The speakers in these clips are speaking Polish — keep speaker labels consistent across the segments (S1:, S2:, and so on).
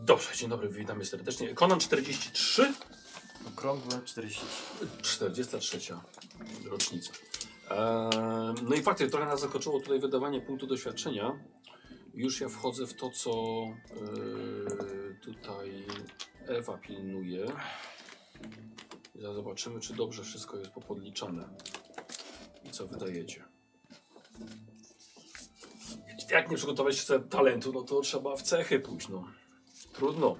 S1: Dobrze, dzień dobry, witamy serdecznie. Konan 43,
S2: Okrągłe 40.
S1: 43 rocznica. Eee, no i faktycznie trochę nas zaskoczyło tutaj wydawanie punktu doświadczenia. Już ja wchodzę w to, co eee, tutaj Ewa pilnuje. Zaraz Zobaczymy, czy dobrze wszystko jest popodliczane. I co wydajecie. Jak nie przygotować się talentu, no to trzeba w cechy pójść, no. Trudno.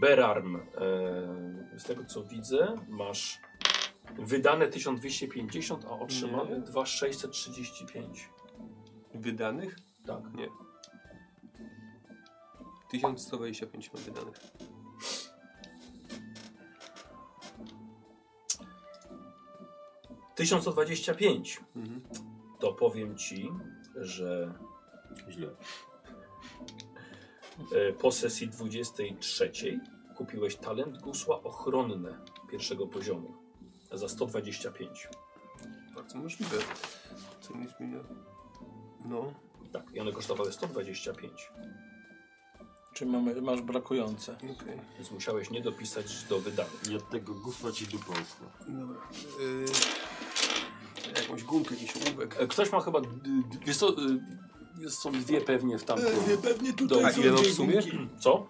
S1: Berarm, e, z tego co widzę, masz wydane 1250, a otrzymane
S2: Nie.
S1: 2635.
S2: Wydanych?
S1: Tak.
S2: Nie. 1125 mam wydanych.
S1: Tysiąc sto dwadzieścia pięć.
S2: Mhm.
S1: to powiem ci, że
S3: Źle.
S1: e, po sesji 23 kupiłeś talent gusła ochronne pierwszego poziomu za 125.
S2: Bardzo możliwe. Co mi zmienia? No.
S1: Tak, i one kosztowały 125.
S4: Czy mamy, masz brakujące?
S2: Okej.
S1: Więc musiałeś nie dopisać do wydanych.
S3: I od tego gufa ci dupa usła.
S2: Dobra. Y... Jakąś gumkę, jakiś ołówek.
S1: E, Ktoś ma chyba. d- d- Wiesz co, y, są E, dwie pewnie w tamtym.
S2: pewnie
S1: tutaj
S2: Tak,
S1: są
S2: ile no w
S1: dwie
S2: sumie?
S1: Co?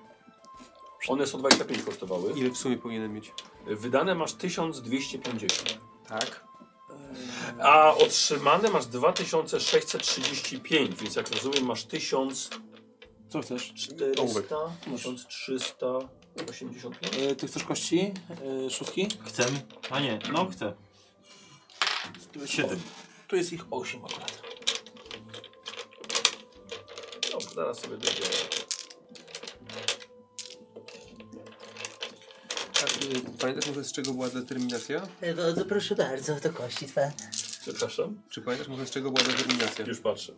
S1: One 125 kosztowały.
S2: Ile w sumie powinienem mieć?
S1: Wydane masz 1250.
S2: Tak.
S1: A otrzymane masz 2635, więc jak rozumiem masz 1400,
S4: Co chcesz?
S2: Ołówek.
S1: 1385.
S4: E, ty chcesz kości? E, szóstki?
S3: Chcemy? A nie, no chcę.
S4: Tu jest,
S3: Siedem.
S4: tu jest ich 8 akurat.
S1: Dobrze, zaraz sobie dobiorę.
S2: A, y, Pamiętasz może z czego była determinacja?
S5: Bardzo proszę bardzo, to kości twoje.
S1: Przepraszam?
S2: Czy pamiętasz może z czego była determinacja?
S1: Już patrzę.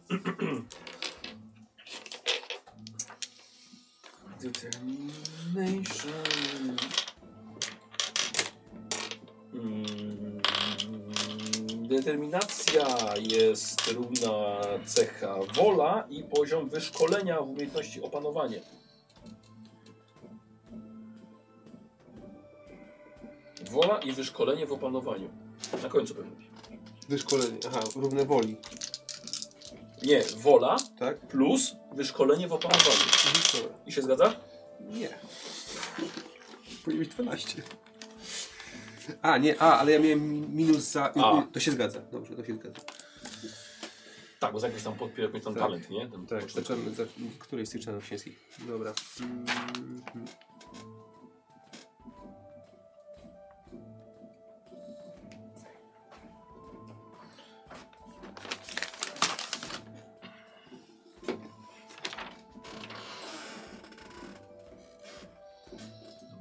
S1: Determination. Mm, Determinacja jest równa cecha wola i poziom wyszkolenia w umiejętności opanowanie. Wola i wyszkolenie w opanowaniu. Na końcu pewnie.
S2: Wyszkolenie. Aha, równe woli.
S1: Nie, wola
S2: Tak?
S1: plus wyszkolenie w opanowaniu.
S2: Mhm, Dobra.
S1: I się zgadza?
S2: Nie. Powinien mieć 12. A, nie, a, ale ja miałem mi- minus za.
S1: A.
S2: To się zgadza. Dobrze, to się zgadza.
S1: Tak, bo za jakiś tam podpił jakiś tam
S2: Tak.
S1: talent, nie? Ten
S2: Tak,
S1: pocztek.
S2: zaczynamy za której z tych czynów świeckich. Dobra. Mhm.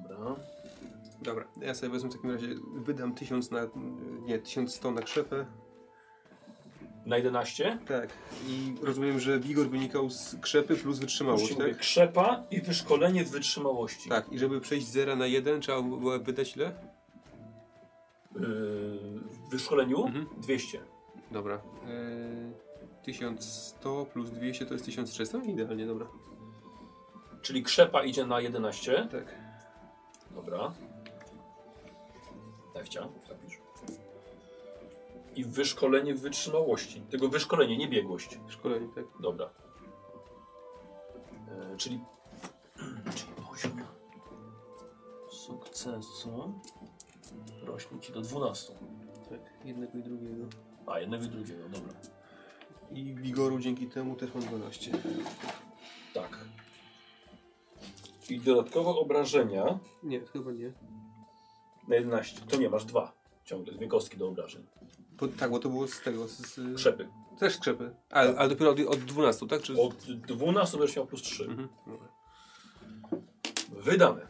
S1: Dobra.
S2: Dobra, ja sobie wezmę w takim razie, wydam 1000 na. Nie, 1100 na krzepę.
S1: Na 11?
S2: Tak. I rozumiem, że wigor wynikał z krzepy plus
S1: Już
S2: wytrzymałość,
S1: ci mówię,
S2: tak?
S1: krzepa i wyszkolenie w wytrzymałości.
S2: Tak, i żeby przejść z 0 na 1, trzeba było wydać ile?
S1: Yy, w wyszkoleniu
S2: Mhm.
S1: 200.
S2: Dobra. Yy, 1100 plus 200 to jest 1300? Idealnie, dobra.
S1: Czyli krzepa idzie na 11.
S2: Tak.
S1: Dobra. Efcia, zapisz. I wyszkolenie w wytrzymałości. Tego wyszkolenie, nie biegłość.
S2: Szkolenie, tak.
S1: Dobra. E, czyli, czyli poziom sukcesu rośnie ci do 12.
S2: Tak, jednego i drugiego.
S1: A jednego i drugiego, dobra.
S2: I wigoru dzięki temu też mam 12.
S1: Tak. I dodatkowo obrażenia
S2: Nie, chyba nie.
S1: na 11. To nie masz dwa. Ciągle dwie kostki do obrażeń.
S2: Bo, tak, bo to było z tego. Z, z,
S1: Krzepy.
S2: Też skrzepy. Ale, ale dopiero od, od 12, tak? Czy...
S1: Od 12 będziesz miał plus 3.
S2: Mhm. Dobra.
S1: Wydane.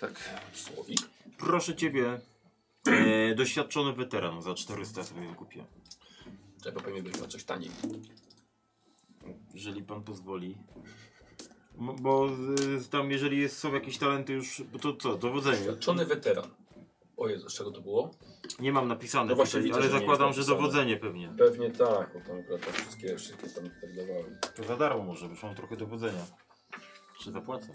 S2: Tak.
S1: Słowik.
S3: Proszę ciebie. E, doświadczony weteran za 400 sobie kupię.
S1: Czego pewnie byś miał coś taniej.
S3: Jeżeli pan pozwoli. M- Bo z, tam, jeżeli jest, są jakieś talenty już, bo to co, dowodzenie.
S1: Doświadczony weteran. O Jezu, z czego to było?
S3: Nie mam napisane,
S1: No właśnie
S3: tutaj,
S1: widzę,
S3: ale
S1: że nie
S3: zakładam,
S1: jest
S3: że
S1: napisane.
S3: dowodzenie pewnie.
S1: Pewnie tak, bo tam akurat wszystkie, wszystkie tam dawałem.
S3: To za darmo może, bo już mam trochę dowodzenia. Czy zapłacę?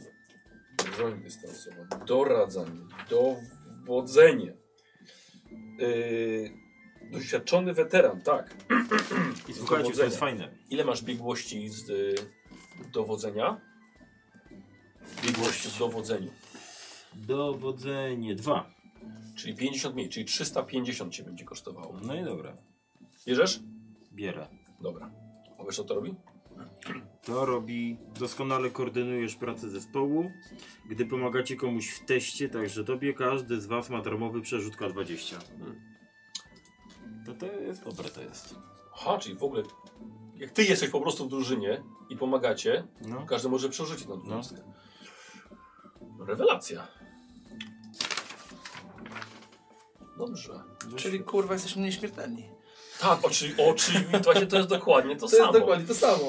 S1: Broń dystansowa. Doradzanie. Dowodzenie. Yy, doświadczony weteran, tak.
S3: I słuchajcie, to jest fajne.
S1: Ile masz biegłości z y, dowodzenia? Biegłości w dowodzeniu.
S3: Dowodzenie dwa.
S1: Czyli 50 mniej, czyli 350 cię będzie kosztowało.
S3: No i dobra.
S1: Bierzesz?
S3: Bierę.
S1: Dobra. A wiesz co to robi?
S3: To robi, doskonale koordynujesz pracę zespołu, gdy pomagacie komuś w teście, także tobie każdy z was ma darmowy przerzut K20. Hmm. To, to jest dobre, to jest.
S1: Aha, czyli w ogóle jak ty jesteś po prostu w drużynie i pomagacie,
S3: No.
S1: każdy może przerzucić na dwunastkę. Rewelacja. Dobrze.
S6: Czyli kurwa jesteśmy nieśmiertelni.
S1: Tak, oczy, oczywiście właśnie to jest dokładnie to, samo.
S6: to samo.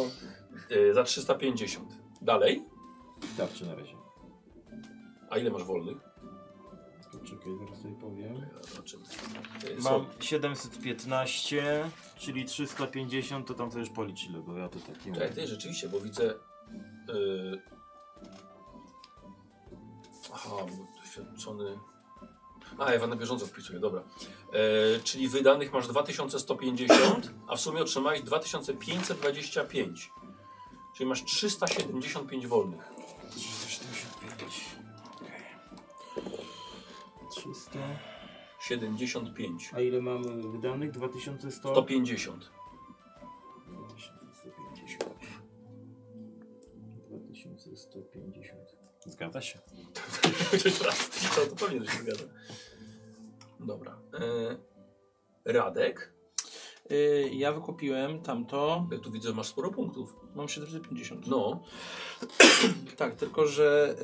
S1: Y, za 350. Dalej?
S3: Starczy na razie.
S1: A ile masz wolnych?
S3: Poczekaj, zaraz sobie powiem.
S1: Ja zobaczymy. Y,
S3: Mam
S1: są-
S3: 715, czyli 350, to tam sobie już policz ile, bo ja to tak nie
S1: Czekaj,
S3: mam.
S1: ty rzeczywiście, bo widzę... y, Aha, bo doświadczony... A, Ewa na bieżąco wpisuję, dobra. E, czyli wydanych masz 2150, a w sumie otrzymałeś 2525. Czyli masz 375 wolnych.
S3: 375. 300.
S1: 75.
S3: A ile mamy wydanych? 2100?
S1: 150.
S3: 2150. 2150. Zgadza się.
S1: Teraz to, to pewnie że się zgadza. Dobra. E, Radek,
S6: Y, ja wykupiłem tamto.
S1: ja tu widzę, masz sporo punktów.
S6: Mam 750.
S1: No,
S6: Tak, tylko że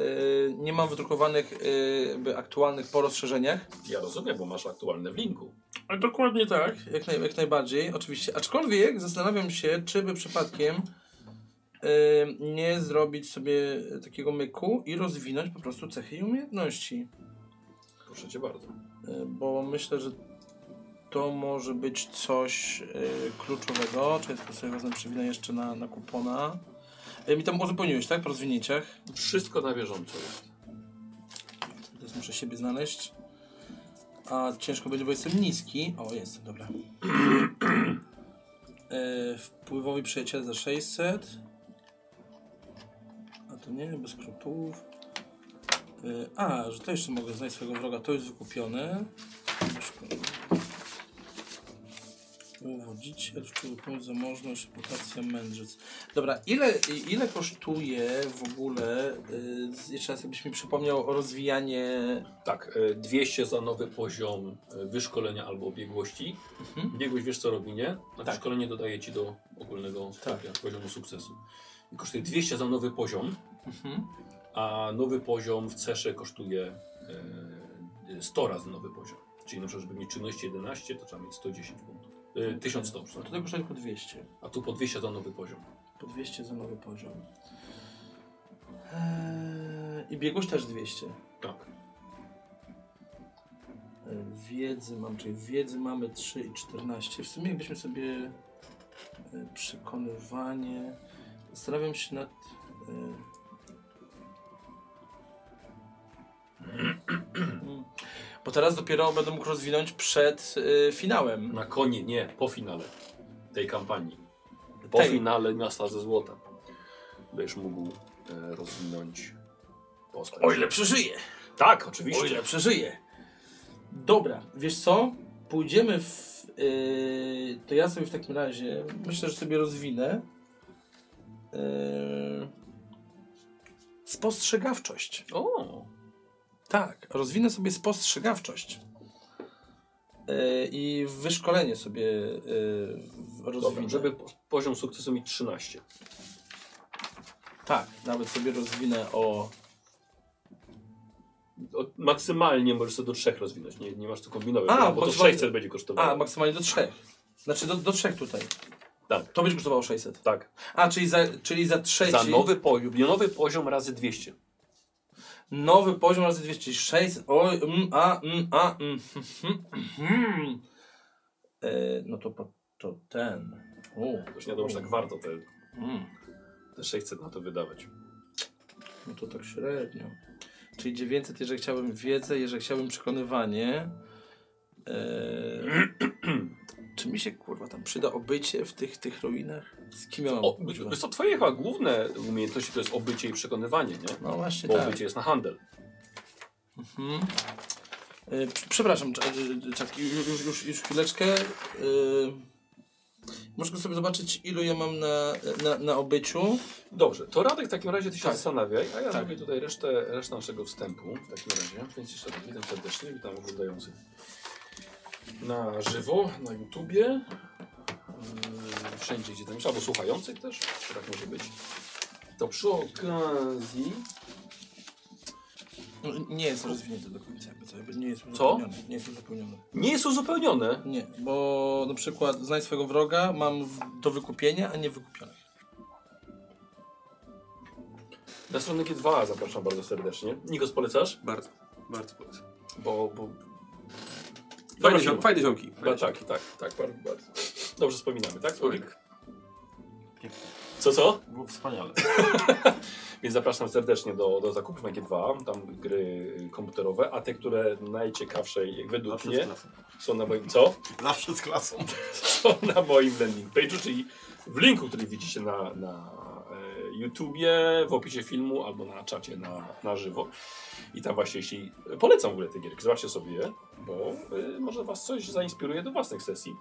S6: y, nie mam wydrukowanych y, jakby aktualnych po rozszerzeniach.
S1: ja rozumiem, bo masz aktualne w linku.
S6: A dokładnie tak. Jak, naj, jak najbardziej, oczywiście. Aczkolwiek zastanawiam się, czy by przypadkiem y, nie zrobić sobie takiego myku i rozwinąć po prostu cechy i umiejętności.
S1: Proszę cię bardzo.
S6: Y, bo myślę, że to może być coś y, kluczowego. Czy tylko sobie wezmę przewinę jeszcze na, na kupona. Y, mi tam uzupełniłeś, tak? Po rozwinięciach.
S1: Wszystko na bieżąco jest.
S6: Teraz muszę siebie znaleźć. A ciężko będzie, bo jestem niski. O, jestem, dobra. e, wpływowi przyjaciel za 600. A to nie, bez skrupułów. E, a, że to jeszcze mogę znaleźć swojego wroga. To jest wykupione. Szkoda. Uwodziciel, wpływ, pomoc, zamożność, reputacja, mędrzec. Dobra, ile, ile kosztuje w ogóle, y, z- jeszcze raz jakbyś mi przypomniał, rozwijanie...
S1: Tak, e, 200 za nowy poziom e, wyszkolenia albo biegłości.
S6: Mhm.
S1: Biegłość wiesz co robi, nie? A
S6: Tak.
S1: szkolenie dodaje ci do ogólnego stopnia, poziomu sukcesu. I kosztuje 200 za nowy poziom,
S6: Mhm.
S1: a nowy poziom w cesze kosztuje e, 100 razy nowy poziom. Czyli na przykład, żeby mieć czynności 11, to trzeba mieć 110 punktów. E, 1100,
S6: No
S1: przepraszam.
S6: to kosztuje tylko 200.
S1: a tu po 200 za nowy poziom.
S6: Po 200 za nowy poziom. Eee, I biegłość też 200.
S1: Tak.
S6: E, Wiedzy mam, czyli wiedzy mamy 3 i 14. W sumie jakbyśmy sobie e, przekonywanie. Zastanawiam się nad. e, Mm. Bo teraz dopiero będę mógł rozwinąć przed e, finałem.
S1: Na konie, nie, po finale tej kampanii. Po
S6: Tej.
S1: finale Miasta ze Złota. Będziesz mógł e, rozwinąć postać.
S6: O ile przeżyję!
S1: Tak, oczywiście.
S6: O ile przeżyję! Dobra, wiesz co? Pójdziemy w. e, to ja sobie w takim razie. Myślę, że sobie rozwinę. Yy, spostrzegawczość.
S1: O,
S6: Tak, rozwinę sobie spostrzegawczość. Yy, I wyszkolenie sobie yy, w- rozwinę.
S1: dobra, żeby po- poziom sukcesu mieć 13.
S6: Tak, nawet sobie rozwinę o.
S1: O, maksymalnie możesz sobie do 3 rozwinąć, nie, nie masz co kombinować,
S6: A,
S1: A, bo to
S6: maksymalnie-
S1: 600 będzie kosztowało.
S6: A, maksymalnie do trzech. Znaczy do, do trzech tutaj.
S1: Tak.
S6: To będzie kosztowało 600.
S1: tak,
S6: A, czyli za, czyli za trzeci.
S1: za nowy poziom, nowy poziom razy 200.
S6: nowy poziom razy 200, czyli 600. Oj, mm, a, mm, a, mm. mhm, mhm. E, no to, po- to ten. O,
S1: tak Już nie wiadomo, że tak warto te,
S6: Mm.
S1: te 600 na to wydawać.
S6: No to tak średnio. Czyli 900, jeżeli chciałbym wiedzę, jeżeli chciałbym przekonywanie. Eee, czy mi się kurwa tam przyda obycie w tych, tych ruinach? Z kim ja mam
S1: O,
S6: kurwa?
S1: wiesz co, twoje chyba główne umiejętności to jest obycie i przekonywanie, nie?
S6: No właśnie
S1: Bo
S6: tak.
S1: obycie jest na handel.
S6: Mhm. E, prz- Przepraszam, cz- e, czaki, ju- już, już, już chwileczkę. E, Możesz sobie zobaczyć, ilu ja mam na, na, na obyciu.
S1: Dobrze, to Radek w takim razie ty się
S6: Tak.
S1: zastanawiaj, a ja
S6: Tak.
S1: zrobię tutaj resztę, resztę naszego wstępu w takim razie. Więc jeszcze raz witam serdecznie, witam oglądających na żywo, na YouTubie, yy, wszędzie gdzie tam jest, albo słuchających też, tak może być. To przy okazji,
S6: No, Nie jest rozwinięty do końca, jakby co? jakby Nie jest uzupełniony. Nie jest uzupełniony.
S1: nie jest uzupełnione,
S6: Nie, bo na przykład znajdź swojego wroga mam w, do wykupienia, a nie wykupionych.
S1: na stronę G2 zapraszam bardzo serdecznie. Nikos polecasz?
S2: Bardzo, bardzo polecam.
S1: Bo, bo
S2: Fajne,
S1: firma.
S2: ziom, fajne ziomki.
S1: Ba,
S2: Fajne
S1: tak, tak, tak, bardzo, bardzo. Dobrze wspominamy, tak? Słowik?
S3: Pięknie.
S1: Co, co?
S3: Było wspaniale.
S1: Więc zapraszam serdecznie do, do zakupów na G2, tam gry komputerowe, a te, które najciekawsze jak według
S3: Zawsze z
S1: mnie
S3: klasą.
S1: są na moim, co?
S3: Zawsze z klasą.
S1: Są na moim landing page'u, czyli w linku, który widzicie na, na e, YouTubie, w opisie filmu albo na czacie na, na żywo. I tam właśnie, jeśli polecam w ogóle te gierki, zobaczcie sobie je, bo y, może was coś zainspiruje do własnych sesji.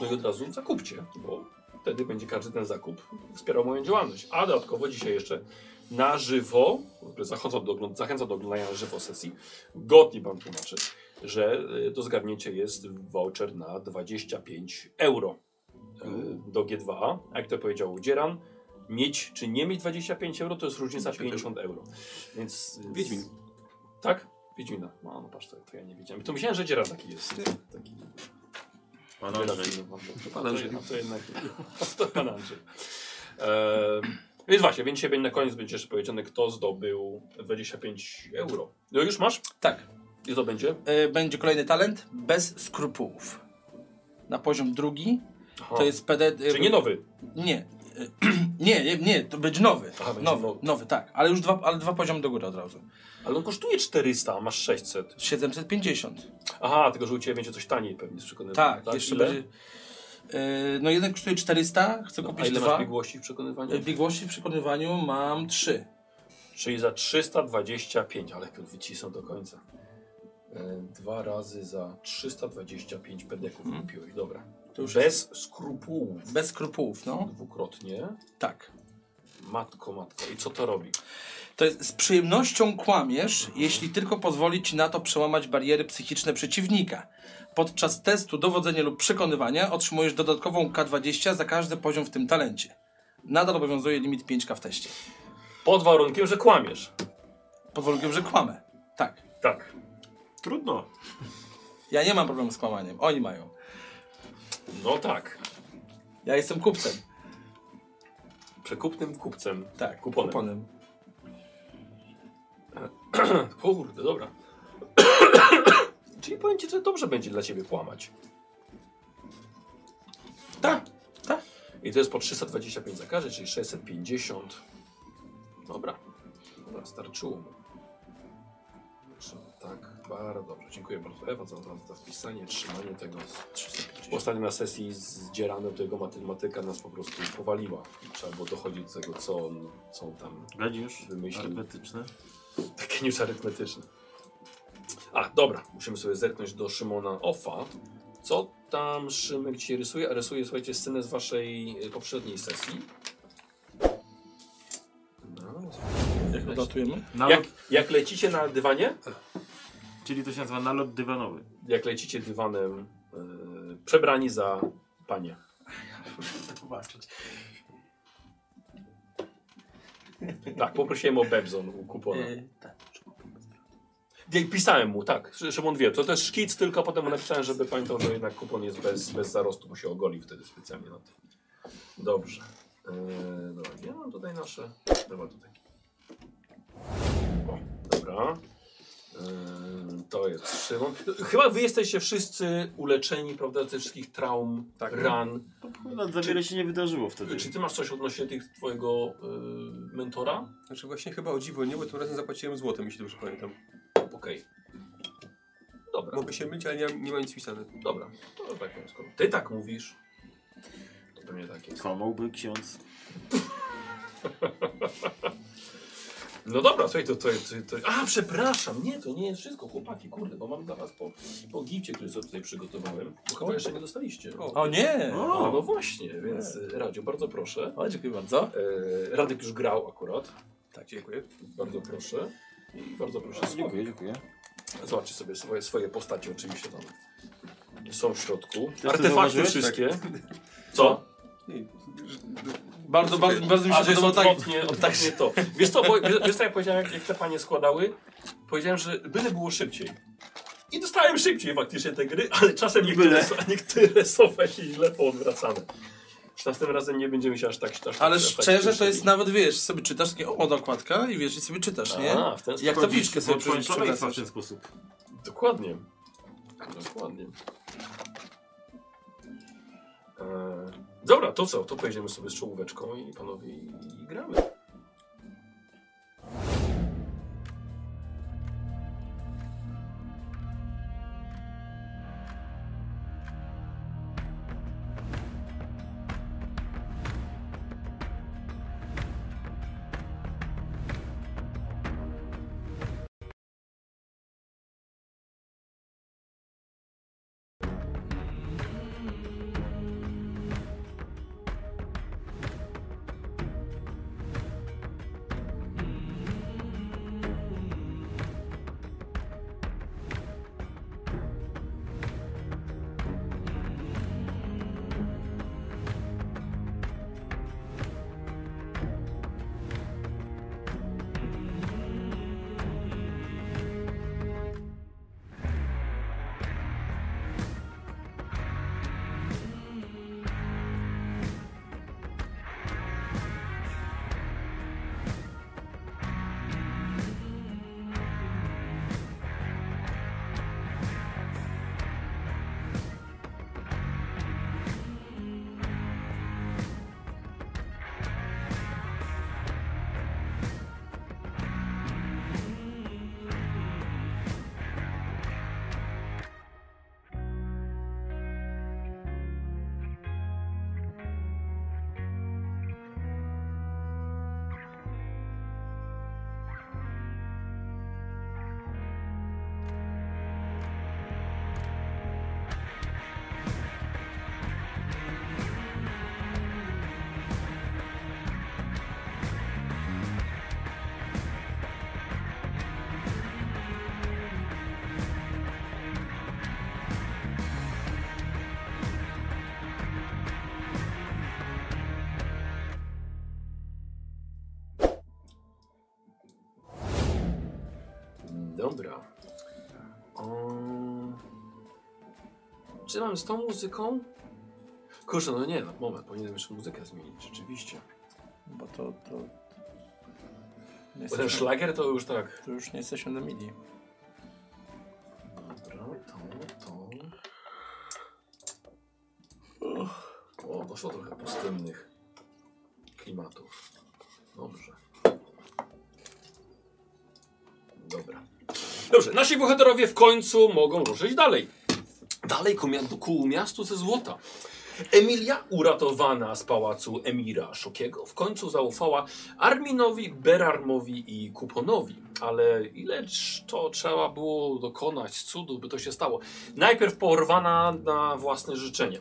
S1: No i od razu zakupcie, bo wtedy będzie każdy ten zakup wspierał moją działalność. A dodatkowo dzisiaj jeszcze na żywo, w ogóle zachodzą do, ogląd- zachęcam do oglądania na żywo sesji, godnie wam tłumaczę, że y, do zgarnięcia jest voucher na 25 euro y, do G2A. A Jak to powiedział Dzieran, mieć czy nie mieć 25 euro to jest różnica 50 euro. Więc... y,
S2: Wiedźmin.
S1: Tak? Wiedźmina. No, no patrz, to, to ja nie wiedziałem. To myślałem, że Dzieran taki jest. Taki no,
S3: Pan Andrzej.
S2: Pan Andrzej.
S1: to, to jednak to pan Andrzej. E, więc właśnie, więc dzisiaj na koniec będzie jeszcze powiedziane, kto zdobył 25 euro. No już masz?
S6: Tak.
S1: I to będzie?
S6: E, będzie kolejny talent bez skrupułów. Na poziom drugi. To jest PD. e,
S1: Czy nie nowy?
S6: Nie. E, nie, nie, nie, to będzie nowy.
S1: Aha, będzie
S6: nowy,
S1: nowy.
S6: nowy, tak. Ale już dwa, ale dwa poziom do góry od razu.
S1: Ale on kosztuje 400, a masz 600.
S6: 750.
S1: Aha, tylko że u Ciebie będzie coś taniej pewnie z przekonywania.
S6: Tak, jeszcze
S1: Ile?
S6: będzie. E, no jeden kosztuje 400, chcę
S1: A
S6: kupić
S1: ile
S6: dwa.
S1: masz biegłości w przekonywaniu?
S6: E, Biegłości w przekonywaniu mam trzy.
S1: Czyli za 325, ale to wycisną do końca. E, Dwa razy za 325 pedeków
S6: Mhm.
S1: kupiłeś, dobra.
S6: To już
S1: Bez skrupułów.
S6: Bez skrupułów, no.
S1: Dwukrotnie.
S6: Tak.
S1: Matko, matko. I co to robi?
S6: To jest z przyjemnością kłamiesz, jeśli tylko pozwoli ci na to przełamać bariery psychiczne przeciwnika. Podczas testu dowodzenia lub przekonywania otrzymujesz dodatkową K20 za każdy poziom w tym talencie. Nadal obowiązuje limit 5K w teście.
S1: Pod warunkiem, że kłamiesz.
S6: Pod warunkiem, że kłamę. Tak.
S1: Tak.
S3: Trudno.
S6: Ja nie mam problemu z kłamaniem. Oni mają.
S1: No tak.
S6: Ja jestem kupcem.
S1: Przekupnym kupcem.
S6: Tak.
S1: Kuponem.
S6: kuponem.
S1: Kurde, dobra. Czyli powiem ci, że dobrze będzie dla ciebie kłamać.
S6: Tak. Tak.
S1: I to jest po 325 za każdy, czyli 650. Dobra. Dobra, starczyło mu. Proszę, Tak, bardzo dobrze. Dziękuję bardzo Ewa za, za, za wpisanie, trzymanie tego.
S6: 350.
S1: Ostatnio na sesji z Dzieranem to jego matematyka nas po prostu powaliła. Trzeba było dochodzić do tego, co on, co on tam
S3: Gadziusz,
S1: Wymyślił.
S3: arytmetyczne.
S1: Takie news arytmetyczne. A, dobra, musimy sobie zerknąć do Szymona Offa. Co tam Szymek ci rysuje? A rysuje, słuchajcie, scenę z waszej y, poprzedniej sesji. No,
S6: Jak odlatujemy?
S3: Nalot,
S1: jak, jak lecicie na dywanie?
S3: Czyli to się nazywa nalot dywanowy.
S1: Jak lecicie dywanem y, przebrani za panie.
S7: Zobaczyć.
S1: Tak, poprosiłem o Bebzon u kupona.
S6: Yy, tak.
S1: Ja pisałem mu, tak. Szy- Szymon wie, to też szkic, tylko potem mu napisałem, żeby pamiętał, że jednak kupon jest bez, bez zarostu, bo się ogoli wtedy specjalnie na tym. Dobrze. Eee, dobra, ja mam tutaj nasze. Dobra, tutaj. O, dobra. Eee, Ym, To jest Szymon. Chyba wy jesteście wszyscy uleczeni, prawda, ze wszystkich traum,
S2: Tak.
S1: ran.
S3: No, za wiele się nie wydarzyło wtedy.
S1: Czy ty masz coś odnośnie tych twojego y, mentora?
S2: Znaczy właśnie chyba o dziwo nie, bo tym razem zapłaciłem złotem, jeśli dobrze pamiętam.
S1: Okej. Dobra,
S2: Mogę się mylić, ale nie, nie ma nic wpisane.
S1: dobra. To tak powiem, skoro ty tak mówisz, to pewnie tak jest.
S3: Kłamałby ksiądz.
S1: No dobra, słuchaj, to, to, to, to... A, przepraszam, nie, to nie jest wszystko, chłopaki, kurde, bo mam dla was po, po gifcie, który sobie tutaj przygotowałem. Bo chyba jeszcze nie dostaliście.
S2: O.
S6: O nie!
S1: O, no właśnie, więc y, Radziu, bardzo proszę.
S6: O, dziękuję bardzo.
S1: E, Radek już grał akurat.
S2: Tak, dziękuję.
S1: Bardzo proszę. I bardzo proszę.
S3: Dziękuję, dziękuję.
S1: Zobaczcie sobie swoje, swoje postacie oczywiście tam są w środku.
S3: to
S1: Artefakty
S3: zauważyłeś?
S1: wszystkie. Co?
S2: Nie, że-
S6: Bardzo, bardzo, bardzo mi się
S1: Ale to
S6: podobało tak.
S1: odwrotnie, odwrotnie to. Wiesz co, bo, wiesz, wiesz co ja powiedziałem, jak, jak te panie składały? Powiedziałem, że byle było szybciej. I dostałem szybciej faktycznie te gry, ale czasem niektóre,
S3: Byle.
S1: są- niektóre są właśnie źle poodwracane. Już następnym razem nie będziemy się aż tak aż tak-
S6: Ale
S1: aż tak
S6: szczerze to
S1: cieszyli.
S6: jest nawet, wiesz, sobie czytasz takie o, nakładka i wiesz, i sobie czytasz, nie?
S1: A, w ten sposób.
S6: Jak tabliczkę sobie
S3: Wchodzisz w szaleństwa w
S6: przewracasz.
S3: ten sposób.
S1: Dokładnie. Dokładnie. E, dobra, to co? To pojedziemy sobie z czołóweczką i panowie i, i gramy. Dobra. Um, czy mam z tą muzyką? Kurczę, no nie, no moment, powinienem jeszcze muzykę zmienić, rzeczywiście.
S6: Bo to, to... Nie
S1: Bo ten
S6: jesteśmy,
S1: szlagier to już tak.
S6: to już nie jesteśmy na midi.
S1: Dobra, to, to. O, doszło trochę pustynnych klimatów. Dobrze. Dobra. Dobrze, nasi bohaterowie w końcu mogą ruszyć dalej. Dalej ku, mia- ku miastu ze złota. Emilia, uratowana z pałacu emira Szokiego, w końcu zaufała Arminowi, Berarmowi i Kuponowi. Ale ileż to trzeba było dokonać cudu, by to się stało. Najpierw porwana na własne życzenie.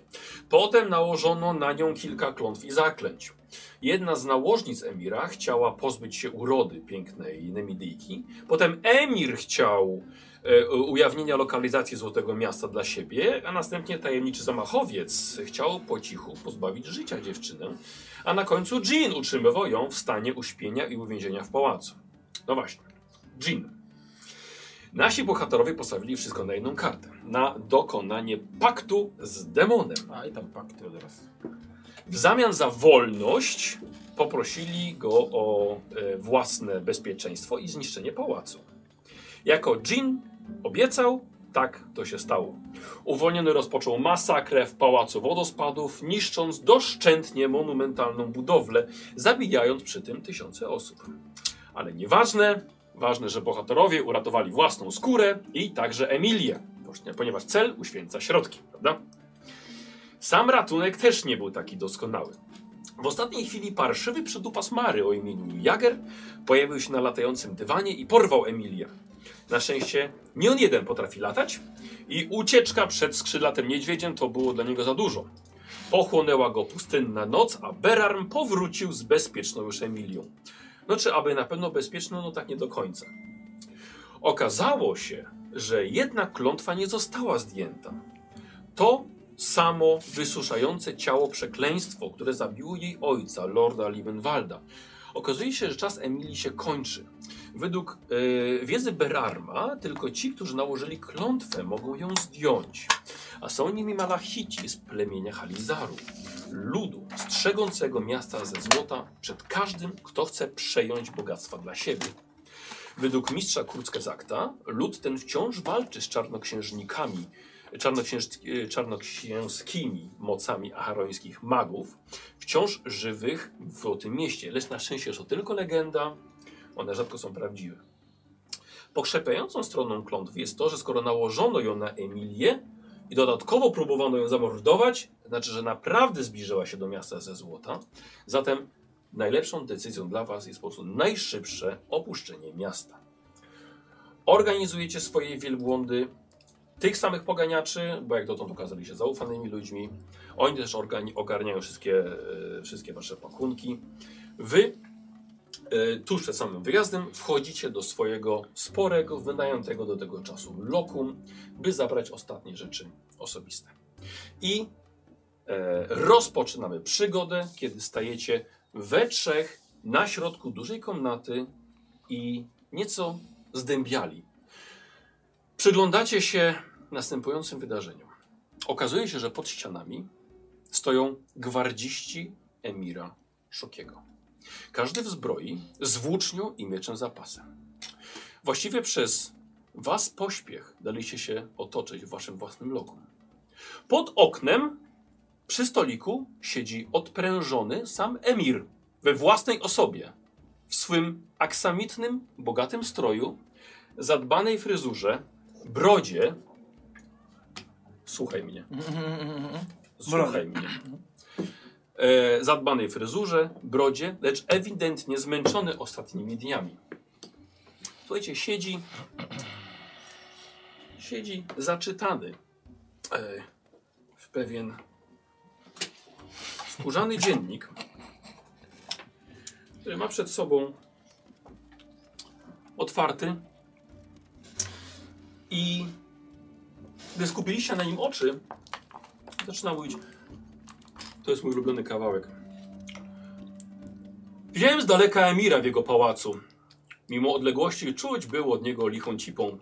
S1: Potem nałożono na nią kilka klątw i zaklęć. Jedna z nałożnic Emira chciała pozbyć się urody pięknej Nemidyjki. Potem Emir chciał e, ujawnienia lokalizacji Złotego Miasta dla siebie, a następnie tajemniczy zamachowiec chciał po cichu pozbawić życia dziewczynę, a na końcu Jean utrzymywał ją w stanie uśpienia i uwięzienia w pałacu. No właśnie, Jean. Nasi bohaterowie postawili wszystko na jedną kartę. Na dokonanie paktu z demonem.
S8: A i tam pakty od razu.
S1: W zamian za wolność poprosili go o e, własne bezpieczeństwo i zniszczenie pałacu. Jako Jin obiecał, tak to się stało. Uwolniony rozpoczął masakrę w Pałacu Wodospadów, niszcząc doszczętnie monumentalną budowlę, zabijając przy tym tysiące osób. Ale nieważne, ważne, że bohaterowie uratowali własną skórę i także Emilię, właśnie, ponieważ cel uświęca środki, prawda? Sam ratunek też nie był taki doskonały. W ostatniej chwili parszywy przydupas Mary o imieniu Jager pojawił się na latającym dywanie i porwał Emilię. Na szczęście nie on jeden potrafi latać i ucieczka przed skrzydlatym niedźwiedziem to było dla niego za dużo. Pochłonęła go pustynna noc, a Berarm powrócił z bezpieczną już Emilią. No czy aby na pewno bezpieczną, no tak nie do końca. Okazało się, że jedna klątwa nie została zdjęta. To samo wysuszające ciało przekleństwo, które zabiło jej ojca, lorda Liebenwalda. Okazuje się, że czas Emilii się kończy. Według e, wiedzy Berarma, tylko ci, którzy nałożyli klątwę, mogą ją zdjąć. A są nimi malachici z plemienia Halizaru, ludu strzegącego miasta ze złota przed każdym, kto chce przejąć bogactwa dla siebie. Według mistrza Kurzgesagta, lud ten wciąż walczy z czarnoksiężnikami, czarnoksięż, e, czarnoksięskimi mocami acharońskich magów, wciąż żywych w tym mieście, lecz na szczęście jest to tylko legenda, one rzadko są prawdziwe. Pokrzepiającą stroną klątwy jest to, że skoro nałożono ją na Emilię i dodatkowo próbowano ją zamordować, to znaczy, że naprawdę zbliżyła się do miasta ze złota. Zatem najlepszą decyzją dla Was jest po prostu najszybsze opuszczenie miasta. Organizujecie swoje wielbłądy tych samych poganiaczy, bo jak dotąd okazali się zaufanymi ludźmi. Oni też organi- ogarniają wszystkie, e, wszystkie Wasze pakunki. Wy E, tuż przed samym wyjazdem wchodzicie do swojego sporego, wynajętego do tego czasu lokum, by zabrać ostatnie rzeczy osobiste. I e, rozpoczynamy przygodę, kiedy stajecie we trzech na środku dużej komnaty i nieco zdębiali. Przyglądacie się następującym wydarzeniom. Okazuje się, że pod ścianami stoją gwardziści emira Szokiego. Każdy w zbroi, z włócznią i mieczem zapasem. Właściwie przez was pośpiech daliście się otoczyć w waszym własnym lokum. Pod oknem przy stoliku siedzi odprężony sam emir we własnej osobie, w swym aksamitnym, bogatym stroju, zadbanej fryzurze, brodzie. Słuchaj mnie.
S6: Mhm.
S1: Słuchaj mnie. E, zadbanej fryzurze, brodzie, lecz ewidentnie zmęczony ostatnimi dniami. Słuchajcie, siedzi. Siedzi zaczytany e, w pewien skórzany dziennik, który ma przed sobą otwarty i gdy skupiliście na nim oczy, zaczyna mówić to jest mój ulubiony kawałek. Widziałem z daleka Emira w jego pałacu. Mimo odległości czuć było od niego lichą cipą.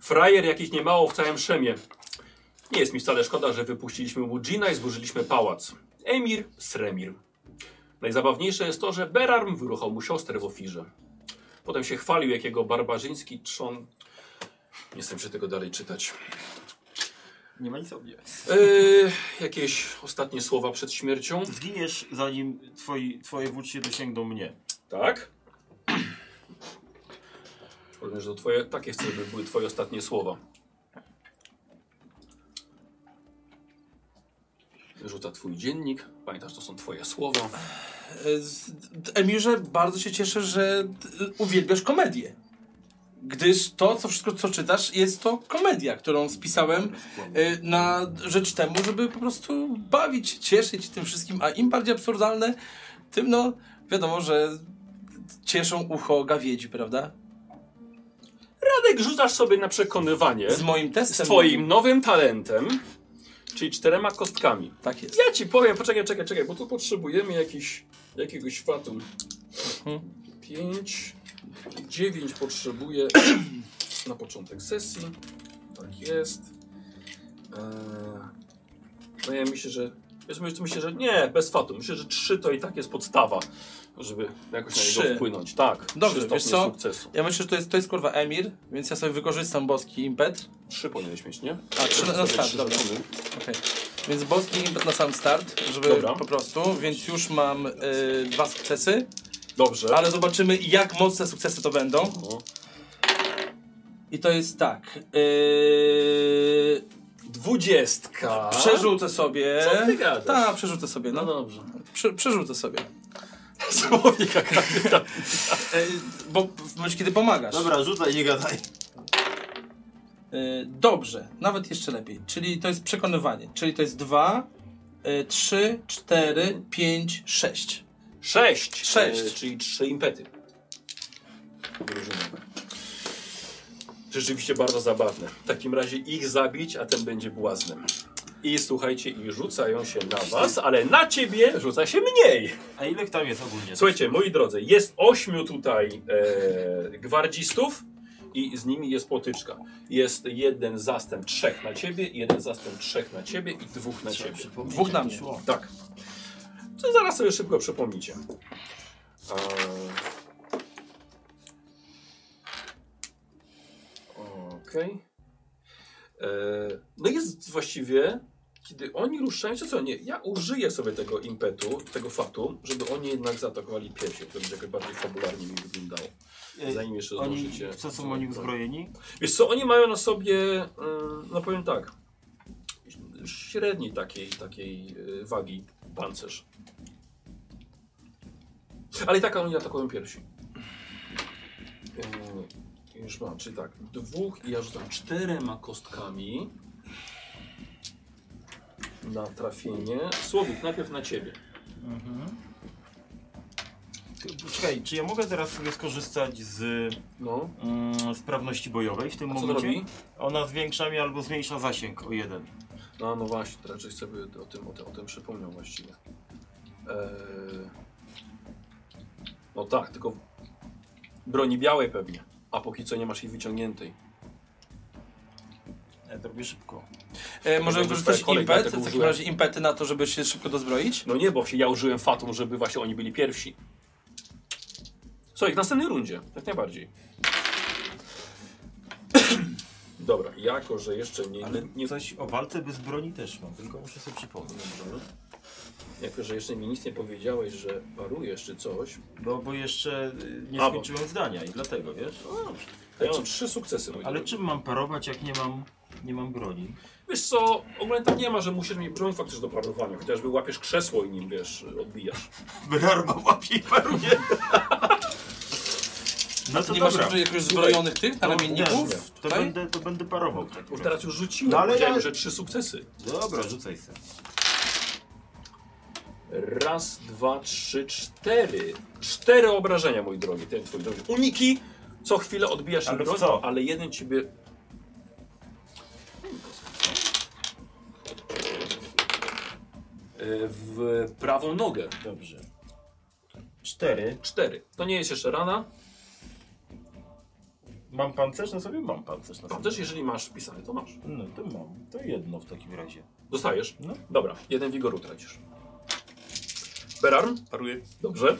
S1: Frajer jakiś niemało w całym szemie. Nie jest mi wcale szkoda, że wypuściliśmy mu Gina i zburzyliśmy pałac. Emir, Sremir. Najzabawniejsze jest to, że Berarm wyruchał mu siostrę w ofirze. Potem się chwalił, jakiego barbarzyński trzon... Nie jestem przy tego dalej czytać.
S3: Nie ma nic o mnie.
S1: Yy, jakieś ostatnie słowa przed śmiercią.
S3: Zginiesz, zanim twoi, twoje włócznie dosięgną mnie.
S1: Tak? Przypomnę, że to twoje, takie chcę, by były twoje ostatnie słowa. Rzuca twój dziennik. Pamiętasz, to są twoje słowa.
S6: E, Z- d- Emirze, bardzo się cieszę, że d- uwielbiasz komedię. Gdyż to, co wszystko, co czytasz, jest to komedia, którą spisałem e, na rzecz temu, żeby po prostu bawić, się, cieszyć tym wszystkim, a im bardziej absurdalne, tym no, wiadomo, że cieszą ucho gawiedzi, prawda?
S1: Radek, rzucasz sobie na przekonywanie
S6: Z moim
S1: E? z
S6: testem.
S1: twoim nowym talentem, czyli czterema kostkami.
S6: Tak jest.
S1: Ja ci powiem, poczekaj, czekaj, czekaj, bo tu potrzebujemy jakiś, jakiegoś fatum. Mhm. Pięć, dziewięć potrzebuję na początek sesji. Tak jest. Eee, no ja myślę, że Więc myślę, myślę, że nie, bez fatu. Myślę, że trzy to i tak jest podstawa, żeby jakoś na
S6: Trzy.
S1: niego wpłynąć. Tak,
S6: Dobrze,
S1: trzy
S6: wiesz
S1: stopnie
S6: co?
S1: sukcesu.
S6: Ja myślę, że to jest, to jest kurwa Emir, więc ja sobie wykorzystam boski impet.
S1: Trzy powinieneś mieć, nie?
S6: A, trzy na- na
S1: Trzy
S6: start,
S1: rzeczy.
S6: dobra. Okej. Więc boski impet na sam start, żeby
S1: Dobra.
S6: po prostu, więc już mam e, dwa sukcesy,
S1: Dobrze.
S6: ale zobaczymy jak mocne sukcesy to będą.
S1: No.
S6: I to jest tak. Yy...
S1: Dwudziestka.
S6: Przerzucę sobie.
S1: Co ty gadasz?
S6: Tak, przerzucę sobie. No,
S1: No dobrze.
S6: Prze przerzucę sobie.
S1: Słownika kapitana.
S6: Y, Bo w momencie, kiedy pomagasz.
S3: Dobra, rzucaj, nie gadaj.
S6: Yy, dobrze, nawet jeszcze lepiej. Czyli to jest przekonywanie. Czyli to jest y, 2, 3, 4, 5, 6.
S1: Sześć.
S6: Sześć.
S1: E, czyli trzy impety. Drużyny. Rzeczywiście bardzo zabawne. W takim razie ich zabić, a ten będzie błaznem. I słuchajcie, i rzucają się na was, ale na ciebie rzuca się mniej.
S3: A ile tam jest ogólnie?
S1: Słuchajcie, moi drodzy, jest ośmiu tutaj e, gwardzistów i z nimi jest potyczka. Jest jeden zastęp trzech na ciebie, jeden zastęp trzech na ciebie i dwóch na ciebie.
S6: Dwóch na mnie.
S1: Tak. To zaraz sobie szybko przypomnijcie. E, Eee. Okej. Eee, No jest właściwie, kiedy oni ruszają, to co nie, ja użyję sobie tego impetu, tego fatu, żeby oni jednak zaatakowali piesię, to będzie jakoś bardziej fabularnie mi wyglądało. Zanim jeszcze
S3: E, Oni,
S1: zdążycie.
S3: co są oni uzbrojeni?
S1: Wiesz co, oni mają na sobie, mm, no powiem tak, średniej takiej, takiej y, wagi pancerz. Ale i tak oni atakują piersi. Yy, Już mam, czyli tak, dwóch i ja rzucam czterema kostkami na trafienie. Słowik, najpierw na ciebie.
S3: Czekaj, czy ja mogę teraz sobie skorzystać z
S1: No,
S3: mm, sprawności bojowej w tym
S1: a co to
S3: momencie?
S1: robi?
S3: Ona zwiększa mi albo zmniejsza zasięg o jeden.
S1: No, no właśnie, to raczej sobie o tym, o tym, o tym przypomniał właściwie. Eee... No tak, tylko broni białej pewnie, a póki co nie masz jej wyciągniętej.
S3: Ja to robię szybko.
S6: E, może
S1: Dobra,
S6: wykorzystać
S1: dostaję kolej,
S6: impet,
S1: dlatego
S6: w takim
S1: użyłem.
S6: razie impety na to, żeby się szybko dozbroić.
S1: No nie, bo się ja użyłem fatum, żeby właśnie oni byli pierwsi. Słuchaj, w następnej rundzie, jak najbardziej. Dobra, jako że jeszcze nie,
S3: Ale
S1: nie,
S3: coś o walce bez broni też mam, tylko muszę sobie przypomnieć.
S1: Mhm. jako że jeszcze mi nic nie powiedziałeś, że parujesz czy coś,
S3: Bo, bo jeszcze y, nie
S1: A, bo-
S3: skończyłem zdania i dlatego, wiesz?
S1: to ja mam trzy sukcesy. mój
S3: Ale
S1: drogi.
S3: czym mam parować, jak nie mam, nie mam broni?
S1: Wiesz co, ogólnie tam nie ma, że musisz mieć broń faktycznie do parowania, chociażby łapiesz krzesło i nim, wiesz, odbijasz.
S3: Brarma łapie i paruje. No to
S6: Nie masz
S3: dobra.
S6: już jakoś zbrojonych tych na ramienników?
S3: to,
S6: Tutaj?
S3: będę, to będę parował. w takim
S1: Bo
S3: razie.
S1: teraz już rzuciłem,
S3: No, ale
S1: powiedziałem,
S3: ja-
S1: że trzy sukcesy.
S3: Dobra, rzucaj se.
S1: Raz, dwa, trzy, cztery. Cztery obrażenia, mój drogi, ten twój drogi. Uniki, co chwilę odbijasz
S3: Ale
S1: im
S3: w
S1: broń,
S3: co?
S1: ale jeden ciebie... E, W prawą nogę.
S3: Dobrze. Cztery.
S1: Cztery. To nie jest jeszcze rana.
S3: Mam pancerz na sobie? Mam pancerz na sobie.
S1: Tam też, jeżeli masz wpisany, to masz.
S3: No to mam. To jedno w takim razie.
S1: Dostajesz?
S3: No.
S1: Dobra, jeden wigoru tracisz. Berarm? Paruję. Dobrze.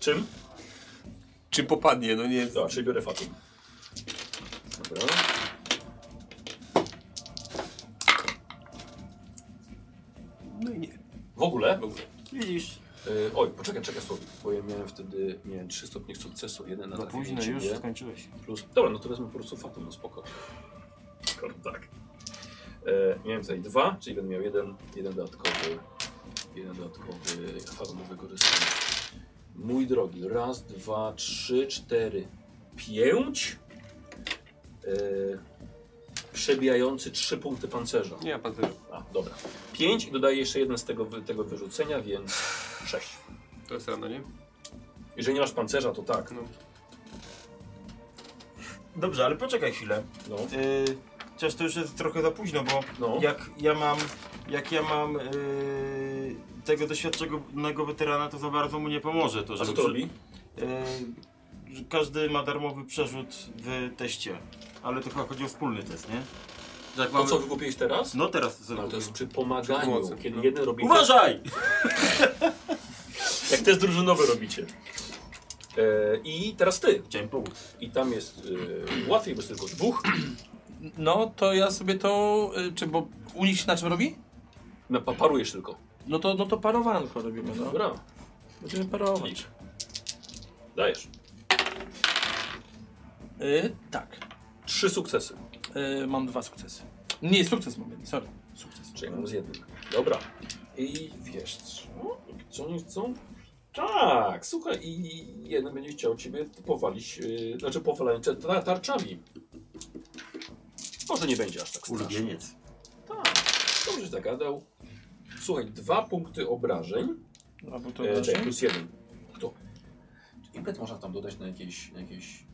S1: Czym?
S2: Czym popadnie, no nie.
S1: Dobra, czyli biorę fatum. Dobra.
S2: No i nie.
S1: W ogóle?
S3: Widzisz?
S1: Y, oj, poczekaj, czekaj słowik, bo ja miałem wtedy, miałem 3 stopnie sukcesu, jeden na
S3: No
S1: trafienie
S3: późno
S1: ciebie,
S3: już skończyłeś.
S1: Plus, dobra, no to wezmę po prostu fatum, no spoko. Skoro tak. E, miałem tutaj dwa, czyli będę miał jeden, jeden dodatkowy, jeden dodatkowy fatum do wykorzystania. Mój drogi, raz, dwa, trzy, cztery, pięć. E, przebijający trzy punkty pancerza.
S2: Nie, pan też.
S1: A, dobra. Pięć i dodaję jeszcze jeden z tego, wy- tego wyrzucenia, więc sześć.
S2: To jest rano, nie?
S1: Jeżeli nie masz pancerza, to tak.
S2: No.
S3: Dobrze, ale poczekaj chwilę.
S1: No,
S3: Yy, chociaż to już jest trochę za późno, bo
S1: no.
S3: jak ja mam, jak ja mam yy, tego doświadczonego weterana, to za bardzo mu nie pomoże to,
S1: A
S3: żeby
S1: co to
S3: przy-
S1: robi?
S3: Yy, że każdy ma darmowy przerzut w teście, ale to chyba chodzi o wspólny test, nie? Tak
S1: To
S3: mamy...
S1: co wykupiłeś teraz?
S3: No teraz
S1: No,
S3: sobie
S1: to jest
S3: kupię.
S1: przy pomaganiu,
S2: Pomocy,
S1: kiedy
S2: no.
S1: jeden robi... tak,
S3: Uważaj!
S1: Jak też drużynowy robicie. E, I teraz ty.
S3: Chciałem pomóc.
S1: I tam jest e, łatwiej, bo jest tylko dwóch.
S6: No, to ja sobie to... y, Czy bo u nich się na czym robi?
S1: No, pa- parujesz tylko.
S6: No to, no to parowanko robimy, no.
S1: Dobra,
S6: Będziemy parować.
S1: licz. Dajesz.
S6: Y, tak.
S1: Trzy sukcesy.
S6: Y, mam dwa sukcesy. Nie, sukces mam jeden, sorry. Sukces.
S1: Czyli mam z jednym. Dobra. I wiesz co? Co oni chcą? Tak, słuchaj, i jeden będzie chciał ciebie powalić, yy, znaczy powalać tar- tarczami. Może nie będzie aż tak strasznie.
S3: Ulubieniec.
S1: Tak, dobrze się zagadał. Słuchaj, dwa punkty obrażeń,
S6: A bo to
S1: e,
S6: znaczy?
S1: czekaj, plus jeden. Kto? Impet można tam dodać na jakieś, na jakieś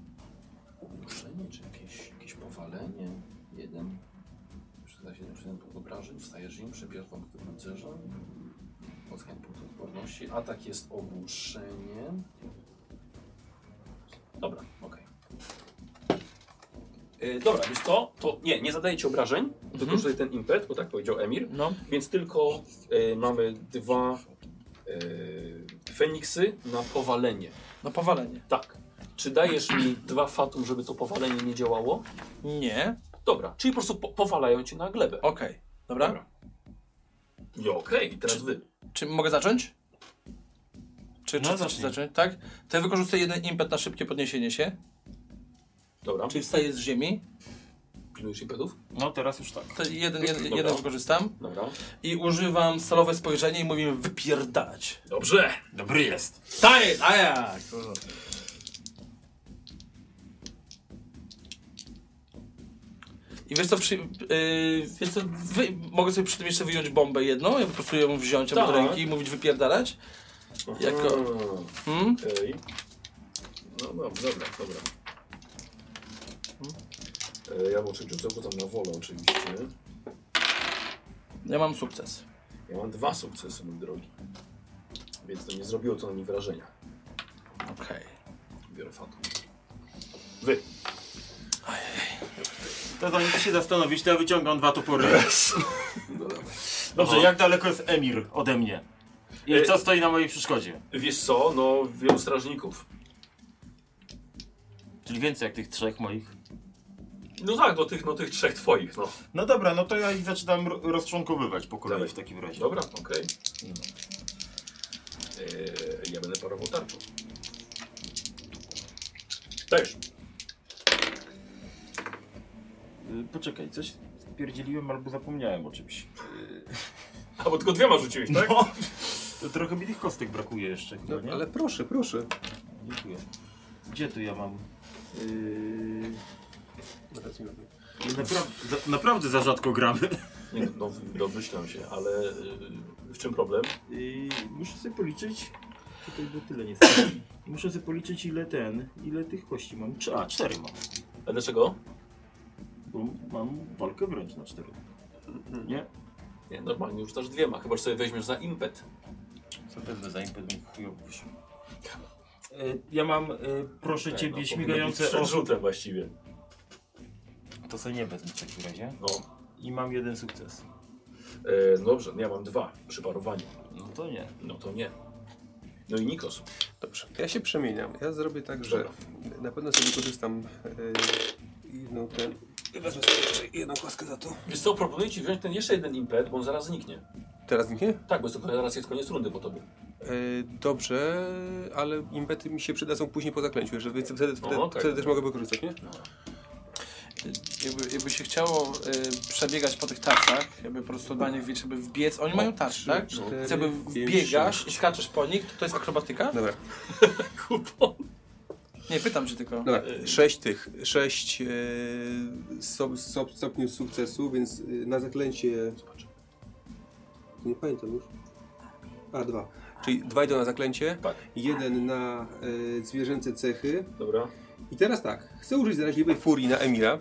S1: uduszenie, czy jakieś, jakieś powalenie? Jeden. Przyda się jeden plus jeden punkt obrażeń, wstajesz im, przebierasz dwa punkty pancerza. Odskań punkt odporności. Atak jest ogłuszenie. Dobra, okej. E, Dobra, więc to, to nie, nie zadajecie obrażeń, tylko
S6: Mhm.
S1: tutaj ten impet, bo tak powiedział Emir.
S6: No,
S1: Więc tylko e, mamy dwa e, Feniksy na powalenie.
S6: na no powalenie.
S1: Tak. Czy dajesz mi dwa fatum, żeby to powalenie nie działało?
S6: Nie,
S1: Dobra, czyli po prostu po powalają cię na glebę.
S6: okej. Dobra?
S1: Dobra. I Okej, i teraz wy.
S6: Czy mogę zacząć? Czy, czy
S3: No,
S6: chcesz
S3: zacznij.
S6: zacząć, tak? To ja wykorzystuję jeden impet na szybkie podniesienie się.
S1: Dobra,
S6: Czyli wstaję z ziemi.
S1: pilnujesz impetów?
S3: No teraz już tak.
S6: To jeden, jeden,
S1: Dobra.
S6: jeden wykorzystam.
S1: Dobra.
S6: I używam stalowe spojrzenie i mówię wypierdalać.
S1: Dobrze!
S3: Dobry jest.
S6: To jest, a jak? I wiesz co, przy, yy, wiesz co wy, mogę sobie przy tym jeszcze wyjąć bombę jedną, ja po prostu ją wziąć tak.
S1: Tak.
S6: od ręki i mówić wypierdalać? Jako-
S1: Aha,
S6: Hmm?
S1: Okej. No dobra, dobra, dobra. E, Ja włączę rzucę go tam na wolę oczywiście.
S6: Ja mam sukces.
S1: Ja mam dwa sukcesy, mój drogi. Więc to nie zrobiło to na mnie wrażenia.
S6: Okej.
S1: Biorę fatum. Wy.
S3: To zanim ty się zastanowisz, to ja wyciągam dwa topory. Dobrze, jak daleko jest Emir ode mnie? I
S1: E,
S3: co stoi na mojej przeszkodzie?
S1: Wiesz co, no wielu strażników.
S3: Czyli więcej jak tych trzech moich.
S1: No tak, do tych, no, tych trzech twoich, no.
S3: No dobra, no to ja ich zaczynam ro- rozczłonkowywać po kolei
S1: Dawaj.
S3: w takim razie.
S1: Dobra, okej. Eee, ja będę parował tarczą. Też.
S3: Y, Poczekaj, coś spierdzieliłem albo zapomniałem o czymś.
S1: A bo tylko dwiema rzuciłeś, tak?
S3: No, to trochę mi tych kostek brakuje jeszcze chyba,
S2: No,
S3: nie?
S2: ale proszę, proszę.
S3: Dziękuję. Gdzie tu ja mam? Yy...
S2: Zaraz No, mi robię.
S3: Napra- za- naprawdę za rzadko gramy.
S1: Nie, no, no domyślam się, ale y, w czym problem?
S3: Yy, muszę sobie policzyć. Czy to było tyle nie jest? Muszę sobie policzyć ile ten, ile tych kości mam. Cz- A, cztery mam.
S1: A dlaczego?
S3: Bo mam walkę wręcz na cztery. Nie?
S1: Nie, normalnie już też dwiema, chyba że sobie weźmiesz za impet.
S3: Zapewne za impet bym chujowo wyszło. Yy, Ja mam, yy, proszę
S1: Tak,
S3: ciebie,
S1: no, powinno
S3: śmigające
S1: być
S3: oczy.
S1: Przed rzutem właściwie.
S3: To sobie nie wezmę w takim razie.
S1: No.
S3: I mam jeden sukces.
S1: E, no dobrze, no ja mam dwa przy parowaniu.
S3: No to nie.
S1: No to nie. No i Nikos.
S2: Dobrze, ja się przemieniam. Ja zrobię tak, że na pewno sobie wykorzystam yy, jedną ten... Wezmę sobie jeszcze jedną kostkę za to.
S1: Wiesz co, proponuję ci wziąć ten jeszcze jeden impet, bo on zaraz zniknie.
S2: Teraz nie? E,
S1: Tak, bo jest to zaraz jest koniec rundy po tobie.
S2: Yy, dobrze, ale impety mi się przydadzą później po zaklęciu, żeby wtedy, wtedy,
S1: O, tak. No. okej.
S2: wtedy też mogę wykorzystać, nie?
S6: Jakby, jakby się chciało y, przebiegać po tych tarczach, jakby po prostu dla nich wiecie, żeby wbiec. Oni mają tarcze, tak?
S2: cztery,
S6: Więc jakby
S2: pięć,
S6: wbiegasz i skaczesz po nich, to, to jest akrobatyka?
S2: Dobra,
S1: Kupon.
S6: Nie, pytam cię tylko.
S2: dobra.
S1: E,
S2: Sześć tych, sześć yy, so, so, stopni sukcesu, więc yy, na zaklęcie... Nie pamiętam już. A, dwa. Czyli dwa idą na zaklęcie,
S1: Tak.
S2: jeden na yy, zwierzęce cechy,
S1: Dobra.
S2: I teraz tak, chcę użyć zaraźliwej furii na Emira.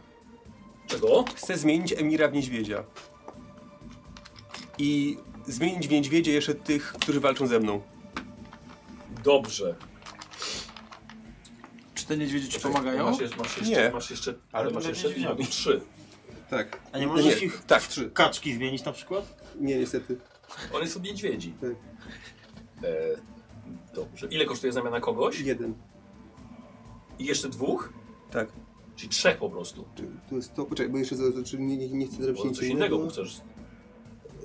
S1: Czego?
S2: Chcę zmienić Emira w niedźwiedzia. I zmienić w niedźwiedzie jeszcze tych, którzy walczą ze mną.
S1: Dobrze.
S6: Czy te niedźwiedzie ci pomagają?
S1: Masz, jeszcze- masz, jeszcze,
S2: No Nie.
S1: masz jeszcze,
S3: Ale
S1: ale masz
S3: to
S1: jeszcze
S3: nie działa.
S1: trzy.
S2: Tak.
S3: A nie możesz ich
S2: Tak, trzy.
S3: kaczki zmienić na przykład?
S2: Nie, niestety.
S1: One są niedźwiedzi.
S2: Tak.
S1: E, dobrze. Ile kosztuje zamiana kogoś?
S2: Jeden.
S1: I jeszcze dwóch?
S2: Tak.
S1: Czyli trzech po prostu.
S2: Czy tu jest to? Poczekaj, bo jeszcze za- czy nie, nie, nie chcę zrobić
S1: Bo
S2: nic
S1: coś innego bo chcesz.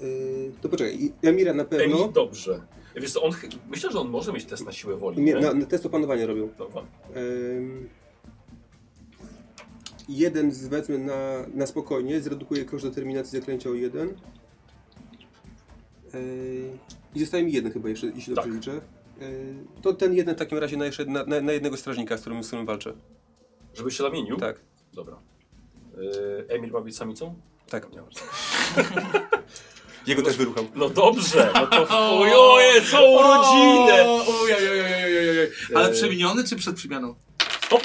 S2: Yy, to poczekaj, i- Emira na
S1: Emil,
S2: pewno.
S1: dobrze. Wiesz co, on, chy- myślę, że on może mieć test na siłę woli.
S2: Nie,
S1: nie?
S2: na, na test opanowania robią.
S1: Dobra.
S2: Em, jeden z wezmę na, na spokojnie, zredukuję koszt determinacji zaklęcia o jeden. Ej, I zostaje mi jeden chyba jeszcze, jeśli dobrze
S1: Tak.
S2: liczę. Ej, to ten jeden w takim razie na, jeszcze, na, na, na jednego strażnika, z którym, z którym walczę.
S1: Żebyś się zamienił?
S2: Tak,
S1: Dobra. E, Emil ma być samicą?
S2: tak.
S1: Nie ma.
S2: Jego też wyrucham.
S1: No dobrze, no to ojoje, całą rodzinę!
S6: O, ojej, ojej, ojej, ojej, ojej. Ale
S1: Eee.
S6: przemieniony czy przed przemianą?
S1: Stop!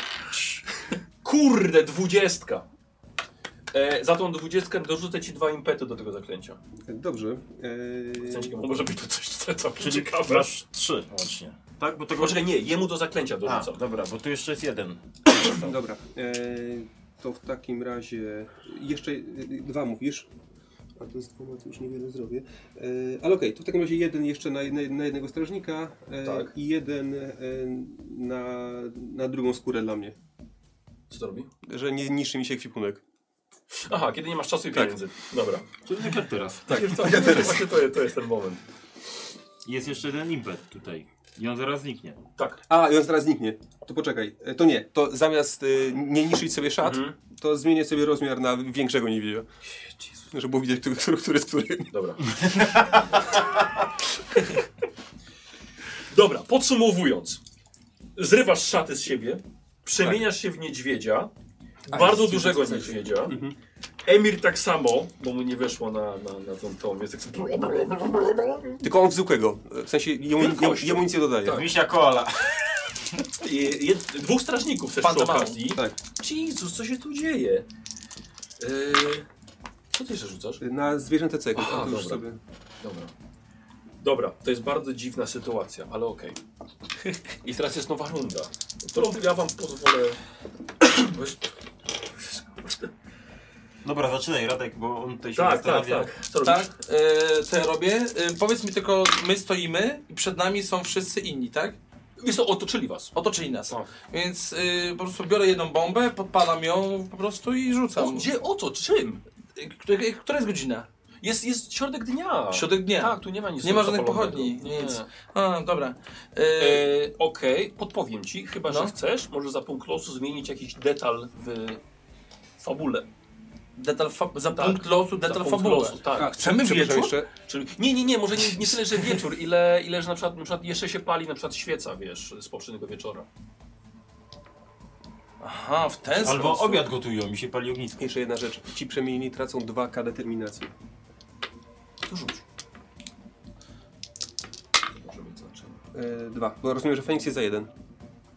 S1: Kurde, dwudziestka! E, za tą dwudziestkę dorzucę ci dwa impety do tego zaklęcia.
S2: Dobrze. Ej,
S1: Zaklęcie, Może być to coś całkiem
S3: Czyli
S1: ciekawe.
S3: masz trzy łącznie. Tak, bo tego...
S1: Poczekaj, nie, jemu do zaklęcia
S3: A,
S1: dorzucam.
S3: dobra, bo tu jeszcze jest jeden.
S2: dobra. Ej, to w takim razie jeszcze y, y, dwa mówisz. A to z dwoma to już niewiele zrobię. E, ale okej, to w takim razie jeden jeszcze na, na, na jednego strażnika e,
S1: Tak.
S2: i jeden e, na, na drugą skórę dla mnie.
S1: Co to robi?
S2: Że nie niszczy mi się kwipunek.
S1: Aha, kiedy nie masz czasu i
S2: Tak.
S1: pieniędzy. Dobra.
S3: Czyli tak jak teraz.
S1: Tak, ja teraz. Właśnie to, jest- to jest ten moment.
S3: Jest jeszcze jeden impet tutaj. I on zaraz zniknie.
S1: Tak.
S2: A, i on zaraz zniknie. To poczekaj. E, to nie, to zamiast e, nie niszczyć sobie szat,
S1: Mhm.
S2: to zmienię sobie rozmiar na większego niewidza. Żeby było widać, który, który, który jest którym.
S1: Dobra. Dobra, podsumowując. Zrywasz szaty z siebie, przemieniasz się w niedźwiedzia, bardzo dużego niedźwiedzia. Emir tak samo, bo mu nie weszło na, na, na tą tą, jest tak sobie...
S2: Tylko on zwykłego. E, W sensie jemu, jemu,
S1: Wielkością.
S2: jemu nic nie dodaje.
S1: Tak.
S3: Misia koala.
S1: I jed- Dwóch strażników też przy
S6: Fanta Mao.
S1: okazji.
S2: Tak.
S1: Jezus, co się tu dzieje? Yy, co ty jeszcze rzucasz?
S2: Na zwierzęta cech.
S1: Aha,
S2: A, to już
S1: dobra.
S2: sobie.
S1: Dobra. Dobra, to jest bardzo dziwna sytuacja, ale okej. I teraz jest nowa runda, którą ja wam pozwolę... Weź-
S3: Dobra, zaczynaj Radek, bo on tutaj się
S1: Tak, tak,
S3: zastanawia.
S1: tak. Co robisz?
S6: Tak, e, to ja robię. E, powiedz mi tylko, my stoimy i przed nami są wszyscy inni, tak?
S1: Wiesz co, otoczyli was.
S6: Otoczyli nas.
S1: O.
S6: Więc e, po prostu biorę jedną bombę, podpalam ją po prostu i
S1: O,
S6: rzucam.
S1: gdzie, o co, czym?
S6: E, Która, która jest godzina?
S1: Jest, jest środek dnia.
S6: Środek dnia.
S1: Tak, tu nie ma nic
S6: Nie ma żadnych
S1: zapalonego.
S6: pochodni,
S1: Nie.
S6: nic. A, dobra. E,
S1: E, Okej, podpowiem ci, chyba że
S6: No.
S1: chcesz, może za punkt losu zmienić jakiś detal w fabule.
S6: detal fa- za
S1: tak.
S6: punkt losu,
S1: Za
S6: detal
S1: punkt
S6: fabuły.
S1: losu, tak.
S2: A,
S6: Chcemy
S2: przepraszam
S6: wieczór?
S2: jeszcze.
S1: Czyli, nie, nie, nie, może nie, nie tyle, że wieczór, ile, ile że na przykład, na przykład jeszcze się pali na przykład świeca, wiesz, z poprzedniego wieczora.
S6: Aha, w ten sposób.
S3: Albo obiad gotują, mi się pali ognisko.
S2: Jeszcze jedna rzecz. Ci przemienni tracą 2K determinacji.
S1: To rzuć. To może mieć znaczenie.
S2: E, dwa. Bo rozumiem, że Feniks jest za jeden.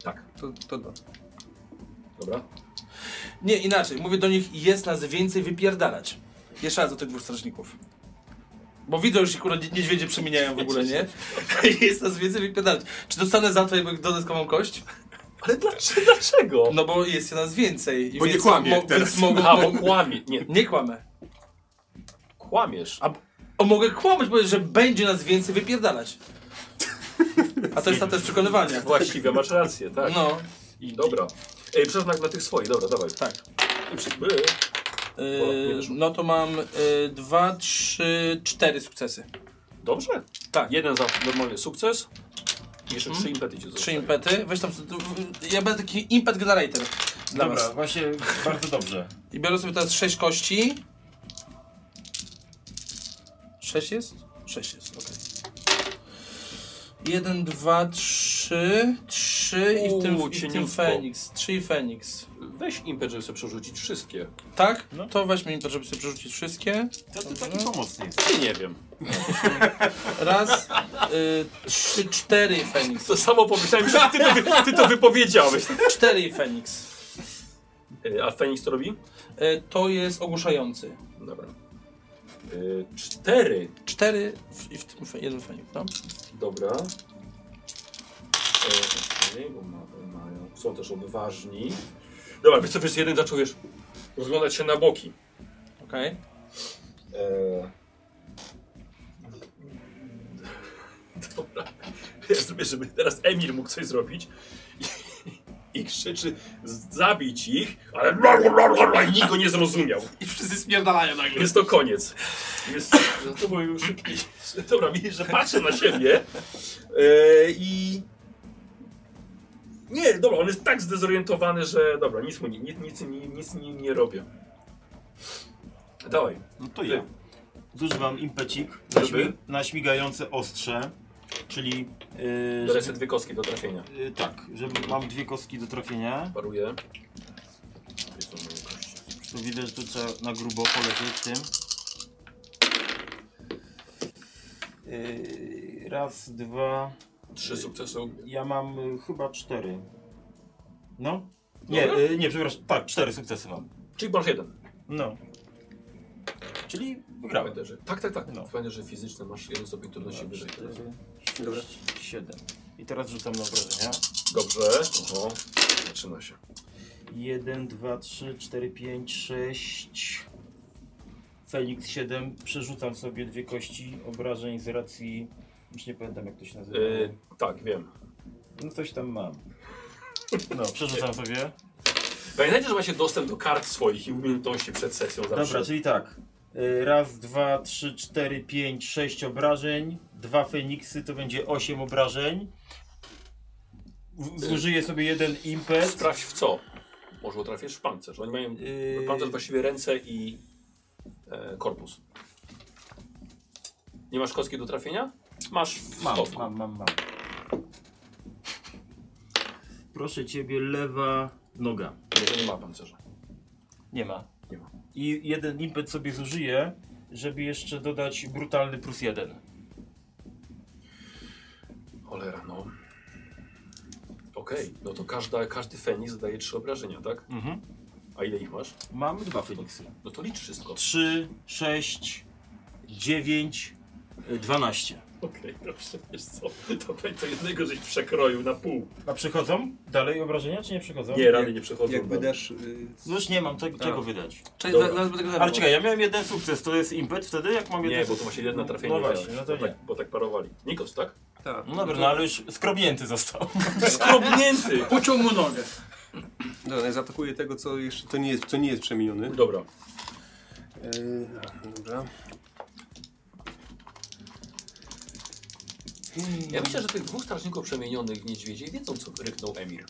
S1: Tak,
S2: To, to dwa.
S1: dobra.
S6: Nie, inaczej. Mówię do nich, jest nas więcej wypierdalać. Jeszcze raz do tych dwóch strażników. Bo widzą, że się kurwa nie- niedźwiedzie przemieniają w ogóle, nie? Jest nas więcej wypierdalać. Czy dostanę za to jakby dodatkową kość?
S1: Ale dlaczego? dlaczego?
S6: No bo jest nas więcej. i
S2: Bo nie
S6: więc
S2: kłamie
S6: mo-
S2: teraz.
S6: Więc mogą,
S1: A, bo
S6: mo-
S1: kłamie. Nie, no,
S6: nie kłamę.
S1: kłamiesz.
S6: A, o, mogę kłamać, bo że będzie nas więcej wypierdalać. A to jest na test przekonywania.
S1: Właściwie, masz rację, tak.
S6: No,
S1: I dobra. Ej, przepraszam, na, na tych swoich, dobra, dawaj.
S6: tak.
S1: I przy- by.
S6: Yy, no to mam yy, dwa, trzy, cztery sukcesy.
S1: Dobrze.
S6: Tak. Mhm.
S1: Jeden za normalny sukces. I Jeszcze trzy impety cię
S6: Trzy
S1: zostały.
S6: impety. Weź tam. tu- w- Ja będę taki impet generator dla
S3: Dobra,
S6: was.
S3: właśnie bardzo dobrze.
S6: I biorę sobie teraz sześć kości. Sześć jest? Sześć jest, okej. Jeden, dwa, trzy, trzy i w
S1: Uuu,
S6: tym, i w tym
S1: cieniutko.
S6: Feniks. Trzy i Feniks.
S1: Weź impet, żeby sobie przerzucić wszystkie.
S6: Tak?
S3: No.
S6: To weźmy impet, żeby sobie przerzucić wszystkie.
S3: To ty taki pomocny jest.
S1: Nie, nie wiem.
S6: Raz, y, trzy, cztery i Feniks.
S1: To samo pomyślałem, że ty to, wy- ty to wypowiedziałeś.
S6: Cztery i Feniks.
S1: Ej, A Feniks to robi?
S6: Y, to jest ogłuszający.
S1: Dobra. Ej, Cztery.
S6: Cztery w, i w tym fe- jeden Feniks, no?
S1: Dobra. E, okej, bo ma, mają. Są też odważni. Dobra, wiesz co, wiesz, jeden zaczął, wiesz, rozglądać się na boki.
S6: Okej.
S9: E,
S1: Dobra. Ja zrobię, żeby teraz Emil mógł coś zrobić. I, i krzyczy, zabić ich, ale i nikt go nie zrozumiał.
S10: I wszyscy spierdalają nagle.
S1: Jest to koniec. Jest, no to było już szybki. Dobra, widzisz, że patrzę na siebie e, i... Nie, dobra, on jest tak zdezorientowany, że dobra, nic mu nie, nic, nic, nic nie, nie robię. Dawaj.
S3: No to ja. Zużywam impecik na,
S1: Żeby?
S3: śmi- na śmigające ostrze, czyli... Yy, żeby-
S1: Reset dwie kostki do trafienia.
S3: yy, tak, żeby mam dwie kostki do trafienia,
S1: Paruję. Jest to moje kości.
S3: to widać, że tu trzeba na grubo polecieć z tym. Yy, raz, dwa...
S1: Trzy sukcesy.
S3: Ja mam y, chyba cztery. No? Nie,
S1: Dobra.
S3: y, nie, przepraszam. Tak, cztery sukcesy mam.
S1: Czyli masz jeden.
S3: No. Czyli wygrałem.
S1: Pamiętaj, że- Tak, tak, tak.
S3: No.
S1: Pamiętaj, że fizyczne masz jeden stopień trudności wyżej.
S2: Dobra.
S3: Siedem. I teraz rzucam na obrażenia.
S1: Dobrze. Oho. Zaczyna się.
S3: Jeden, dwa, trzy, cztery, pięć, sześć. Felix siedem. Przerzucam sobie dwie kości obrażeń z racji... Już nie pamiętam jak to się nazywa.
S1: Y, tak, wiem.
S3: No coś tam mam. No, przerzucam sobie.
S1: Pamiętajcie, że macie dostęp do kart swoich i umiejętności przed sesją zawsze.
S3: Dobra, czyli tak. Y, Raz, dwa, trzy, cztery, pięć, sześć obrażeń. Dwa Feniksy to będzie osiem obrażeń. W- Zużyję sobie jeden impet.
S1: Sprawdź w co. Może trafisz w pancerz. Oni mają
S3: Y,
S1: pancerz właściwie ręce i e, korpus. Nie masz kostki do trafienia? Masz w
S3: Mam,
S1: stopniu.
S3: mam, mam, mam. Proszę ciebie, lewa noga.
S1: Może nie ma pancerza.
S3: Nie ma.
S1: Nie ma.
S3: I jeden impet sobie zużyję, żeby jeszcze dodać brutalny plus jeden.
S1: Cholera, no. Okej, no to każda, każdy Feniks daje trzy obrażenia, tak?
S3: Mhm.
S1: A ile ich masz?
S3: Mam dwa Feniksy.
S1: No to licz wszystko.
S3: 3, 6, 9, 12.
S1: Okej, dobrze, wiesz co? To, to jednego żeś przekroił na pół.
S3: A przechodzą dalej obrażenia, czy nie przechodzą?
S1: Nie, rady nie przechodzą.
S2: Jakby
S1: dobra.
S2: dasz... y,
S3: No już nie mam tego,
S6: A.
S3: czego wydać.
S6: Czyli
S1: Dobra.
S6: za- zaraz będę go
S3: Ale
S6: zabrał.
S3: czekaj, ja miałem jeden sukces, to jest impet wtedy, jak mam jeden
S1: Nie, bo
S3: sukces?
S1: to ma się jedna trafienie.
S3: No właśnie, no
S1: miałeś,
S3: to
S1: bo,
S3: nie.
S1: tak, bo tak parowali. Nikos, tak?
S2: Tak.
S3: No dobra, no ale już skrobnięty został.
S1: Skrobnięty!
S10: Pociął mu nogę.
S2: Dobra, ja zaatakuję tego, co jeszcze to nie jest, co nie jest przemieniony.
S1: Dobra.
S2: Yy, dobra.
S1: Ja myślę, że tych dwóch strażników przemienionych w niedźwiedzie wiedzą, co ryknął Emir.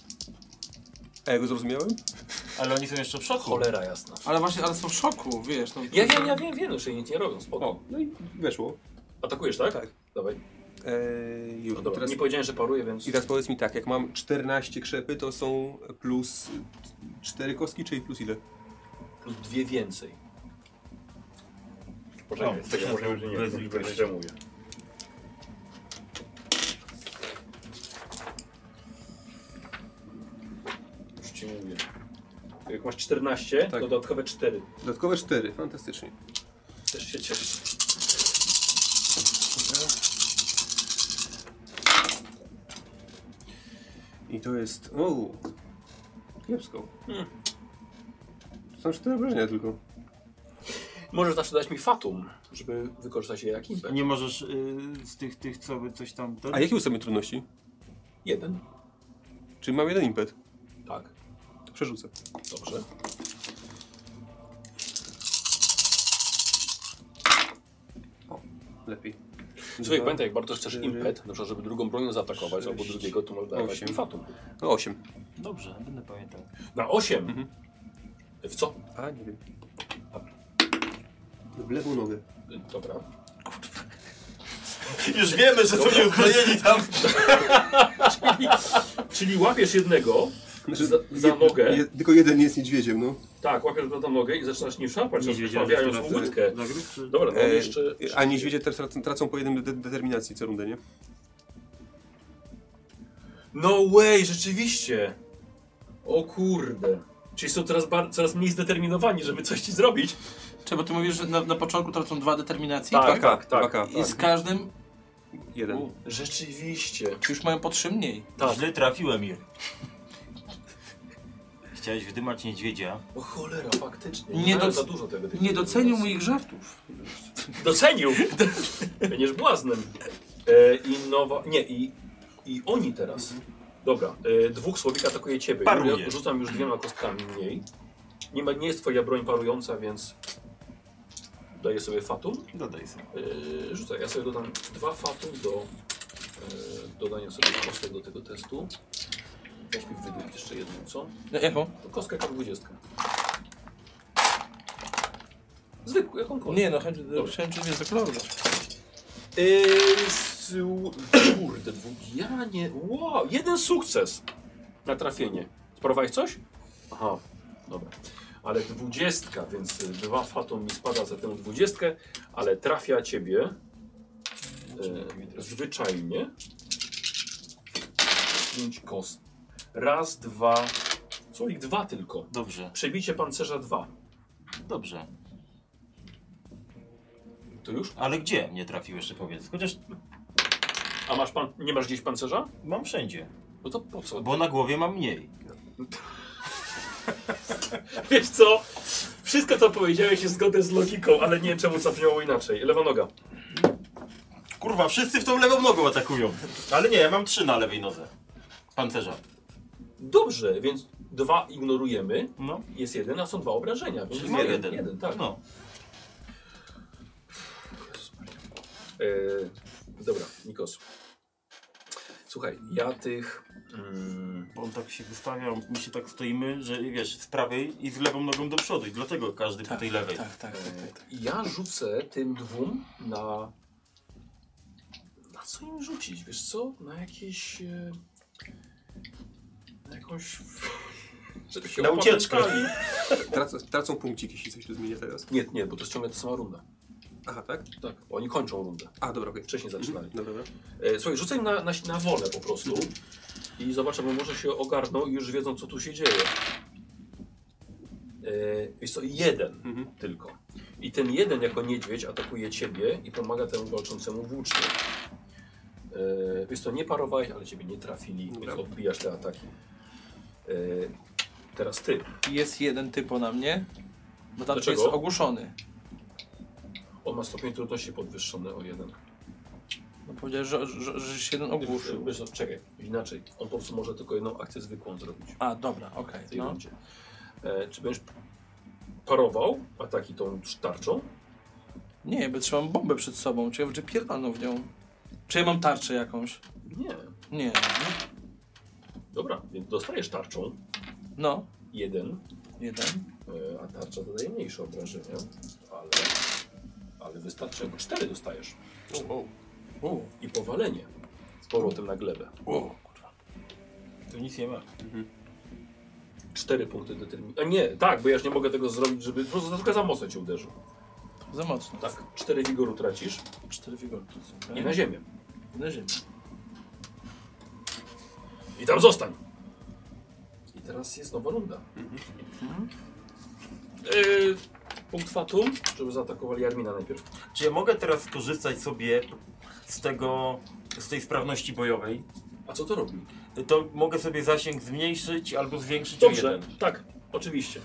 S2: A ja go zrozumiałem?
S3: Ale oni są jeszcze w szoku.
S1: Cholera jasna.
S6: Ale właśnie, ale są w szoku, wiesz. No,
S1: Ja wiem, ja wiem, wiem, że nic nie robią, spoko.
S2: O, no i weszło.
S1: Atakujesz, tak?
S2: Tak.
S1: Dawaj.
S2: Yy, już.
S1: No dobra.
S2: teraz,
S1: Nie powiedziałem, że paruje, więc...
S2: I teraz powiedz mi tak, jak mam 14 krzepy, to są plus 4 kostki, czyli plus ile?
S1: plus dwie więcej. Poczekaj,
S3: O,
S1: no, tego
S3: to
S1: może
S3: się
S1: już nie
S3: bez
S1: wiem,
S3: litości.
S1: co mówię. Już ci mówię. Jak masz 14,
S2: Tak.
S1: to dodatkowe 4.
S2: Dodatkowe 4, fantastycznie.
S1: Też się cieszę.
S2: I to jest... O, kiepsko.
S1: Hmm.
S2: Są 4 obrażenia tylko.
S1: Możesz zawsze dać mi fatum, żeby wykorzystać je jak impet.
S3: Nie możesz y, z tych, tych, co by coś tam...
S2: A jakie ustawiamy trudności?
S1: Jeden.
S2: Czyli mam jeden impet.
S1: Tak.
S2: To przerzucę.
S1: Dobrze.
S2: Lepiej.
S1: Słuchaj,
S2: Dwa.
S1: pamiętaj, jak bardzo chcesz
S2: cztery,
S1: impet, na przykład, żeby drugą bronią zaatakować, albo
S2: sześć,
S1: drugiego, to możesz dawać
S2: osiem.
S1: mi fatum.
S2: No 8.
S3: Dobrze, będę pamiętał.
S1: Na 8.
S2: Mhm.
S1: W co?
S2: A, nie wiem. W lewą nogę.
S1: Dobra.
S3: Już wiemy, że sobie uzbrojeni tam.
S1: Czyli łapiesz jednego za, za
S2: Jedno-
S1: nogę.
S2: Znaczy, Je, tylko jeden jest niedźwiedziem, no.
S1: Tak, łapiesz go za nogę i zaczynasz nim szarpać,
S3: Niedźwiedzia
S1: rozprawiając
S3: jeszcze
S1: mu
S3: raz.
S1: łódkę.
S3: Zagryz, czy-
S1: Dobra, no
S2: E,
S1: jeszcze...
S2: A niedźwiedzie też tracą, tracą po jednym de determinacji co rundę, nie?
S1: No way, rzeczywiście! O kurde. Czyli są teraz bar- coraz mniej zdeterminowani, żeby coś ci zrobić.
S6: Czy, bo ty mówisz, że na, na początku tracą dwa determinacji
S1: Tak.
S6: dwa-
S1: tak.
S2: Baka,
S6: i z każdym
S2: Jeden.
S1: Rzeczywiście.
S3: Tak.
S6: już mają po trzy mniej.
S1: Tak.
S3: Źle trafiłem je. chciałeś wdymać niedźwiedzia.
S1: O cholera, faktycznie.
S6: Nie
S1: Nie
S6: doc-
S1: za dużo tego. tych
S6: Nie docenił
S1: informacji.
S6: moich żartów.
S1: Docenił! Będziesz błaznem. E, I nowa... Nie, i, i oni teraz. Dobra, e, dwóch słowik atakuje ciebie.
S3: Paruje.
S1: Ja rzucam już dwiema kostkami mniej. Nie, ma, nie jest twoja broń parująca, więc daję sobie fatum.
S3: Dodaj sobie.
S1: Yy, rzucaj, ja sobie dodam dwa fatum do e, dodania sobie kostek do tego testu. Weź mi wydłuć jeszcze jedną, co?
S6: E, Jaką?
S1: To Kostkę K20. Zwykły, jakąkolwiek.
S6: Nie no, chęć,
S1: Dobra.
S6: chciałem cię zaklonować.
S1: Yy, s- u- Kurde, dwóch. Ja nie. Wow, jeden sukces na trafienie. Sprawowałeś coś? Aha, dobra. Ale dwudziestka, więc y, dwa fatum mi spada za tę dwudziestkę, ale trafia ciebie yy, zwyczajnie. Pięć kost. Raz, dwa. Słuchaj, dwa tylko.
S3: Dobrze,
S1: Przebicie pancerza dwa.
S3: dobrze.
S1: To już?
S3: Ale gdzie mnie trafił jeszcze powiedz? Chociaż
S1: A masz pan. Nie masz gdzieś pancerza?
S3: mam wszędzie,
S1: No to po co?
S3: bo na głowie mam mniej.
S1: Wiesz co? Wszystko co powiedziałeś jest zgodne z logiką, ale nie wiem czemu zabrzmiało inaczej. Lewa noga.
S3: Kurwa, wszyscy w tą lewą nogą atakują. Ale nie, ja mam trzy na lewej nodze. Pancerza.
S1: Dobrze, więc dwa ignorujemy.
S3: No,
S1: Jest jeden, a są dwa obrażenia. Więc
S3: czyli
S1: ma
S3: ma jeden.
S1: jeden, tak.
S3: No.
S1: Eee, dobra, Nikos. Słuchaj, ja tych... Mm,
S3: Bo on tak się wystawia, my się tak stoimy, że wiesz, z prawej i z lewą nogą do przodu i dlatego każdy po tej lewej.
S6: Tak, tak, tak. tak.
S1: ja rzucę tym dwóm na... Na co im rzucić? Wiesz co? Na jakieś... E, na jakąś... Żeby się
S3: Na ucieczkę.
S1: opamiętali.
S2: Tracą, tracą punkcik, jeśli coś tu zmienia teraz.
S1: Nie, nie, bo to jest ciągle ta sama runda.
S2: Aha, tak?
S1: Tak, oni kończą rundę.
S2: A, dobra, okej.
S1: Wcześniej zaczynali.
S2: Mhm, Dobra, dobra.
S1: E, słuchaj, rzucaj im na, na, na wolę po prostu i zobaczę, bo może się ogarną i już wiedzą, co tu się dzieje. E, jest to jeden
S2: Mhm.
S1: tylko. I ten jeden jako niedźwiedź atakuje ciebie i pomaga temu walczącemu włócznie. E, jest to nie parowałeś, ale ciebie nie trafili,
S2: Dobra.
S1: więc odbijasz te ataki. E, teraz ty.
S6: Jest jeden typo na mnie, bo tam
S1: Dlaczego?
S6: jest ogłuszony.
S1: On ma stopień trudności podwyższony o jeden.
S6: No, powiedziałeś, że, że, że się jeden ogłuszył.
S1: Wiesz, no, czekaj, inaczej. On po prostu może tylko jedną akcję zwykłą zrobić.
S6: A, dobra, okej.
S1: tej
S6: no.
S1: rundzie. E, czy będziesz parował ataki tą tarczą?
S6: Nie, bo trzymam bombę przed sobą. Ciekawe, czy pierdolną w nią. Czy ja mam tarczę jakąś?
S1: Nie.
S6: Nie.
S1: Dobra, więc dostajesz tarczą.
S6: No,
S1: Jeden,
S6: jeden.
S1: e, a tarcza zadaje mniejsze obrażenia, ale, ale wystarczy, bo cztery dostajesz.
S6: U.
S1: I powalenie z powrotem na glebę.
S6: U.
S3: To nic nie ma.
S1: Cztery punkty determinacji. A nie, tak, bo ja już nie mogę tego zrobić, żeby... Po prostu tylko za mocno cię uderzył.
S6: Za mocno.
S1: Tak, cztery wigoru tracisz
S6: Cztery figurki.
S3: Mhm.
S1: i na ziemię.
S6: I na ziemi.
S1: I tam zostań. Mhm. I teraz jest nowa runda. Yy, punkt fatum, żeby zaatakowali Jarmina najpierw.
S3: Czy ja mogę teraz skorzystać sobie z tego, z tej sprawności bojowej?
S1: A co to robi?
S3: To mogę sobie zasięg zmniejszyć albo zwiększyć o
S1: Dobrze,
S3: jeden.
S1: tak, oczywiście.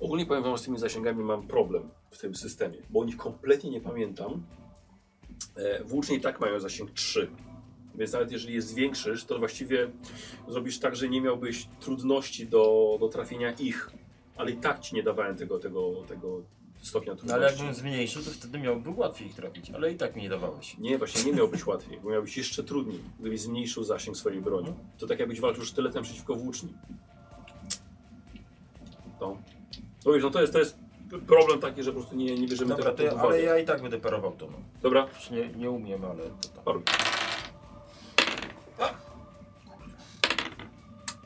S1: Ogólnie powiem wam, że z tymi zasięgami mam problem w tym systemie, bo o nich kompletnie nie pamiętam. E, włócznie i tak mają zasięg 3, więc nawet jeżeli je zwiększysz, to właściwie zrobisz tak, że nie miałbyś trudności do, do trafienia ich, ale i tak ci nie dawałem tego, tego, tego stopnia
S3: No ale
S1: trudności.
S3: jakbym zmniejszył, to wtedy miałby łatwiej ich trafić, ale i tak mi nie dawałeś.
S1: Nie, właśnie nie miałbyś łatwiej, bo miałbyś jeszcze trudniej, gdybyś zmniejszył zasięg swojej broni. To tak jakbyś walczył sztyletem przeciwko włóczni. No. No wiesz, no to jest, to jest problem taki, że po prostu nie, nie bierzemy
S3: Dobra, to
S1: tego pod
S3: ja,
S1: uwagę.
S3: ale ja i tak będę parował to. No.
S1: Dobra,
S3: Już nie, nie umiem, ale to tak.
S1: paruj.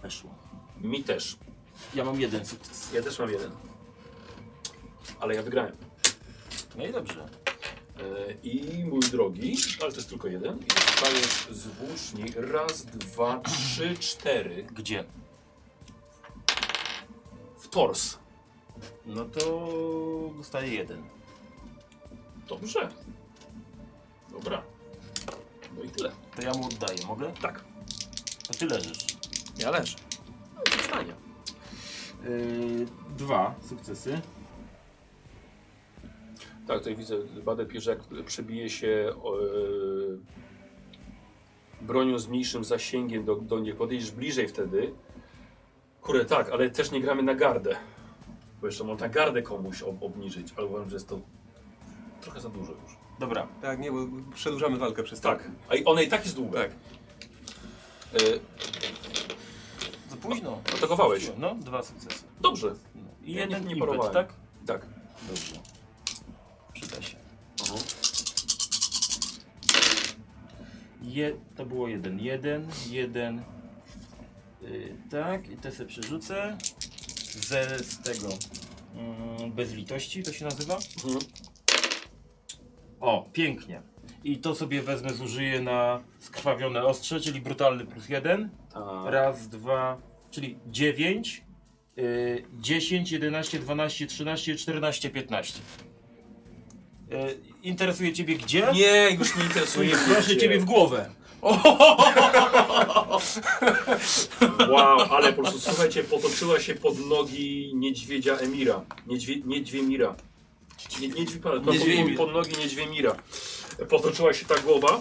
S3: Weszło.
S1: Mi też.
S3: Ja mam jeden sukces.
S1: Ja też mam jeden. Ale ja wygrałem.
S3: No i dobrze.
S1: E, I mój drogi, ale to jest tylko jeden, i dostajesz z włóczni raz, dwa, trzy, cztery
S3: Gdzie?
S1: w tors.
S3: No to dostaję jeden.
S1: Dobrze. Dobra. No i tyle.
S3: To ja mu oddaję, mogę?
S1: Tak.
S3: A ty leżysz.
S6: Ja leżę.
S1: Stanie.
S3: Yy, dwa sukcesy.
S1: Tak, tutaj widzę, Badę pisze, jak przebije się e, bronią z mniejszym zasięgiem do, do nich, podejdziesz bliżej wtedy. Kurde, tak, ale też nie gramy na gardę. Bo jeszcze można gardę komuś ob, obniżyć, ale uważam, że jest to trochę za dużo już.
S3: Dobra.
S2: Tak, nie, bo przedłużamy walkę przez to.
S1: Tak, a i- ona i tak jest długa.
S2: Tak.
S1: E, No,
S3: Za późno.
S1: atakowałeś.
S3: No, dwa sukcesy.
S1: Dobrze,
S3: No.
S1: I ja nie-
S3: Jeden
S1: nie
S3: impet,
S1: parowałem.
S3: tak?
S1: tak.
S3: Dobrze. Przyda się.
S1: Aha.
S3: Je, to było jeden, jeden, jeden. Yy, tak, i te sobie przerzucę. Ze, z tego. Mm, bez litości to się nazywa?
S1: Mhm.
S3: O, pięknie. I to sobie wezmę, zużyję na skrwawione ostrze, czyli brutalny plus jeden.
S1: A,
S3: Raz, dwa, czyli dziewięć. Yy, 10, 11, 12, 13, 14, 15. Yy, interesuje Ciebie gdzie?
S1: nie, już nie interesuje
S3: Proszę
S1: mnie.
S3: Ciebie w głowę.
S1: Wow, ale po prostu słuchajcie, potoczyła się pod nogi niedźwiedzia Emira. Niedźwie, niedźwiemira. Nie, niedźwi, pardon,
S6: Niedźwiemir.
S1: pod nogi niedźwiemira. Potoczyła się ta głowa.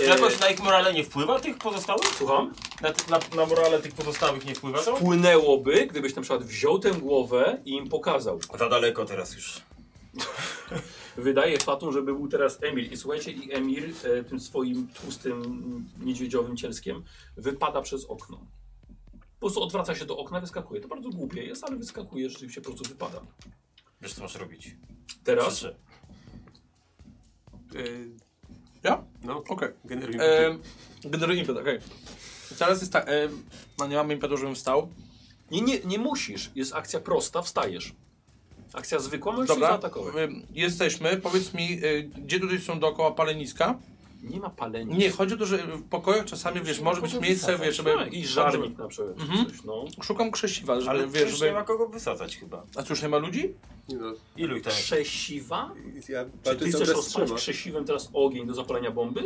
S1: E,
S3: Jakoś na ich morale nie wpływa tych pozostałych?
S1: Słucham?
S3: Na, ty- na, na morale tych pozostałych nie wpływa to?
S1: Płynęłoby, gdybyś na przykład wziął tę głowę i im pokazał.
S11: Za daleko teraz już.
S1: Wydaje fatum, żeby był teraz Emir. I słuchajcie, i Emir e, tym swoim tłustym mm, niedźwiedziowym cielskiem wypada przez okno. Po prostu odwraca się do okna, wyskakuje. To bardzo głupie jest, ale wyskakuje, rzeczywiście po prostu wypada.
S3: Wiesz co masz robić.
S1: Teraz
S3: Proszę.
S2: Y,
S6: Ja?
S2: No, okej. Generuj.
S6: E, generuję impet, okej. Teraz jest tak, e, no nie mamy impetu, żebym wstał.
S1: Nie, nie, nie musisz. Jest akcja prosta, wstajesz. Akcja zwykła, możesz się
S6: Dobra,
S1: zaatakować.
S6: e, jesteśmy, powiedz mi, e, gdzie tutaj są dookoła paleniska?
S1: Nie ma palenia.
S6: Nie, chodzi o to, że w pokojach czasami, wiesz, może być miejsce, wiesz, żeby...
S1: Tak, I żarnik na przykład. czy
S6: Mhm.
S1: Coś, no.
S6: Szukam krzesiwa, żeby,
S3: Ale
S6: wiesz,
S3: wiesz, nie
S6: żeby...
S3: ma kogo wysadzać chyba.
S6: A cóż, nie ma ludzi?
S2: Nie no,
S3: Ilu ich tam jest?
S1: Krzesiwa?
S2: ja
S1: Tak. Czy ty
S2: patrzę, co
S1: chcesz
S2: teraz
S1: rozpalić
S2: trzyma.
S1: krzesiwem teraz ogień do zapalenia bomby?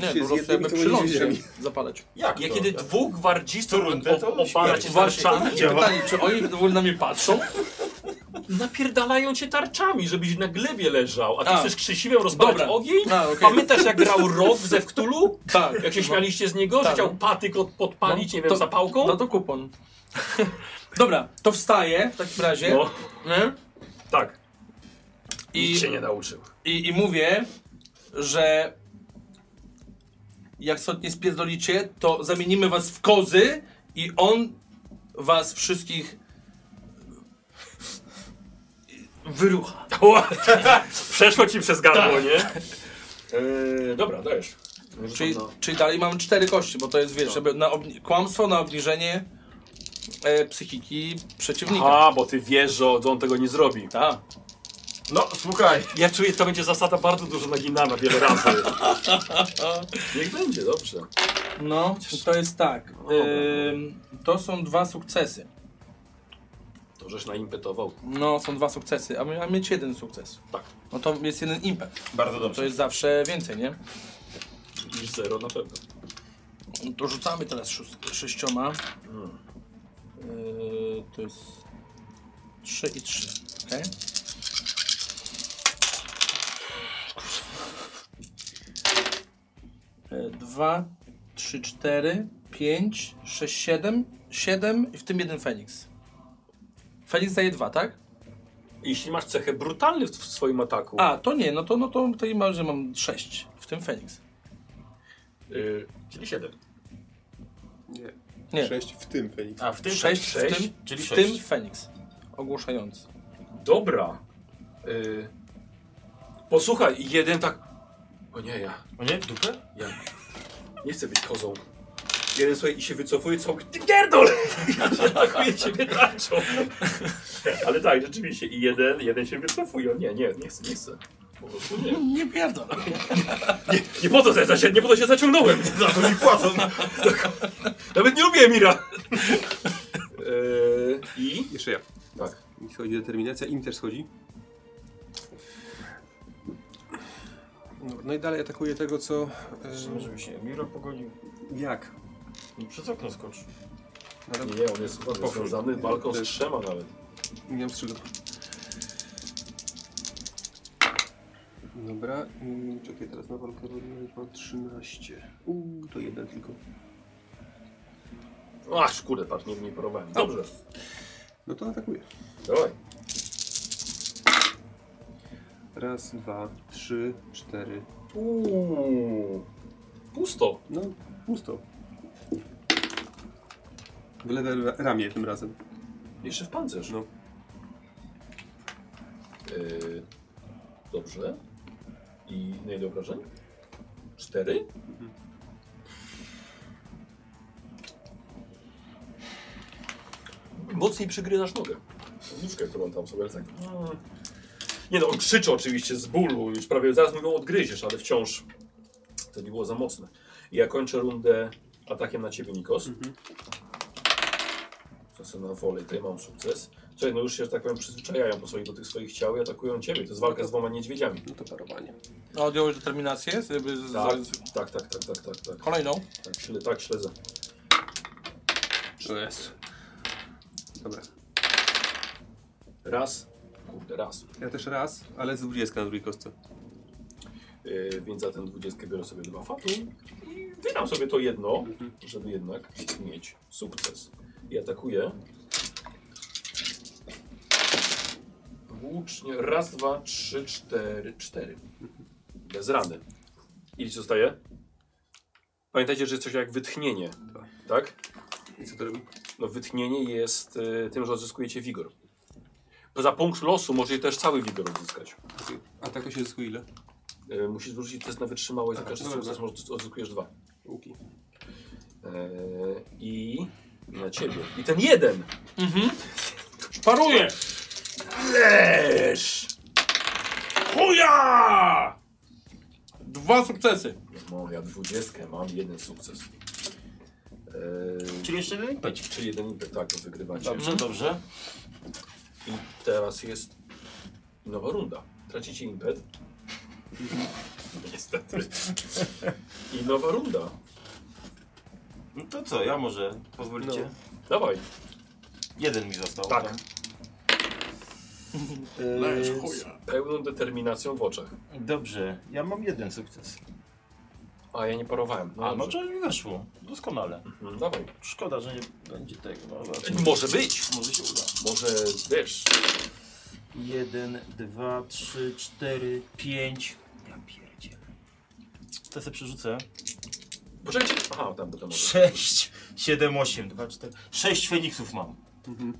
S6: Nie,
S2: Czy
S6: po
S2: jest
S6: prostu
S2: jednym,
S6: jakby
S2: to
S6: przy lądzie
S2: będzie
S6: zapalać.
S3: Jak
S1: Ja
S3: to?
S1: kiedy dwóch gwardzistów
S3: Co rundę to
S1: ob- obala cię
S3: śmierć.
S1: tarczami,
S6: Właśnie, pytanie, czy oni w ogóle na mnie patrzą?
S1: napierdalają cię tarczami, żebyś na glebie leżał. A ty
S6: A.
S1: chcesz krzysiwem rozpalać
S6: Tak. Dobra.
S1: ogień?
S6: A, okej.
S1: Pamiętasz jak grał Rob ze Wktulu?
S6: Tak.
S1: Jak się śmialiście z niego, że
S6: Tak.
S1: chciał patyk od- podpalić,
S6: No,
S1: nie wiem,
S6: to-
S1: zapałką?
S6: No to kupon. Dobra, to wstaję w takim razie
S1: No,
S6: nie?
S1: tak.
S6: I,
S1: Nikt się nie nauczył.
S6: i, i mówię, że jak stąd nie spierdolicie, to zamienimy was w kozy i on was wszystkich wyrucha. Tak.
S1: Przeszło ci przez gardło, nie? Eee, dobra, dajesz.
S6: Czyli,
S1: No.
S6: czyli dalej mam cztery kości, bo to jest, wiesz, żeby na obni- kłamstwo na obniżenie e, psychiki przeciwnika.
S1: A, bo ty wiesz, że on tego nie zrobi.
S6: Tak.
S3: No, słuchaj.
S1: Ja czuję, to będzie zasada bardzo dużo naginana wiele razy. Niech będzie, dobrze.
S6: No, to jest tak.
S1: dobra.
S6: Ym, to są dwa sukcesy.
S1: To żeś naimpetował.
S6: No, są dwa sukcesy, a my mamy mieć jeden sukces.
S1: Tak.
S6: No to jest jeden impet.
S3: Bardzo
S6: To
S3: dobrze.
S6: jest zawsze więcej, nie?
S1: Niż zero na pewno.
S6: No To rzucamy teraz szóst- sześcioma. Yy, to jest trzy i trzy. Okay. Yy, Dwa, trzy, cztery, pięć, sześć, siedem, siedem i w tym jeden Feniks. Feniks daje dwa, tak?
S1: Jeśli masz cechę brutalny w, w swoim ataku,
S6: A, to nie, no to, no to tutaj mam, że mam sześć, w tym Feniks.
S1: y, czyli siedem.
S2: Nie.
S6: Nie.
S2: Sześć w tym, Feniks.
S3: A w tym
S6: Sześć, w
S1: sześć,
S6: tym,
S3: czyli
S6: w
S3: tak, sześć.
S6: tym Feniks. Ogłuszający.
S1: Dobra. Y, posłuchaj, jeden tak... O nie, ja...
S3: O nie, w dupę?
S1: Ja nie chcę być kozą. Jeden sobie i się wycofuje, co? Ty pierdol! Ja się atakuję ciebie tarczą. Ale tak, rzeczywiście. I jeden, jeden się wycofuje. Nie, nie, nie chcę, nie chcę. Po prostu nie.
S6: Nie pierdol.
S1: Nie, nie po to, za, nie po to się zaciągnąłem. Za to mi płacą. Nawet nie lubię Mira. I?
S2: Jeszcze ja.
S1: Tak.
S2: Mi schodzi determinacja, im też schodzi. No, no i dalej atakuje tego, co... e,
S3: Żeby się Miro pogonił.
S2: jak?
S3: No, przez okno skocz.
S1: Nie, on jest
S2: Otwórz.
S1: związany walką z
S2: Też.
S1: trzema nawet.
S2: Nie mam strzelb. Dobra, mm, czekaj, teraz na walkę wodną mam 13. Uuu, to jeden tylko.
S1: Aż kurde, patrz, nie, nie porowałem. Dobrze,
S2: No to atakuję.
S1: dawaj.
S2: Raz, dwa, trzy, cztery.
S1: Uuu, pusto.
S2: No, pusto. W lewe ra- ramię tym razem.
S1: Jeszcze w pancerz.
S2: No.
S1: Yy, dobrze. I na ile obrażeń? Cztery? Mocniej przygryzasz nogę. Nóżkę, którą tam sobie tak. mm. Nie no, on krzyczy oczywiście z bólu, już prawie zaraz mu ją odgryziesz, ale wciąż to nie było za mocne. I ja kończę rundę atakiem na ciebie, Nikos. Czasem na wolę, tutaj mam sukces. Słuchaj, no już się, że tak powiem, przyzwyczajają po swoich, do tych swoich ciał i atakują ciebie. To jest walka z dwoma niedźwiedziami.
S2: No to parowanie.
S6: A odjąłeś determinację? Z, jakby z,
S1: Tak,
S6: z,
S1: tak, tak, tak, tak, tak, tak.
S6: kolejną?
S1: Tak, śledzę, tak, śledzę.
S2: To jest. Dobra.
S1: Raz, kurde, raz.
S2: Ja też raz, ale z 20 na drugiej kostce.
S1: Yy, więc za tę dwudziestkę biorę sobie dwa fatu i wydam sobie to jedno, żeby jednak mieć sukces. I atakuję. Włócznie. Raz, dwa, trzy, cztery, cztery. Bez rany. Ile ci zostaje? Pamiętajcie, że jest coś jak wytchnienie, tak?
S2: I co to robi?
S1: No, wytchnienie jest y, tym, że odzyskujecie wigor. Poza punkt losu możecie też cały wigor odzyskać.
S2: A tak to się zyskuje ile?
S1: Y, musisz zwrócić test na wytrzymałość, za
S2: A,
S1: każdy
S2: dobra.
S1: sukces możesz, odzyskujesz dwa.
S2: Łuki.
S1: Eee, I na ciebie. I ten jeden!
S12: Paruję!
S1: Też!
S12: Chuja!
S6: Dwa sukcesy.
S1: Moja No, dwudziestkę, mam jeden sukces. Eee,
S3: Czyli jeszcze jeden impet.
S1: czyli jeden impet, tak, to wygrywacie.
S3: Dobrze, dobrze.
S1: I teraz jest nowa runda. Tracicie impet. Niestety. I nowa runda.
S3: No to co, ja może, pozwolicie?
S1: Dawaj.
S3: Jeden mi został. No
S1: Tak.
S12: Leż chuja.
S1: Pełną determinacją w oczach.
S3: Eee, Dobrze, ja mam jeden sukces.
S1: A ja nie parowałem.
S3: A, no
S1: dobrze.
S3: to mi weszło. Doskonale.
S1: Mhm, Dawaj.
S3: Szkoda, że nie będzie tego. No, zobaczymy.
S1: Może być.
S3: Może się uda.
S1: Może wiesz.
S3: Jeden, dwa, trzy, cztery, pięć. Ja pierdzielę. To sobie przerzucę.
S1: Poczekajcie. Aha, tam, bo tam. może.
S3: Sześć, siedem, osiem, dwa, cztery. Sześć Feniksów mam. Mhm.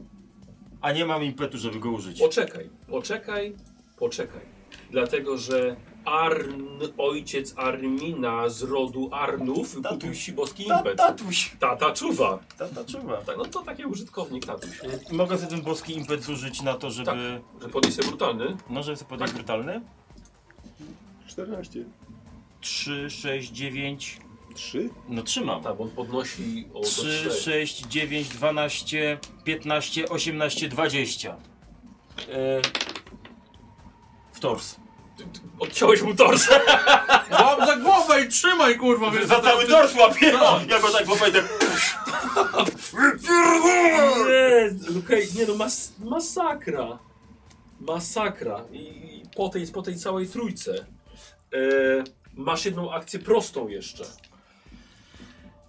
S3: A nie mam impetu, żeby go użyć.
S1: Poczekaj, poczekaj, poczekaj. Dlatego, że Arn, ojciec Armina z rodu Arnów
S3: Tatuś.
S1: kupił siboski
S3: Ta,
S1: impet.
S3: tatuś.
S1: Tata czuwa.
S3: Ta, ta czuwa.
S1: Tak, no to taki użytkownik tatuś.
S3: Y, Mogę sobie ten boski impet zużyć na to, żeby...
S1: Że podnieść się brutalny.
S3: No, żeby sobie podać brutalny.
S2: 14.
S3: Trzy, sześć, dziewięć...
S2: 3?
S3: No trzymam.
S1: Tak, bo on podnosi o do
S3: 3,
S1: trzech.
S3: 6, 9, 12, 15, 18, 20. E, w tors.
S1: Odciąłeś mu tors.
S6: Łap za głowę i trzymaj, kurwa. wiesz,
S3: Za
S6: to-
S3: cały tors łapię! Ja go tak popejdę.
S1: Jezu, Okej, nie no, mas masakra. Masakra. I, i po, tej, po tej całej trójce. E, masz jedną akcję prostą jeszcze.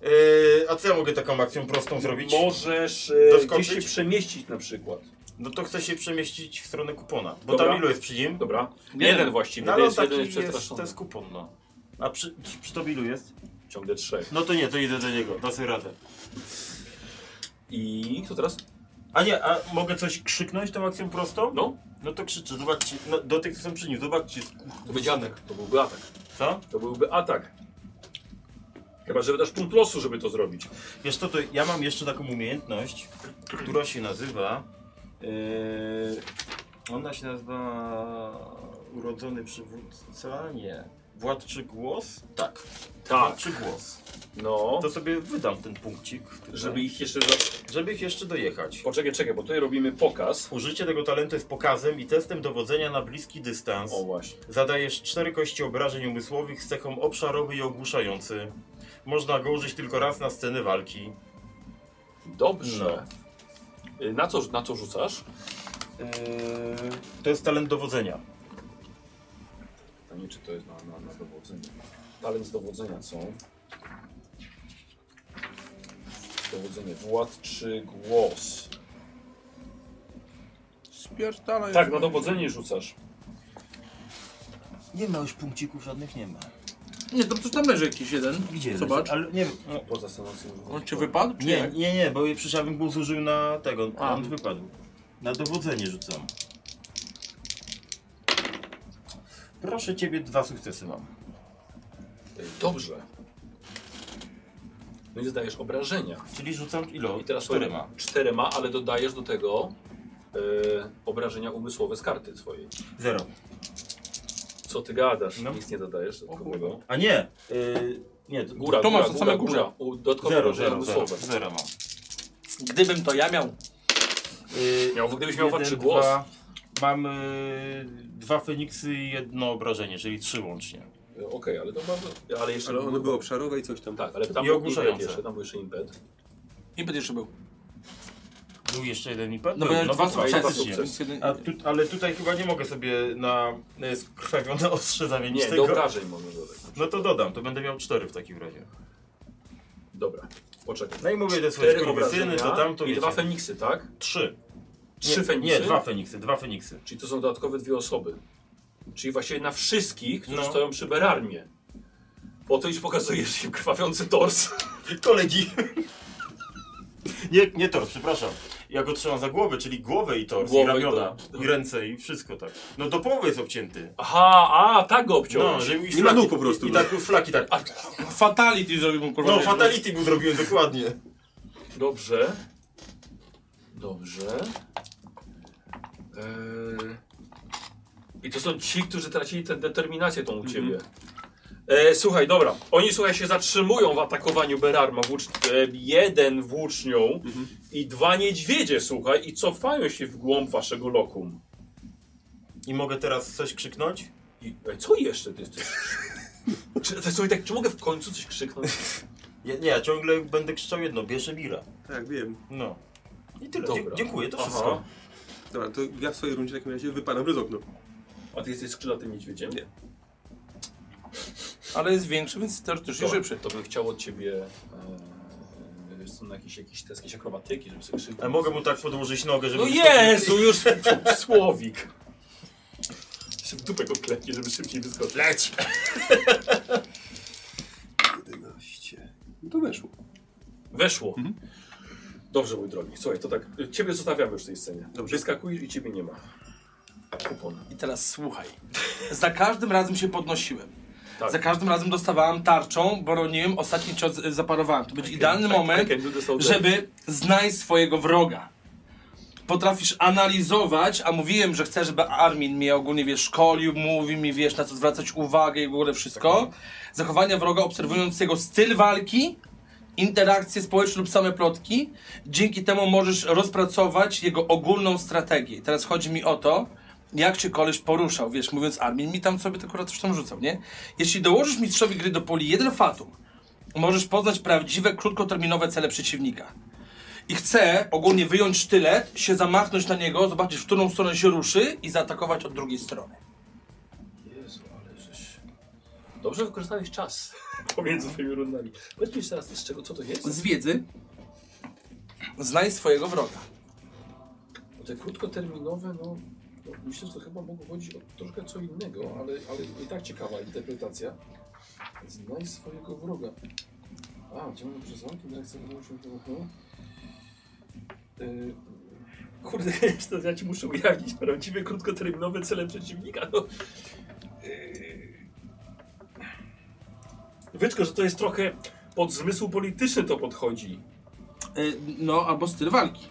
S3: Y, a co ja mogę taką akcją prostą zrobić?
S1: Możesz e,
S3: Doskoczyć?
S1: gdzieś się przemieścić na przykład.
S3: No to chcę się przemieścić w stronę kupona. Bo
S1: Dobra.
S3: tam ilu jest przy nim?
S1: Dobra. Jeden,
S6: Jeden.
S1: właściwie,
S3: No ale
S1: jest,
S3: on taki
S1: jeden jest
S3: jest, to
S1: przestraszony.
S3: jest kupon, no. A przy, przy, przy tobie ilu jest?
S1: Ciągle trzech.
S3: No to nie, to idę do niego, da sobie radę.
S1: I co teraz?
S3: A nie, a mogę coś krzyknąć tą akcją prostą?
S1: No,
S3: No to krzyczę, zobaczcie, no, do tych, co są przy nim, zobaczcie.
S1: to będzie atak. To byłby atak.
S3: Co?
S1: To byłby atak. Chyba, że wydasz punkt losu, żeby to zrobić.
S3: Wiesz co, to ja mam jeszcze taką umiejętność, która się nazywa... Yy, ona się nazywa... Urodzony przywódca? Nie. Władczy głos? Tak.
S1: Tak,
S3: Władczy głos.
S1: no.
S3: To sobie wydam ten punkcik. tutaj,
S1: Żeby ich jeszcze... Za...
S3: żeby ich jeszcze dojechać.
S1: Poczekaj, czekaj, bo tutaj robimy pokaz.
S3: Użycie tego talentu jest pokazem i testem dowodzenia na bliski dystans.
S1: O właśnie.
S3: Zadajesz cztery kości obrażeń umysłowych z cechą obszarowy i ogłuszający. Można go użyć tylko raz na sceny walki.
S1: Dobrze.
S3: No.
S1: Y, Na, co, na co rzucasz?
S3: Eee, to jest talent dowodzenia.
S13: Pytanie, czy to jest na, na, na dowodzenie. Talent z dowodzenia są. Dowodzenie władczy głos.
S6: Spierdalaj.
S1: Tak, na dowodzenie rzucasz.
S3: Nie ma już punkcików, żadnych nie ma.
S6: Nie, to przecież tam leży jakiś jeden.
S3: Gdzie
S6: Zobacz.
S3: Jest? Ale nie, no,
S13: Poza stanacją
S6: On cię wypadł? Czy
S3: nie,
S6: jak?
S3: nie, nie, bo przecież ja bym go zużył na tego,
S6: A.
S3: a on wypadł. Na dowodzenie rzucam. Proszę ciebie, dwa sukcesy mam.
S1: Dobrze. No i zdajesz obrażenia.
S3: Czyli rzucam ilo?
S1: I teraz
S3: czterema.
S1: Czterema, ale dodajesz do tego e, obrażenia umysłowe z karty swojej.
S3: Zero.
S1: Co ty gadasz?
S3: No.
S1: Nic nie dodajesz.
S6: O
S1: tylko
S6: kurwa.
S1: tego.
S3: A nie, yy, nie, to
S1: Góra,
S6: To
S1: góra,
S6: masz
S1: góra,
S6: to same
S1: góra.
S6: górze.
S1: U- Dodatkowe
S3: Zero,
S1: obrażenia
S3: zero, zero,
S1: umysłowe.
S3: zero mam.
S6: Gdybym to ja miał.
S3: Yy,
S1: Miał- gdybyś miał
S3: jeden,
S1: walczy głos.
S3: dwa. Mam yy, dwa Feniksy i jedno obrażenie, czyli trzy łącznie.
S1: E, Okej, ale to bardzo... Ale jeszcze...
S2: Ale ono było obszarowe i coś tam.
S1: Tak, ale tam
S3: I
S1: był impet
S3: ogłuszające.
S1: jeszcze, tam był jeszcze impet.
S6: I będziesz jeszcze był.
S3: Był jeszcze jeden impet?
S6: No bo
S3: Był,
S6: ja dwa
S3: faktycznie.
S6: sukcesy. Nic jeden-
S3: A tu, ale tutaj chyba nie mogę sobie na y, skrwawione ostrze zamienić
S1: Nie, do
S3: tego.
S1: obrażeń możesz dodać.
S3: No to dodam, to będę miał cztery w takim razie.
S1: Dobra, poczekaj.
S3: No i mówię te swoje
S1: Cztery
S3: skurwysyny,
S1: obrażenia
S3: to tam, to
S1: i dwa
S3: wiecie.
S1: feniksy, tak?
S3: Trzy.
S1: Trzy
S3: nie,
S1: feniksy?
S3: Nie, dwa Feniksy, dwa Feniksy.
S1: Czyli to są dodatkowe dwie osoby. Czyli właściwie na wszystkich, którzy
S3: No.
S1: stoją przy Berarmie. Po to, iż pokazujesz im krwawiący tors.
S3: Kolegi. Nie, nie tors, przepraszam. Ja go trzymam za głowę, czyli głowę i tors,
S1: Głowę i
S3: i ramiona,
S1: tors.
S3: i ręce, i wszystko tak. No do połowy jest obcięty.
S1: Aha, a, tak go obciąłeś.
S3: No, żeby i
S2: Nie ma
S3: flaki-
S2: nóg po prostu.
S3: I tak flaki tak. A,
S6: Fatality zrobił mu kurwa.
S3: no, fatality mu zrobiłem dokładnie.
S1: Dobrze. Dobrze. Eee... I to są ci, którzy tracili tę determinację tą u ciebie. Eee, słuchaj, dobra. Oni, słuchaj, się zatrzymują w atakowaniu Berarma. Włócz... Eee, jeden włócznią i dwa niedźwiedzie, słuchaj, i cofają się w głąb waszego lokum.
S3: I mogę teraz coś krzyknąć?
S1: I, e, co jeszcze ty jesteś? czy, to, słuchaj, tak, czy mogę w końcu coś krzyknąć?
S3: Ja, nie, ja ciągle będę krzyczał jedno, bierze Mira.
S2: Tak, wiem.
S3: No. I tyle.
S1: Dobra.
S3: Dzie- dziękuję, to
S1: Aha.
S3: wszystko.
S2: Dobra, to ja w swojej rundzie w takim razie wypadam przez okno.
S1: A ty jesteś skrzydlatym niedźwiedziem?
S2: Nie.
S6: Ale jest większy, więc teoretycznie
S1: Dobra,
S3: No.
S6: szybszy.
S1: To bym chciał od ciebie e, wiesz, są jakieś, jakieś test, jakieś akrobatyki, żeby sobie krzyknąć.
S3: A mogę mu tak podłożyć nogę, żeby...
S1: No Jezu, już słowik. Się w dupę go klepnie, żeby szybciej wyskoczył. Leć!
S2: 11. No to weszło.
S1: Weszło. Dobrze, mój drogi. Słuchaj, to tak, y, ciebie zostawiamy już w tej scenie. Dobrze. Wyskakujesz i ciebie nie ma. Kupon.
S6: I teraz słuchaj. Za każdym razem się podnosiłem.
S1: Tak.
S6: Za każdym razem dostawałem tarczą, broniłem, ostatni cios y, zaparowałem. To będzie idealny moment,
S1: I can do this all day.
S6: żeby znaj swojego wroga. Potrafisz analizować, a mówiłem, że chcę, żeby Armin mnie ogólnie wiesz, szkolił, mówił mi, wiesz, na co zwracać uwagę i w ogóle wszystko. Zachowania wroga, obserwując jego styl walki, interakcje społeczne lub same plotki. Dzięki temu możesz rozpracować jego ogólną strategię. Teraz chodzi mi o to, jak się koleś poruszał, wiesz, mówiąc Armin mi tam sobie tylko akurat coś tam rzucał, nie? Jeśli dołożysz mistrzowi gry do puli jeden fatum, możesz poznać prawdziwe, krótkoterminowe cele przeciwnika. I chcę ogólnie wyjąć sztylet, się zamachnąć na niego, zobaczyć, w którą stronę się ruszy i zaatakować od drugiej strony.
S1: Jezu, ale żeś... Dobrze wykorzystałeś czas pomiędzy twoimi rundami. Powiedz mi jeszcze raz, z czego, co to jest?
S6: Z wiedzy znaj swojego wroga.
S1: No Te krótkoterminowe, no, no myślę, że to chyba mogło chodzić o troszkę co innego, ale, ale i tak ciekawa interpretacja. Znaj swojego wroga. A, gdzie mamy przesłanki? No, Teraz chcę wyłączyć to. Yy, kurde, to ja ci muszę ujawnić prawdziwe krótkoterminowe cele przeciwnika. No. Yy. Wyczko, że to jest trochę pod zmysł polityczny to podchodzi.
S6: Y, No, albo styl walki.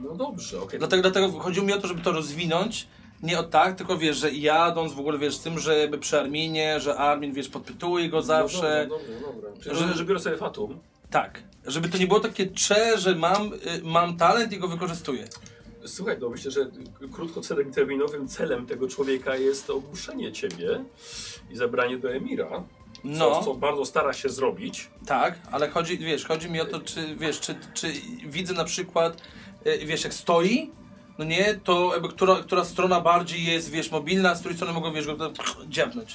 S1: No dobrze, okej.
S6: Dlatego, dlatego chodziło mi o to, żeby to rozwinąć. Nie o tak, tylko wiesz, że jadąc w ogóle wiesz z tym, żeby przy Arminie, że Armin wiesz, podpytuje go zawsze.
S1: No dobra, dobra, dobra. Czyli
S6: Że-
S1: że, że biorę sobie fatum.
S6: Tak. Żeby to nie było takie cze, że mam, y, mam talent i go wykorzystuję.
S1: Słuchaj, no myślę, że krótkoterminowym celem tego człowieka jest ogłuszenie ciebie i zabranie do Emira. no.
S6: No,
S1: co, co bardzo stara się zrobić.
S6: tak, ale chodzi, wiesz, chodzi mi o to, czy wiesz, czy, czy widzę na przykład, e, wiesz, jak stoi, no nie, to jakby która, która strona bardziej jest, wiesz, mobilna, a z której strony mogą, wiesz, go to dziabnąć.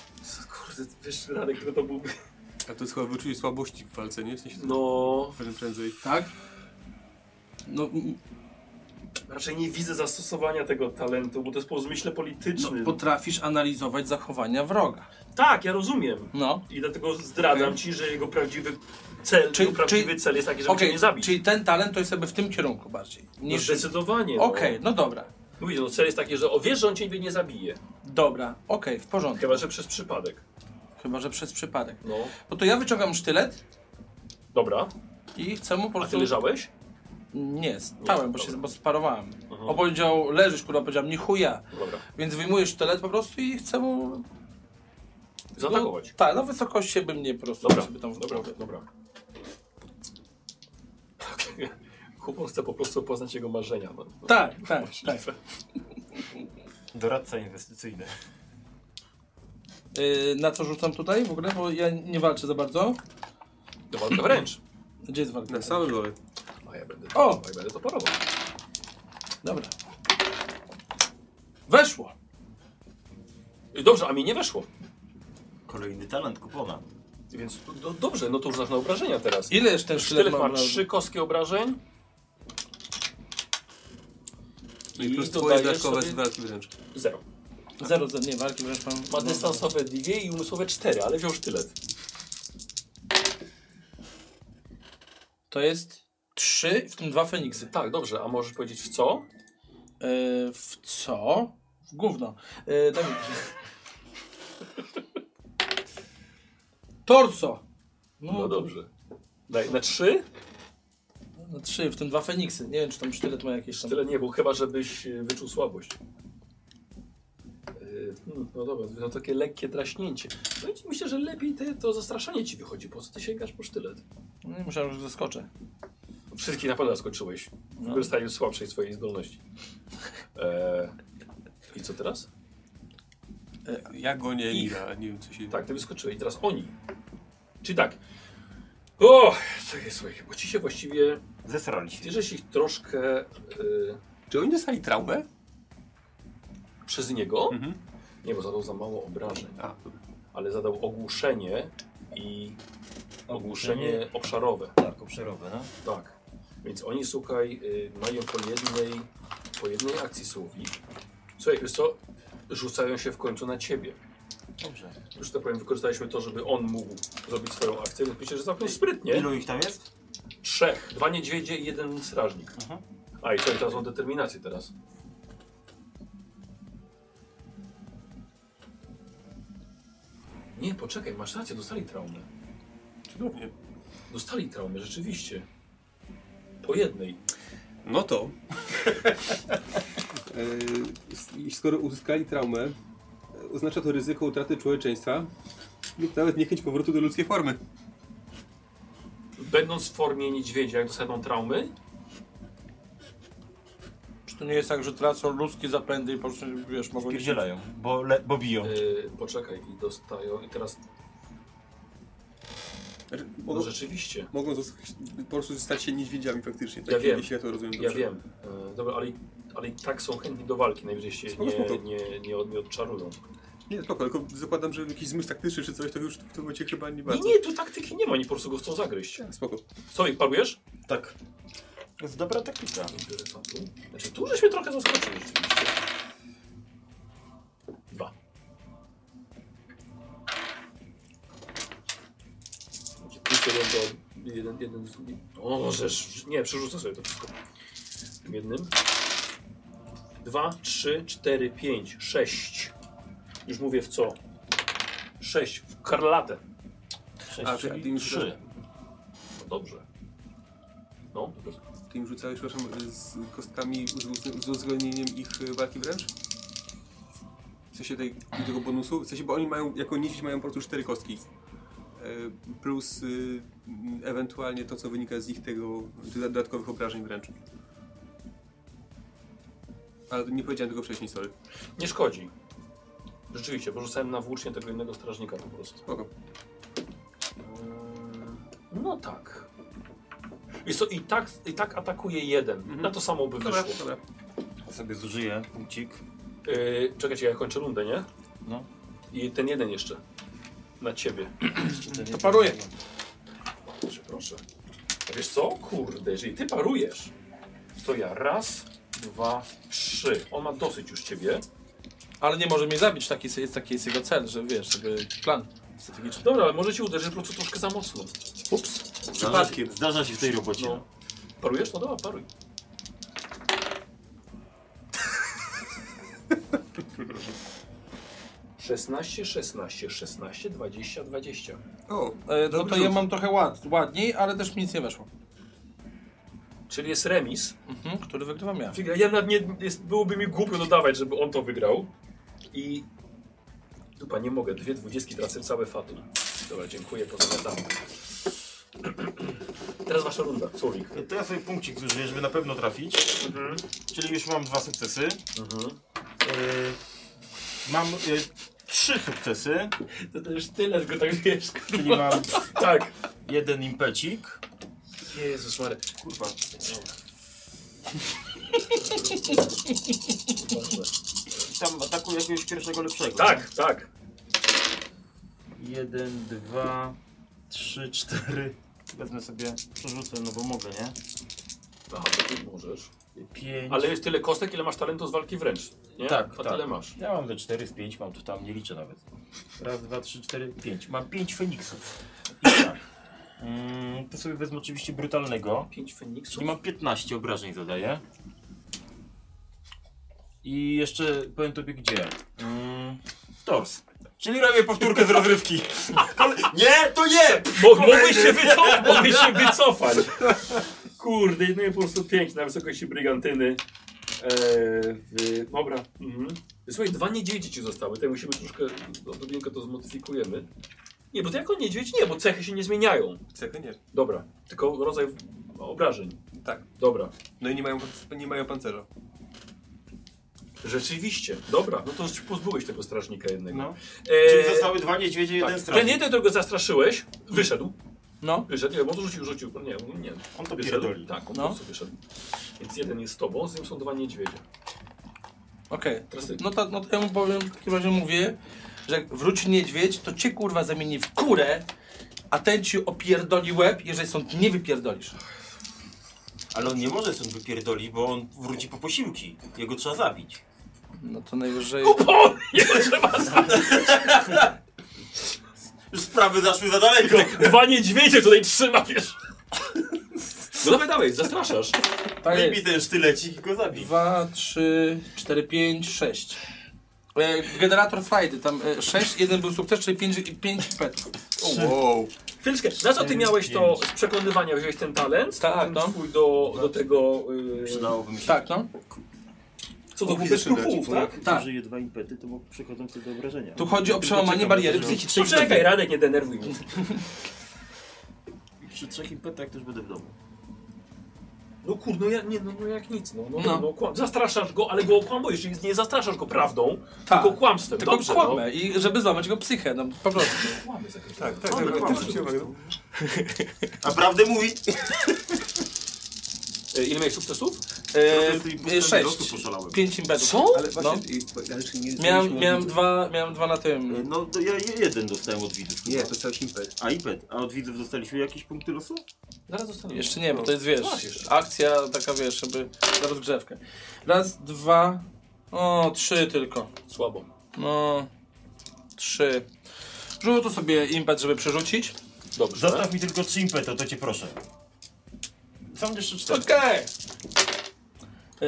S1: Kurde, wiesz, Radek, no to byłby...
S2: A to jest chyba wyczucie słabości w walce, nie? W sensie no.
S1: No,
S2: prędzej.
S6: Tak? No, m-
S1: raczej nie widzę zastosowania tego talentu, bo to jest po zmyśle
S6: no,
S1: politycznym.
S6: potrafisz analizować zachowania wroga.
S1: Tak, ja rozumiem.
S6: No.
S1: I dlatego zdradzam
S6: Okej.
S1: ci, że jego prawdziwy cel,
S6: Czyli-
S1: jego prawdziwy
S6: czyli-
S1: cel jest taki, żeby
S6: Okej,
S1: cię nie zabić.
S6: czyli ten talent to jest jakby w tym kierunku bardziej.
S1: No
S6: Niż...
S1: zdecydowanie.
S6: Okej, no dobra.
S1: No. Mówię, no cel jest taki, że o, wiesz, że on ciebie nie zabije.
S6: Dobra, okej, w porządku.
S1: Chyba, że przez przypadek.
S6: Chyba, że przez przypadek.
S1: No,
S6: No to ja wyciągam sztylet
S1: dobra.
S6: i chcę mu po
S1: A ty
S6: prostu...
S1: leżałeś?
S6: Nie, stałem, bo się
S1: dobra.
S6: bo sparowałem.
S1: Aha.
S6: On powiedział, leżysz, kurwa, powiedziałem, nie chuja.
S1: Dobra.
S6: Więc wyjmuję sztylet po prostu i chcę mu...
S1: Zaatakować.
S6: Tak, na wysokości by mnie po prostu...
S1: Dobra,
S6: żeby tam w
S1: dobra,
S6: głowę.
S1: dobra. Kupon chce po prostu poznać jego marzenia. No.
S6: Tak, tak, tak.
S3: Doradca inwestycyjny.
S6: Yy, na co rzucam tutaj w ogóle? Bo ja nie walczę za bardzo.
S1: To walka wręcz.
S6: Gdzie jest walka?
S2: Na samym dole.
S1: A ja będę
S6: O!
S1: to, ja będę to parował.
S6: Dobra. Weszło!
S1: Dobrze, a mi nie weszło.
S3: Kolejny talent kupona.
S1: Więc do, do, dobrze, no to już na obrażenia teraz.
S6: Ile jeszcze ten sztylet
S1: Sztylet
S6: ma?
S1: ma
S6: obrażeń?
S1: trzy kostki obrażeń.
S2: No I plus twoje
S1: dodajesz
S2: dodatkowe
S1: sobie-
S2: z walki wręcz.
S1: Zero.
S6: Zero, ze- nie, walki wręcz mam.
S1: Ma dystansowe dwie i umysłowe cztery, ale wziął sztylet.
S6: To jest trzy, w tym dwa Feniksy.
S1: Tak, dobrze, a możesz powiedzieć w co?
S6: Yy, w co? W gówno. Yy, Dawid. Torso! No,
S1: No dobrze. Daj, na trzy?
S6: no trzy, w tym dwa Feniksy. Nie wiem, czy tam sztylet ma jakieś tam.
S1: Tyle nie, bo chyba żebyś e, wyczuł słabość. E, hmm, No dobra, to takie lekkie draśnięcie. No i myślę, że lepiej te, to zastraszanie ci wychodzi. Po co ty sięgasz po sztylet?
S6: No, nie, Myślałem, że zaskoczę.
S1: Wszystkie na pewno skończyłeś.
S6: No.
S1: Wykorzystając słabszej swojej zdolności. E, I co teraz?
S2: Ja go nie
S1: Ich.
S2: Mira, nie wiem co się...
S1: Tak, ty wyskoczyłeś. I teraz oni. Czyli tak. O, co jest, słuchaj, bo ci się właściwie...
S3: Zesrali się.
S1: Ty żeś ich troszkę y,
S2: Czy oni dostali traumę?
S1: przez niego.
S2: Mhm.
S1: Nie, bo zadał za mało obrażeń.
S2: A,
S1: ale zadał ogłuszenie i ogłuszenie obszarowe.
S3: Tak, obszarowe, no.
S1: Tak. Więc oni, słuchaj, y, mają po jednej, po jednej akcji słowik. Słuchaj, wiesz co? Rzucają się w końcu na ciebie.
S3: Dobrze.
S1: Już tak powiem, wykorzystaliśmy to, żeby on mógł zrobić swoją akcję, więc myślę, że całkiem sprytnie.
S3: Ilu ich tam jest?
S1: Trzech. Dwa niedźwiedzie i jeden strażnik.
S3: Mhm.
S1: A i co, i teraz o determinację teraz. Nie, poczekaj, masz rację, dostali traumę.
S2: cudownie.
S1: Dostali traumy, rzeczywiście. Po jednej.
S2: No to... E, s- i skoro uzyskali traumę, e, oznacza to ryzyko utraty człowieczeństwa lub nawet niechęć powrotu do ludzkiej formy.
S1: Będąc w formie niedźwiedzia, jak dostaną traumy,
S6: Czy to nie jest tak, że tracą ludzkie zapędy i po prostu, wiesz, mogą nie
S3: Pierdzielają, bo, le, bo biją.
S1: yy, poczekaj, i dostają, i teraz,
S2: Znaczy,
S1: no
S2: mogą,
S1: rzeczywiście,
S2: mogą zostać, po prostu stać się niedźwiedziami faktycznie. Tak
S1: Ja wiem.
S2: Jeśli ja to rozumiem
S1: ja
S2: dobrze.
S1: wiem, yy, dobra, ale, ale i tak są chętni do walki, najwyżej się
S2: Spoko,
S1: nie,
S2: spoko.
S1: nie, nie, od- nie odczarują.
S2: Nie, spoko, tylko zakładam, że jakiś zmysł taktyczny czy coś, to już w tym momencie chyba nie
S1: Nie,
S2: bardzo.
S1: nie, tu taktyki nie ma, oni po prostu go chcą zagryźć.
S2: Spoko.
S1: Co, ich parujesz?
S3: Tak. To jest dobra taktyka.
S1: Znaczy, tu żeś mnie trochę zaskoczył rzeczywiście. Dwa. Plus jeden do... Jeden, jeden z drugim. O, możesz... Nie, przerzucę sobie to wszystko. Tym jednym. Dwa, trzy, cztery, pięć, sześć. Już mówię w co. Sześć. W karlatę.
S3: Sześć,
S2: A,
S3: czyli
S2: ty mi
S3: trzy.
S1: No dobrze. No, dobrze.
S2: Ty im rzucałeś, przepraszam, z kostkami, z, uwz- z uwzględnieniem ich y, walki wręcz? W sensie tej, tego bonusu? W sensie, bo oni mają, jako niedźwiedź mają po prostu cztery kostki. Y, Plus y, m, ewentualnie to, co wynika z ich tego, tych dodatkowych obrażeń wręcz. Ale nie powiedziałem tego wcześniej, sorry.
S1: Nie szkodzi. Rzeczywiście, bo rzucałem na włócznie tego innego strażnika po prostu.
S2: Spoko.
S1: No tak. I, so, i, tak, I tak atakuje jeden. Na to samo by
S6: Mhm. Dobra,
S1: wyszło.
S6: dobra.
S3: Ja sobie zużyję punkcik.
S1: Yy, czekajcie, ja kończę rundę, nie?
S3: No.
S1: I ten jeden jeszcze. Na ciebie.
S6: To paruję.
S1: Proszę, proszę. A Wiesz co? Kurde, jeżeli ty parujesz, to ja raz, dwa, trzy. On ma dosyć już ciebie.
S6: Ale nie może mnie zabić, taki jest, taki jest jego cel, że wiesz, żeby plan strategiczny.
S1: Dobra, ale może ci uderzyć po prostu troszkę za mocno. Ups.
S3: Zdarza, się- zdarza się w tej robocie.
S1: No. Parujesz? No dobra, paruj. Szesnaście, szesnaście, szesnaście, dwadzieścia, dwadzieścia.
S2: O,
S6: E, no to ja mam trochę ład, ładniej, ale też mi nic nie weszło.
S1: Czyli jest remis.
S6: Mhm, który wygrywam ja.
S1: Figa, Ja nawet nie, jest, byłoby mi głupio dodawać, żeby on to wygrał. I... Dupa, nie mogę. Dwie dwudziestki tracę całe fatum. Dobra, dziękuję, pozdrawiam. Teraz wasza runda, Słowik.
S3: To ja sobie punkcik zużyję, żeby na pewno trafić. Czyli już mam dwa sukcesy. Yy, mam yy, trzy sukcesy,
S1: To, to już tyle, tylko tak wiesz.
S3: czyli mam
S1: Tak.
S3: jeden impecik.
S1: Jezus Mary.
S3: Kurwa, i tam atakuję jakiegoś pierwszego lepszego.
S1: Tak, tak.
S3: Jeden, dwa, trzy, cztery. Wezmę sobie, przerzucę, no bo mogę, nie?
S1: Aha, to ty możesz.
S3: Pięć.
S1: Ale jest tyle kostek, ile masz talentu z walki wręcz. Nie?
S3: Tak,
S1: A
S3: tak.
S1: tyle masz.
S3: Ja mam te cztery z pięć, mam tu tam, nie liczę nawet. Raz, dwa, trzy, cztery, pięć. Mam pięć Feniksów. I tak. Mm, to sobie wezmę oczywiście brutalnego.
S1: Pięć Feniksów.
S3: Czyli mam 15 obrażeń zadaję. I jeszcze powiem tobie gdzie. Mm, w tors. Czyli robię powtórkę z rozrywki. Ale nie, to nie!
S1: Mo- mogłeś się wycofać! Mogłeś się wycofać! Kurde, no i po prostu piękna wysokości brygantyny. Eee, w, dobra. Mhm. Słuchaj, dwa niedźwiedzie ci zostały. Tutaj musimy troszkę, odrobinkę to zmodyfikujemy. Nie, bo to jako niedźwiedź nie, bo cechy się nie zmieniają.
S2: cechy nie.
S1: Dobra, tylko rodzaj obrażeń.
S2: Tak.
S1: Dobra.
S2: No i nie mają, nie mają pancerza.
S1: Rzeczywiście. Dobra, no to już pozbyłeś tego strażnika jednego.
S3: No.
S1: Eee,
S3: Czyli zostały dwa niedźwiedzie, jeden
S1: tak. Ten
S3: strażnik.
S1: jeden, którego zastraszyłeś, wyszedł.
S6: No,
S1: Wyszedł, nie, bo on rzucił, rzucił. Nie, nie.
S3: On to
S1: Wyszedł?
S3: pierdoli.
S1: Tak, on
S6: No.
S1: po prostu wyszedł. Więc jeden jest z tobą, z nim są dwa niedźwiedzie.
S6: okej.
S1: Teraz ty.
S6: No, to, no to ja mu powiem, w takim razie mówię, że jak wróci niedźwiedź, to cię kurwa zamieni w kurę, a ten ci opierdoli łeb, jeżeli stąd nie wypierdolisz.
S3: Ale on nie może stąd wypierdoli, bo on wróci po posiłki. Jego trzeba zabić.
S6: No to najwyżej...
S3: Już sprawy zaszły za daleko.
S1: Dwa niedźwiedzie tutaj trzyma, wiesz? No dawaj, dawaj, zastraszasz.
S6: Tak jest.
S3: Wyjmij ten sztylecik i go zabij.
S6: 2, 3, 4, 5, 6. E, Generator Friday, tam 6, jeden był sukces, czyli 5, 5 petów.
S2: Wow.
S1: Chwileczkę, na co ty
S3: Cztery,
S1: miałeś to
S3: pięć.
S1: z przekonywania? Wziąłeś ten talent?
S6: Tak,
S1: ten
S6: no.
S1: swój do, do tego... Yy,
S3: Przydałoby mi się.
S6: Tak, no.
S1: co do
S2: Oficer
S1: wobec skrupułów,
S2: szydać,
S1: tak?
S6: Tak.
S3: Użyję dwa impety, to bo przychodzą te do obrażenia.
S6: Tu chodzi o przełamanie
S3: Czekam,
S6: bariery
S3: że-
S6: psychicznej.
S1: Poczekaj, Radek, nie denerwuj mnie.
S3: Przy trzech impetach też będę w domu.
S1: No kurde, no, ja, nie, no, no jak nic, no. no,
S6: No.
S1: no. no kłam, zastraszasz go, ale go okłamujesz, czyli nie zastraszasz go prawdą,
S6: Tak.
S1: tylko kłamstwem.
S6: Tylko
S1: Dobrze,
S6: kłamę i żeby złamać jego psychę, no po prostu.
S1: No. Kłamy za każdym
S2: Tak,
S1: razem.
S2: tak, tak.
S1: Kłamy,
S2: tak,
S1: kłamy.
S2: tak, tak.
S3: A prawdę mówi?
S1: E, Ile miałeś sukcesów?
S6: E, 6,
S3: Losu poszalałem.
S6: 5 impetów.
S1: Co?
S2: Ale
S6: No.
S2: właśnie, i- ale czy nie
S6: Miałem,
S2: nie
S6: miałem,
S2: widzów?
S6: dwa, miałem dwa na tym.
S3: No to ja ja jeden dostałem od widzów. chyba.
S2: Nie, to cały impet.
S3: A impet. A od widzów dostaliśmy jakieś punkty losu?
S1: Zaraz zostaniemy.
S6: Jeszcze nie, bo to jest,
S1: Masz
S6: wiesz,
S1: jeszcze.
S6: akcja taka, wiesz, żeby na rozgrzewkę. Raz, dwa, o, trzy tylko.
S1: Słabo.
S6: No, trzy. Rzutu sobie impet, żeby przerzucić.
S1: Dobrze.
S3: Zostaw mi tylko trzy impety, o to cię proszę. Są jeszcze
S1: Tak.
S3: cztery.
S6: Okej!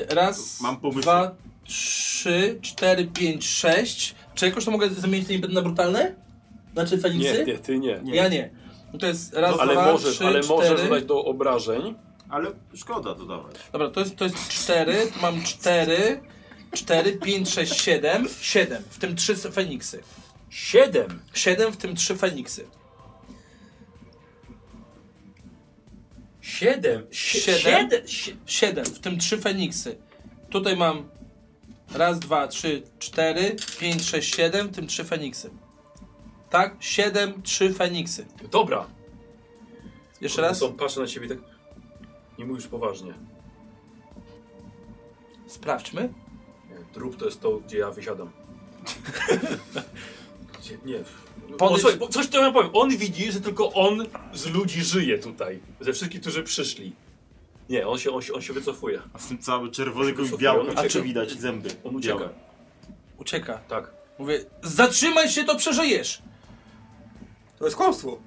S6: Raz,
S3: Mam pomysł.
S6: dwa, trzy, cztery, pięć, sześć. Czy jakoś to mogę zamienić ten impet na brutalne? Znaczy Feniksy?
S1: ty nie.
S3: nie.
S6: Ja nie. No to jest raz,
S1: ale
S6: dwa,
S1: możesz,
S6: trzy,
S1: ale
S6: cztery.
S1: możesz dodać do obrażeń.
S3: Ale szkoda to dawać.
S6: Dobra, to jest, to jest cztery, mam cztery, cztery, pięć, sześć, siedem, siedem, w tym trzy Feniksy.
S1: Siedem.
S6: Siedem, w tym trzy Feniksy.
S1: Siedem. Sie-
S6: Siedem?
S1: sie-
S6: 7, w tym 3 Feniksy. Tutaj mam raz, dwa, trzy, cztery, pięć, sześć, siedem, w tym 3 Feniksy. Tak? siedem, trzy Feniksy.
S1: Dobra.
S6: Jeszcze raz?
S1: Są, patrzę na ciebie i tak. Nie mówisz poważnie.
S6: Sprawdźmy.
S1: Trup to jest to, gdzie ja wysiadam. Gdzie- nie.
S6: Podejdź-
S1: O, słuchaj, bo coś to ja powiem. On widzi, że tylko on z ludzi żyje tutaj. Ze wszystkich, którzy przyszli. Nie, on się, on się, on się wycofuje.
S14: A w tym cały czerwony
S1: Proszę,
S14: i biały,
S1: ucieka.
S14: a czy widać zęby?
S1: On ucieka.
S14: białe.
S6: Ucieka.
S1: Tak.
S6: Mówię, zatrzymaj się, to przeżyjesz!
S2: To jest kłamstwo.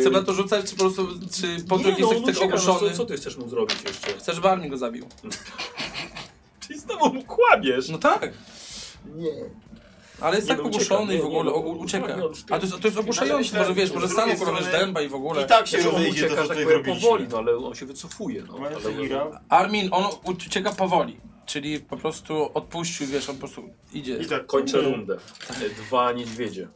S6: Chcę na to rzucać, czy po prostu, czy podróg
S1: Eee, Nie, no,
S6: jest
S1: on
S6: tak
S1: ucieka, no,
S6: ogłoszony?
S1: co, co ty chcesz mu zrobić jeszcze?
S6: Chcesz, żeby Armin go zabił.
S1: Ty znowu mu kłamiesz.
S6: No tak. Ale jest
S1: Nie,
S6: tak
S1: no ucieka,
S6: ogłuszony i
S1: nie,
S6: w ogóle
S1: nie, no,
S6: ogó- ucieka.
S1: no, już ty-
S6: A to jest, to jest
S1: Ale
S6: ogłuszające,
S1: myślę,
S6: może wiesz,
S1: że
S6: może
S14: z
S6: staną
S14: drugiej
S6: kurwa
S14: strony-
S6: dęba i w ogóle.
S14: I tak się
S1: Wiesz, on
S14: rozejdzie
S1: ucieka,
S14: to, co
S1: że tak
S14: tutaj
S1: powiem,
S14: zrobiliśmy.
S1: powoli, no ale on się wycofuje. No,
S14: Mamy
S1: ale,
S14: Ira.
S6: Armin, on ucieka powoli. Czyli po prostu odpuścił, wiesz, on po prostu idzie.
S14: I tak
S1: Kończę rundę. E, Dwa niedźwiedzie.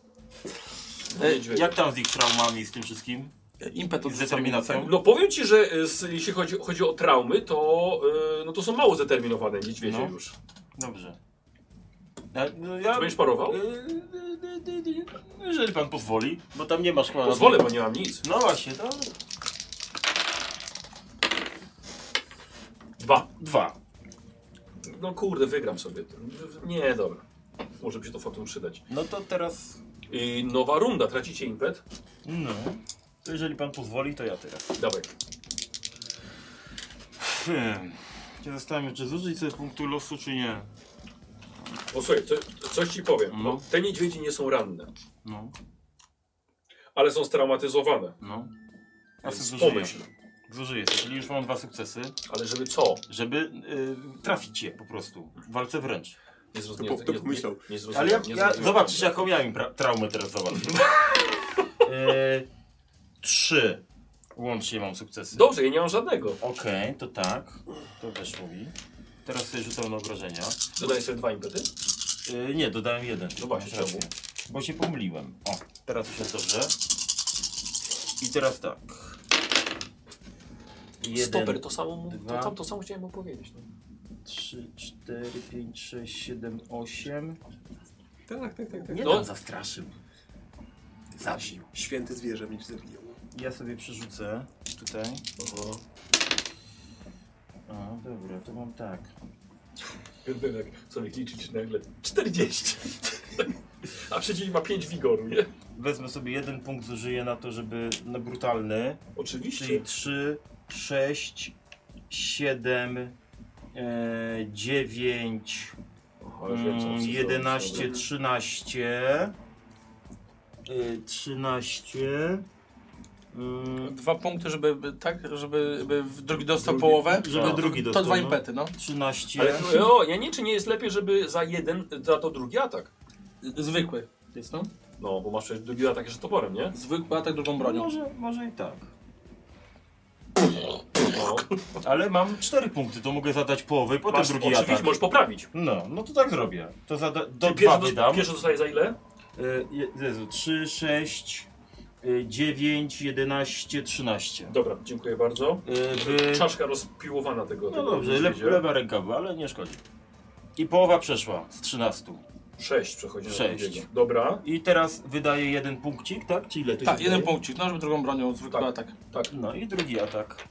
S1: Dwa
S14: E,
S1: niedźwiedzie.
S14: Jak tam z ich traumami i z tym wszystkim?
S6: Impet od
S14: Z determinacją.
S1: No powiem ci, że e, s- jeśli chodzi, chodzi o traumy, to, e, no to są mało zdeterminowane niedźwiedzie
S14: No.
S1: już.
S14: Dobrze. Ja, no ja,
S1: Czy będziesz parował?
S14: E, e, e, Jeżeli pan pozwoli, bo tam nie masz chyba...
S1: Pozwolę, bo nie mam nic.
S14: No właśnie, to
S1: Dwa.
S14: dwa.
S1: No kurde, wygram sobie. W- Nie, dobra. Może by się to fatum przydać.
S14: No to teraz...
S1: I nowa runda, tracicie impet?
S14: No. To jeżeli pan pozwoli, to ja teraz.
S1: Dawaj.
S14: Hmm. Ja zastanawiam, czy zużyć sobie punktu losu, czy nie.
S1: O słuchaj, co, coś ci powiem.
S14: No.
S1: Te niedźwiedzie nie są ranne,
S14: No,
S1: ale są straumatyzowane.
S14: no. Ja
S1: Więc
S14: sobie zużyję.
S1: pomyśl.
S14: Zużyję, sobie, czyli już mam dwa sukcesy,
S1: Ale żeby co?
S14: żeby y, trafić je po prostu. W walce wręcz.
S1: Nie
S2: To
S1: zrozumiałem.
S2: po- to pomyślał.
S1: Nie, nie
S14: Ale
S1: zrozumiałem. nie
S14: ja, ja
S1: zrozumiałem.
S14: zobaczysz, jaką ja im pra- traumę teraz załatwię. e, trzy. Łącznie mam sukcesy.
S1: Dobrze, ja nie mam żadnego.
S14: Okej, to tak. To weszło mi. Teraz sobie rzucam na obrażenia.
S1: Dodaj sobie dwa impety.
S14: E, nie, dodałem jeden.
S1: No właśnie,
S14: Masz rację. Bo się pomyliłem. O, teraz już jest dobrze. I teraz tak. Jeden,
S1: Stoper, to samo, mu- to,
S14: dwa.
S1: tam to samo chciałem opowiedzieć. No.
S14: 3, 4, 5, 6, 7, 8.
S2: Tak, tak, tak. tak.
S14: Nie
S1: No.
S14: no. zastraszył. Zabił.
S2: Święte zwierzę mnie zabiło.
S14: Ja sobie przerzucę tutaj. A, dobra, to mam tak.
S1: Wiem, jak sobie liczyć nagle 40. A przecież ma 5 wigoru, nie?
S14: Wezmę sobie jeden punkt, zużyję na to, żeby na brutalny. Czyli
S1: Oczywiście.
S14: 3, 6, 7, e, 9,
S1: Aha, już wiem, co
S14: Mm,
S1: chcesz zrobić,
S14: 11,
S1: dobra.
S14: 13. e, 13. mm,
S6: Dwa punkty, żeby tak, żeby żeby w- drugi dostał
S14: Drugi-
S6: połowę.
S14: żeby
S6: No,
S14: drugi
S6: to,
S14: dostał,
S6: To dwa
S14: no.
S6: impety, no.
S14: 13.
S1: Ale no, o, ja nie czy nie jest lepiej, żeby za jeden, za to drugi atak.
S6: Zwykły. Jest no?
S1: No, bo masz przecież drugi atak jeszcze toporem, nie?
S6: Zwykły atak drugą
S14: No
S6: bronią.
S14: Może, może i tak.
S1: No,
S14: Ale mam 4 punkty, to mogę zadać połowę i potem
S1: masz,
S14: drugi
S1: oczywiście
S14: atak.
S1: możesz poprawić.
S14: No, no to tak zrobię. To zada... do
S1: Czyli
S14: dwa
S1: dos-
S14: wydam.
S1: Pierwszy dostaje za ile?
S14: E, je- Jezu, y, 3, 6, 9, 11, 13.
S1: Dobra, dziękuję bardzo.
S14: E, Wy...
S1: Czaszka rozpiłowana tego.
S14: No
S1: tego
S14: dobrze, le,
S1: niedźwiedzia.
S14: lewa ręka była, ale nie szkodzi. I połowa przeszła z 13.
S1: Sześć przechodzi na
S14: Sześć.
S1: drugiego. Dobra,
S14: I teraz wydaje jeden punkcik, tak? Czy ile to
S6: Tak,
S14: się
S6: jeden
S14: wydaje?
S6: punkcik, no żeby drugą bronią, zwykły
S1: Tak.
S6: atak.
S14: No i drugi atak.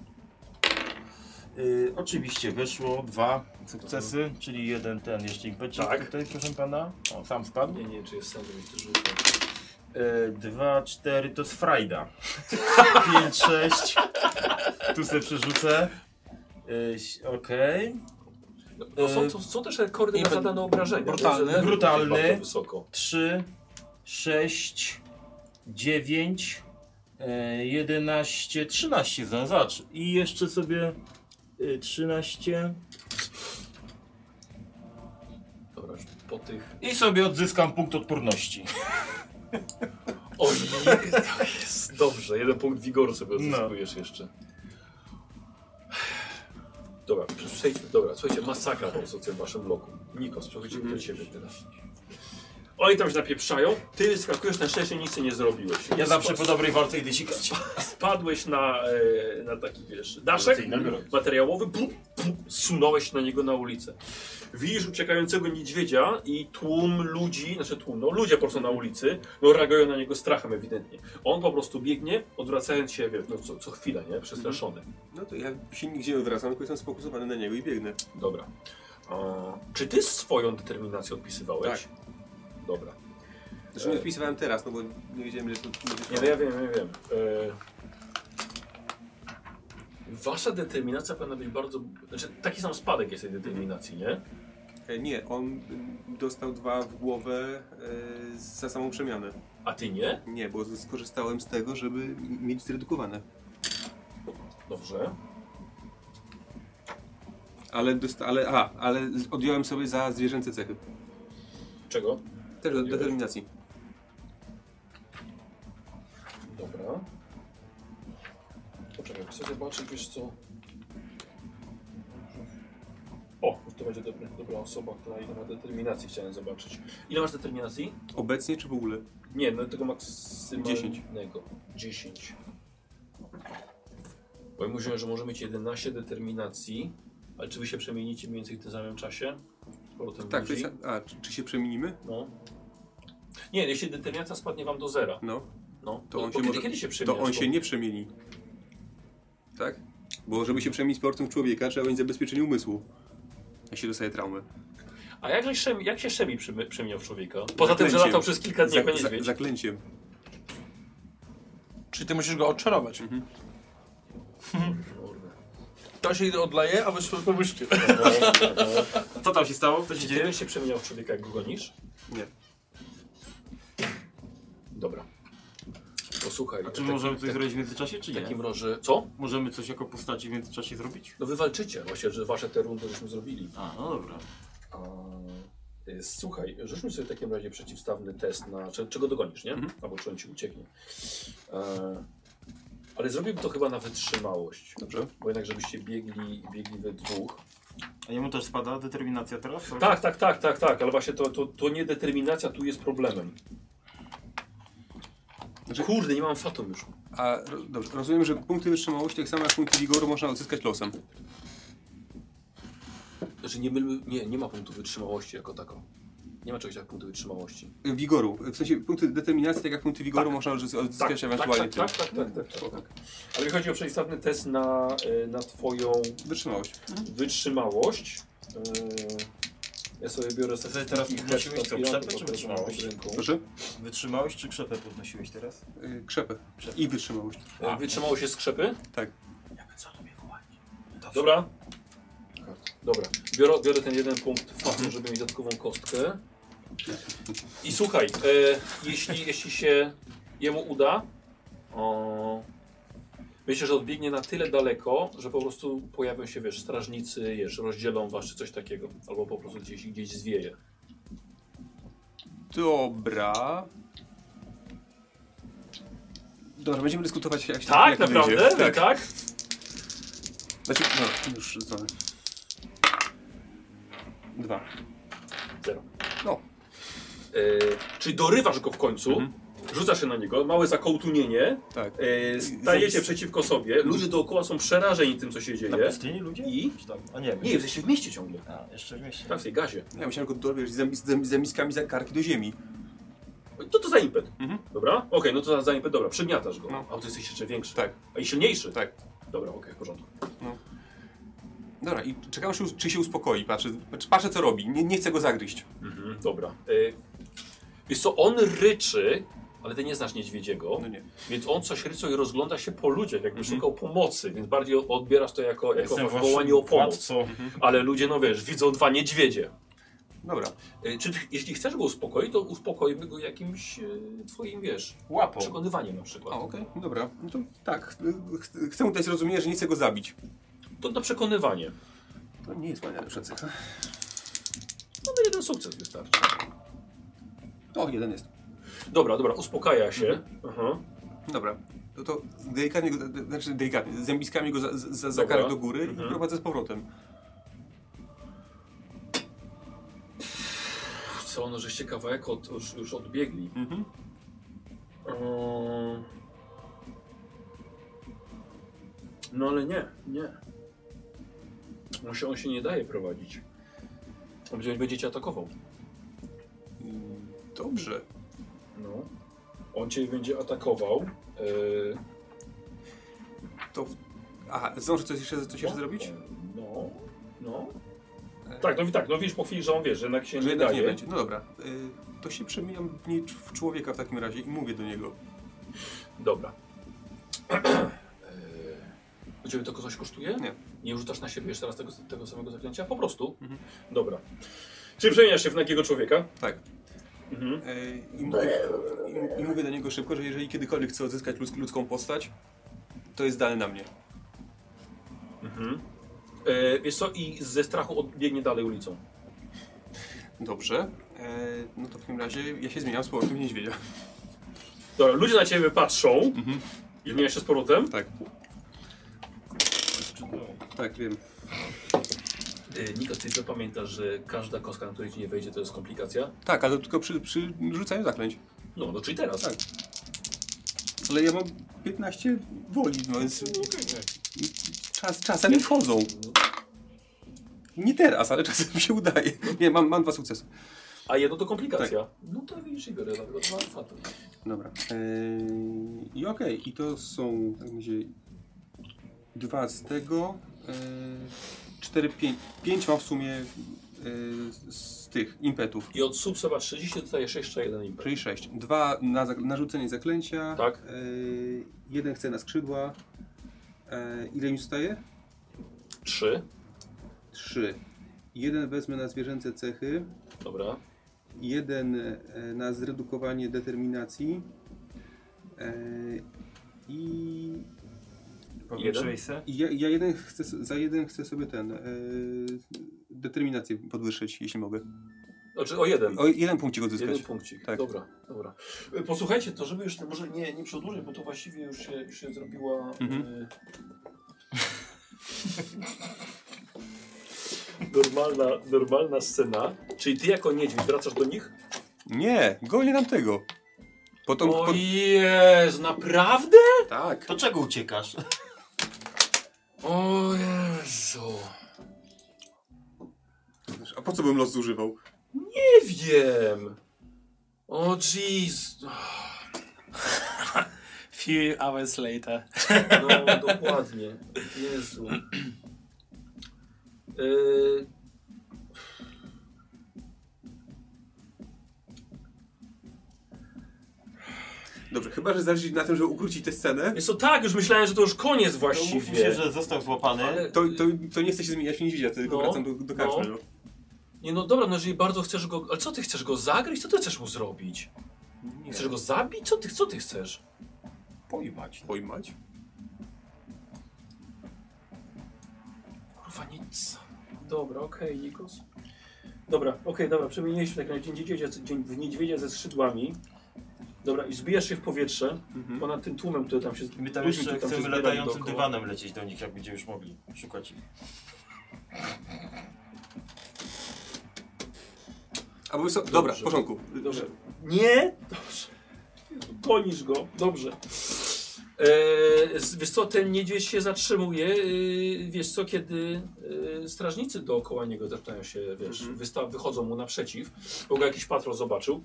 S14: E, oczywiście weszło dwa sukcesy, czyli jeden ten jeszcze impecik
S1: Tak.
S14: tutaj, proszę pana. O, sam spadł.
S1: nie, nie, czy jest sam, że
S14: E, Dwa, cztery, to z frajda. Pięć, sześć. Tu sobie przerzucę. E, si- Okej.
S1: No są, są, są też rekordy na
S6: Impet-
S1: zadane obrażenia.
S6: brutalny.
S1: Także-
S14: Y- Brutalny.
S1: Bardzo wysoko.
S14: Trzy, sześć, dziewięć, e, jedenaście, trzynaście znalazł. I jeszcze sobie e, trzynaście.
S1: Dobra, już po tych...
S14: I sobie odzyskam punkt odporności.
S1: O nie, to jest dobrze, jeden punkt wigoru sobie odzyskujesz jeszcze. Dobra, przejdźmy, dobra, słuchajcie, masakra po prostu w tym waszym bloku. Nikos, przechodzimy
S14: Mhm.
S1: do ciebie teraz. Oni tam się napieprzają, ty skakujesz, na szczęście nic nie zrobiłeś.
S14: Ja zawsze po dobrej walce idę sikać.
S1: Spadłeś na, e, na taki, wiesz, daszek
S14: Rewelacyjny.
S1: materiałowy, bum, bum, sunąłeś na niego na ulicę. Widzisz uciekającego niedźwiedzia i tłum ludzi, znaczy tłum, no ludzie po prostu na ulicy, no reagują na niego strachem ewidentnie. On po prostu biegnie, odwracając się, wiesz, no co, co chwila, nie? Przestraszony.
S2: No to ja się nigdzie nie wracam, tylko jestem sfokusowany na niego i biegnę.
S1: Dobra. A, czy ty swoją determinację odpisywałeś? Tak. Dobra.
S2: Zresztą nie wpisywałem teraz, no bo nie wiedziałem, że to
S1: Nie, no ja wiem, ja wiem. E... Wasza determinacja powinna być bardzo... Znaczy, taki sam spadek jest tej determinacji, nie?
S2: E, Nie, on mm, dostał dwa w głowę e, za samą przemianę.
S1: A ty nie?
S2: Nie, bo z- skorzystałem z tego, żeby m- mieć zredukowane.
S1: Dobrze.
S2: Ale, dosta- ale, a, ale z- odjąłem sobie za zwierzęce cechy.
S1: Czego?
S2: Też do determinacji.
S1: Dobra. Poczekaj, chcę zobaczyć, wiesz co... O, to będzie dobra, dobra osoba, która ile ma determinacji, chciałem zobaczyć. Ile masz determinacji?
S2: Obecnie czy w ogóle?
S1: Nie, no tego maksymalnego.
S2: Dziesięć.
S1: 10. Bo ja mówiłem, że może mieć 11 determinacji, ale czy wy się przemienicie mniej więcej w tym samym czasie? Z powrotem
S2: Tak, to
S1: ludzi?
S2: jest, a, czy, czy się przeminimy?
S1: No. Nie, jeśli determinacja spadnie wam do zera,
S2: No,
S1: no,
S2: To
S1: to, to
S2: on się
S1: kiedy,
S2: może-
S1: kiedy się przemienia?
S2: to on się nie przemieni. Tak? Bo żeby się przemienić sportem w człowieka, trzeba mieć zabezpieczenie umysłu. Jak się dostaje traumę.
S1: A jak, żeś szemi, jak się Szemi przemy- przemieniał w człowieka? Poza tym, że
S2: Zaklęciem.
S1: latał przez kilka dni jako
S2: za,
S1: niedźwiedź.
S2: za, Zaklęciem.
S6: Czyli ty musisz go odczarować.
S1: Kurde.
S6: To się odlaje, a wyszło po myszki.
S3: Co tam się stało? Co się
S1: Ty
S3: dzieje?
S1: byś się przemieniał w człowieka, jak go gonisz?
S2: Nie.
S1: Dobra. Posłuchaj.
S3: A czy możemy coś zrobić w międzyczasie, czy
S1: w
S3: nie?
S1: takim razie... Co?
S3: Możemy coś jako postaci w międzyczasie zrobić?
S1: No wy walczycie, właśnie, że wasze te rundy żeśmy zrobili.
S3: A, no dobra.
S1: A, y, słuchaj, rzućmy sobie w takim razie przeciwstawny test na czy- czego dogonisz, nie? Albo czy on ci ucieknie. E, ale zrobiłbym to chyba na wytrzymałość.
S2: Dobrze.
S1: Bo jednak żebyście biegli, biegli we dwóch.
S3: A jemu też spada determinacja teraz?
S1: Tak, tak, tak, tak, tak, ale właśnie to, to, to nie determinacja tu jest problemem.
S2: Znaczy-
S1: Kurde, nie mam fatum już.
S2: A ro, dobrze, rozumiem, że punkty wytrzymałości, tak samo jak punkty wigoru, można odzyskać losem.
S1: Znaczy nie, mylmy, nie, nie ma punktu wytrzymałości jako tako. Nie ma czegoś jak punktu wytrzymałości.
S2: Y, Wigoru. W sensie punkty determinacji, tak jak punkty wigoru, można odzy-
S1: Tak,
S2: odzyskać
S1: tak, tak,
S2: ewentualnie
S1: tak, tak, tak, tak, tak, tak. Ale mi chodzi o przeciwstawny test na, y, na twoją
S2: tym. Wytrzymałość.
S1: wytrzymałość. Eee, Ja sobie biorę
S3: sobie teraz
S1: statystyki
S3: podnosiłeś
S1: też
S3: co,
S1: od
S3: krzepy,
S1: Iranu, bo
S3: czy
S1: to mam pod
S3: wytrzymałość?
S1: ręką.
S2: Proszę?
S3: Wytrzymałeś czy krzepę podnosiłeś teraz?
S2: Y, Krzepę.
S3: Krzepę.
S2: I wytrzymałość.
S1: Eee, Wytrzymało się skrzepy?
S2: Tak.
S1: Dobra. Dobra. Biorę, biorę ten jeden punkt fatu, żeby mieć dodatkową kostkę. I słuchaj, e, jeśli, jeśli się jemu uda, o, myślę, że odbiegnie na tyle daleko, że po prostu pojawią się, wiesz, strażnicy, wiesz, rozdzielą was czy coś takiego. Albo po prostu gdzieś, gdzieś zwieje.
S2: Dobra. Dobra, będziemy dyskutować jak się
S1: Tak,
S2: jak to
S1: naprawdę?
S2: wyjdzie.
S1: Tak.
S2: Tak.
S1: tak?
S2: Znaczy, no, już zdany. Dwa.
S1: Zero.
S2: No.
S1: E, czyli dorywasz go w końcu,
S2: Mhm.
S1: rzucasz się na niego, małe zakołtunienie,
S2: Tak.
S1: e, stajecie
S2: Zobacz.
S1: przeciwko sobie, ludzie dookoła są przerażeni tym, co się
S3: Na
S1: dzieje.
S3: pustyni ludzie?
S1: I?
S3: Czy tam? A nie,
S1: Nie, jesteście w mieście ciągle.
S3: A, jeszcze w mieście.
S1: Tak, w tej gazie.
S2: Ja myślałem go dorwiesz z, zam- z, zam- z zamiskami za karki do ziemi.
S1: To to za impet,
S2: Mhm.
S1: dobra? Okej, no to za, za impet, dobra, przygniatasz go.
S2: No.
S1: A ty jesteś jeszcze większy.
S2: Tak.
S1: A i silniejszy.
S2: Tak.
S1: Dobra, okej, w porządku.
S2: Dobra, i czekam, czy, czy się uspokoi. Patrzę, patrzę co robi. Nie, nie chcę go zagryźć.
S1: Mhm, dobra. E, wiesz co, on ryczy, ale ty nie znasz niedźwiedziego.
S2: No nie.
S1: Więc on coś rycą i rozgląda się po ludziach, jakby
S2: Mhm.
S1: szukał pomocy, więc bardziej odbierasz to jako, jako
S3: waszym
S1: wołanie o pomoc.
S3: władcą. Mhm.
S1: Ale ludzie, no wiesz, widzą dwa niedźwiedzie.
S2: Dobra.
S1: E, Czy, ty- jeśli chcesz go uspokoić, to uspokoimy go jakimś e, twoim, wiesz,
S3: Łapą.
S1: przekonywaniem na przykład.
S2: A, okej. Dobra. No to tak. ch- Chcę mu dać zrozumienie, że nie chcę go zabić.
S1: To na przekonywanie.
S2: To nie jest moja najlepsza cecha.
S1: No to jeden sukces wystarczy.
S2: O, jeden jest.
S1: Dobra, dobra, uspokaja
S3: Mhm.
S1: się. Aha.
S2: Dobra. No to delikatnie, go, znaczy delikatnie, zębiskami go za, za, za
S1: Dobra.
S2: kark do góry
S1: Mhm.
S2: i prowadzę z powrotem.
S1: Pff, Co, no żeście kawałek od, już, już odbiegli.
S2: Mhm.
S1: Eee. No ale nie, nie. On się, on się nie daje prowadzić. Będzie, będzie cię atakował.
S2: Mm, Dobrze.
S1: No. On cię będzie atakował. Yy,
S2: To. w- Aha, zdążę coś jeszcze, coś jeszcze zrobić? E.
S1: No, no. Tak, no i tak, no widzisz po chwili, że on wie, że jednak się
S2: Że
S1: nie
S2: jednak
S1: daje.
S2: nie będzie. No dobra. Y, To się przemieniam w, nie, w człowieka w takim razie i mówię do niego.
S1: Dobra.
S2: E,
S1: Yy, Ciebie to coś kosztuje?
S2: No Nie.
S1: Nie rzucasz na siebie jeszcze raz tego, tego samego zaklęcia? Po prostu?
S2: Mhm.
S1: Dobra. Czyli przemieniasz się w takiego człowieka?
S2: Tak.
S1: Mhm.
S2: Y, I mówię, i, I mówię do niego szybko, że jeżeli kiedykolwiek chce odzyskać ludzk, ludzką postać, to jest dane na mnie.
S1: Mhm. E, wiesz co, i ze strachu odbiegnie dalej ulicą.
S2: Dobrze. Y, No to w takim razie ja się zmieniam z powrotem w niedźwiedzia.
S1: Dobra, ludzie na ciebie patrzą.
S2: Mhm.
S1: I zmieniasz się z powrotem.
S2: Tak. Tak, wiem.
S1: Yy, Nikos, ty jeszcze pamiętasz, że każda kostka, na której ci nie wejdzie, to jest komplikacja?
S2: Tak, ale tylko przy, przy rzucaniu zaklęć.
S1: No, no czyli teraz.
S2: Tak. Ale ja mam 15 woli, no więc czas, czasem mi wchodzą. Nie teraz, ale czasem mi się udaje. Nie, mam, mam dwa sukcesy.
S1: A jedno to komplikacja.
S2: Tak.
S1: No to widzisz i biorę dlatego dwa faty.
S2: Dobra. Eee, I okej, i to są tak będzie, dwa z tego. Eee, cztery, pięć. Pięć mam w sumie eee, z tych impetów.
S1: I od sub seba 30 dostajesz jeszcze jeden impet.
S2: Czyli 6. Dwa na, zak- na rzucenie zaklęcia.
S1: Tak.
S2: Yy, jeden chce na skrzydła. Yy, ile mi zostaje?
S1: 3.
S2: Trzy. Jeden wezmę na zwierzęce cechy.
S1: Dobra.
S2: Jeden e, na zredukowanie determinacji. Yy, I
S3: Powiększaj se.
S2: i ja, ja jeden chcę, s- za jeden chcę sobie ten. e, determinację podwyższyć, jeśli mogę.
S1: Znaczy o jeden.
S2: O jeden punkcik
S1: jeden
S2: odzyskać.
S1: punkcik.
S2: Tak.
S1: Dobra, dobra. E, Posłuchajcie, to żeby już może nie, nie przedłużyć, bo to właściwie już się, już się zrobiła.
S2: Mhm.
S1: e, normalna, normalna scena. Czyli ty jako niedźwiedź wracasz do nich?
S2: Nie, golię nam tego. Potem. Po,
S1: jest, naprawdę?
S2: tak.
S3: To czego uciekasz?
S1: O Jezu.
S2: A po co bym los zużywał?
S1: Nie wiem. O jeez.
S6: Few hours later.
S1: No, dokładnie. Jezu. Yy...
S2: Dobrze, chyba że zależy na tym, żeby ukrócić tę scenę,
S1: Jest to tak, już myślałem, że to już koniec
S3: To Mówi się,
S1: właściwie.
S3: że został złapany.
S1: Ale-
S2: to, to, to nie chce się zmieniać w niedźwiedzia, tylko
S1: No,
S2: wracam do, do karczmy.
S1: no.
S2: No.
S1: Nie no dobra, no jeżeli bardzo chcesz go. Ale co ty chcesz go zagryźć? Co ty chcesz mu zrobić?
S2: Nie.
S1: Chcesz go zabić? Co ty, co ty chcesz?
S3: Pojmać.
S2: pojmać?
S1: Kurwa nic. Dobra, okej, Nikos. Dobra, okej, dobra, przemieniliśmy tak na dzień niedźwiedzia, dzień w niedźwiedzia ze skrzydłami. Dobra, i zbijasz się w powietrze
S2: Mhm.
S1: ponad tym tłumem, który tam się
S3: My tam
S1: ludźmi,
S3: jeszcze
S1: którzy tam się
S3: chcemy
S1: zbierali
S3: latającym
S1: dookoła.
S3: dywanem lecieć do nich, jak będziemy już mogli szukać ich.
S2: A bo so, dobra, w
S1: Dobrze.
S2: porządku.
S1: Dobrze. Nie? Dobrze. Gonisz go. Dobrze. Eee, z- wiesz co, ten niedźwiedź się zatrzymuje, yy, wiesz co, kiedy yy, strażnicy dookoła niego zaczynają się, wiesz, wysta- wychodzą mu naprzeciw, bo go jakiś patrol zobaczył,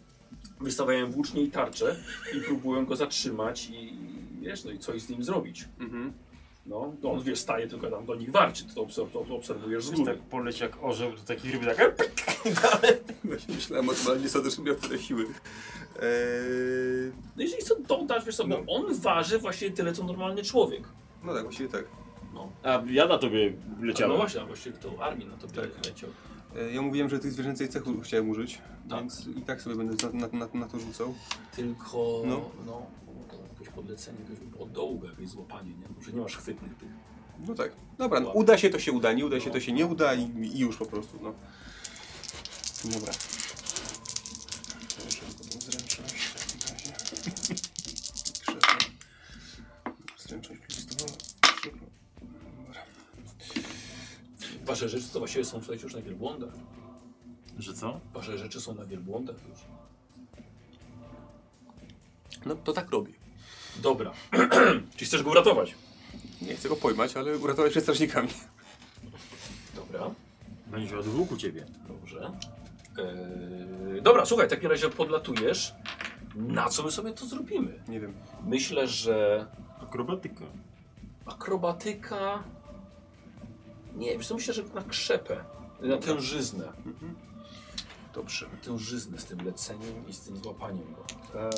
S1: wystawiają włócznie i tarcze i próbują go zatrzymać i i wiesz, no i coś z nim zrobić.
S2: Mhm.
S1: No, no on wiesz, staje tylko tam do nich warczy, ty to, obser- to, to obserwujesz z
S3: Wiesz,
S1: góry.
S3: tak poleć jak orzeł do takich ryb, tak
S2: Właśnie myślałem o tym, ale nie sądzę, że miał tyle siły. E, Eee,
S1: No jeżeli co, to dasz, wiesz co, bo on waży właśnie tyle, co normalny człowiek.
S2: no tak, właściwie tak.
S1: No.
S3: A ja na tobie
S1: A No
S3: leciałem.
S1: właśnie, a właściwie to armii na to tak. leciał.
S2: Eee, ja mówiłem, że tych zwierzęcej cechu chciałem użyć,
S1: Tak.
S2: więc i tak sobie będę na, na, na, na to rzucał.
S1: Tylko no.
S2: No.
S1: No, jakieś podlecenie, jakieś od dołu, jakieś złapanie, nie? Może nie masz chwytnych tych.
S2: No tak. Dobra, no, uda się to się uda, nie uda się to się nie uda i, i już po prostu, no. Dobra. Zręczność w takim razie. Krzesło. Zręczność plus dwa. Szybko. Dobra.
S1: Wasze rzeczy to właściwie są słuchajcie, już na wielbłądach.
S3: Że co?
S1: Wasze rzeczy są na wielbłądach już.
S2: No to tak robię.
S1: Dobra. Czyli chcesz go uratować?
S2: Nie chcę go pojmać, ale uratować się strażnikami.
S1: Dobra.
S3: Będziesz miał dwóch u ciebie.
S1: Dobrze. Eee, dobra, słuchaj, w takim razie podlatujesz. Na co my sobie to zrobimy?
S2: Nie wiem.
S1: Myślę, że
S3: Akrobatyka.
S1: akrobatyka. Nie, wiesz, co, myślę, że na krzepę, na tężyznę.
S3: Mhm.
S1: Dobrze, na tężyznę z tym leceniem i z tym złapaniem go. Eee,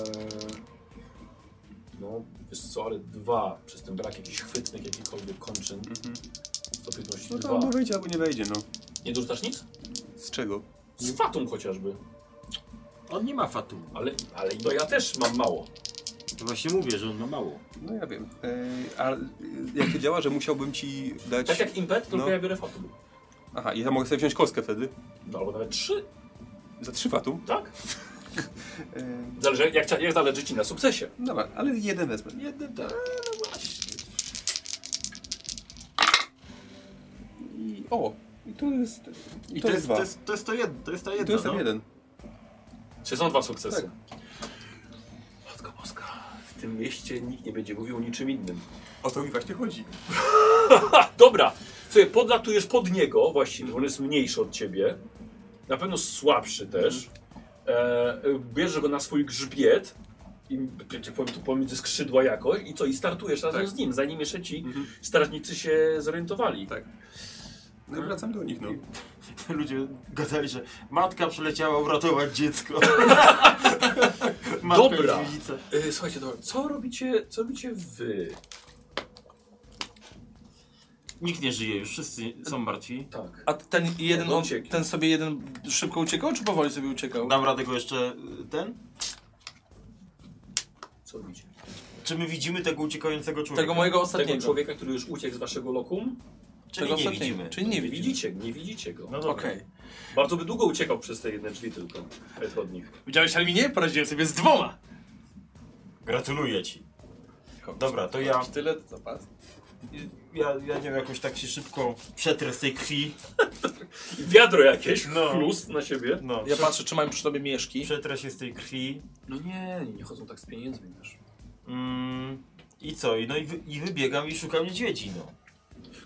S1: no, wiesz co, ale dwa, przez ten brak jakichś chwytnych, jakichkolwiek kończyn,
S3: Mhm.
S1: stopiętności
S2: No to
S1: dwa.
S2: albo wejdzie, albo nie wejdzie, no.
S1: Nie dorzucasz nic?
S2: Z czego?
S1: Z fatum chociażby.
S3: On nie ma fatu.
S1: Ale, ale no ja też mam mało. Tak
S3: To właśnie mówię, że on ma mało.
S2: No ja wiem. E, a e, jak to działa, że musiałbym ci dać...
S1: Tak jak impet, tylko
S2: No.
S1: ja biorę fatum.
S2: Aha, i ja mogę sobie wziąć kostkę wtedy.
S1: No, albo nawet trzy,
S2: Za trzy fatum.
S1: tak?
S2: E,
S1: Zależy, jak, jak zależy ci na sukcesie.
S2: dobra, ale jeden no wezmę.
S1: Jeden, tak.
S2: I, o, i to jest... I to,
S3: to,
S2: jest dwa.
S3: to, jest, to jest to jedno. To jest ta
S2: I
S3: jedna.
S2: to jest
S3: no.
S2: ten jeden.
S1: Czy są dwa sukcesy? Tak. Matko Boska, w tym mieście nikt nie będzie mówił o niczym innym.
S2: O to mi właśnie chodzi.
S1: Ha, dobra! Słuchaj, podlatujesz pod niego właściwie, on jest mniejszy od ciebie. Na pewno słabszy też. E, bierzesz go na swój grzbiet i wiecie, powiem tu pomiędzy skrzydła jakoś i co, i startujesz razem
S2: Tak.
S1: z nim, zanim jeszcze ci
S2: Mhm.
S1: strażnicy się zorientowali.
S2: Tak. No i wracam do nich, no.
S3: Ludzie gadali, że matka przyleciała uratować dziecko.
S1: Dobra.
S3: i dziedzice.
S1: E, słuchajcie, dobra, co robicie, co robicie wy?
S3: Nikt nie żyje już, wszyscy są martwi.
S1: Tak.
S6: A ten jeden,
S1: No,
S6: on,
S1: uciekł.
S6: ten sobie jeden szybko uciekał, czy powoli sobie uciekał?
S3: Dam radę go jeszcze y, ten?
S1: Co robicie?
S3: Czy my widzimy tego uciekającego człowieka?
S6: Tego mojego ostatniego.
S1: Tego człowieka, który już uciekł z waszego lokum?
S3: Czyli
S6: tego
S3: nie
S6: ostatniego.
S3: widzimy.
S6: Czyli nie
S1: Nie
S6: widzimy.
S1: widzicie, nie widzicie go.
S3: No dobra.
S6: Okej.
S1: Bardzo by długo uciekał przez te jedne drzwi tylko od nich.
S15: Widziałeś, ale mi nie poradziłem sobie z dwoma.
S3: Gratuluję ci. Dobra, to ja,
S6: Tyle to zapas.
S3: ja, ja nie wiem, jakoś tak się szybko przetrę z tej krwi.
S1: I wiadro jakieś,
S3: No.
S1: plus na siebie.
S3: No,
S6: Ja
S3: prze,
S6: patrzę, czy mają przy sobie mieszki.
S3: przetrę się z tej krwi.
S1: No nie, nie chodzą tak z pieniędzmi też.
S3: Mm, I co? I No i, wy, i wybiegam i szukam niedźwiedzi, no.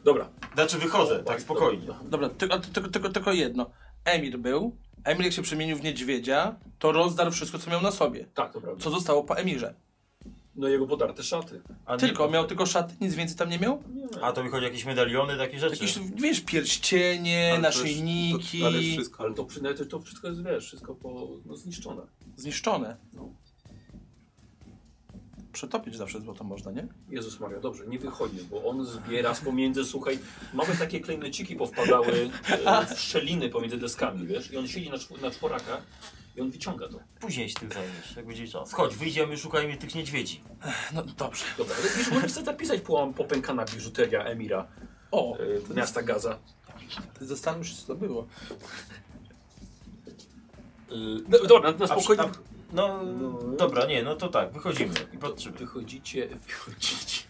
S1: Dobra.
S3: Znaczy wychodzę, tak spokojnie.
S6: Dobra, tylko, tylko, tylko, tylko jedno. Emir był. Emir jak się przemienił w niedźwiedzia, to rozdarł wszystko, co miał na sobie.
S1: Tak, to prawda.
S6: Co zostało po Emirze.
S1: No jego podarte szaty.
S3: A nie-
S6: Tylko, miał tylko szaty, nic więcej tam nie miał?
S3: A to mi chodzi o jakieś medaliony, takie rzeczy.
S6: Jakieś, wiesz, pierścienie,
S2: Ale to jest-
S6: naszyjniki,
S2: to- Ale jest wszystko.
S1: Ale to, przy- nawet to wszystko jest, wiesz, wszystko po, no, zniszczone.
S6: zniszczone.
S1: No.
S6: Przetopić zawsze złoto można, nie?
S1: Jezus Maria, dobrze, nie wychodzi, bo on zbiera z pomiędzy, słuchaj, małe takie klejneciki powpadały e, w szczeliny pomiędzy deskami, wiesz, i on siedzi na, czw- na czworakach i on wyciąga to.
S3: Później się tym zajmiesz, jak będzie czas. Chodź, wyjdziemy, szukajmy tych niedźwiedzi.
S6: No dobrze.
S1: Dobra, ale wiesz, możesz sobie zapisać po, popękana biżuteria Emira,
S6: O,
S1: e, miasta Gaza.
S6: zastanów się, co to było.
S1: No, dobra, na, na
S3: A przy-
S1: spokojnie.
S3: a- No, dobra, nie, no to tak, wychodzimy i patrzymy.
S1: Wychodzicie, wychodzicie.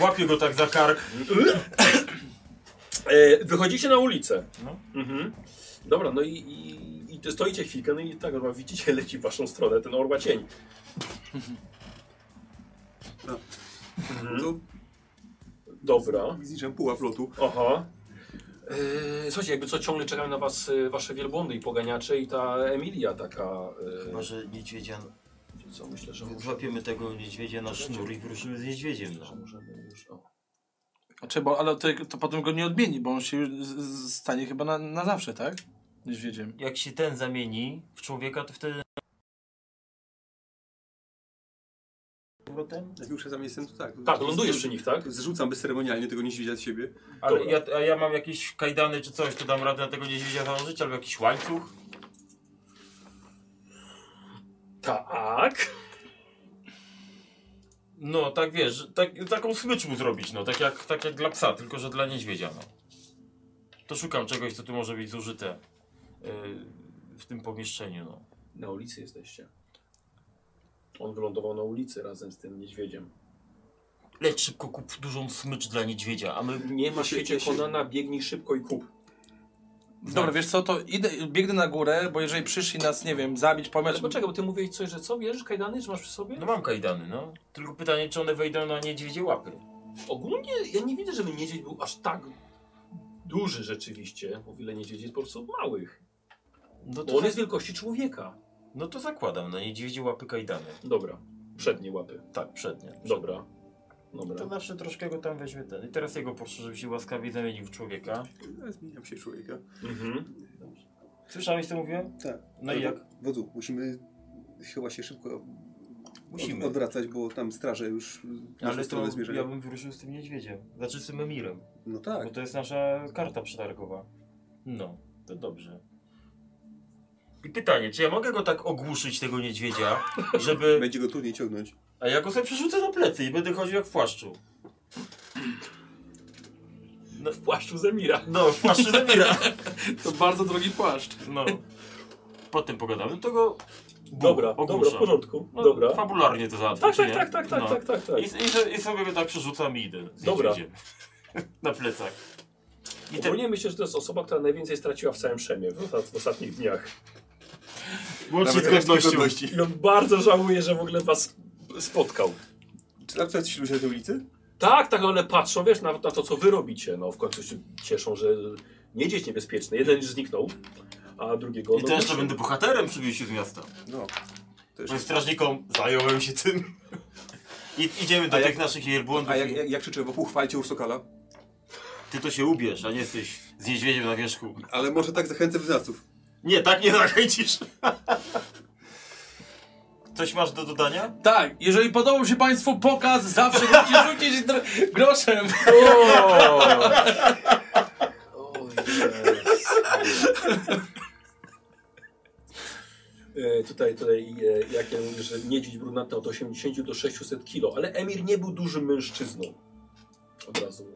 S3: Łapię go tak za kark.
S1: E, wychodzicie na ulicę.
S3: No.
S1: Mhm. Dobra, no i, i, i stoicie chwilkę, no i tak, orła widzicie, leci w waszą stronę ten orła cień.
S2: To
S1: Dobra.
S2: zniszczę pułap lotu.
S1: Aha. E, słuchajcie, jakby co ciągle czekają na was e, wasze wielbłądy i poganiacze i ta Emilia taka.
S3: Chyba, że niedźwiedzia,
S1: E, co myślę, że może,
S3: złapiemy tego niedźwiedzia na sznur i wyruszymy z niedźwiedziem, no.
S1: że możemy już. O.
S6: Znaczy, bo, ale to, to potem go nie odmieni, bo on się już z- z- stanie chyba na, na zawsze, tak? Niedźwiedziem.
S3: Jak się ten zamieni w człowieka, to wtedy... Powrotem?
S2: Jak już ja za miejscem, to tak.
S1: Tak, lądujesz przy nich, tak?
S2: Zrzucam bezceremonialnie tego niedźwiedzia z siebie.
S3: Ale
S1: Dobra.
S3: ja, a ja mam jakieś kajdany czy coś, to dam radę na tego niedźwiedzia założyć, albo jakiś łańcuch.
S1: Tak.
S3: No, tak wiesz, tak, taką smycz mu zrobić, no, tak jak, tak jak dla psa, tylko że dla niedźwiedzia, no. To szukam czegoś, co tu może być zużyte yy, w tym pomieszczeniu, no.
S1: Na ulicy jesteście. On wylądował na ulicy razem z tym niedźwiedziem.
S3: Leć szybko, kup dużą smycz dla niedźwiedzia, a my...
S1: Nie ma
S2: Ja się-
S1: świecie
S2: ja się-
S1: Konana, biegnij szybko i kup.
S6: Dobra, wiesz co, to idę, biegnę na górę, bo jeżeli przyszli nas, nie wiem, zabić,
S1: Ale
S6: pomiać...
S1: Znaczy, poczekaj, bo ty mówiłeś coś, że co, bierzesz kajdany, że masz przy sobie?
S3: No mam kajdany, no. Tylko pytanie, czy one wejdą na niedźwiedzie łapy.
S1: Ogólnie ja nie widzę, żeby niedźwiedź był aż tak duży rzeczywiście, o wiele niedźwiedzic od małych.
S3: No
S1: Bo
S3: to,
S1: on jest wielkości człowieka.
S3: no to zakładam, na niedźwiedzi łapy kajdany.
S1: Dobra, przednie łapy.
S3: Tak, przednie.
S1: Dobra.
S3: To
S1: Dobra.
S3: zawsze troszkę go tam weźmie ten. I teraz jego proszę, żeby się łaskawie zamienił w człowieka.
S2: Ja Zmieniam się człowieka.
S1: Mhm.
S3: Słyszałeś co mówiłem?
S2: Tak.
S3: No i jak?
S2: Wodzu, musimy chyba się szybko
S3: Musimy.
S2: od- odwracać, bo tam straże już w naszą
S3: Ale to
S2: stronę zmierzają.
S3: ja bym wyruszył z tym niedźwiedziem. Znaczy z tym emirem.
S2: No
S3: Bo
S2: tak.
S3: to jest nasza karta przetargowa. No, to dobrze. I pytanie, czy ja mogę go tak ogłuszyć, tego niedźwiedzia, żeby...
S2: Będzie go trudniej ciągnąć.
S3: A ja go sobie przerzucę na plecy i będę chodził jak w płaszczu.
S1: W płaszczu Zemira.
S3: No, w płaszczu Zemira.
S16: To bardzo drogi płaszcz.
S3: No. Potem pogadamy, no to go... Bum,
S1: Dobra, dobra,
S3: ogłuszam.
S1: w porządku.
S3: No,
S1: Dobra.
S3: Fabularnie to załatwię,
S1: Tak,
S3: czy
S1: tak,
S3: nie?
S1: tak, tak, tak,
S3: No.
S1: tak, tak, tak.
S3: I, i, I sobie go tak przerzucam i idę z
S1: Dobra.
S3: niedźwiedziem. na plecach. I ten...
S1: Ogólnie myślę, że to jest osoba, która najwięcej straciła w całym Szemie w, ostat- w ostatnich dniach.
S3: Łącznie z
S2: Nawet
S3: godnością.
S2: godności.
S1: I on bardzo żałuje, że w ogóle was spotkał.
S2: Czy tam coś ludzie na tej ulicy?
S1: Tak, tak, ale patrzą, wiesz, na, na to, co wy robicie. No, w końcu się cieszą, że nie dzieć niebezpieczny. Jeden już zniknął, a drugiego...
S3: I
S1: no,
S3: to jeszcze będę bohaterem przywieźć z miasta.
S2: No. To
S3: Powiem
S2: jest...
S3: strażnikom, zająłem się tym. I, idziemy do
S2: A
S3: tych
S2: jak-
S3: naszych wielbłądów.
S2: A jak,
S3: i-
S2: jak, jak krzyczę, bo uchwalcie Ursokala.
S3: Ty to się ubierz, a nie jesteś z niedźwiedziem na wierzchu.
S2: Ale może tak zachęcę wyznawców.
S3: Nie, tak nie zachęcisz. Coś masz do dodania?
S6: Tak, jeżeli podobał się Państwu pokaz, zawsze możecie rzucić dr- groszem.
S1: O Jezu. E, Tutaj, tutaj e, jak ja mówię, że niedźwiedź brunatny od 80 do 600 kg, ale Emir nie był dużym mężczyzną. Od razu.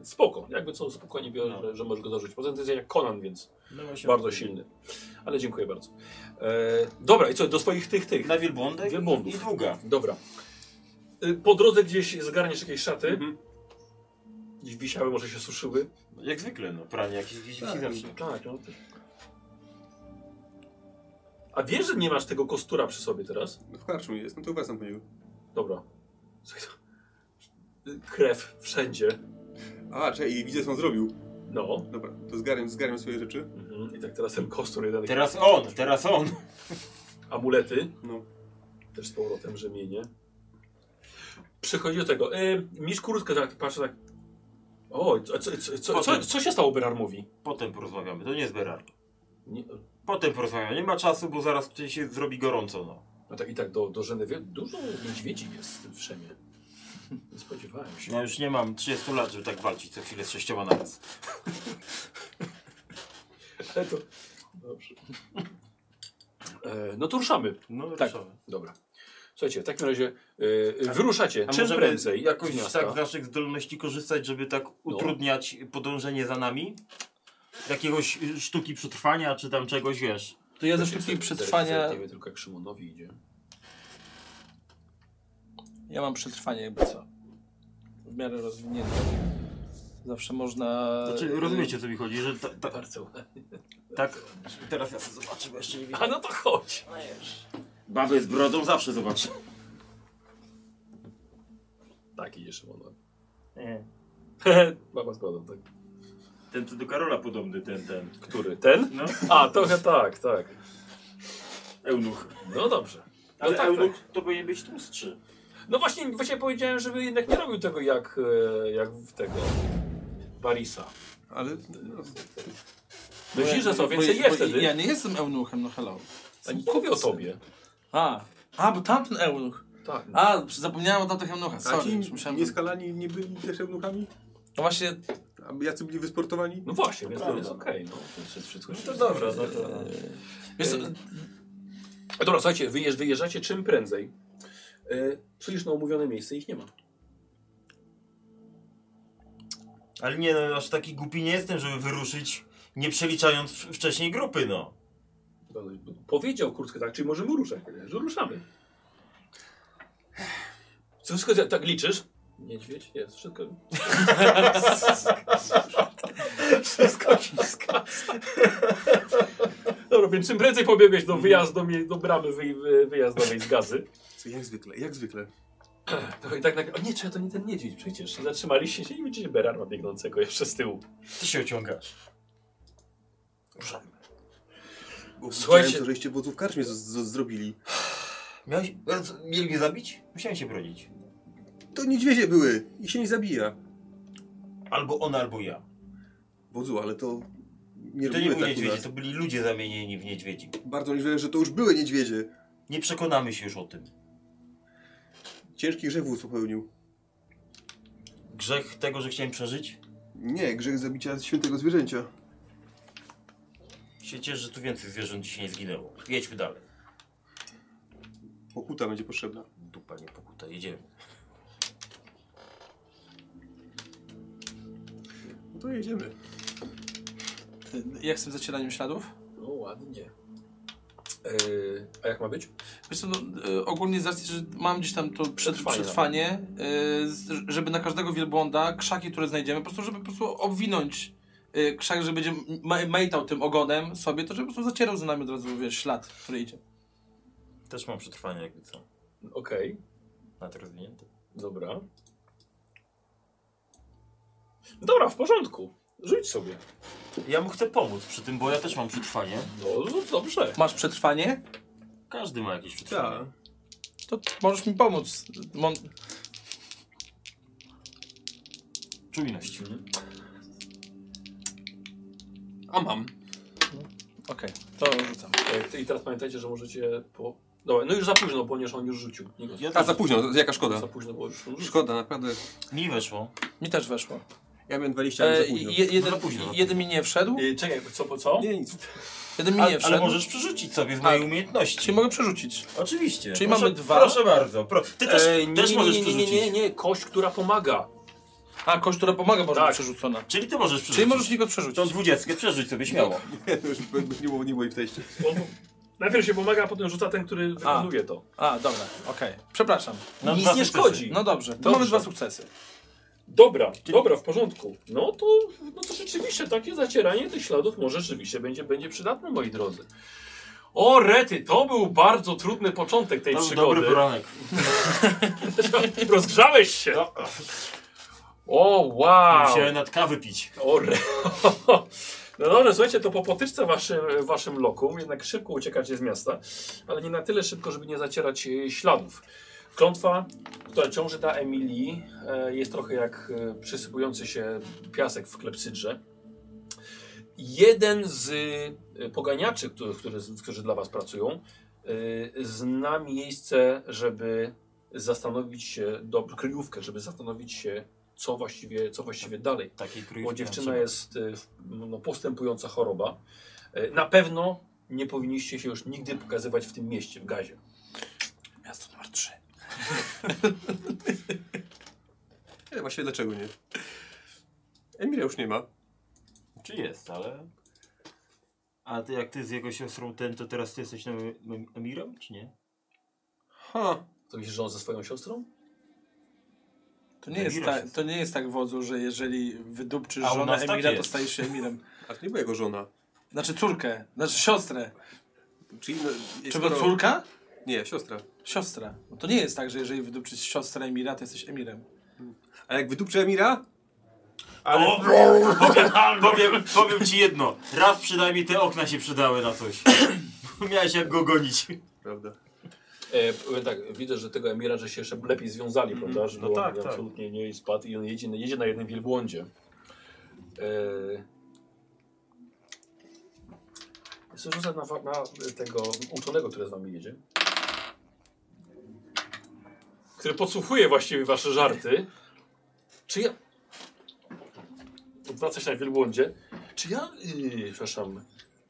S1: e, Spoko, jakby co, spokojnie biorę, że, że możesz go zarzucić. Poza tym to jest jak Conan, więc
S3: No właśnie.
S1: bardzo silny. Ale dziękuję bardzo. E, dobra, i co, do swoich tych, tych.
S3: Na wielbłądek
S1: Wielbłądów.
S3: No i długa.
S1: Dobra. Y, Po drodze gdzieś zgarniesz jakieś szaty.
S2: Mhm.
S1: Gdzieś wisiały, może się suszyły.
S3: Jak zwykle, no, pranie jakieś gdzieś
S2: Tak.
S3: wisi zawsze.
S1: Tak, no. A wiesz, że nie masz tego kostura przy sobie teraz?
S2: W karczmie jest, no to wracam po niego.
S1: Dobra. Słuchaj, to- y, Krew wszędzie.
S2: A, czekaj, i widzę co on zrobił.
S1: No.
S2: Dobra, to zgarniam, zgarniam swoje rzeczy.
S1: Mhm. I tak teraz ten kostur jeden.
S3: Teraz on, teraz on.
S1: Amulety.
S2: No.
S1: Też z powrotem rzemienie. Przychodzi do tego. Y, Misz Kuruska tak patrzy tak. O, co, co, co, co, co,
S3: Potem.
S1: co się stało Berarmowi?
S3: Potem porozmawiamy, to nie jest Berard.
S1: Nie,
S3: Potem porozmawiamy, nie ma czasu, bo zaraz tutaj się zrobi gorąco, no.
S1: No tak i tak do, do Żenewie dużo niedźwiedzi jest w Szemie. Nie spodziewałem się.
S3: Ja już nie mam 30 lat, żeby tak walczyć co chwilę z sześcioma na raz.
S1: Ale to... Dobrze. E, no to ruszamy.
S3: No,
S1: Tak.
S3: ruszamy.
S1: Dobra. Słuchajcie, w takim razie e, e, wyruszacie
S3: A
S1: czym
S3: możemy
S1: prędzej
S3: jakoś
S1: z
S3: z
S1: miasta. No.
S3: tak naszych zdolności korzystać, żeby tak utrudniać podążenie za nami? Jakiegoś y, sztuki przetrwania, czy tam czegoś, wiesz?
S6: To ja ze
S1: Zresztą
S6: sztuki
S1: zerk-
S6: przetrwania...
S1: zerkniemy tylko jak Szymonowi idzie.
S6: Ja mam przetrwanie jakby co. W miarę rozwinięte. Zawsze można...
S3: Znaczy, rozumiecie, o co mi chodzi, że ta, ta,
S1: Eee. Bardzo ładnie.
S3: tak... Teraz ja sobie zobaczę, bo jeszcze nie
S1: A no to chodź.
S3: Babę z brodą zawsze zobaczę.
S1: Tak idzie Szymonowi.
S3: Nie.
S1: Baba z brodą, tak.
S3: Ten co do Karola podobny, ten, ten.
S1: Który? Ten?
S3: No,
S1: A, trochę tak, tak.
S3: eunuch.
S1: No dobrze. No
S3: Ale
S1: tak,
S3: eunuch to powinien być tłustszy.
S1: No właśnie, właśnie powiedziałem, żeby jednak nie robił tego jak, e, jak w tego Barisa.
S2: Ale no,
S1: Myślisz, że są
S6: Bo-
S1: więcej
S6: bo-
S1: je
S6: bo
S1: wtedy?
S6: Ja nie jestem eunuchem, no hello.
S1: A nie mówię o tobie.
S6: A, a bo tamten eunuch.
S1: Tak.
S6: A, zapomniałem o tamtych eunuchach, sorry.
S2: Sorry,
S6: Już musiałem...
S2: nieskalani nie byli też eunuchami?
S6: No właśnie,
S2: A jacy byli wysportowani?
S1: No właśnie, więc to
S2: Prawda.
S1: jest okej. no. To jest wszystko.
S3: To dobra, no to...
S6: wiesz co,
S1: A Dobra, słuchajcie, wyjeżdż, wyjeżdżacie czym prędzej. E, Przyjdziesz na umówione miejsce, ich nie ma.
S3: Ale nie, no, aż taki głupi nie jestem, żeby wyruszyć, nie przeliczając w- wcześniej grupy, no.
S1: No, Powiedział kurczkę tak, czyli możemy ruszać. Powiedziałem, Że ruszamy. Co wszystko za- tak liczysz? Niedźwiedź? Jest, wszystko. wszystko się zgadza. Dobra, więc czym prędzej pobiegłeś do wyjazdu, do bramy wyj- wyjazdowej z gazy.
S2: Co, jak zwykle, jak zwykle.
S1: No i tak nagle, o nie, czy to nie ten niedźwiedź przecież. I Zatrzymaliście się i widzicie Berarma biegnącego jeszcze z tyłu.
S3: Ty się ociągasz.
S1: Słuchajcie-
S2: Słuchajcie, to, żeście wodzów karczmie z, z, zrobili.
S3: Miałeś... Ale co, Mieli mnie zabić? Musiałem się bronić.
S2: To niedźwiedzie były i się nie zabija.
S3: Albo on, albo ja.
S2: Wodzu, ale to nie
S3: To
S2: robimy
S3: nie były
S2: tak u
S3: niedźwiedzie,
S2: nas.
S3: to byli ludzie zamienieni w niedźwiedzi.
S2: Bardzo możliwe, że to już były niedźwiedzie.
S3: Nie przekonamy się już o tym.
S2: Ciężki grzech wódz popełnił.
S3: Grzech tego, że chciałem przeżyć?
S2: Nie, grzech zabicia świętego zwierzęcia.
S3: Się cieszę, że tu więcej zwierząt dzisiaj nie zginęło. Jedźmy dalej.
S2: Pokuta będzie potrzebna.
S3: Dupa, nie pokuta, jedziemy.
S2: No to jedziemy.
S6: Ty, y, Jak z tym zacieraniem śladów?
S1: No ładnie. Yy, a jak ma być?
S6: Wiesz co, no, y, ogólnie z racji, że mam gdzieś tam to przed,
S1: Przetrwanie.
S3: no.
S6: przetrwanie, y, z- żeby na każdego wielbłąda krzaki, które znajdziemy, po prostu żeby po prostu obwinąć y, krzak, że będzie ma- majtał tym ogonem sobie, to żeby po prostu zacierał za nami od razu wiesz, ślad, który idzie.
S3: Też mam przetrwanie jakby co.
S1: Okej,
S3: Nawet rozwinięte.
S1: dobra. Dobra, w porządku. Rzuć sobie.
S3: Ja mu chcę pomóc przy tym, bo ja też mam przetrwanie.
S1: No, rzuć dobrze.
S6: Masz przetrwanie?
S3: Każdy ma jakieś przetrwanie.
S2: Tak.
S6: To możesz mi pomóc. Mon-
S3: Czujność.
S5: A mam.
S6: Okej, to rzucam.
S1: E, I teraz pamiętajcie, że możecie po... Dobra, no już za późno, ponieważ on już rzucił. Nie go
S3: Ja tak,
S2: A
S3: też...
S2: za późno, jaka
S1: za
S2: szkoda.
S1: późno, bo już on rzucił.
S2: Szkoda, naprawdę.
S3: Mi weszło.
S6: Mi też weszło.
S2: Ja miałem 20 lat za
S6: E,
S2: późno.
S6: je, jeden,
S3: Za późno.
S6: jeden mi nie wszedł,
S1: E, Czekaj, co po co?
S2: Nie, nic.
S6: jeden mi
S3: A,
S6: nie wszedł.
S3: ale możesz przerzucić sobie z mojej umiejętności.
S6: Czyli mogę przerzucić.
S3: Oczywiście.
S6: Czyli
S3: proszę,
S6: mamy dwa?
S3: Proszę bardzo. Pro... Ty też,
S1: E, nie,
S3: też
S1: nie,
S3: możesz
S1: nie, nie, nie,
S3: przerzucić.
S1: nie, nie, kość, która pomaga.
S6: A, kość, która pomaga, może
S1: Tak.
S6: być przerzucona.
S3: Czyli ty możesz przerzucić.
S6: Czyli możesz mi go przerzucić.
S3: Tą dwudziestkę przerzuć sobie śmiało.
S2: Nie, to już nie było, nie było ich wejścia.
S1: On, najpierw się pomaga, a potem rzuca ten, który wykonuje to.
S6: A, dobra, okej. Przepraszam.
S3: Na
S1: Nic
S3: dwa
S1: nie
S3: sukcesy.
S1: szkodzi.
S6: No dobrze, to
S1: Dobrze.
S6: mamy dwa sukcesy.
S1: Dobra, dobra, w porządku. No to, no to rzeczywiście takie zacieranie tych śladów może rzeczywiście będzie, będzie przydatne, moi drodzy. O rety, to był bardzo trudny początek tej
S3: To był
S1: przygody.
S3: dobry poranek.
S1: Rozgrzałeś się.
S3: No.
S1: O wow.
S3: Musiałem nad kawy pić.
S1: O re... No dobrze, słuchajcie, to po potyczce waszym, waszym lokum jednak szybko uciekacie z miasta, ale nie na tyle szybko, żeby nie zacierać e, śladów. Klątwa, która ciąży na Emilii, e, jest trochę jak e, przysypujący się piasek w klepsydrze. Jeden z e, poganiaczy, którzy, którzy, którzy dla was pracują, e, zna miejsce, żeby zastanowić się, do, kryjówkę, żeby zastanowić się, co właściwie, co właściwie dalej
S3: Takiej
S1: bo
S3: kryjówki
S1: dziewczyna
S3: nam
S1: jest y, w- no, postępująca choroba. Y, Na pewno nie powinniście się już nigdy pokazywać w tym mieście, w gazie.
S6: Miasto numer trzy.
S2: E, właściwie dlaczego nie? Emilia już nie ma.
S3: trzeba. Czy jest, ale... A ty jak ty z jego siostrą ten, to teraz ty jesteś nowym em- emirem, czy nie?
S2: Ha.
S1: To myślisz, że on ze swoją siostrą?
S6: To nie, jest
S3: Emira
S6: ta,
S3: się-
S6: to nie jest tak wodzu, że jeżeli wydupczysz
S3: A u
S6: żonę
S3: nas tak
S6: Emila, to
S3: jest.
S6: stajesz się Emilem.
S2: A to nie była jego żona.
S6: Znaczy córkę, znaczy siostrę.
S2: Czyli no,
S6: Czy była córka?
S2: Nie, siostra.
S6: Siostra. No to nie jest tak, że jeżeli wydupczysz siostrę Emila, to jesteś Emilem.
S2: A jak wydupczy Emira?
S3: Ale o, powiem, powiem, powiem ci jedno. Raz przynajmniej te okna się przydały na coś. Miałeś jak go gonić.
S2: Prawda.
S1: E, powiem tak, widzę, że tego Emira, że się jeszcze lepiej związali, prawda? Że
S3: No
S1: on
S3: tak, tak.
S1: absolutnie nie spadł i on jedzie, jedzie na jednym wielbłądzie. E, Jest rzucę na, wa- na tego uczonego, który z wami jedzie. Który podsłuchuje właściwie wasze żarty. Czy ja... Odwraca się na wielbłądzie. Czy ja, yy, przepraszam,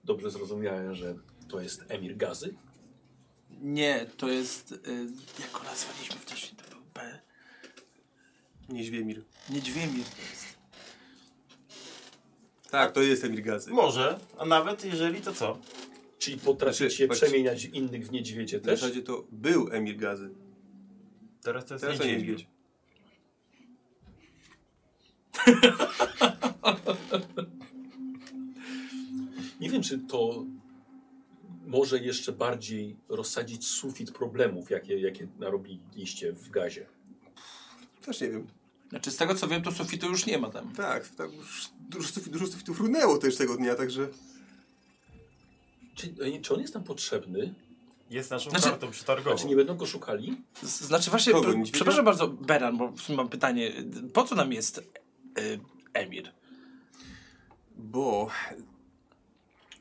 S1: dobrze zrozumiałem, że to jest Emir Gazy?
S6: Nie, to jest... Y, jak go nazwaliśmy wcześniej, to był B.
S2: Nieźwie Emir.
S6: Niedźwiemir to jest.
S2: Tak, to jest Emir Gazy.
S3: Może, a nawet jeżeli to co?
S1: Czyli potraficie
S2: Znaczy, patrz-
S1: przemieniać innych w niedźwiedzie
S2: W
S1: też?
S2: zasadzie to był Emir Gazy.
S3: Teraz to jest
S2: Teraz to niedźwiedź.
S1: Nie wiem, czy to może jeszcze bardziej rozsadzić sufit problemów, jakie, jakie narobiliście w gazie.
S2: Też nie wiem.
S6: Znaczy z tego co wiem, to sufitu już nie ma tam.
S2: Tak, tak już dużo sufitów, dużo sufitów runęło też tego dnia, także...
S1: Czy, e, czy on jest tam potrzebny?
S3: Jest naszą
S6: Znaczy-
S3: kartą przetargową.
S1: Czy nie będą go szukali?
S6: Z, znaczy właśnie,
S2: Kogo,
S6: pr-
S2: niedźwiedzia?
S6: przepraszam bardzo Beran, bo w sumie mam pytanie. Po co nam jest y, Emir?
S2: Bo...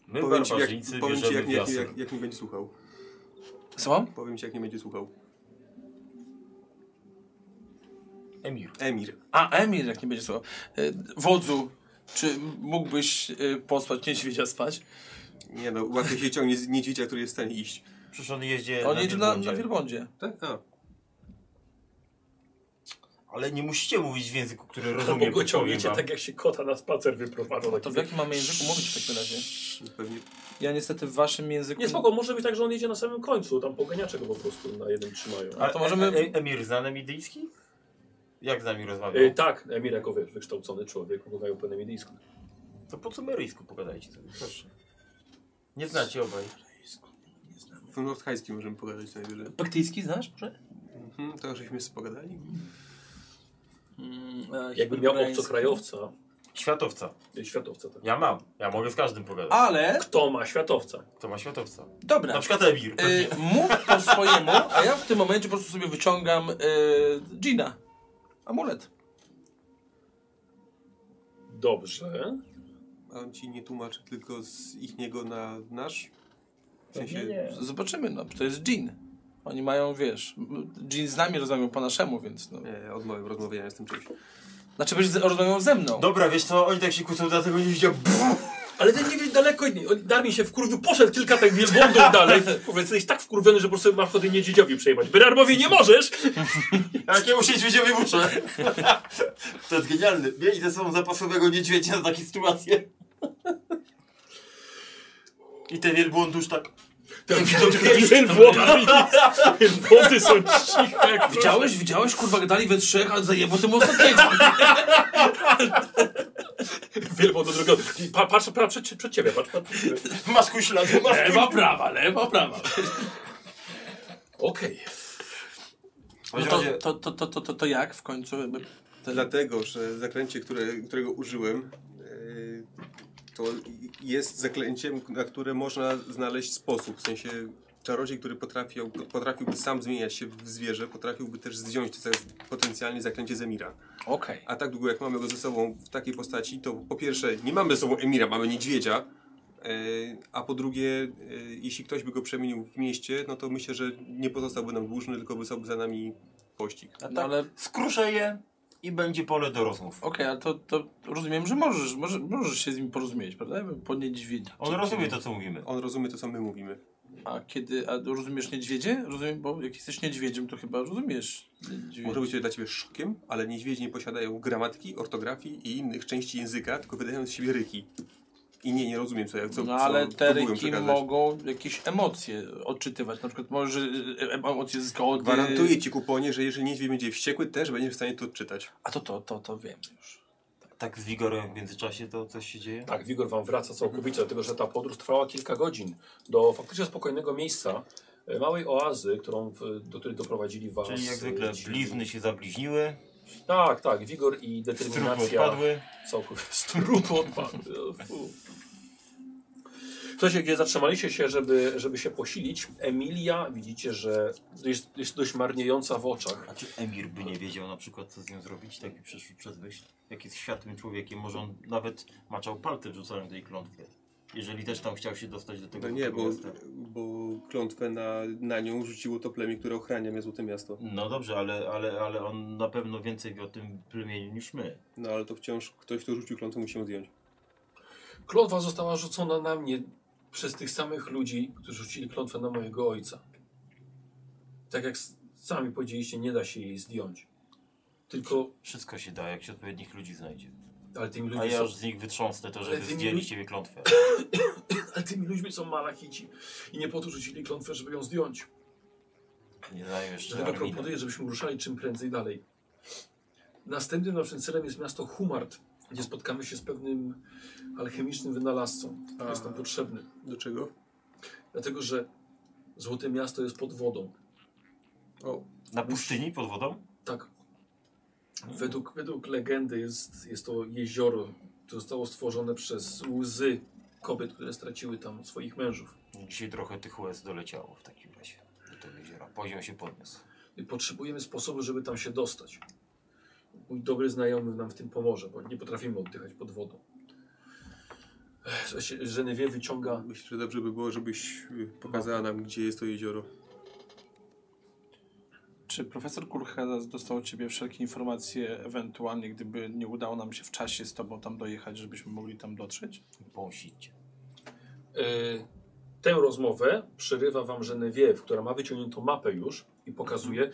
S3: My,
S2: powiem ci, jak,
S3: barbarzyńcy,
S2: powiem ci
S3: bierzemy
S2: jak,
S3: jak,
S2: jak, jak, jak nie będzie słuchał.
S6: Co?
S2: Powiem ci, jak nie będzie słuchał.
S3: Emir.
S2: Emir.
S6: A Emir, jak nie będzie słuchał. Y, wodzu, czy mógłbyś y, posłać niedźwiedzia spać?
S2: Nie no, łatwiej się ciągnie z niedźwiedzia, który jest w stanie iść.
S3: Przecież on jeździ
S6: On
S3: na,
S6: jedzie na, na
S3: wielbłądzie.
S6: wielbłądzie.
S2: Tak? A.
S3: Ale nie musicie mówić w języku, który
S1: Albo
S3: rozumiem.
S1: go
S3: podpowiem
S1: ciągniecie
S3: wam.
S1: tak, jak się kota na spacer wyprowadza.
S6: No To w jakim mamy języku mówić w takim razie?
S2: Pewnie
S6: Ja niestety w waszym języku...
S1: Nie, spoko, może być tak, że on jedzie na samym końcu, tam poganiacze go po prostu na jednym trzymają.
S6: A to możemy-
S3: E, e, Emir zna nam indyjski? Jak z nami rozmawiał?
S1: E, tak, Emir jako wiesz, wykształcony człowiek, mówią po nemidyjsku.
S3: To po sumeryjsku pogadajcie sobie, proszę. Nie znacie obaj.
S2: w nordhajskim możemy pogadać najwyżej.
S6: Baktyjski znasz może?
S2: Mhm, to żeśmy sobie pogadali.
S6: Mm, e,
S1: Jakby miał
S6: hibernański.
S1: obcokrajowca,
S3: Światowca.
S1: e, światowca tak.
S3: Ja mam. Ja mogę z każdym pogadać.
S6: Ale,
S1: Kto ma światowca?
S3: Kto ma światowca? Na
S6: dobra,
S3: przykład Emir.
S6: y, mów po swojemu, a ja w tym momencie po prostu sobie wyciągam y, Gina. Amulet.
S1: Dobrze.
S2: A on ci nie tłumaczy tylko z ich niego na nasz? W sensie...
S6: Zobaczymy, no, to jest Jean. Oni mają, wiesz, Jean z nami rozmawiał po naszemu, więc no.
S2: Nie, odmawiam rozmawiania z tym czymś.
S6: Znaczy, byś z- rozmawiał ze mną.
S3: Dobra, wiesz co, oni tak się kłócą, dlatego nie widział.
S1: Ale ten nie wie daleko, nie- on- Darwin się wkurwił, poszedł kilka tak wielbłądów dalej. Powiedz, jesteś tak wkurwiony, że po prostu masz chodzenie niedziedziowi przejmować. Berarmowi nie możesz!
S3: Jakiemu się niedźwiedziowi muszę? to jest genialny. Mieli ze sobą zapasowego niedźwiedzia na takie sytuacje. I ten wielbłąd już tak...
S1: Ten wielbłądami Wielbłądy są ciche jak
S6: Widziałeś, widziałeś, kurwa, gadali we trzech, a zajebło tym ostatniego.
S1: Wielbłąd do drugiego. Pa, patrz, patrz przed, przed ciebie, patrz. patrz.
S3: Masz kuślady, masz
S6: Lewa, prawa, lewa, prawa.
S1: Okej.
S6: No to, to, to, to, to, to, to jak w końcu? jakby Ten...
S2: Dlatego, że zaklęcie, które, którego użyłem, yy, to jest zaklęciem, na które można znaleźć sposób. W sensie czarodziej, który potrafił, potrafiłby sam zmieniać się w zwierzę, potrafiłby też zdjąć to za- potencjalnie zaklęcie z Emira.
S6: Okej.
S2: A tak długo jak mamy go ze sobą w takiej postaci, to po pierwsze nie mamy ze sobą Emira, mamy niedźwiedzia. yy, A po drugie, yy, jeśli ktoś by go przemienił w mieście, no to myślę, że nie pozostałby nam dłużny, tylko wysłałby za nami pościg.
S6: No ale,
S3: Skruszę je i będzie pole do rozmów.
S6: okej, ale to, to rozumiem, że możesz, może, możesz się z nim porozumieć, prawda? Po niedźwiedzie.
S3: On rozumie to, co mówimy.
S2: On rozumie to, co my mówimy.
S6: A kiedy, a rozumiesz niedźwiedzie? Rozumiem, bo jak jesteś niedźwiedziem, to chyba rozumiesz niedźwiedzie.
S2: Może być to dla Ciebie szokiem, ale niedźwiedzie nie posiadają gramatyki, ortografii i innych części języka, tylko wydają z siebie ryki. I nie, nie rozumiem, co, co,
S6: No ale
S2: co
S6: te
S2: próbują
S6: ryki
S2: przekazać.
S6: mogą jakieś emocje odczytywać. Na przykład może e, emocje zgody.
S2: Gwarantuję Ci, kuponie, że jeżeli niedźwiedź będzie wściekły, też będziesz w stanie to odczytać.
S6: A to, to, to, to wiem już.
S3: Tak z wigorem w międzyczasie to coś się dzieje?
S1: Tak, Wigor wam wraca całkowicie, dlatego że ta podróż trwała kilka godzin do faktycznie spokojnego miejsca, e, małej oazy, którą, w- do której doprowadzili was.
S3: Czyli jak
S1: e,
S3: zwykle
S1: ci-
S3: blizny się zabliźniły,
S1: Tak, tak, Wigor i
S3: strupy
S1: determinacja.
S3: odpadły.
S1: Całkowicie z trupu odpadły. Słuchajcie, gdzie zatrzymaliście się, żeby, żeby się posilić, Emilia widzicie, że jest, jest dość marniejąca w oczach.
S3: A czy Emir by nie wiedział na przykład, co z nią zrobić? Tak mi przeszło przez myśl. Jak jest światłym człowiekiem, może on nawet maczał palce wrzucając tej klątwie. Jeżeli też tam chciał się dostać do tego
S2: No nie,
S3: złotego
S2: bo,
S3: miasta.
S2: bo klątwę na, na nią rzuciło to plemię, które ochrania mnie Złote Miasto.
S3: No dobrze, ale, ale, ale on na pewno więcej wie o tym plemieniu niż my.
S2: No ale to wciąż ktoś, kto rzucił klątwę, musi ją zdjąć.
S1: Klątwa została rzucona na mnie przez tych samych ludzi, którzy rzucili klątwę na mojego ojca. Tak jak s- sami powiedzieliście, nie da się jej zdjąć. Tylko,
S3: Wszystko się da, jak się odpowiednich ludzi znajdzie.
S1: ale tymi
S3: A
S1: ludźmi,
S3: ja
S1: są,
S3: już z nich wytrząsnę to, żeby
S1: Ale ty mi-
S3: zdjęli z ciebie klątwę.
S1: ale tymi ludźmi są malachici. I nie po to rzucili klątwę, żeby ją zdjąć.
S3: Nie znają jeszcze
S1: Dlatego
S3: Armina.
S1: proponuję, tak żebyśmy ruszali czym prędzej dalej. Następnym naszym celem jest miasto Humart, gdzie spotkamy się z pewnym alchemicznym wynalazcą, który jest nam potrzebny.
S2: Do czego?
S1: Dlatego, że Złote Miasto jest pod wodą.
S2: O,
S3: Na pustyni pod wodą?
S1: Tak. Według, według legendy jest, jest to jezioro, które zostało stworzone przez łzy kobiet, które straciły tam swoich mężów.
S14: Dzisiaj trochę tych łez doleciało w takim razie do tego jeziora. Poziom się podniósł.
S1: I potrzebujemy sposobu, żeby tam się dostać. Mój dobry znajomy nam w tym pomoże, bo nie potrafimy oddychać pod wodą. Ech, Słuchajcie, Genevieve wyciąga
S2: Myślę, że dobrze by było, żebyś y, pokazała nam, gdzie jest to jezioro.
S6: Czy profesor Kurchada dostał od ciebie wszelkie informacje, ewentualnie gdyby nie udało nam się w czasie z tobą tam dojechać, żebyśmy mogli tam dotrzeć?
S14: Bąsić.
S1: Y, tę rozmowę przerywa wam Genevieve, która ma wyciągniętą mapę już i pokazuje.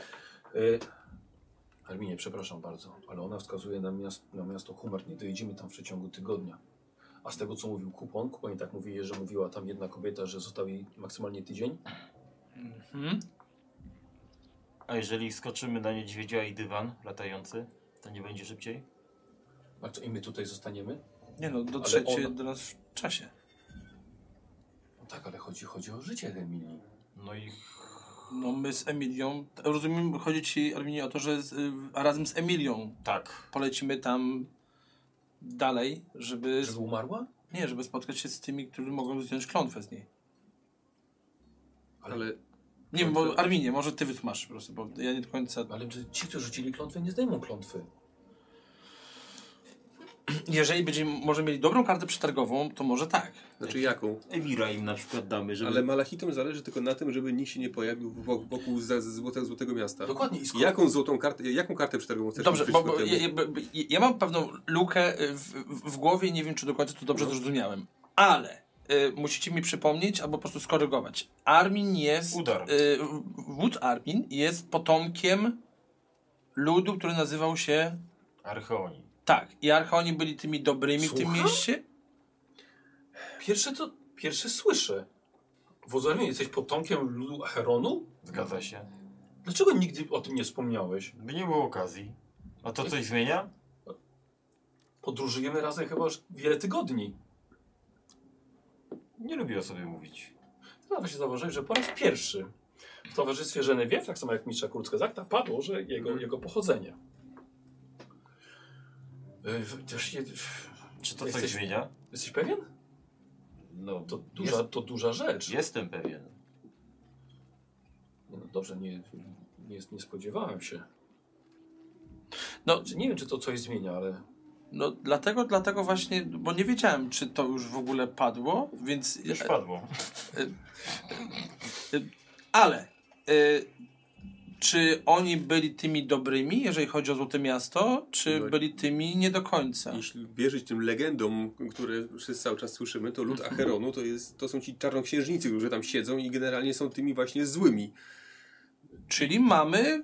S1: Y, Alminie, przepraszam bardzo, ale ona wskazuje na miasto, na miasto Humar. Nie dojedziemy tam w przeciągu tygodnia. A z tego, co mówił Kupon, Kupon i tak mówi, że mówiła tam jedna kobieta, że został jej maksymalnie tydzień.
S6: Mhm.
S14: A jeżeli skoczymy na niedźwiedzia i dywan latający, to nie będzie szybciej?
S1: A co, i my tutaj zostaniemy?
S6: Nie no, dotrzecie
S1: ona-
S6: do nas w czasie.
S1: No tak, ale chodzi, chodzi o życie Emilii.
S14: No i
S6: No my z Emilią, rozumiem, chodzi ci Arminie o to, że z, y, razem z Emilią
S14: tak.
S6: polecimy tam dalej, żeby...
S1: Żeby umarła?
S6: Nie, żeby spotkać się z tymi, którzy mogą zdjąć klątwę z niej.
S1: Ale-
S2: Ale
S6: Nie wiem, bo Arminie, może ty wytłumaczysz po prostu, bo ja nie do końca...
S1: Ale czy ci, którzy rzucili klątwę, nie zdejmą klątwy.
S6: Jeżeli będziemy może mieli dobrą kartę przetargową, to może tak.
S2: znaczy jaką?
S14: Emira im na przykład damy, żeby...
S2: Ale Malachitom zależy tylko na tym, żeby nikt się nie pojawił wo- wokół za, złote, złotego miasta.
S1: Dokładnie. I skoro...
S2: Jaką złotą kartę, jaką kartę przetargową chcesz
S6: Dobrze,
S2: użyć
S6: bo, bo
S2: ku temu?
S6: ja, ja, bo- ja mam pewną lukę y, w, w, w głowie i nie wiem, czy dokładnie to dobrze zrozumiałem. Ale y, musicie mi przypomnieć albo po prostu skorygować. Armin jest.
S14: Udar.
S6: Y, wódz Armin jest potomkiem ludu, który nazywał się.
S14: Archeoni.
S6: Tak, i archeoni byli tymi dobrymi w tym
S1: Słucham?
S6: mieście.
S1: Pierwsze to, pierwsze słyszę. Wodzarmie, jesteś potomkiem ludu Acheronu?
S14: Zgadza się.
S1: Dlaczego nigdy o tym nie wspomniałeś?
S14: By nie było okazji. A to coś zmienia?
S1: Podróżujemy razem chyba już wiele tygodni.
S14: Nie lubię o sobie mówić.
S1: No właśnie zauważyłem, że po raz pierwszy w towarzystwie Genevieve, tak samo jak mistrza Kurckezakta, padło, że jego, jego pochodzenie. Yy, w- też nie-
S14: Czy to coś
S1: Jesteś-
S14: zmienia?
S1: Jesteś pewien?
S14: No,
S1: To duża, to duża rzecz.
S14: Jestem pewien.
S1: Nie, No dobrze, nie, nie, nie spodziewałem się.
S6: No,
S1: Znaczy, nie wiem, czy to coś zmienia, ale
S6: no dlatego, dlatego właśnie, bo nie wiedziałem, czy to już w ogóle padło, więc.
S14: Już padło.
S6: Ale y, czy oni byli tymi dobrymi, jeżeli chodzi o Złote Miasto, czy
S2: No i-
S6: byli tymi nie do końca?
S2: Jeśli wierzyć tym legendom, które wszyscy cały czas słyszymy, to
S6: Mhm.
S2: lud Acheronu to, jest, to są ci czarnoksiężnicy, którzy tam siedzą i generalnie są tymi właśnie złymi.
S6: Czyli mamy y,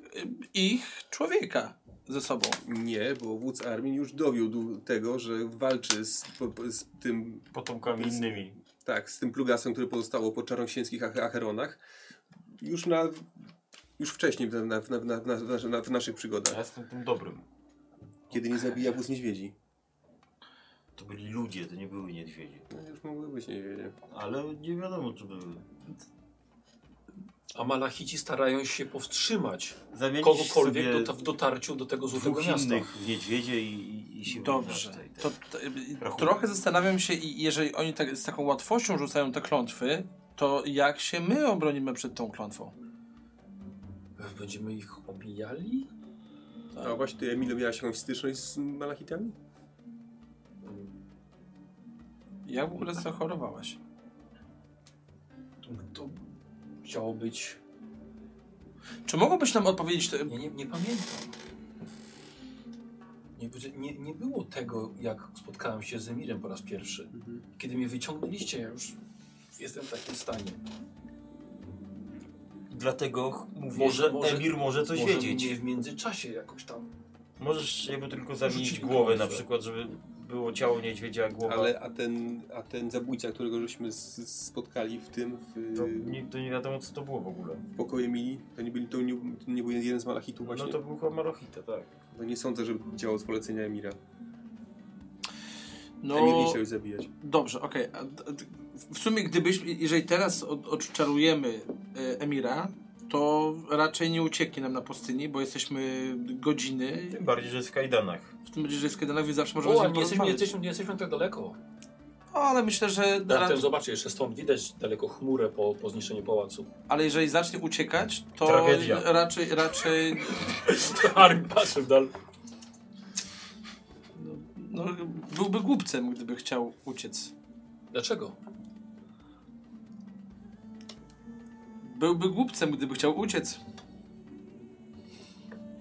S6: ich człowieka ze sobą.
S2: Nie, bo wódz armii już dowiódł tego, że walczy z, po- po- z tym
S14: Potomkami innymi.
S2: Tak, z tym plugasem, które pozostało po czarnoksięskich ach- Acheronach. Już na... Już wcześniej w, na, w, na, w, na, w, nas- na, w naszych
S14: Ja
S2: przygodach.
S14: jestem tym dobrym.
S2: Kiedy nie zabija wóz niedźwiedzi.
S14: To byli ludzie, to nie były niedźwiedzie.
S2: No, już mogły być niedźwiedzie.
S14: Ale nie wiadomo, czy były.
S1: a Malachici starają się powstrzymać
S14: Zamienić
S1: kogokolwiek
S14: sobie
S1: do, w dotarciu do tego złotego
S14: dwóch
S1: miasta.
S14: innych w niedźwiedzie i, i, i się
S6: Dobrze.
S14: wygnasz tej- tej-
S6: To, to, y,
S14: Rachunek.
S6: trochę zastanawiam się, i jeżeli oni tak, z taką łatwością rzucają te klątwy, to jak się my obronimy przed tą klątwą?
S1: Będziemy ich obijali?
S2: A właśnie ty, Emilio, miałaś jakąś styczność z malachitami?
S6: Jak w ogóle zachorowałaś?
S1: To, to chciało być...
S6: Czy mogłabyś nam odpowiedzieć, to-
S1: Ja nie, nie pamiętam. Nie, nie, nie było tego, jak spotkałem się z Emirem po raz pierwszy.
S14: Mhm.
S1: Kiedy mnie wyciągnęliście, ja już jestem w takim stanie.
S14: Dlatego ch- mówię,
S1: Może-
S14: że
S1: może-
S14: Emir może coś
S1: Może
S14: wiedzieć.
S1: mnie w międzyczasie jakoś tam...
S14: Możesz jakby tylko zamienić
S1: Rzucili
S14: głowę na
S1: kogoś,
S14: przykład, żeby było ciało niedźwiedzia, a głowa...
S2: Ale a ten, a ten zabójca, którego żeśmy s- spotkali w tym, w,
S14: To No, nie, to nie wiadomo, co to było w ogóle.
S2: w pokoju Emilii, to nie, byli, to, nie, to nie był jeden z malachitów właśnie?
S14: No to był chyba Marochita, tak.
S2: to nie sądzę, żeby działał z polecenia Emira. Emil nie
S6: no,
S2: chciał ich zabijać.
S6: Dobrze, okej. A d- d- W sumie, gdybyśmy, jeżeli teraz od, odczarujemy e, Emira, to raczej nie ucieknie nam na pustyni, bo jesteśmy godziny.
S14: Tym bardziej, że jest w kajdanach.
S6: W tym bardziej, że jest Kedanowi zawsze możemy z
S1: O, a
S6: nim
S1: nie jesteśmy, nie,
S6: porozmawiać.
S1: jesteśmy, nie jesteśmy tak daleko.
S6: No, ale myślę, że...
S1: Ja
S6: ra-
S1: też zobaczę, jeszcze stąd widać daleko chmurę po, po zniszczeniu pałacu.
S6: Ale jeżeli zacznie uciekać, to
S14: Tragedia.
S6: raczej, raczej
S1: Arm patrzy w dal.
S6: no, byłby głupcem, gdyby chciał uciec.
S1: Dlaczego?
S6: Byłby głupcem, gdyby chciał uciec.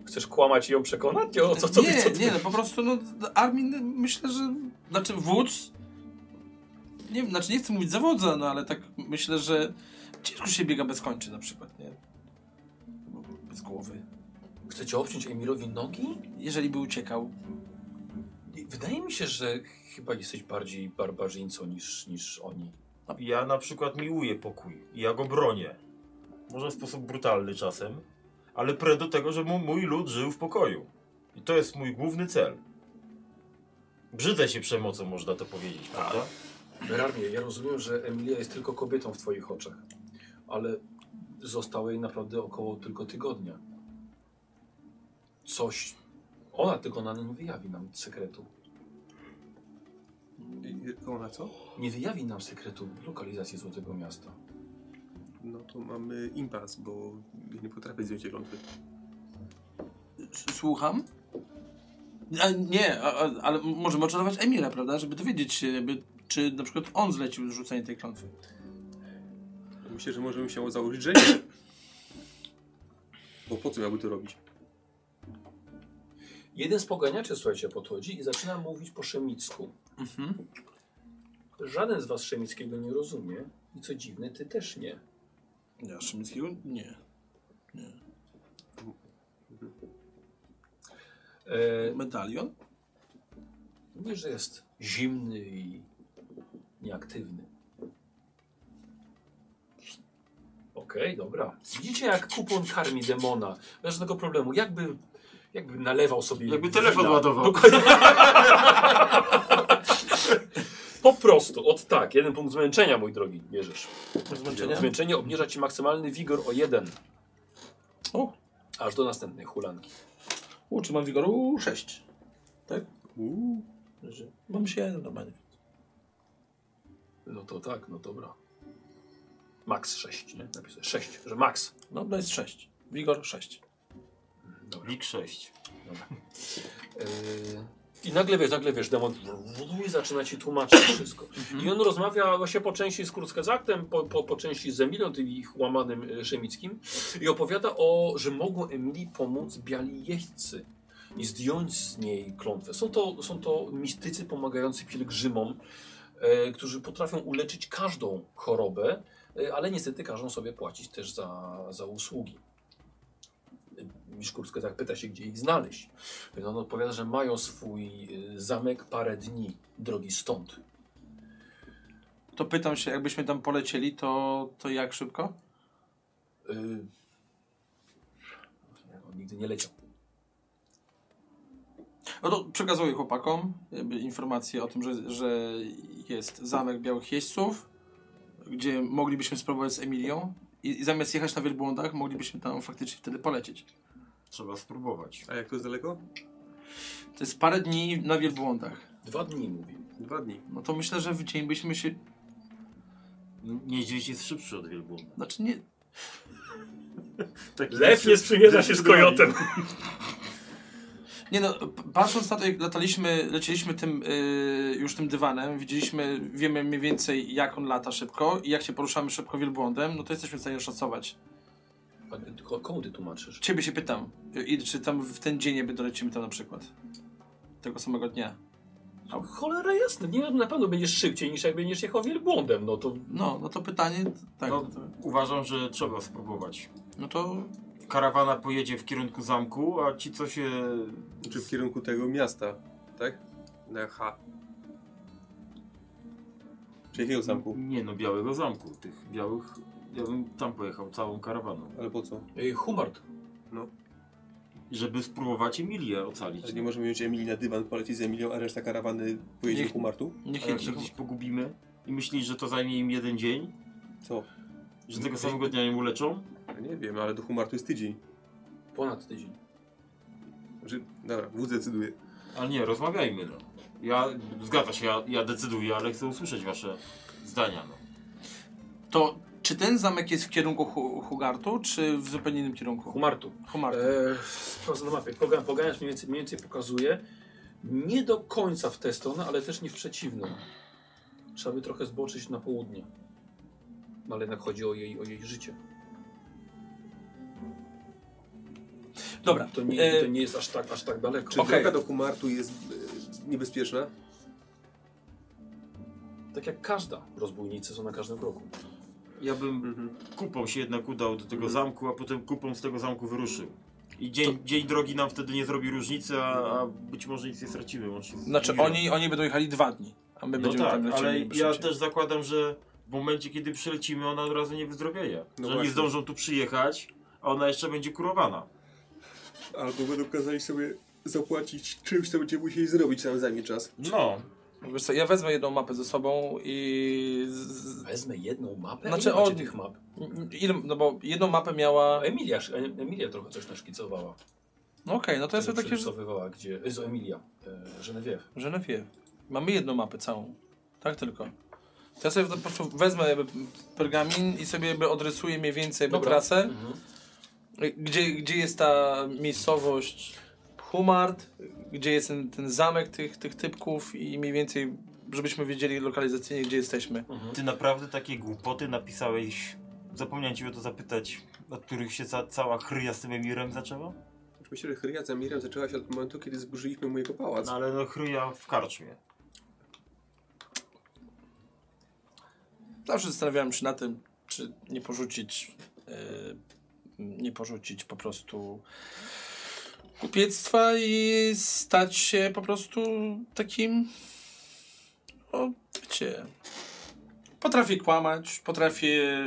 S1: Chcesz kłamać i ją przekonać? Nie, O, co, co,
S6: nie,
S1: ty, co ty?
S6: nie, no po prostu no, Armin myślę, że... Znaczy wódz... Nie, znaczy nie chcę mówić zawodza, no ale tak myślę, że ciężko się biega bez kończy na przykład, nie? Bez głowy.
S1: Chcecie obciąć Emilowi nogi?
S6: Jeżeli by uciekał,
S1: Wydaje mi się, że chyba jesteś bardziej barbarzyńcą niż, niż oni.
S14: No. Ja na przykład miłuję pokój i ja go bronię. Może w sposób brutalny czasem, ale prę do tego, żeby mój lud żył w pokoju. I to jest mój główny cel. Brzydzę się przemocą, można to powiedzieć, prawda?
S1: Berarmie, ja rozumiem, że Emilia jest tylko kobietą w twoich oczach, ale zostało jej naprawdę około tylko tygodnia. Coś... Ona tylko na nie wyjawi nam sekretu.
S2: I- Ona co?
S1: Nie wyjawi nam sekretu lokalizacji Złotego Miasta.
S2: No to mamy impas, bo ja nie potrafię zdjąć tej klątwy.
S6: S- Słucham? A, nie, a, a, ale możemy oczarować Emila, prawda? Żeby dowiedzieć się, jakby, czy na przykład on zlecił rzucenie tej klątwy.
S2: Myślę, że możemy się założyć, że nie. Bo po co miałby to robić?
S1: Jeden z poganiaczy, słuchajcie, podchodzi i zaczyna mówić po szemicku. Żaden z was szemickiego nie rozumie i co dziwne, ty też nie.
S6: Ja Szymickiego? Nie.
S1: E,
S6: Medalion?
S1: mówisz, No że jest zimny i nieaktywny. Okej, dobra. Widzicie, jak kupon karmi demona. Bez żadnego problemu. Jakby, jakby nalewał sobie...
S3: Jakby telefon ładował.
S1: Dokładnie. po prostu, od tak. Jeden punkt zmęczenia, mój drogi, bierzesz.
S6: Zmęczenia?
S1: Zmęczenie obniża ci maksymalny wigor o jeden.
S6: O.
S1: Aż do następnej hulanki.
S6: U, czy mam wigoru? 6. Tak? Że- Mam się jeden normalnie.
S1: No to tak, no dobra. Max 6, nie? Napisałem 6, że max.
S6: No to jest 6. Wigor 6.
S14: Big 6.
S1: Yy... I nagle wiesz, nagle wiesz, demon i zaczyna ci tłumaczyć wszystko. I on rozmawia właśnie po części z Kurskezaktem, po, po, po części z Emilią, tym ich łamanym e, szemickim i opowiada o, że mogą Emilii pomóc biali jeźdźcy i zdjąć z niej klątwę. Są to, są to mistycy pomagający pielgrzymom, e, którzy potrafią uleczyć każdą chorobę, e, ale niestety każą sobie płacić też za, za usługi. Miszkurska tak pyta się, gdzie ich znaleźć. Więc on odpowiada, że mają swój y, zamek parę dni drogi stąd.
S6: To pytam się, jakbyśmy tam polecieli, to, to jak szybko?
S1: Y... On nigdy nie leciał.
S6: No to przekazuję chłopakom jakby informację o tym, że, że jest zamek Białych Jeźdźców, gdzie moglibyśmy spróbować z Emilią i, i zamiast jechać na wielbłądach, moglibyśmy tam faktycznie wtedy polecieć.
S14: Trzeba spróbować.
S2: A jak to jest daleko?
S6: To jest parę dni na wielbłądach.
S1: Dwa dni mówi.
S2: Dwa dni.
S6: No to myślę, że w dzień byśmy się...
S14: Niedźwiedź jest szybszy od wielbłąda.
S6: Znaczy nie...
S14: Taki
S1: Lew nie sprzymierza się z kojotem.
S6: Nie no, p- patrząc na to, jak lataliśmy, lecieliśmy tym, y, już tym dywanem, widzieliśmy, wiemy mniej więcej jak on lata szybko i jak się poruszamy szybko wielbłądem, no to jesteśmy w stanie oszacować.
S1: A ty- tylko komu ty tłumaczysz?
S6: Ciebie się pytam, i czy tam w ten dzień jakby dolecimy tam na przykład? Tego samego dnia.
S1: A No, cholera jasne, nie na pewno będziesz szybciej niż jak będziesz jechał wielbłądem. No to
S6: No, no to pytanie, tak. No,
S14: No,
S6: to,
S14: uważam, że trzeba spróbować.
S6: no to
S14: Karawana pojedzie w kierunku zamku, a ci co się...
S2: Czy w kierunku tego miasta, tak? Na H. Czy jakiego zamku?
S14: Nie no, białego zamku. Tych białych... Ja bym tam pojechał całą karawaną.
S2: Ale po co?
S1: Ej, y, Humart.
S14: Żeby spróbować Emilię ocalić.
S2: Ale nie możemy wziąć Emilii na dywan, polecieć z Emilią, a reszta karawany pojedzie
S6: Niech-
S2: ku Martu?
S6: niech
S14: A jak się
S6: jedzie.
S14: gdzieś pogubimy i myślisz, że to zajmie im jeden dzień?
S2: Co?
S14: Że tego samego dnia im uleczą?
S2: nie wiem, ale do humoru to jest tydzień.
S17: Ponad tydzień.
S2: Znaczy, dobra, wódz decyduje.
S3: Ale nie, rozmawiajmy no. Ja, zgadza się, ja, ja decyduję, ale chcę usłyszeć wasze zdania no.
S6: To czy ten zamek jest w kierunku Hu- Hugartu, czy w zupełnie innym kierunku?
S1: Humartu.
S6: Humartu.
S1: E, sprawdzę na mapie. Pogan, poganiacz mniej więcej, mniej więcej pokazuje. Nie do końca w tę stronę, ale też nie w przeciwną. Trzeba by trochę zboczyć na południe. No, Ale jednak chodzi o jej, o jej życie.
S6: Dobra.
S1: To nie,
S6: e,
S1: to nie jest aż tak, aż tak daleko.
S2: Czy
S6: Okej.
S2: droga do Humartu jest e, niebezpieczna?
S1: Tak jak każda. Rozbójnicy są na każdym kroku.
S3: Ja bym kupą się jednak udał do tego zamku, a potem kupą z tego zamku wyruszył. I dzień, dzień drogi nam wtedy nie zrobi różnicy, a, a być może nic nie stracimy. łącznie z
S6: Znaczy
S3: Mirem.
S6: oni, oni będą jechali dwa dni, a my
S3: No
S6: będziemy
S3: tak,
S6: tam lecieli.
S3: ale
S6: niby
S3: ja
S6: szybciej.
S3: też zakładam, że w momencie, kiedy przylecimy, ona od razu nie wyzdrowieje.
S2: No
S3: że nie
S2: właśnie.
S3: zdążą tu przyjechać, a ona jeszcze będzie kurowana.
S2: Albo będą kazali sobie zapłacić czymś, co będziemy musieli zrobić, co nam zajmie czas.
S3: No,
S6: Wiesz co, ja wezmę jedną mapę ze sobą i... Z, z,
S1: Wezmę jedną mapę.
S6: Znaczy
S1: Ile macie
S6: od-
S1: tych map.
S6: ile, no bo jedną mapę miała...
S1: A Emilia, Emilia trochę coś naszkicowała.
S6: No okej, no to jest takie, że...
S1: przerysowywała, gdzie. Z Emilia. E, Genevieve.
S6: Genevieve. Mamy jedną mapę całą. Tak tylko. To ja sobie po prostu wezmę jakby pergamin i sobie jakby odrysuję mniej więcej jakby
S1: Dobra.
S6: trasę.
S1: Mhm.
S6: Gdzie, gdzie jest ta miejscowość Humart, gdzie jest ten, ten zamek tych, tych typków i mniej więcej, żebyśmy wiedzieli lokalizacyjnie, gdzie jesteśmy.
S3: ty naprawdę takie głupoty napisałeś. Zapomniałem cię o to zapytać, od których się ca cała chryja z tym Emirem zaczęła?
S2: Znaczy, Myślę, że Hryja z Amirem zaczęła się od momentu, kiedy zburzyliśmy mu jego pałac.
S3: No ale no chryja w karczmie.
S6: Zawsze zastanawiałem się na tym, czy nie porzucić, e, nie porzucić po prostu kupiectwa i stać się po prostu takim, o, wiecie, potrafię kłamać, potrafię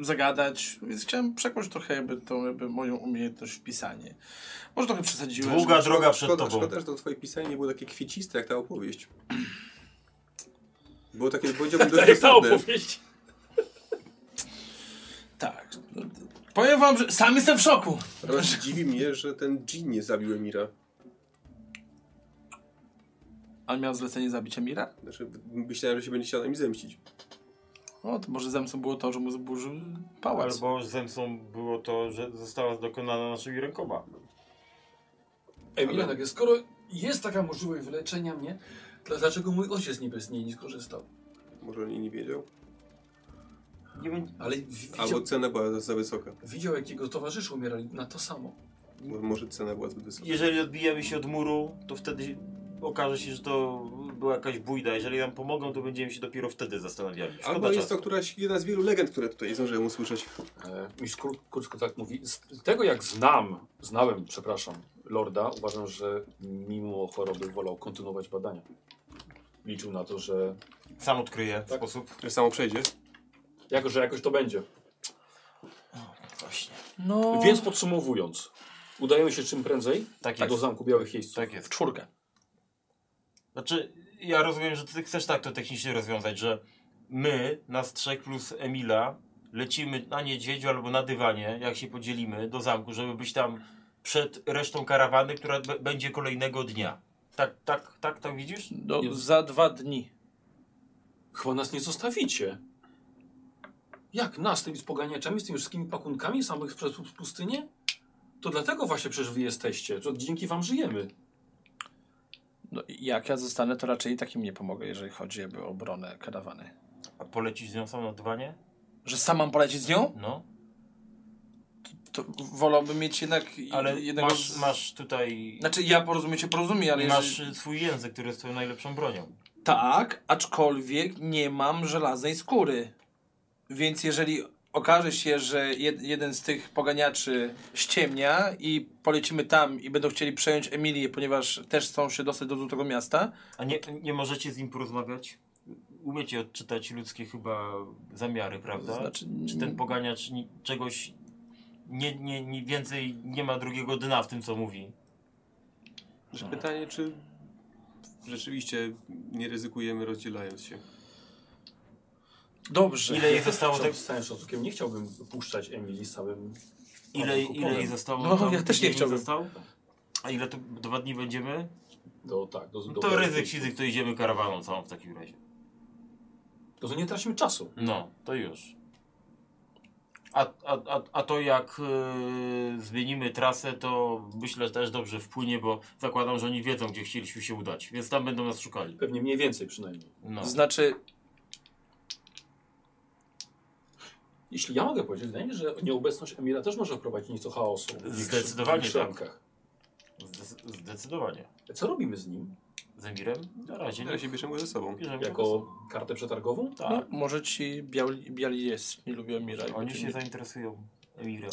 S6: e, zagadać, więc chciałem przekroczyć trochę jakby tą jakby moją umiejętność w pisanie. Może trochę przesadziłem.
S3: Długa
S6: że-
S3: droga przed
S2: Szkoda,
S3: tobą.
S2: szkoda, że to twoje pisanie nie było takie kwieciste, jak ta opowieść. Było takie, powiedziałbym, dość
S1: Jak ta
S2: dosadne.
S1: opowieść.
S6: Tak. Powiem wam, że sam jestem w szoku.
S2: Natomiast dziwi mnie, że ten Jean nie zabił Emira.
S6: A miał zlecenie zabić Emira?
S2: Znaczy, myślałem, że się będzie chciał na mi zemścić.
S6: No, to może zemstą było to, że mu zburzył pałac.
S3: Albo zemstą było to, że została dokonana naszymi rękoma.
S1: Emilia, tak jest. Skoro jest taka możliwość wyleczenia mnie, to dlaczego mój ojciec niby z niej nie skorzystał?
S2: Może o niej nie wiedział?
S3: Nie będzie...
S1: Ale w- widział,
S2: Albo cena była za, za wysoka.
S1: widział, jak jego towarzysze umierali na to samo.
S2: Bo Może cena była zbyt wysoka.
S3: Jeżeli odbijemy się od muru, to wtedy okaże się, że to była jakaś bójda. Jeżeli nam pomogą, to będziemy się dopiero wtedy zastanawiali. Szkoda
S2: Albo jest
S3: czasu.
S2: to któraś, jedna z wielu legend, które tutaj zdążyłem usłyszeć.
S17: E, Mistrz Kur- Kursko tak mówi. Z tego jak znam, znałem, przepraszam, Lorda, uważam, że mimo choroby wolał kontynuować badania. Liczył na to, że,
S3: Sam odkryję
S17: Tak.
S3: sposób.
S2: Że samo przejdzie.
S17: jako, że jakoś to będzie.
S3: Właśnie.
S6: No,
S17: Więc podsumowując, udajemy się czym prędzej
S3: Tak
S17: do
S3: jest.
S17: Zamku Białych Jeźdźców.
S3: Tak jest.
S6: czwórkę.
S3: Znaczy, ja rozumiem, że ty chcesz tak to technicznie rozwiązać, że my, nas trzech plus Emila, lecimy na niedźwiedziu albo na dywanie, jak się podzielimy, do zamku, żeby być tam przed resztą karawany, która b- będzie kolejnego dnia. Tak, tak, tak, tak widzisz?
S6: Do,
S17: Jest.
S6: no, za dwa dni.
S17: Chyba nas nie zostawicie. Jak nas, z tymi spoganiaczami, z tymi wszystkimi pakunkami samych przez pustynię? To dlatego właśnie przecież wy jesteście. To dzięki wam żyjemy.
S6: No, i jak ja zostanę, to raczej i takim nie pomogę, jeżeli chodzi jakby o obronę karawany.
S3: A polecisz z nią sam na dywanie?
S6: Że sam mam polecieć z nią?
S3: No.
S6: To wolałbym mieć jednak i-
S3: Ale
S6: jednego...
S3: masz,
S6: z- No,
S3: masz tutaj...
S6: Znaczy, ja porozumiem się porozumie, ale
S3: masz
S6: jeżeli...
S3: y, swój język, który jest twoją najlepszą bronią.
S6: Tak, aczkolwiek nie mam żelaznej skóry. Więc jeżeli okaże się, że jed, jeden z tych poganiaczy ściemnia i polecimy tam i będą chcieli przejąć Emilię, ponieważ też chcą się dostać do Złotego Miasta,
S3: A nie, nie możecie z nim porozmawiać? Umiecie odczytać ludzkie chyba zamiary, prawda?
S6: to znaczy...
S3: Czy ten poganiacz ni- czegoś nie, nie, nie więcej nie ma drugiego dna w tym, co mówi?
S2: Że pytanie, czy rzeczywiście nie ryzykujemy rozdzielając się.
S6: Dobrze.
S14: Ile jej zostało tego?
S1: Z całym szacunkiem nie chciałbym puszczać Emilii z całym... panem
S14: Ile, ile jej
S1: kuponem.
S14: zostało?
S6: No,
S14: tam?
S6: ja też nie
S14: Tydzień jej
S6: chciałbym.
S14: Został? A ile tu dwa dni będziemy?
S1: Do, tak, do,
S14: No
S1: do
S14: to ryzyk, sizyk, to idziemy karawaną całą w takim razie.
S1: No to nie tracimy czasu.
S14: No, to już. A, a, a, a to jak yy, zmienimy trasę, to myślę też dobrze wpłynie, bo zakładam, że oni wiedzą, gdzie chcieliśmy się udać, więc tam będą nas szukali.
S1: Pewnie mniej więcej przynajmniej.
S14: No.
S6: Znaczy,
S1: Jeśli ja mogę powiedzieć, wydaje mi się, że nieobecność Emila też może wprowadzić nieco chaosu. w ich-
S14: Zdecydowanie
S1: w ich
S14: tak.
S1: szeregach.
S14: Zde- zdecydowanie.
S1: Co robimy z nim?
S14: Z Emirem? Na razie.
S2: Ja się bierzemy ze sobą.
S14: bierzemy go.
S1: Jako kartę przetargową?
S14: Tak.
S6: no, może ci biali, biali jest, nie lubią Mira. i
S14: Oni
S6: będzie
S14: się
S6: mieć.
S14: zainteresują Emirem.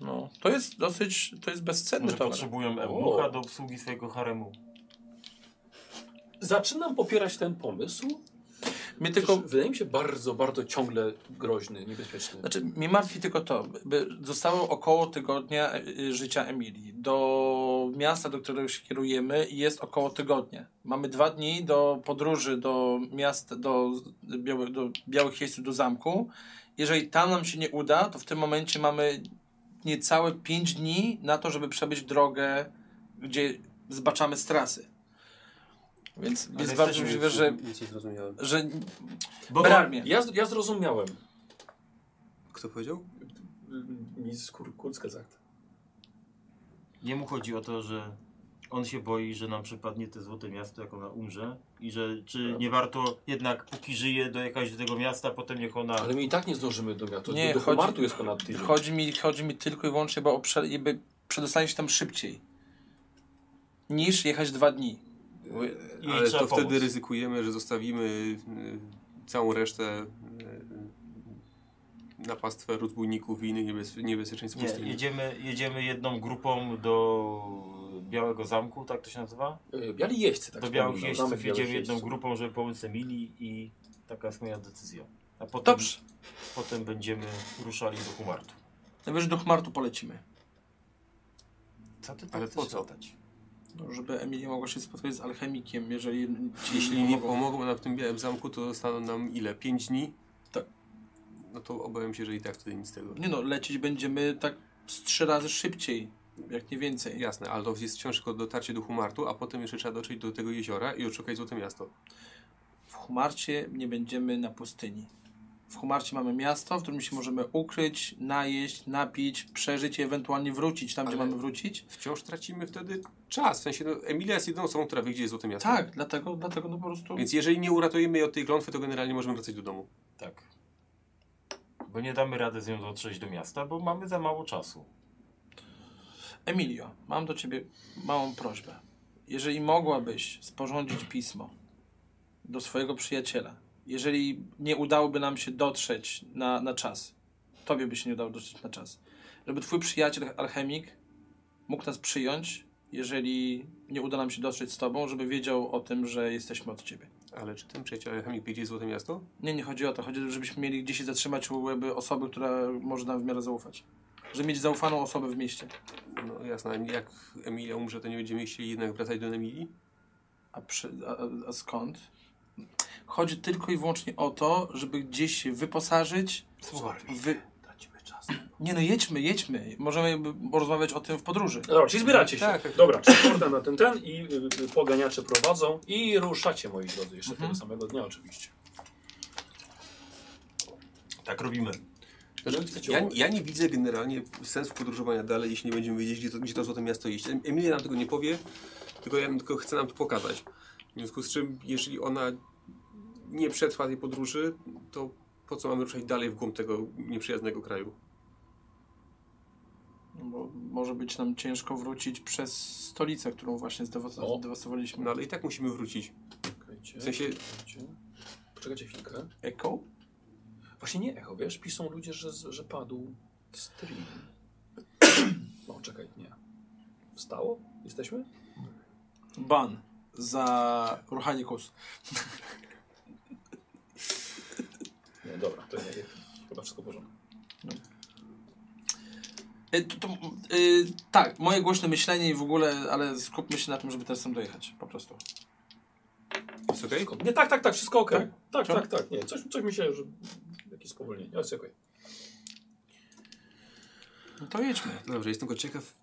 S6: No, to jest dosyć, to jest bezcenny
S14: Może
S6: towar.
S14: potrzebują eunucha
S1: O.
S14: do obsługi swojego haremu.
S1: Zaczynam popierać ten pomysł.
S6: Mnie
S1: Tylko
S6: tylko,
S1: wydaje mi się bardzo, bardzo ciągle groźny, niebezpieczny.
S6: znaczy, mnie martwi tylko to, by zostało około tygodnia y, życia Emilii. Do miasta, do którego się kierujemy jest około tygodnia. Mamy dwa dni do podróży do miasta, do, biały, do Białych Jeźdźców, do zamku. Jeżeli tam nam się nie uda, to w tym momencie mamy niecałe pięć dni na to, żeby przebyć drogę, gdzie zbaczamy z trasy. Więc
S2: Ale
S6: jest
S2: jesteśmy-
S6: bardzo możliwe, że,
S2: Nic nie zrozumiałem.
S6: że
S14: Bo
S6: Bramie.
S1: Ja, ja zrozumiałem.
S2: Kto powiedział?
S1: Mi z kur, kurcka zakt.
S14: Jemu chodzi o to, że on się boi, że nam przypadnie te złote miasto, jak ona umrze. I że czy nie warto jednak, póki żyje, dojechać do tego miasta, potem niech ona...
S1: Ale my i tak nie zdążymy do miasta.
S6: Nie,
S1: do
S6: chodzi-
S1: Homartu jest ponad tydzień.
S6: Chodzi mi, chodzi mi tylko i wyłącznie bo o prze, jakby przedostanie się tam szybciej niż jechać dwa dni.
S14: I
S2: Ale
S14: trzeba
S2: to
S14: pomóc.
S2: wtedy ryzykujemy, że zostawimy y, całą resztę y, na pastwę rozbójników i innych niebez, niebezpieczeństw
S14: Nie,
S2: pustyni.
S14: jedziemy, jedziemy jedną grupą do Białego Zamku, tak to się nazywa?
S1: Y, Biali jeźdźcy, tak
S14: do Białych
S1: wspominam. Zamek
S14: Jeźdźców
S1: Białych
S14: jedziemy jedną
S1: Jeźdźców.
S14: grupą, żeby pomóc Emilii i taka jest moja decyzja. A potem,
S6: Dobrze.
S14: potem będziemy ruszali do Humartu.
S6: Najwyżej do Chmartu polecimy.
S14: Co ty
S2: Ale
S14: tak
S2: po
S14: chcesz
S2: co?
S14: latać?
S6: No, żeby Emilia mogła się spotkać z alchemikiem, jeżeli ci
S2: Jeśli nie
S6: pomogą.
S2: pomogą nam w tym białym zamku, to zostaną nam ile? 5 dni?
S6: Tak.
S2: No to obawiam się, że i tak wtedy nic z tego.
S6: Nie no, lecieć będziemy tak z trzy razy szybciej, jak nie więcej.
S2: Jasne, ale to jest wciąż tylko dotarcie do Humartu, a potem jeszcze trzeba dotrzeć do tego jeziora i odszukać Złote Miasto.
S6: W Humarcie nie będziemy na pustyni. W Humarcie mamy miasto, w którym się możemy ukryć, najeść, napić, przeżyć i ewentualnie wrócić tam, gdzie
S2: Ale-
S6: mamy wrócić.
S2: Wciąż tracimy wtedy czas. W sensie, no, Emilia jest jedyną osobą, która wie, gdzie jest Złote Miasto.
S6: Tak, dlatego, dlatego no po prostu...
S2: Więc jeżeli nie uratujemy jej od tej klątwy, to generalnie możemy wracać do domu.
S14: Tak. Bo nie damy rady z nią dotrzeć do miasta, bo mamy za mało czasu.
S6: Emilio, mam do ciebie małą prośbę. Jeżeli mogłabyś sporządzić pismo do swojego przyjaciela, jeżeli nie udałoby nam się dotrzeć na, na czas, tobie by się nie udało dotrzeć na czas, żeby twój przyjaciel alchemik mógł nas przyjąć, jeżeli nie uda nam się dotrzeć z tobą, żeby wiedział o tym, że jesteśmy od ciebie.
S2: Ale czy ten przyjaciel alchemik wie, gdzie jest Złote Miasto?
S6: Nie, nie chodzi o to. Chodzi o to, żebyśmy mieli gdzieś się zatrzymać u jakby osoby, która może nam w miarę zaufać. Żeby mieć zaufaną osobę w mieście.
S2: No jasne, Emil- jak Emilia umrze, to nie będziemy chcieli jednak wracać do Emilii?
S6: A, przy, a, a- a skąd? Chodzi tylko i wyłącznie o to, żeby gdzieś się wyposażyć.
S1: Słuchaj,
S6: Wy...
S1: dajmy czas.
S6: Nie no, jedźmy, jedźmy. Możemy jakby porozmawiać o tym w podróży.
S1: Dobra, czyli zbieracie się.
S2: Tak.
S1: Dobra, przeporta na ten ten i y, y, poganiacze prowadzą i ruszacie, moi drodzy, jeszcze
S6: Mhm.
S1: tego samego dnia oczywiście.
S14: Tak robimy.
S2: Znaczy, ja, ja nie widzę generalnie sensu podróżowania dalej, jeśli nie będziemy wiedzieć, gdzie to, gdzie to Złote Miasto jest. Em- Emilia nam tego nie powie, tylko ja tylko chcę nam to pokazać. W związku z czym, jeżeli ona nie przetrwa tej podróży, to po co mamy ruszać dalej w głąb tego nieprzyjaznego kraju?
S6: No, bo może być nam ciężko wrócić przez stolicę, którą właśnie zdewasto-
S1: O.
S6: zdewastowaliśmy.
S2: No ale i tak musimy wrócić.
S1: Czekajcie,
S2: W sensie-
S1: czekajcie. Poczekajcie chwilkę.
S6: Eko?
S1: Właśnie nie echo, wiesz? Piszą ludzie, że, że padł stream. No, czekaj, nie. Wstało? Jesteśmy?
S6: Ban za ruchanie kus.
S1: Nie, dobra, to nie. Chyba wszystko w porządku.
S6: E, to, to, y, tak, moje głośne myślenie i w ogóle, ale skupmy się na tym, żeby teraz tam dojechać. Po prostu.
S2: Jest okej?
S18: Wszystko.
S1: Nie, tak, tak, tak, wszystko ok.
S2: Tak?
S1: Tak, tak, tak. Nie, coś, coś mi się, że jakieś spowolnienie. Ale czekaj.
S6: No to jedźmy.
S2: Dobrze, jestem tylko ciekaw.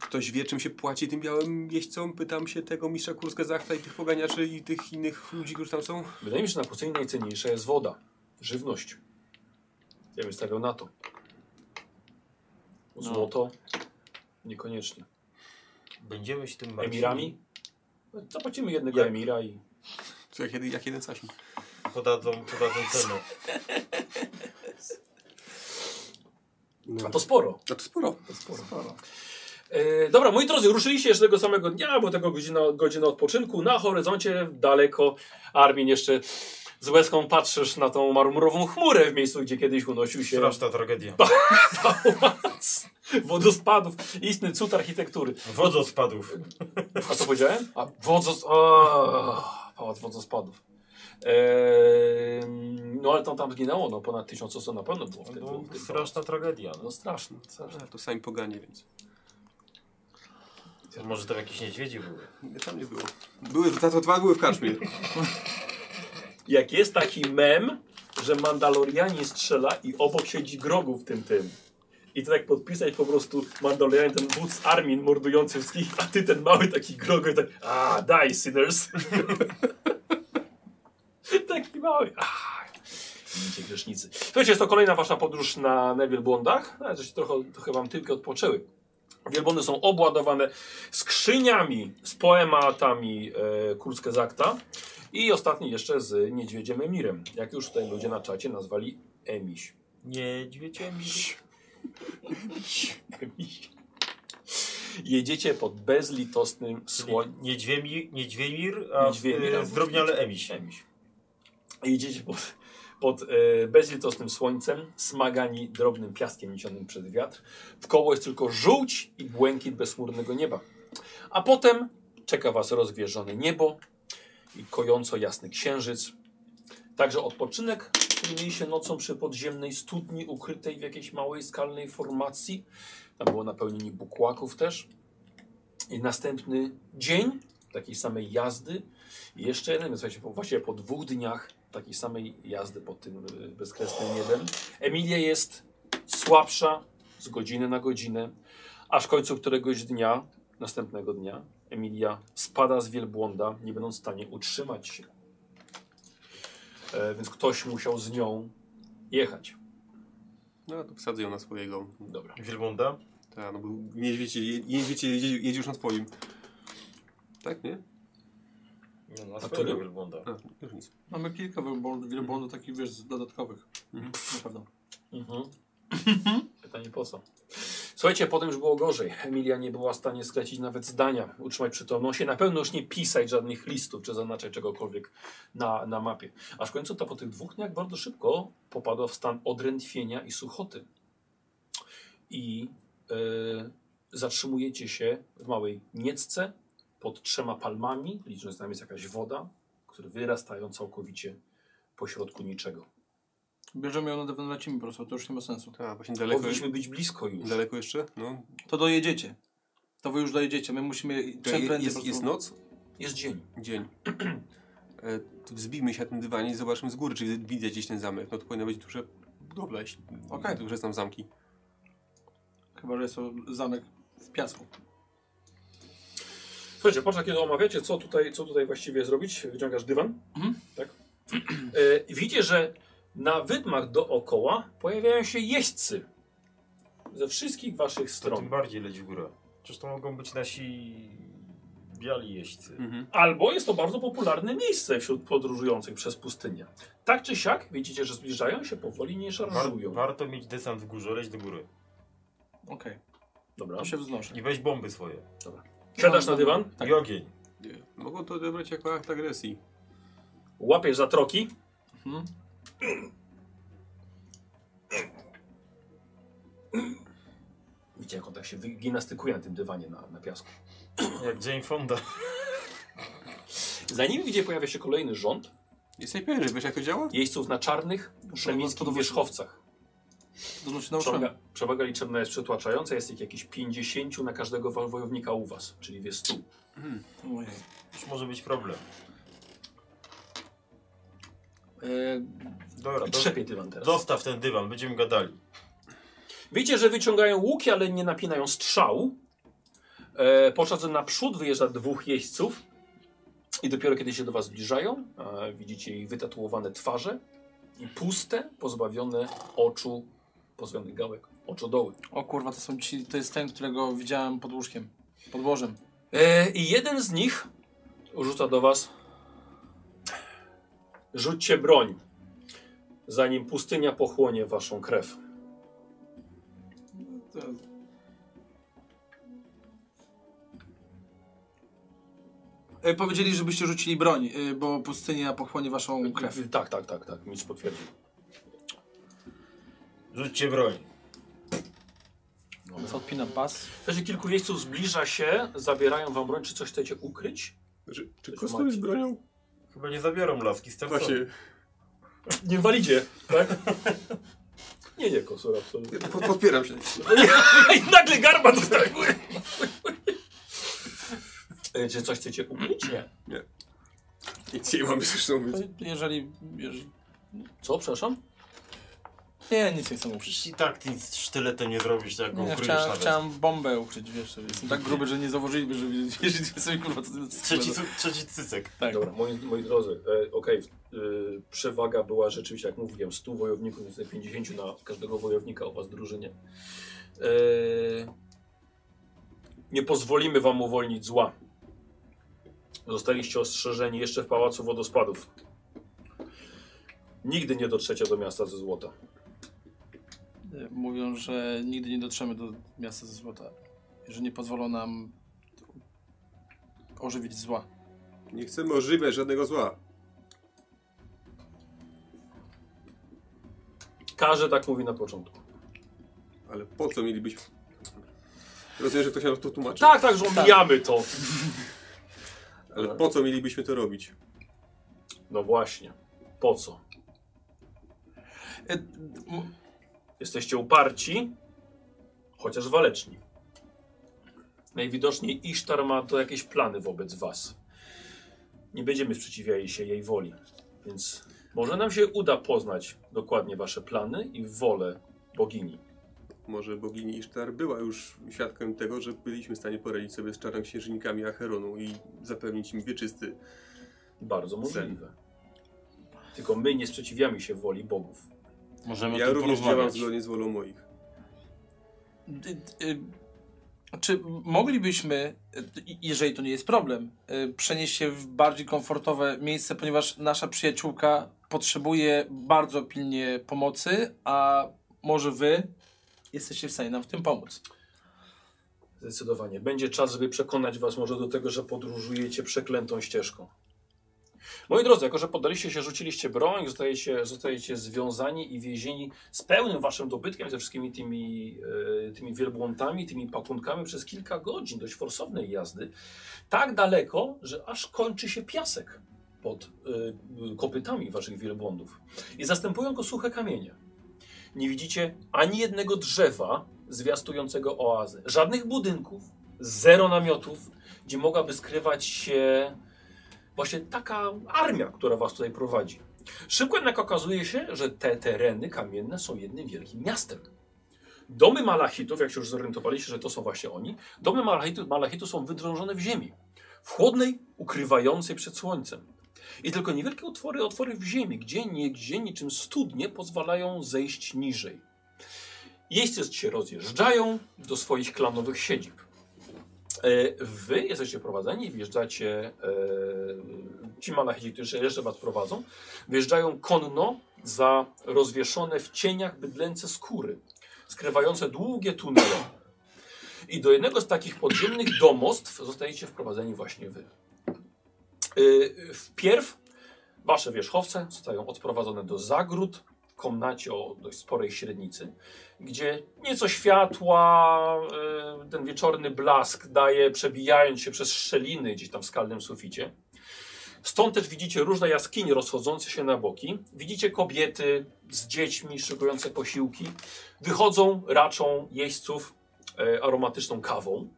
S2: Ktoś wie, czym się płaci tym białym jeźdźcom? Pytam się tego mistrza Kurska Zachta i tych poganiaczy i tych innych ludzi, którzy tam są.
S1: Wydaje mi się, że na pustyni najcenniejsza jest woda, żywność. Ja bym stawiał na to. No. Złoto? Niekoniecznie.
S14: Będziemy się tym martwili.
S1: Emirami? No, Zapłacimy jednego
S14: Jak-
S1: emira i...
S2: Co, jak, jeden- jak jeden Sasin.
S14: Podadzą, podadzą cenę.
S2: No.
S1: A to sporo.
S2: A No to sporo.
S1: E, dobra, moi drodzy, ruszyliście jeszcze tego samego dnia, bo tego godzina, godzina odpoczynku. Na horyzoncie, daleko, Armin jeszcze z łezką patrzysz na tą marmurową chmurę w miejscu, gdzie kiedyś unosił się
S14: Straszna tragedia.
S1: pałac wodospadów. Istny cud architektury.
S14: Wodospadów.
S1: A co powiedziałem? A, wodzos... O, pałac wodospadów. Ehm, no ale tam, tam zginęło, no ponad tysiąc osób na pewno było w tym.
S14: No,
S1: w tym
S14: straszna tragedia.
S1: No straszne.
S2: A, to sami poganie, więc.
S14: No. Może tam jakieś niedźwiedzie były.
S2: Nie, tam nie było. Były, za to dwa były w karczmie.
S1: Jak jest taki mem, że Mandalorianin strzela i obok siedzi grogu w tym tym. I to tak podpisać po prostu Mandalorianin, ten wódz Armin mordujący wszystkich, a ty ten mały taki grogu i tak a die sinners. taki mały. "Ah, Widzicie grzesznicy. Słuchajcie, jest to kolejna wasza podróż na, na wielbłądach. Nawet, że się trochę, trochę wam tyłki odpoczęły. Wielbłądy są obładowane skrzyniami z poematami e, Kurske Zakta. I ostatni jeszcze z niedźwiedziem Emirem. Jak już tutaj ludzie na czacie nazwali Emiś.
S14: Niedźwiedzie mi.
S1: Emiś. Jedziecie pod bezlitosnym słońcem.
S14: Niedźwiemir, niedźwiemir, a
S1: Niedźwiemir,
S14: e,
S1: a
S14: zdrobniale emiś.
S1: Emiś. Jedziecie pod, pod e, bezlitosnym słońcem, smagani drobnym piaskiem niesionym przez wiatr. Wkoło jest tylko żółć i błękit bezmurnego nieba. A potem czeka was rozwieżone niebo i kojąco jasny księżyc. Także odpoczynek, który mieliście nocą przy podziemnej studni ukrytej w jakiejś małej skalnej formacji. Tam było napełnienie bukłaków też. I następny dzień takiej samej jazdy i Jeszcze jeden, więc słuchajcie, po, właściwie po dwóch dniach takiej samej jazdy pod tym y, bezkresnym niebem. Emilia jest słabsza z godziny na godzinę, aż w końcu któregoś dnia, następnego dnia, Emilia spada z wielbłąda, nie będąc w stanie utrzymać się. E, więc ktoś musiał z nią jechać.
S2: No, to wsadzę ją na swojego.
S1: Dobra.
S14: Wielbłąda?
S2: Tak, no bo niedźwiedzie, je- niedźwiedzie jedzie, jedzie już na swoim. Tak, nie?
S14: Nie, na
S1: to
S14: swojego
S1: nie.
S14: wielbłąda.
S2: A, już nic.
S5: Mamy kilka wielbłądów, wielbłądów takich, wiesz, z dodatkowych. Na pewno.
S1: Mhm. Pytanie po co? Słuchajcie, potem już było gorzej. Emilia nie była w stanie sklecić nawet zdania, utrzymać przytomność, i na pewno już nie pisać żadnych listów czy zaznaczać czegokolwiek na, na mapie. Aż w końcu to po tych dwóch dniach bardzo szybko popadła w stan odrętwienia i suchoty. I e, zatrzymujecie się w małej niecce pod trzema palmami, licząc tam jest jakaś woda, które wyrastają całkowicie pośrodku niczego.
S5: Bierzemy ją na pewno lecimy po prostu, to już nie ma sensu.
S2: Tak, właśnie daleko,
S1: Powinniśmy być blisko już.
S2: daleko jeszcze. No.
S5: To dojedziecie. To wy już dojedziecie, my musimy
S2: To
S5: czym
S2: je,
S5: prędzej po
S2: jest,
S5: prostu.
S2: jest no- noc,
S1: Jest dzień.
S2: dzień. E, to Wzbijmy się na tym dywanie i zobaczymy z góry, czy wi- widać gdzieś ten zamek. No to powinno być duże budowla, jeśli
S5: Okej.
S2: duże znam zamki.
S5: Chyba, że jest to zamek w piasku.
S1: Słuchajcie, patrz, kiedy omawiacie, co tutaj, co tutaj właściwie zrobić. Wyciągasz dywan.
S5: Mhm.
S1: Tak. E, widzicie, że na wydmach dookoła pojawiają się jeźdźcy. Ze wszystkich waszych
S14: To tym
S1: stron.
S14: bardziej leć w górę. Przecież to mogą być nasi biali jeźdźcy.
S2: Mhm.
S1: Albo jest to bardzo popularne miejsce wśród podróżujących przez pustynię. Tak czy siak, widzicie, że zbliżają się powoli, nie
S14: War,
S1: szarżują.
S14: warto mieć desant w górze, leć do góry.
S5: Okej,
S1: Dobra.
S5: to się wznoszę.
S14: I weź bomby swoje.
S1: Siadasz na dywan,
S5: Tak.
S14: I ogień.
S2: Nie. Mogą to odebrać jako akt agresji.
S1: łapiesz za troki.
S5: Mhm.
S1: Widzicie, jak on tak się gimnastykuje na tym dywanie na, na piasku.
S14: Jak Jane Fonda.
S1: Za nim, widzicie, pojawia się kolejny rząd.
S2: Jesteś pewien, że wiesz jak to działa?
S1: jeźdźców na czarnych, szemickich
S5: podoba-
S1: wierzchowcach.
S5: Dużo się
S1: Przewaga,
S5: nauczyłem.
S1: przewaga liczebna jest przytłaczająca, jest ich jakieś 50 na każdego wojownika u was, czyli jest 100.
S6: Ojej.
S14: Już może być problem.
S6: E,
S14: Dobra, do,
S1: Trzepie dywan teraz.
S14: dostaw ten dywan, będziemy gadali.
S1: Widzicie, że wyciągają łuki, ale nie napinają strzał. E, podczas gdy naprzód wyjeżdża dwóch jeźdźców. I dopiero kiedy się do was zbliżają, e, widzicie ich wytatuowane twarze. I puste, pozbawione oczu, pozbawionych gałek, oczodoły.
S6: o kurwa, to są ci, to jest ten, którego widziałem pod łóżkiem, pod łożem.
S1: E, I jeden z nich rzuca do was. Rzućcie broń, zanim pustynia pochłonie waszą krew.
S5: To...
S6: E, powiedzieli, żebyście rzucili broń, e, bo pustynia pochłonie waszą krew.
S1: Tak, tak, tak, tak. Mistrz potwierdził.
S14: Rzućcie broń.
S6: Co odpinam pas?
S1: Też kilku jeźdźców zbliża się, zabierają wam broń, czy coś chcecie ukryć?
S2: Czy, czy kostur jest bronią?
S14: Chyba nie zabiorą laski z tego.
S2: Właśnie.
S1: Nie walidzie, tak? nie, nie, kosur, absolutnie.
S2: Pod, podpieram się.
S1: I nagle garba dostajemy! E, Czy coś chcecie ukryć? Nie.
S2: Nic nie mamy zresztą mówić.
S6: Znaczy, Jeżeli, jeżeli...
S1: Co, przepraszam?
S6: Nie, nic nie chcę ukryć.
S14: I tak ty nic sztyletem nie zrobisz, jak go
S6: Nie,
S14: No, ukryjesz
S6: chciałem,
S14: nawet.
S6: chciałem bombę ukryć, wiesz, że jestem tak gruby, że nie zauważyliby, że wierzycie sobie kurwa, co to
S14: Trzeci, cu- trzeci cycek.
S6: Tak.
S1: Dobra, moi, moi drodzy, e, okej, y, przewaga była rzeczywiście, jak mówiłem, 100 wojowników, więc 50 na każdego wojownika u was w drużynie. E, nie pozwolimy wam uwolnić zła. Zostaliście ostrzeżeni jeszcze w Pałacu Wodospadów. Nigdy nie dotrzecie do miasta ze złota.
S6: E, Mówią, że nigdy nie dotrzemy do miasta ze złota, że nie pozwolą nam ożywić zła.
S2: Nie chcemy ożywiać żadnego zła.
S1: Każdy tak mówi na początku.
S2: Ale po co mielibyśmy? Rozumiem, że ktoś nam to tłumaczy.
S1: Tak, tak, że omijamy to.
S2: Ale po co mielibyśmy to robić?
S1: No właśnie, po co?
S6: E, m-
S1: Jesteście uparci, chociaż waleczni. Najwidoczniej Isztar ma to jakieś plany wobec was. Nie będziemy sprzeciwiali się jej woli, więc może nam się uda poznać dokładnie wasze plany i wolę bogini.
S2: Może bogini Isztar była już świadkiem tego, że byliśmy w stanie poradzić sobie z czarnoksiężnikami Acheronu i zapewnić im wieczysty.
S1: Bardzo możliwe. Tylko my nie sprzeciwiamy się woli bogów.
S14: Możemy
S2: Ja
S14: tu
S2: również działam
S14: porozmawiać.
S2: zgodnie z wolą moich.
S6: d- d- Y, Czy moglibyśmy, e, i- jeżeli to nie jest problem, e, przenieść się w bardziej komfortowe miejsce, ponieważ nasza przyjaciółka potrzebuje bardzo pilnie pomocy, a może wy jesteście w stanie nam w tym pomóc?
S1: Zdecydowanie. Będzie czas, żeby przekonać was może do tego, że podróżujecie przeklętą ścieżką. Moi drodzy, jako że poddaliście się, rzuciliście broń, zostajecie, zostajecie związani i więzieni z pełnym waszym dobytkiem, ze wszystkimi tymi, e, tymi wielbłądami, tymi pakunkami przez kilka godzin dość forsownej jazdy. Tak daleko, że aż kończy się piasek pod e, e, kopytami waszych wielbłądów. I zastępują go suche kamienie. Nie widzicie ani jednego drzewa zwiastującego oazę. Żadnych budynków, zero namiotów, gdzie mogłaby skrywać się właśnie taka armia, która was tutaj prowadzi. Szybko jednak okazuje się, że te tereny kamienne są jednym wielkim miastem. Domy malachitów, jak się już zorientowaliście, że to są właśnie oni, domy malachitów, malachitów są wydrążone w ziemi, w chłodnej, ukrywającej przed słońcem. I tylko niewielkie otwory, otwory w ziemi, gdzie niegdzie niczym studnie pozwalają zejść niżej. Jeźdźcy się rozjeżdżają do swoich klanowych siedzib. E, Wy jesteście prowadzeni, wjeżdżacie, e, ci malachici, którzy jeszcze was prowadzą, wjeżdżają konno za rozwieszone w cieniach bydlęce skóry, skrywające długie tunele. I do jednego z takich podziemnych domostw zostajecie wprowadzeni właśnie wy. E, Wpierw wasze wierzchowce zostają odprowadzone do zagród, w komnacie o dość sporej średnicy, gdzie nieco światła, y, ten wieczorny blask daje, przebijając się przez szczeliny gdzieś tam w skalnym suficie. Stąd też widzicie różne jaskinie rozchodzące się na boki. Widzicie kobiety z dziećmi szykujące posiłki. y, Wychodzą, raczą jeźdźców e, aromatyczną kawą.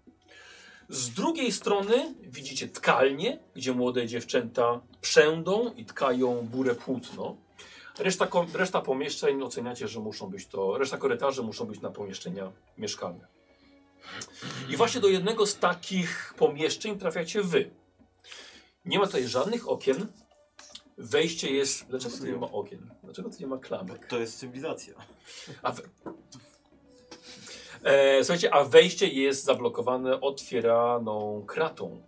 S1: Z drugiej strony widzicie tkalnię, gdzie młode dziewczęta przędą i tkają burę płótno. Reszta, ko- reszta pomieszczeń oceniacie, że muszą być to, reszta korytarzy muszą być na pomieszczenia mieszkalne. I właśnie do jednego z takich pomieszczeń trafiacie wy. Nie ma tutaj żadnych okien. Wejście jest. Dlaczego tu nie ma okien? Dlaczego tu nie ma klamek?
S14: To jest cywilizacja.
S1: A we... e, słuchajcie, a wejście jest zablokowane otwieraną kratą.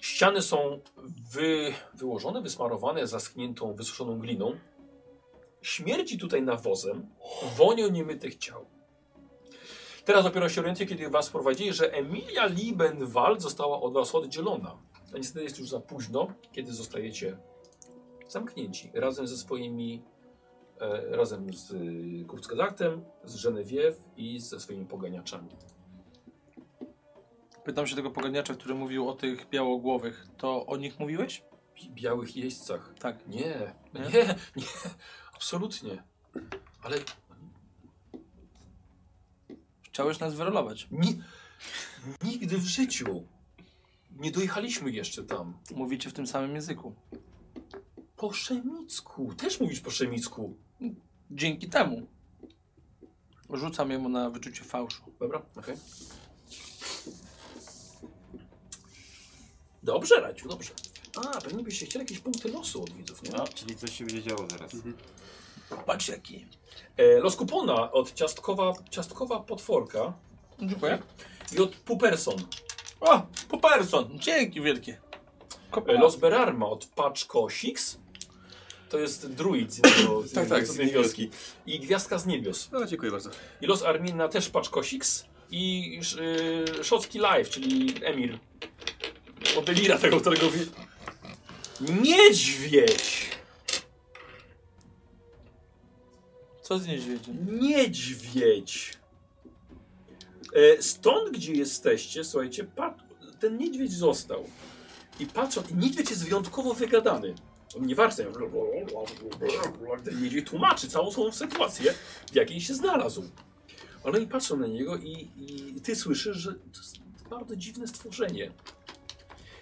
S1: Ściany są wy... wyłożone, wysmarowane zaschniętą, wysuszoną gliną. Śmierdzi tutaj nawozem, wonią niemytych ciał. Teraz dopiero się orientuję, kiedy was prowadzili, że Emilia Liebenwald została od was oddzielona. A niestety jest już za późno, kiedy zostajecie zamknięci razem ze swoimi e, razem z y, Kurtzkedaktem, z Genevieve i ze swoimi poganiaczami.
S6: Pytam się tego pogadniacza, który mówił o tych białogłowych. To o nich mówiłeś?
S1: Bi- białych jeźdźcach.
S6: Tak.
S1: Nie,
S6: Nie?
S1: nie, nie, absolutnie. Ale
S6: Chciałeś nas wyrolować.
S1: ni nigdy w życiu nie dojechaliśmy jeszcze tam.
S6: Mówicie w tym samym języku.
S1: Po szemicku. Też mówisz po szemicku.
S6: Dzięki temu. Rzucam jemu na wyczucie fałszu.
S1: Dobra, okej. Dobrze, Radziu, dobrze. A, pewnie byście chcieli jakieś punkty losu od widzów, nie?
S14: No, czyli coś się będzie działo zaraz.
S6: Patrz jaki.
S1: E, los kupona od ciastkowa, ciastkowa potworka
S6: Dziękuję.
S1: i od Puperson.
S6: O, Poperson. Dzięki wielkie.
S1: E, Los Berarma od Paczko Six. To jest druid z innego, z
S5: Tak, tak,
S1: z innej wioski. I Gwiazdka z Niebios.
S2: No, dziękuję bardzo.
S1: I Los Armina też Paczko Six. I y, Szocki Live, czyli Emir. Od Elira tego, którego... wi- Niedźwiedź!
S6: Co z niedźwiedziem?
S1: Niedźwiedź. E, stąd, gdzie jesteście, słuchajcie, pat- ten niedźwiedź został. I patrzą, i niedźwiedź jest wyjątkowo wygadany. On nie warstwia. Ten niedźwiedź tłumaczy całą swoją sytuację, w jakiej się znalazł. Ale oni patrzą na niego i, i ty słyszysz, że to jest bardzo dziwne stworzenie.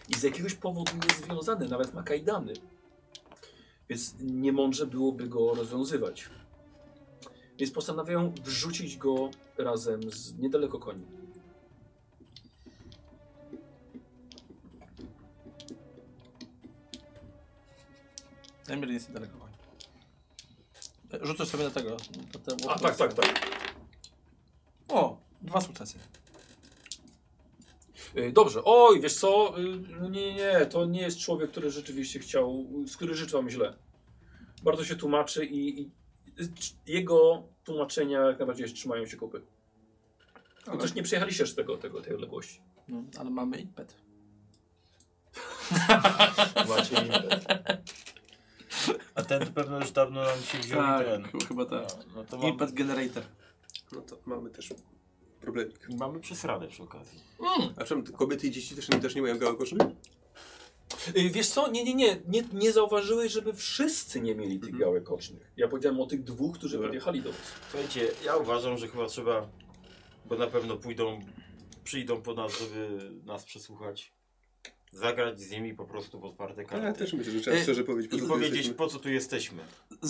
S1: I z jakiegoś powodu jest związane, nawet ma kajdany. Więc niemądrze byłoby go rozwiązywać. Więc postanawiają wrzucić go razem z niedaleko koni.
S6: Emir jest daleko. Rzucę sobie na tego. na te-
S1: A tak, tak, tak.
S6: O, dwa sukcesy.
S1: Y, Dobrze. Oj, wiesz co? Y, no Nie, nie, to nie jest człowiek, który rzeczywiście chciał, z który życzy wam źle. Bardzo się tłumaczy i, i y, c- jego tłumaczenia jak najbardziej trzymają się kupy. Ale... Też nie przejechaliście z tego, tego, tej odległości.
S6: No, ale mamy impet.
S19: Macie impet.
S14: A ten to pewno już dawno nam się wziął i ten.
S5: ch- chyba
S14: No,
S5: tak.
S14: no to mamy,
S5: Impet generator.
S2: No to mamy też problemik.
S14: mamy przesradę przy okazji.
S2: A przepraszam, te kobiety i dzieci też, też nie mają białego koszy?
S1: Y, Wiesz co? Nie, nie, nie. Nie, nie zauważyłeś, żeby wszyscy nie mieli tych białych ocznych. Ja powiedziałem o tych dwóch, którzy
S2: Dobra.
S1: podjechali do nas.
S14: Słuchajcie, ja uważam, że chyba trzeba, bo na pewno pójdą, przyjdą po nas, żeby nas przesłuchać. Zagrać z nimi po prostu w otwarte
S2: Ja
S14: karty.
S2: też myślę, że trzeba
S14: E,
S2: szczerze powiedzieć, po
S14: I
S2: co tu
S14: powiedzieć,
S2: jesteśmy.
S14: po co tu jesteśmy.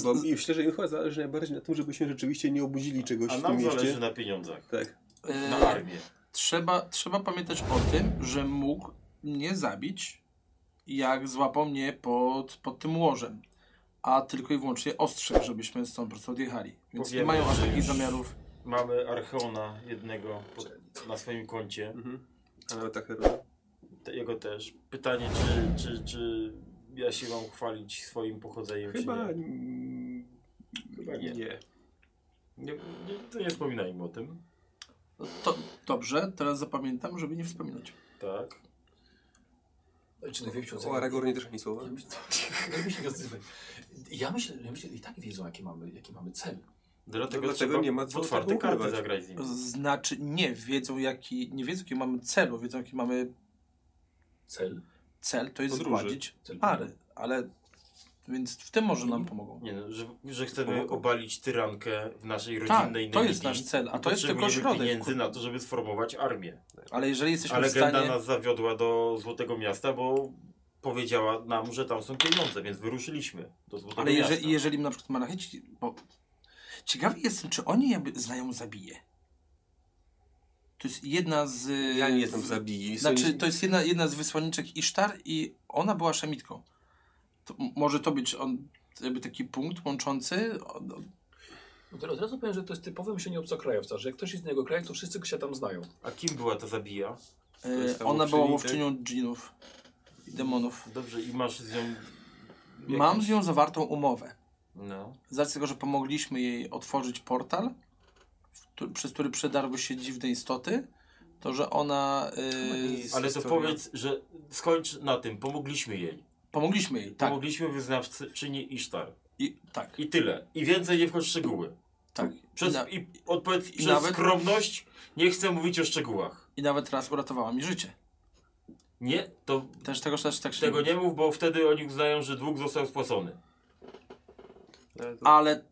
S2: Bo mi szczerze im chyba zależy najbardziej na tym, żebyśmy rzeczywiście nie obudzili czegoś
S14: A
S2: w tym
S14: nam zależy
S2: mieście.
S14: na pieniądzach. Eee.
S2: Tak.
S14: Na
S6: E,
S14: armię.
S6: trzeba, trzeba pamiętać o tym, że mógł mnie zabić, jak złapał mnie pod, pod tym łożem. A tylko i wyłącznie ostrzegł, żebyśmy stąd po prostu odjechali. Więc nie
S14: Powiemy,
S6: mają aż
S14: że
S6: takich
S14: już-
S6: zamiarów.
S14: Mamy Archeona jednego pod, na swoim koncie.
S2: Mhm. A nawet tak herora.
S14: Te- Jego też. Pytanie, czy, czy, czy ja się mam chwalić swoim pochodzeniem,
S2: Chyba...
S14: czy nie.
S2: mm,
S14: Chyba nie.
S2: nie.
S14: Nie, nie, to nie wspominajmy o tym.
S6: No To, dobrze, teraz zapamiętam, żeby nie wspominać.
S14: Tak.
S1: Czy największą
S2: O Aragornie też ani słowa.
S1: Lepiej się nie odzywaj. Ja myślę, ja myślę, że i tak wiedzą, jaki mamy, jaki mamy cel.
S14: Dlatego,
S2: dlatego
S14: trzeba
S2: No nie ma No.
S14: w
S2: co
S14: otwarte
S2: tego
S14: karty
S2: ukrywać.
S14: zagrać z nimi.
S6: Znaczy, nie wiedzą, jaki, nie wiedzą, jaki mamy cel, bo wiedzą, jaki mamy
S1: Cel.
S6: cel, to jest
S2: Podróży.
S6: zgładzić
S1: Cel
S6: pary, ale Więc w tym może nam pomogą.
S3: Nie no, że, że chcemy obalić tyrankę w naszej
S6: Tak,
S3: rodzinnej
S6: to
S3: Namibii.
S6: jest nasz cel, a to jest tylko
S3: Potrzebujemy
S6: środek.
S3: pieniędzy
S6: kur-
S3: na to, żeby sformować armię.
S6: Ale jeżeli jesteśmy
S3: Ale
S6: w
S3: legenda
S6: stanie...
S3: nas zawiodła do Złotego Miasta, bo powiedziała nam, że tam są pieniądze, więc wyruszyliśmy do Złotego
S6: Ale jeżeli,
S3: Miasta.
S6: jeżeli na przykład Malachici... Bo... Ciekawy jestem, czy oni jakby znają zabije. To jest jedna z...
S2: Ja nie jestem zabij.
S6: Znaczy, to jest jedna, jedna z wysłanniczek Isztar i ona była szamitką. To, m- może to być on, jakby taki punkt łączący. O, o,
S20: No to od razu powiem, że to jest typowe myślenie obcokrajowca, że jak ktoś jest z innego kraju, to wszyscy go się tam znają.
S3: A kim była ta zabija?
S6: e,
S2: jest ta
S6: ona była
S2: łowczyni,
S6: łowczynią dżinów i demonów.
S3: Dobrze, i masz z nią...
S6: Mam z nią zawartą umowę.
S3: No.
S6: Z racji tego, że pomogliśmy jej otworzyć portal, w któ- przez który przedarły się dziwne istoty, to że ona. E,
S3: Ale to
S2: historia.
S3: powiedz, że skończ na tym, pomogliśmy jej.
S6: pomogliśmy jej, tak.
S3: Pomogliśmy wyznawczyni Isztar.
S6: I, tak,
S3: I tyle. I więcej nie wchodź w szczegóły.
S6: tak.
S3: Przez,
S6: I, na,
S3: i, odpowiedz, przez
S6: nawet-
S3: skromność nie chcę mówić o szczegółach.
S6: I nawet raz uratowała mi życie.
S3: Nie, to
S6: Też tego też tak się
S3: tego nie mów, bo wtedy oni uznają, że dług został spłacony.
S6: ale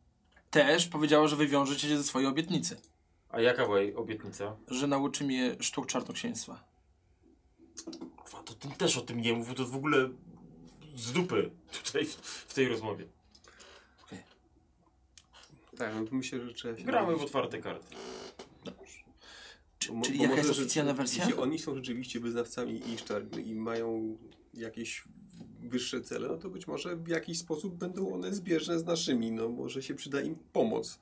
S6: też powiedziała, że wywiążecie się ze swojej obietnicy,
S3: A jaka była jej obietnica?
S6: że nauczy mnie sztuk czarnoksięstwa.
S3: Kurwa, to tym też o tym nie mów, bo to w ogóle z dupy tutaj w, w tej rozmowie.
S2: Tak, no, myślę, że trzeba się...
S3: Gramy w otwarte karty.
S6: Czy,
S2: Bo-
S6: czyli
S2: bo
S6: jaka
S2: może
S6: jest
S2: rzeczy-
S6: oficjalna wersja?
S2: Jeśli oni są rzeczywiście wyznawcami Isztar i mają jakieś wyższe cele, no to być może w jakiś sposób będą one zbieżne z naszymi. No może się przyda im pomoc.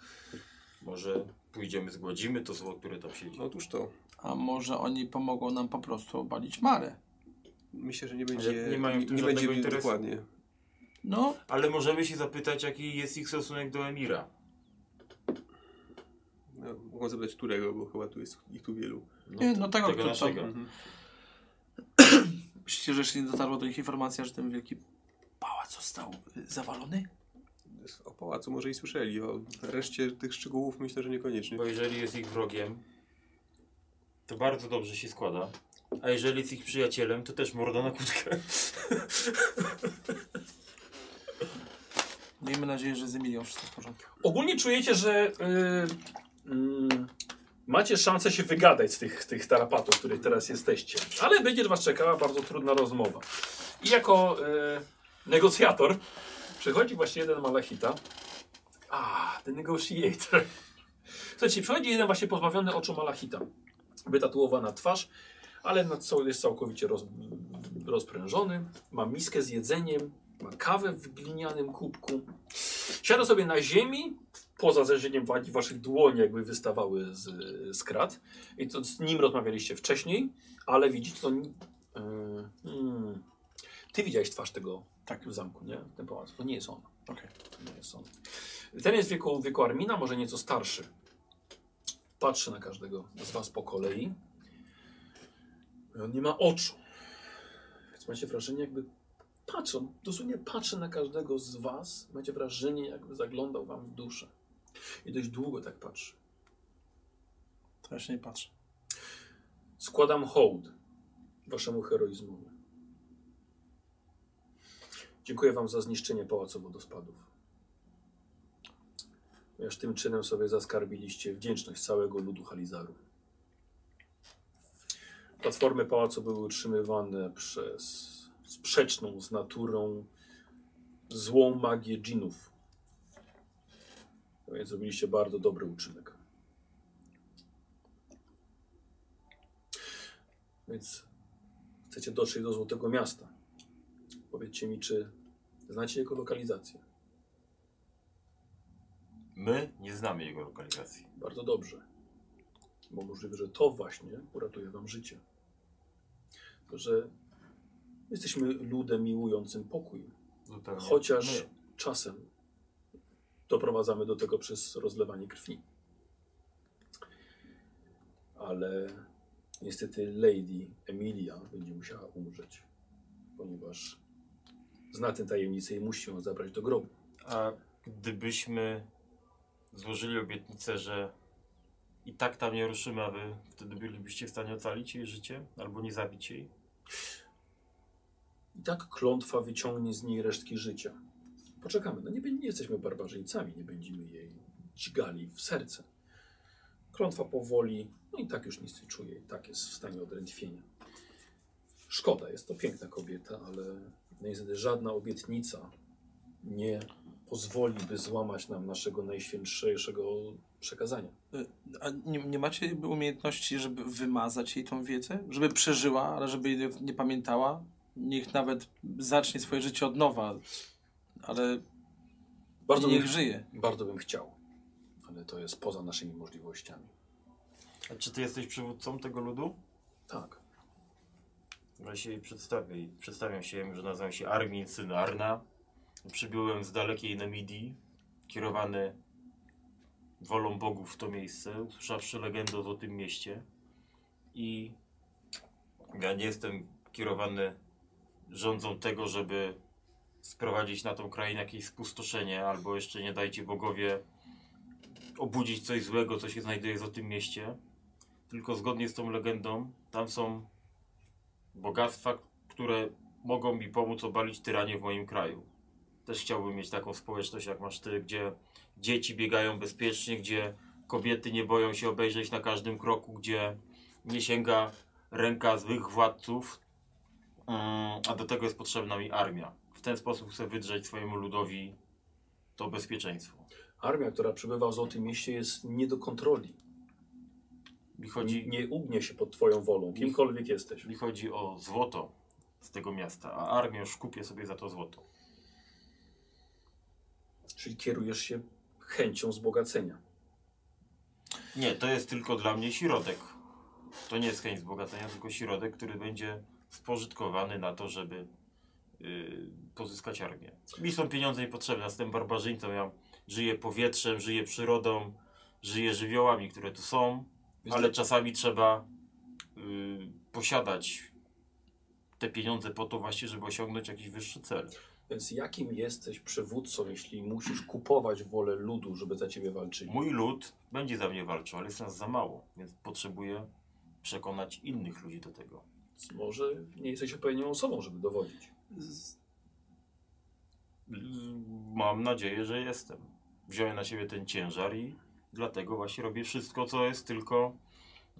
S3: Może pójdziemy, zgładzimy to zło, które tam siedzi.
S2: No otóż to.
S6: A może oni pomogą nam po prostu obalić Marę?
S2: Myślę, że nie będzie.
S3: Ale nie mają w tym
S2: nie
S3: żadnego
S2: będzie
S3: interesu.
S2: dokładnie.
S6: No,
S3: Ale możemy się zapytać, jaki jest ich stosunek do Emira.
S2: No, mogą zapytać którego, bo chyba tu jest ich tu wielu.
S3: No,
S6: nie, no
S3: tego
S6: tego, tego kto,
S3: naszego.
S6: Myślicie, że jeszcze nie dotarła do nich informacja, że ten wielki pałac został y, zawalony?
S2: O pałacu może i słyszeli, o reszcie tych szczegółów myślę, że niekoniecznie.
S3: Bo jeżeli jest ich wrogiem, to bardzo dobrze się składa. A jeżeli jest ich przyjacielem, to też morda na kłódkę.
S6: Miejmy nadzieję, że z Emilią wszystko w porządku.
S1: Ogólnie czujecie, że y, mm, macie szansę się wygadać z tych, z tych tarapatów, w których teraz jesteście. Ale będzie was czekała bardzo trudna rozmowa. I jako y, negocjator przychodzi właśnie jeden malachita. A, the negotiator. Słuchajcie, przychodzi jeden właśnie pozbawiony oczu malachita. Wytatuowana twarz, ale nad cał- jest całkowicie roz, rozprężony. Ma miskę z jedzeniem, ma kawę w glinianym kubku. Siada sobie na ziemi, poza zerzeniem wagi waszych dłoni jakby wystawały z, z krat. I to z nim rozmawialiście wcześniej, ale widzicie to... Yy, mm. Ty widziałeś twarz tego tak. w zamku, nie? W tym pałacu. To nie jest on.
S6: Okej.
S1: To nie jest on. Ten jest w wieku, w wieku Armina, może nieco starszy. Patrzy na każdego z was po kolei. I on nie ma oczu. Więc macie wrażenie, jakby patrzą, dosłownie patrzy na każdego z was, macie wrażenie, jakby zaglądał wam w duszę. I dość długo tak patrzy.
S6: To ja się nie patrzę.
S1: Składam hołd waszemu heroizmowi. Dziękuję wam za zniszczenie Pałacu Wodospadów. Ponieważ tym czynem sobie zaskarbiliście wdzięczność całego ludu Halizaru. Platformy pałacu były utrzymywane przez sprzeczną z naturą złą magię dżinów. Więc zrobiliście bardzo dobry uczynek. Więc chcecie dotrzeć do Złotego Miasta. Powiedzcie mi, czy znacie jego lokalizację?
S3: My nie znamy jego lokalizacji.
S1: Bardzo dobrze. Bo możliwe, że to właśnie uratuje wam życie. Tylko, że jesteśmy ludem miłującym pokój.
S3: Zupełnie.
S1: Chociaż
S3: tak, My.
S1: czasem doprowadzamy do tego przez rozlewanie krwi. Ale niestety Lady Emilia będzie musiała umrzeć, ponieważ zna tę tajemnicę i musi ją zabrać do grobu.
S3: A gdybyśmy złożyli obietnicę, że i tak tam nie ruszymy, a wy wtedy bylibyście w stanie ocalić jej życie? Albo nie zabić jej?
S1: I tak klątwa wyciągnie z niej resztki życia. Poczekamy. No nie, bę- nie jesteśmy barbarzyńcami, nie będziemy jej dźgali w serce. Klątwa powoli, no i tak już nic nie czuje, i tak jest w stanie odrętwienia. Szkoda, jest to piękna kobieta, ale no niestety żadna obietnica nie pozwoli, by złamać nam naszego najświętszego przekazania.
S6: A nie, nie macie jakby umiejętności, żeby wymazać jej tą wiedzę? Żeby przeżyła, ale żeby jej nie pamiętała? Niech nawet zacznie swoje życie od nowa, ale
S1: Bardzo bym,
S6: niech żyje.
S1: bardzo bym chciał, ale to jest poza naszymi możliwościami.
S3: A czy ty jesteś przywódcą tego ludu?
S1: Tak.
S3: Ja się jej przedstawię. i Przedstawiam się, jemu, że nazywam się Armin, syn Arna. Przybyłem z dalekiej Namidii, kierowany wolą bogów w to miejsce, usłyszawszy legendę o tym mieście. I ja nie jestem kierowany rządzą tego, żeby sprowadzić na tą krainę jakieś spustoszenie, albo jeszcze nie dajcie bogowie obudzić coś złego, co się znajduje w tym mieście. Tylko zgodnie z tą legendą, tam są bogactwa, które mogą mi pomóc obalić tyranię w moim kraju. Też chciałbym mieć taką społeczność, jak masz ty, gdzie dzieci biegają bezpiecznie, gdzie kobiety nie boją się obejrzeć na każdym kroku, gdzie nie sięga ręka złych władców, Mm, a do tego jest potrzebna mi armia. W ten sposób chcę wydrzeć swojemu ludowi to bezpieczeństwo.
S1: Armia, która przybywa w Złotym Mieście jest nie do kontroli.
S3: Mi chodzi,
S1: Nie ugnie się pod twoją wolą, kimkolwiek jesteś.
S3: mi chodzi o złoto z tego miasta, a armię już kupię sobie za to złoto.
S1: Czyli kierujesz się chęcią wzbogacenia.
S3: Nie, to jest tylko dla mnie środek. To nie jest chęć wzbogacenia, tylko środek, który będzie spożytkowany na to, żeby y, pozyskać armię. Mi są pieniądze niepotrzebne, jestem barbarzyńcą, ja żyję powietrzem, żyję przyrodą, żyję żywiołami, które tu są,
S1: Więc
S3: ale czasami trzeba y, posiadać te pieniądze po to właśnie, żeby osiągnąć jakiś wyższy cel.
S1: Więc jakim jesteś przywódcą, jeśli musisz kupować wolę ludu, żeby za ciebie walczyli?
S3: Mój lud będzie za mnie walczył, ale jest nas za mało, więc potrzebuję przekonać innych ludzi do tego.
S1: Więc Może nie jesteś odpowiednią osobą, żeby dowodzić.
S3: Mam nadzieję, że jestem. Wziąłem na siebie ten ciężar i dlatego właśnie robię wszystko, co jest tylko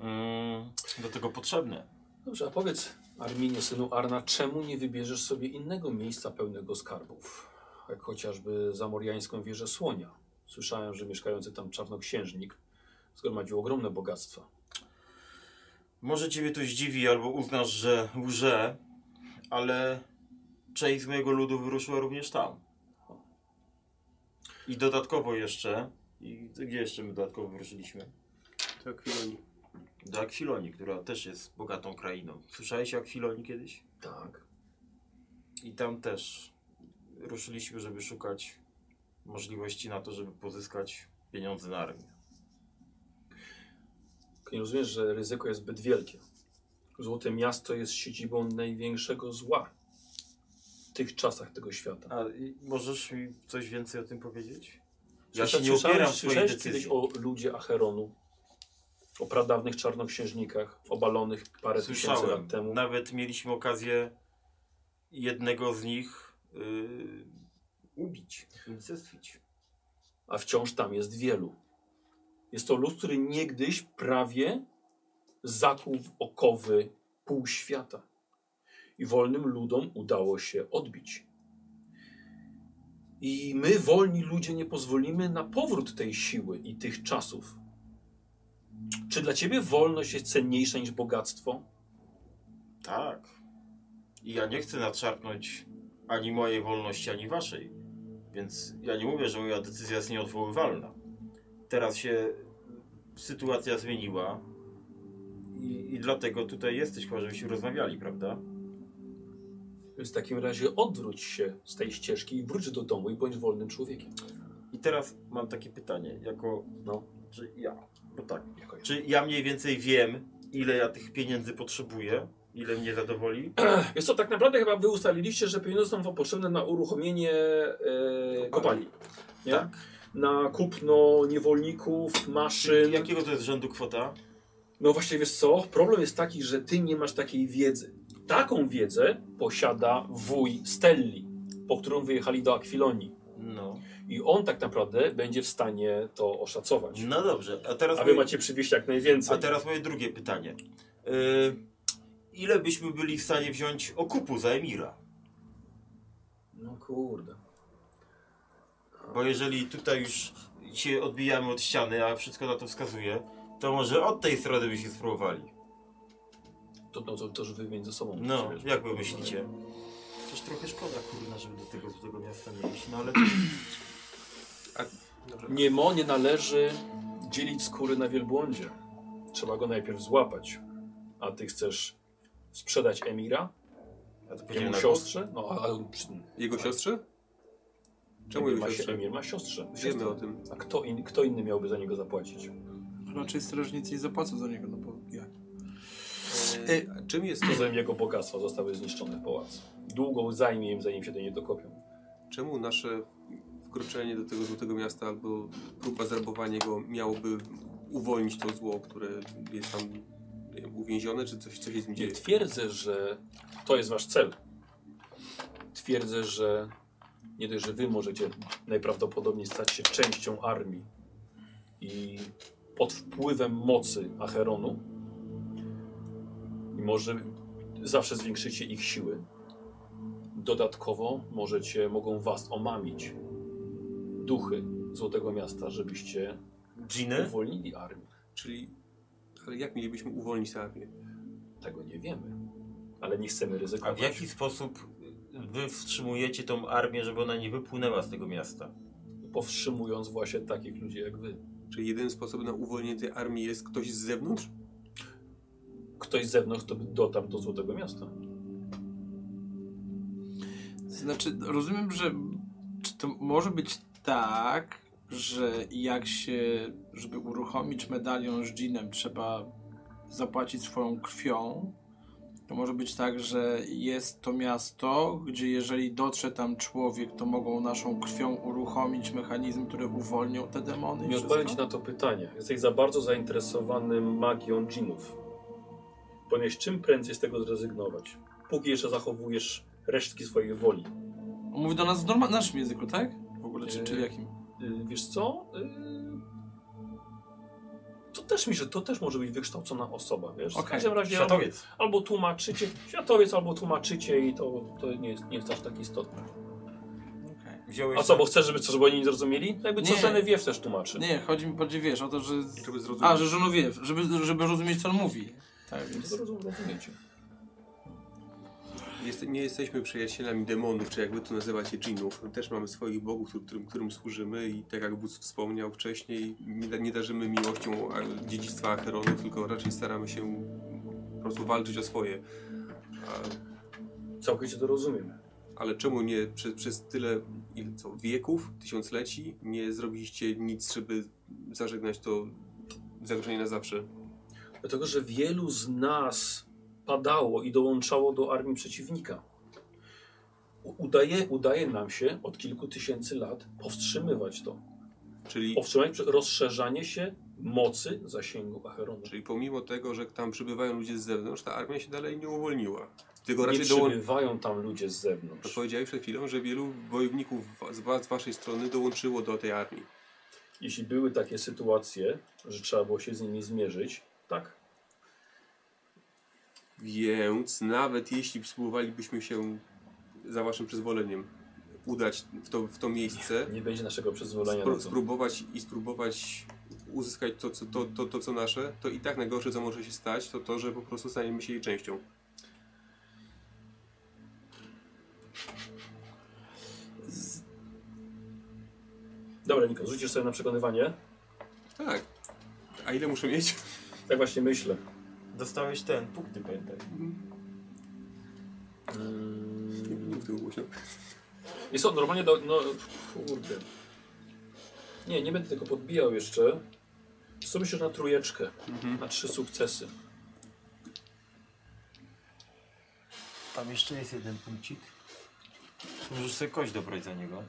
S3: mm, do tego potrzebne.
S1: Dobrze, a powiedz Arminie, synu Arna, czemu nie wybierzesz sobie innego miejsca pełnego skarbów? Jak chociażby zamoriańską wieżę Słonia. Słyszałem, że mieszkający tam czarnoksiężnik zgromadził ogromne bogactwa.
S3: Może ciebie to zdziwi albo uznasz, że łże, ale część z mojego ludu wyruszyła również tam. I dodatkowo jeszcze, i gdzie jeszcze my dodatkowo wyruszyliśmy?
S2: To
S3: Tak,
S2: Akwiloni.
S3: Do Akwilonii, która też jest bogatą krainą. Słyszałeś o Akwilonii kiedyś?
S1: Tak.
S3: I tam też ruszyliśmy, żeby szukać możliwości na to, żeby pozyskać pieniądze na armię.
S1: Tylko Nie rozumiesz, że ryzyko jest zbyt wielkie. Złote Miasto jest siedzibą największego zła w tych czasach tego świata.
S3: A i możesz mi coś więcej o tym powiedzieć? Ja
S1: Słysza-
S3: się nie
S1: słyszałeś-
S3: opieram w swojej
S1: Słyszałeś kiedyś
S3: decyzji.
S1: o ludzie Acheronu? O pradawnych czarnoksiężnikach, obalonych parę tysięcy
S3: Słyszałem.
S1: lat temu?
S3: Nawet mieliśmy okazję jednego z nich yy, ubić, unicestwić.
S1: A wciąż tam jest wielu. Jest to lud, który niegdyś prawie zakuł w okowy pół świata. I wolnym ludom udało się odbić. I my, wolni ludzie, nie pozwolimy na powrót tej siły i tych czasów. Czy dla ciebie wolność jest cenniejsza niż bogactwo?
S3: Tak. I ja nie chcę nadszarpnąć ani mojej wolności, ani waszej. Więc ja nie mówię, że moja decyzja jest nieodwoływalna. Teraz się sytuacja zmieniła i, i dlatego tutaj jesteś, chyba żebyśmy rozmawiali, prawda?
S1: Więc w takim razie odwróć się z tej ścieżki i wróć do domu i bądź wolnym człowiekiem.
S3: I teraz mam takie pytanie, jako, no, czy ja, bo tak,
S1: Jako ja.
S3: czy ja mniej więcej wiem, ile ja tych pieniędzy potrzebuję, ile mnie zadowoli?
S1: Jest to tak naprawdę chyba wy ustaliliście, że pieniądze są wam potrzebne na uruchomienie e, kopalni. Nie?
S3: Tak.
S1: Na kupno niewolników,
S3: Czy
S1: maszyn.
S3: jakiego to jest rzędu kwota?
S1: No właśnie wiesz co? Problem jest taki, że ty nie masz takiej wiedzy. Taką wiedzę posiada wuj Stelli, po którą wyjechali do Akwilonii.
S14: No.
S1: I on tak naprawdę będzie w stanie to oszacować.
S14: No dobrze, a teraz,
S1: A wy
S14: moje,
S1: macie przywieźć jak najwięcej.
S14: a teraz moje drugie pytanie. Y, ile byśmy byli w stanie wziąć okupu za Emira?
S19: No kurde.
S14: Bo jeżeli tutaj już się odbijamy od ściany, a wszystko na to wskazuje, to może od tej strony byśmy spróbowali.
S1: To, no, to, to że wy między sobą.
S14: No,
S1: będziecie, wiesz.
S14: jak wy myślicie? Też trochę szkoda, kurna, żeby do tego, do tego miasta nie iść, no ale...
S1: Niemo nie należy dzielić skóry na wielbłądzie. Trzeba go najpierw złapać. A ty chcesz sprzedać Emira?
S14: A to pojedziemy
S1: Jemu
S14: na
S1: siostrze? No, a, a przy-
S2: Jego siostrze? Czemu
S1: Emir ma,
S2: jego
S1: się-
S2: siostrze?
S1: Emir ma siostrze.
S2: Wiemy o tym.
S1: A kto, in, kto inny miałby za niego zapłacić?
S5: Raczej strażnicy nie zapłacą za niego, no bo jak?
S2: E, a czym jest to?
S1: Zanim jego bogactwa zostały zniszczone w pałacu. Długo zajmie im, zanim się do niej dokopią.
S2: Czemu nasze wkroczenie do tego złotego miasta albo próba zrabowania go miałoby uwolnić to zło, które jest tam nie wiem, uwięzione, czy coś, coś się z nim
S1: Nie
S2: dzieje?
S1: twierdzę, że to jest wasz cel. Twierdzę, że nie dość, że wy możecie najprawdopodobniej stać się częścią armii i pod wpływem mocy Acheronu i może zawsze zwiększycie ich siły. Dodatkowo możecie, mogą was omamić duchy Złotego Miasta, żebyście
S14: Dżiny?
S1: uwolnili armię.
S2: Czyli, ale jak mielibyśmy uwolnić tę armię?
S1: Tego nie wiemy, ale nie chcemy
S14: A
S1: ryzykować.
S14: w jaki sposób wy wstrzymujecie tą armię, żeby ona nie wypłynęła z tego miasta?
S1: powstrzymując właśnie takich ludzi jak wy.
S2: Czy jedyny sposób na uwolnienie tej armii jest ktoś z zewnątrz?
S1: Ktoś z zewnątrz to by dotarł do Złotego Miasta.
S6: Znaczy, rozumiem, że czy to może być tak, że jak się, żeby uruchomić medalion z dżinem, trzeba zapłacić swoją krwią, to może być tak, że jest to miasto, gdzie jeżeli dotrze tam człowiek, to mogą naszą krwią uruchomić mechanizm, który uwolnią te demony.
S1: Nie
S6: i wszystko?
S1: odpowiem ci na to pytanie. Jesteś za bardzo zainteresowany magią dżinów. Powinieneś czym prędzej z tego zrezygnować. Póki jeszcze zachowujesz resztki swojej woli.
S6: On mówi do nas w norma- naszym języku, tak? W ogóle, czy, czy w
S1: Yy,
S6: jakim?
S1: Yy, wiesz co? Yy... To też mi, że to też może być wykształcona osoba, wiesz? W
S6: Okej.
S1: każdym razie
S14: Światowiec.
S1: albo tłumaczycie, światowiec albo tłumaczycie i to, to nie, jest, nie jest aż tak istotne.
S6: Okej.
S14: Wziąłeś
S1: A co, bo chcesz, żeby co, żeby oni nie zrozumieli? Jakby co,
S6: Nie.
S1: Genevieve też tłumaczy.
S6: Nie, chodzi mi bardziej, wiesz, o to, że...
S2: Żeby zrozumieć.
S6: A, że żonu wie, żeby, żeby rozumieć, co on mówi. Tak, więc...
S1: Rozumiecie.
S2: Jest, nie jesteśmy przyjacielami demonów, czy jakby to nazywacie dżinów. My też mamy swoich bogów, którym- którym, którym służymy i tak jak wódz wspomniał wcześniej, nie, da- nie darzymy miłością a, dziedzictwa Acheronu, tylko raczej staramy się po prostu walczyć o swoje. A,
S1: Całkowicie to rozumiem.
S2: ale czemu nie przez, przez tyle ile, co, wieków, tysiącleci nie zrobiliście nic, żeby zażegnać to zagrożenie na zawsze?
S1: Dlatego, że wielu z nas padało i dołączało do armii przeciwnika. U- Udaje, udaje nam się od kilku tysięcy lat powstrzymywać to.
S2: Czyli
S1: Powstrzymać prze- rozszerzanie się mocy zasięgu Acheronu.
S2: Czyli pomimo tego, że tam przybywają ludzie z zewnątrz, ta armia się dalej nie uwolniła. Tylko
S1: Nie
S2: raczej dołączyła.
S1: przybywają tam ludzie z
S2: To
S1: zewnątrz.
S2: powiedziałeś przed chwilą, że wielu wojowników wa- z, wa- z waszej strony dołączyło do tej armii.
S1: Jeśli były takie sytuacje, że trzeba było się z nimi zmierzyć, tak.
S2: Więc nawet jeśli spróbowalibyśmy się za waszym przyzwoleniem udać w to, w to miejsce,
S1: Nie będzie naszego przyzwolenia na
S2: spró-
S1: to.
S2: spróbować i spróbować uzyskać to co, to, to, to, co nasze, to i tak najgorsze, co może się stać, to to, że po prostu staniemy się jej częścią.
S1: Dobra, Niko, rzucisz sobie na przekonywanie.
S2: Tak. A ile muszę mieć?
S1: Tak właśnie myślę.
S14: Dostałeś ten, punkty pamiętaj.
S1: Mm.
S2: Nie mów tego głośno.
S1: Jest on normalnie do. No, kurde. Nie, nie będę tego podbijał jeszcze. Co myślę na trójeczkę, na trzy sukcesy.
S14: Tam jeszcze jest jeden punkcik. Możesz sobie kość dobrać za niego.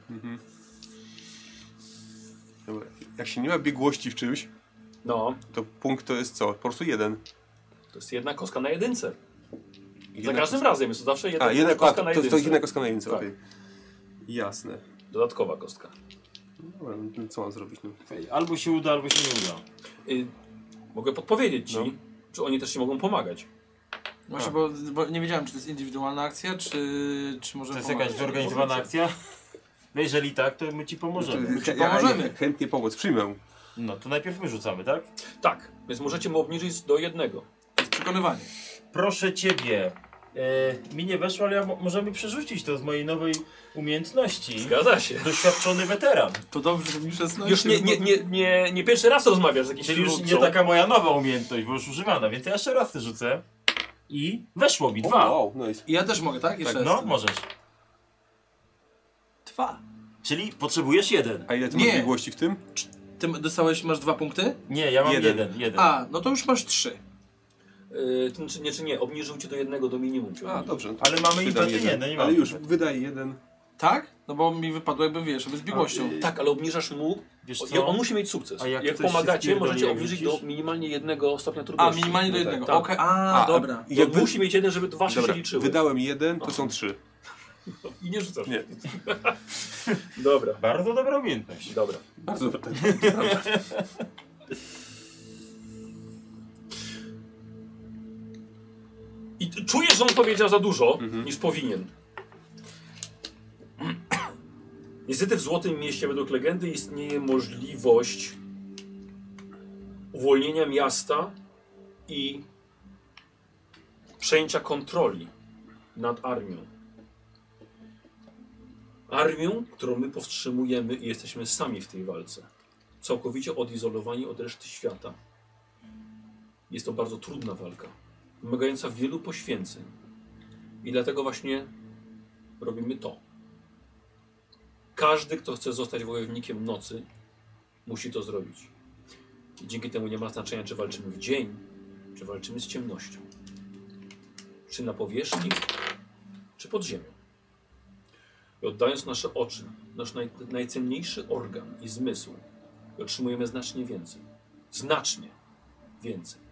S2: Dobra. Jak się nie ma biegłości w czymś,
S1: No,
S2: To punkt to jest co? Po prostu jeden.
S1: to jest jedna kostka na jedynce.
S2: Jedna
S1: Za każdym razem jest to zawsze jedna,
S2: A, jedna
S1: kostka na
S2: to,
S1: jedynce.
S2: to jedna kostka na jedynce,
S1: Tak.
S2: okej. Jasne.
S1: Dodatkowa kostka.
S2: Dobra, no, co mam zrobić? No?
S3: Ej, Albo się uda, albo się nie uda.
S1: Y, mogę podpowiedzieć ci,
S2: No.
S1: czy oni też ci mogą pomagać.
S5: Właśnie, bo, bo nie wiedziałem, czy to jest indywidualna akcja, czy, czy może
S3: To jest
S5: pomagać.
S3: jakaś zorganizowana akcja? No jeżeli tak, to my ci pomożemy.
S2: Znaczy,
S5: ci pomożemy.
S2: ja chętnie pomoc przyjmę.
S3: No to najpierw my rzucamy, tak?
S1: Tak, więc możecie mu obniżyć do jednego.
S5: To jest Przekonywanie.
S3: Proszę ciebie. E, mi nie weszło, ale ja mo możemy przerzucić to z mojej nowej umiejętności.
S1: Zgadza się.
S3: Doświadczony weteran.
S5: To dobrze, że mi
S6: No
S5: 16.
S1: Już nie, nie, nie, nie, nie pierwszy raz rozmawiasz z jakimś
S3: Czyli już nie
S1: przywódcą.
S3: taka moja nowa umiejętność, bo już używana, więc ja jeszcze raz ty rzucę. I weszło mi dwa.
S2: Wow, nice.
S5: I ja też mogę, tak? Jeszcze
S3: tak,
S5: tak,
S3: no, możesz.
S5: Dwa.
S3: Czyli potrzebujesz jeden.
S2: A ile ty
S5: Nie.
S2: masz biegłości w tym?
S5: Ty dostałeś, masz dwa punkty?
S3: Nie, ja mam
S2: Jeden.
S3: jeden, jeden.
S5: A, no to już masz trzy.
S1: Y, to znaczy nie, czy nie, obniżył cię do jednego, do minimum. Cię
S2: A,
S1: obniżył.
S2: dobrze. no to
S3: Ale mamy i
S2: wydam
S3: nie,
S2: jeden.
S3: no nie mamy.
S2: Ale już, wydaj jeden.
S5: Tak? No bo mi wypadło jakby, wiesz, jakby z biegłością.
S1: Tak, ale obniżasz mu,
S3: Wiesz
S1: on,
S3: co?
S1: on musi mieć sukces.
S3: A jak
S1: jak
S3: coś się
S1: pomagacie,
S3: spierdoli,
S1: możecie
S3: jak
S1: obniżyć do
S3: wrzucisz?
S1: minimalnie jednego stopnia
S5: A,
S1: trudności.
S5: minimalnie do jednego.
S1: tak.
S5: Okej, a,
S2: A,
S5: dobra.
S1: To
S2: Jakby-
S1: Musi mieć jeden, żeby dwa się
S2: Dobra,
S1: liczyły.
S2: wydałem jeden, to są trzy.
S1: I nie rzucasz.
S2: Nie.
S1: Dobra,
S3: Bardzo dobra umiejętność.
S1: dobra.
S2: Bardzo
S3: tak
S2: dobra.
S1: I ty czujesz, że on powiedział za dużo, niż powinien. Niestety w Złotym Mieście według legendy istnieje możliwość uwolnienia miasta i przejęcia kontroli nad armią. Armią, którą my powstrzymujemy i jesteśmy sami w tej walce. Całkowicie odizolowani od reszty świata. Jest to bardzo trudna walka wymagająca wielu poświęceń. I dlatego właśnie robimy to. Każdy, kto chce zostać wojownikiem nocy, musi to zrobić. I dzięki temu nie ma znaczenia, czy walczymy w dzień, czy walczymy z ciemnością, czy na powierzchni, czy pod ziemią. I oddając nasze oczy, nasz naj, najcenniejszy organ i zmysł, otrzymujemy znacznie więcej. Znacznie więcej.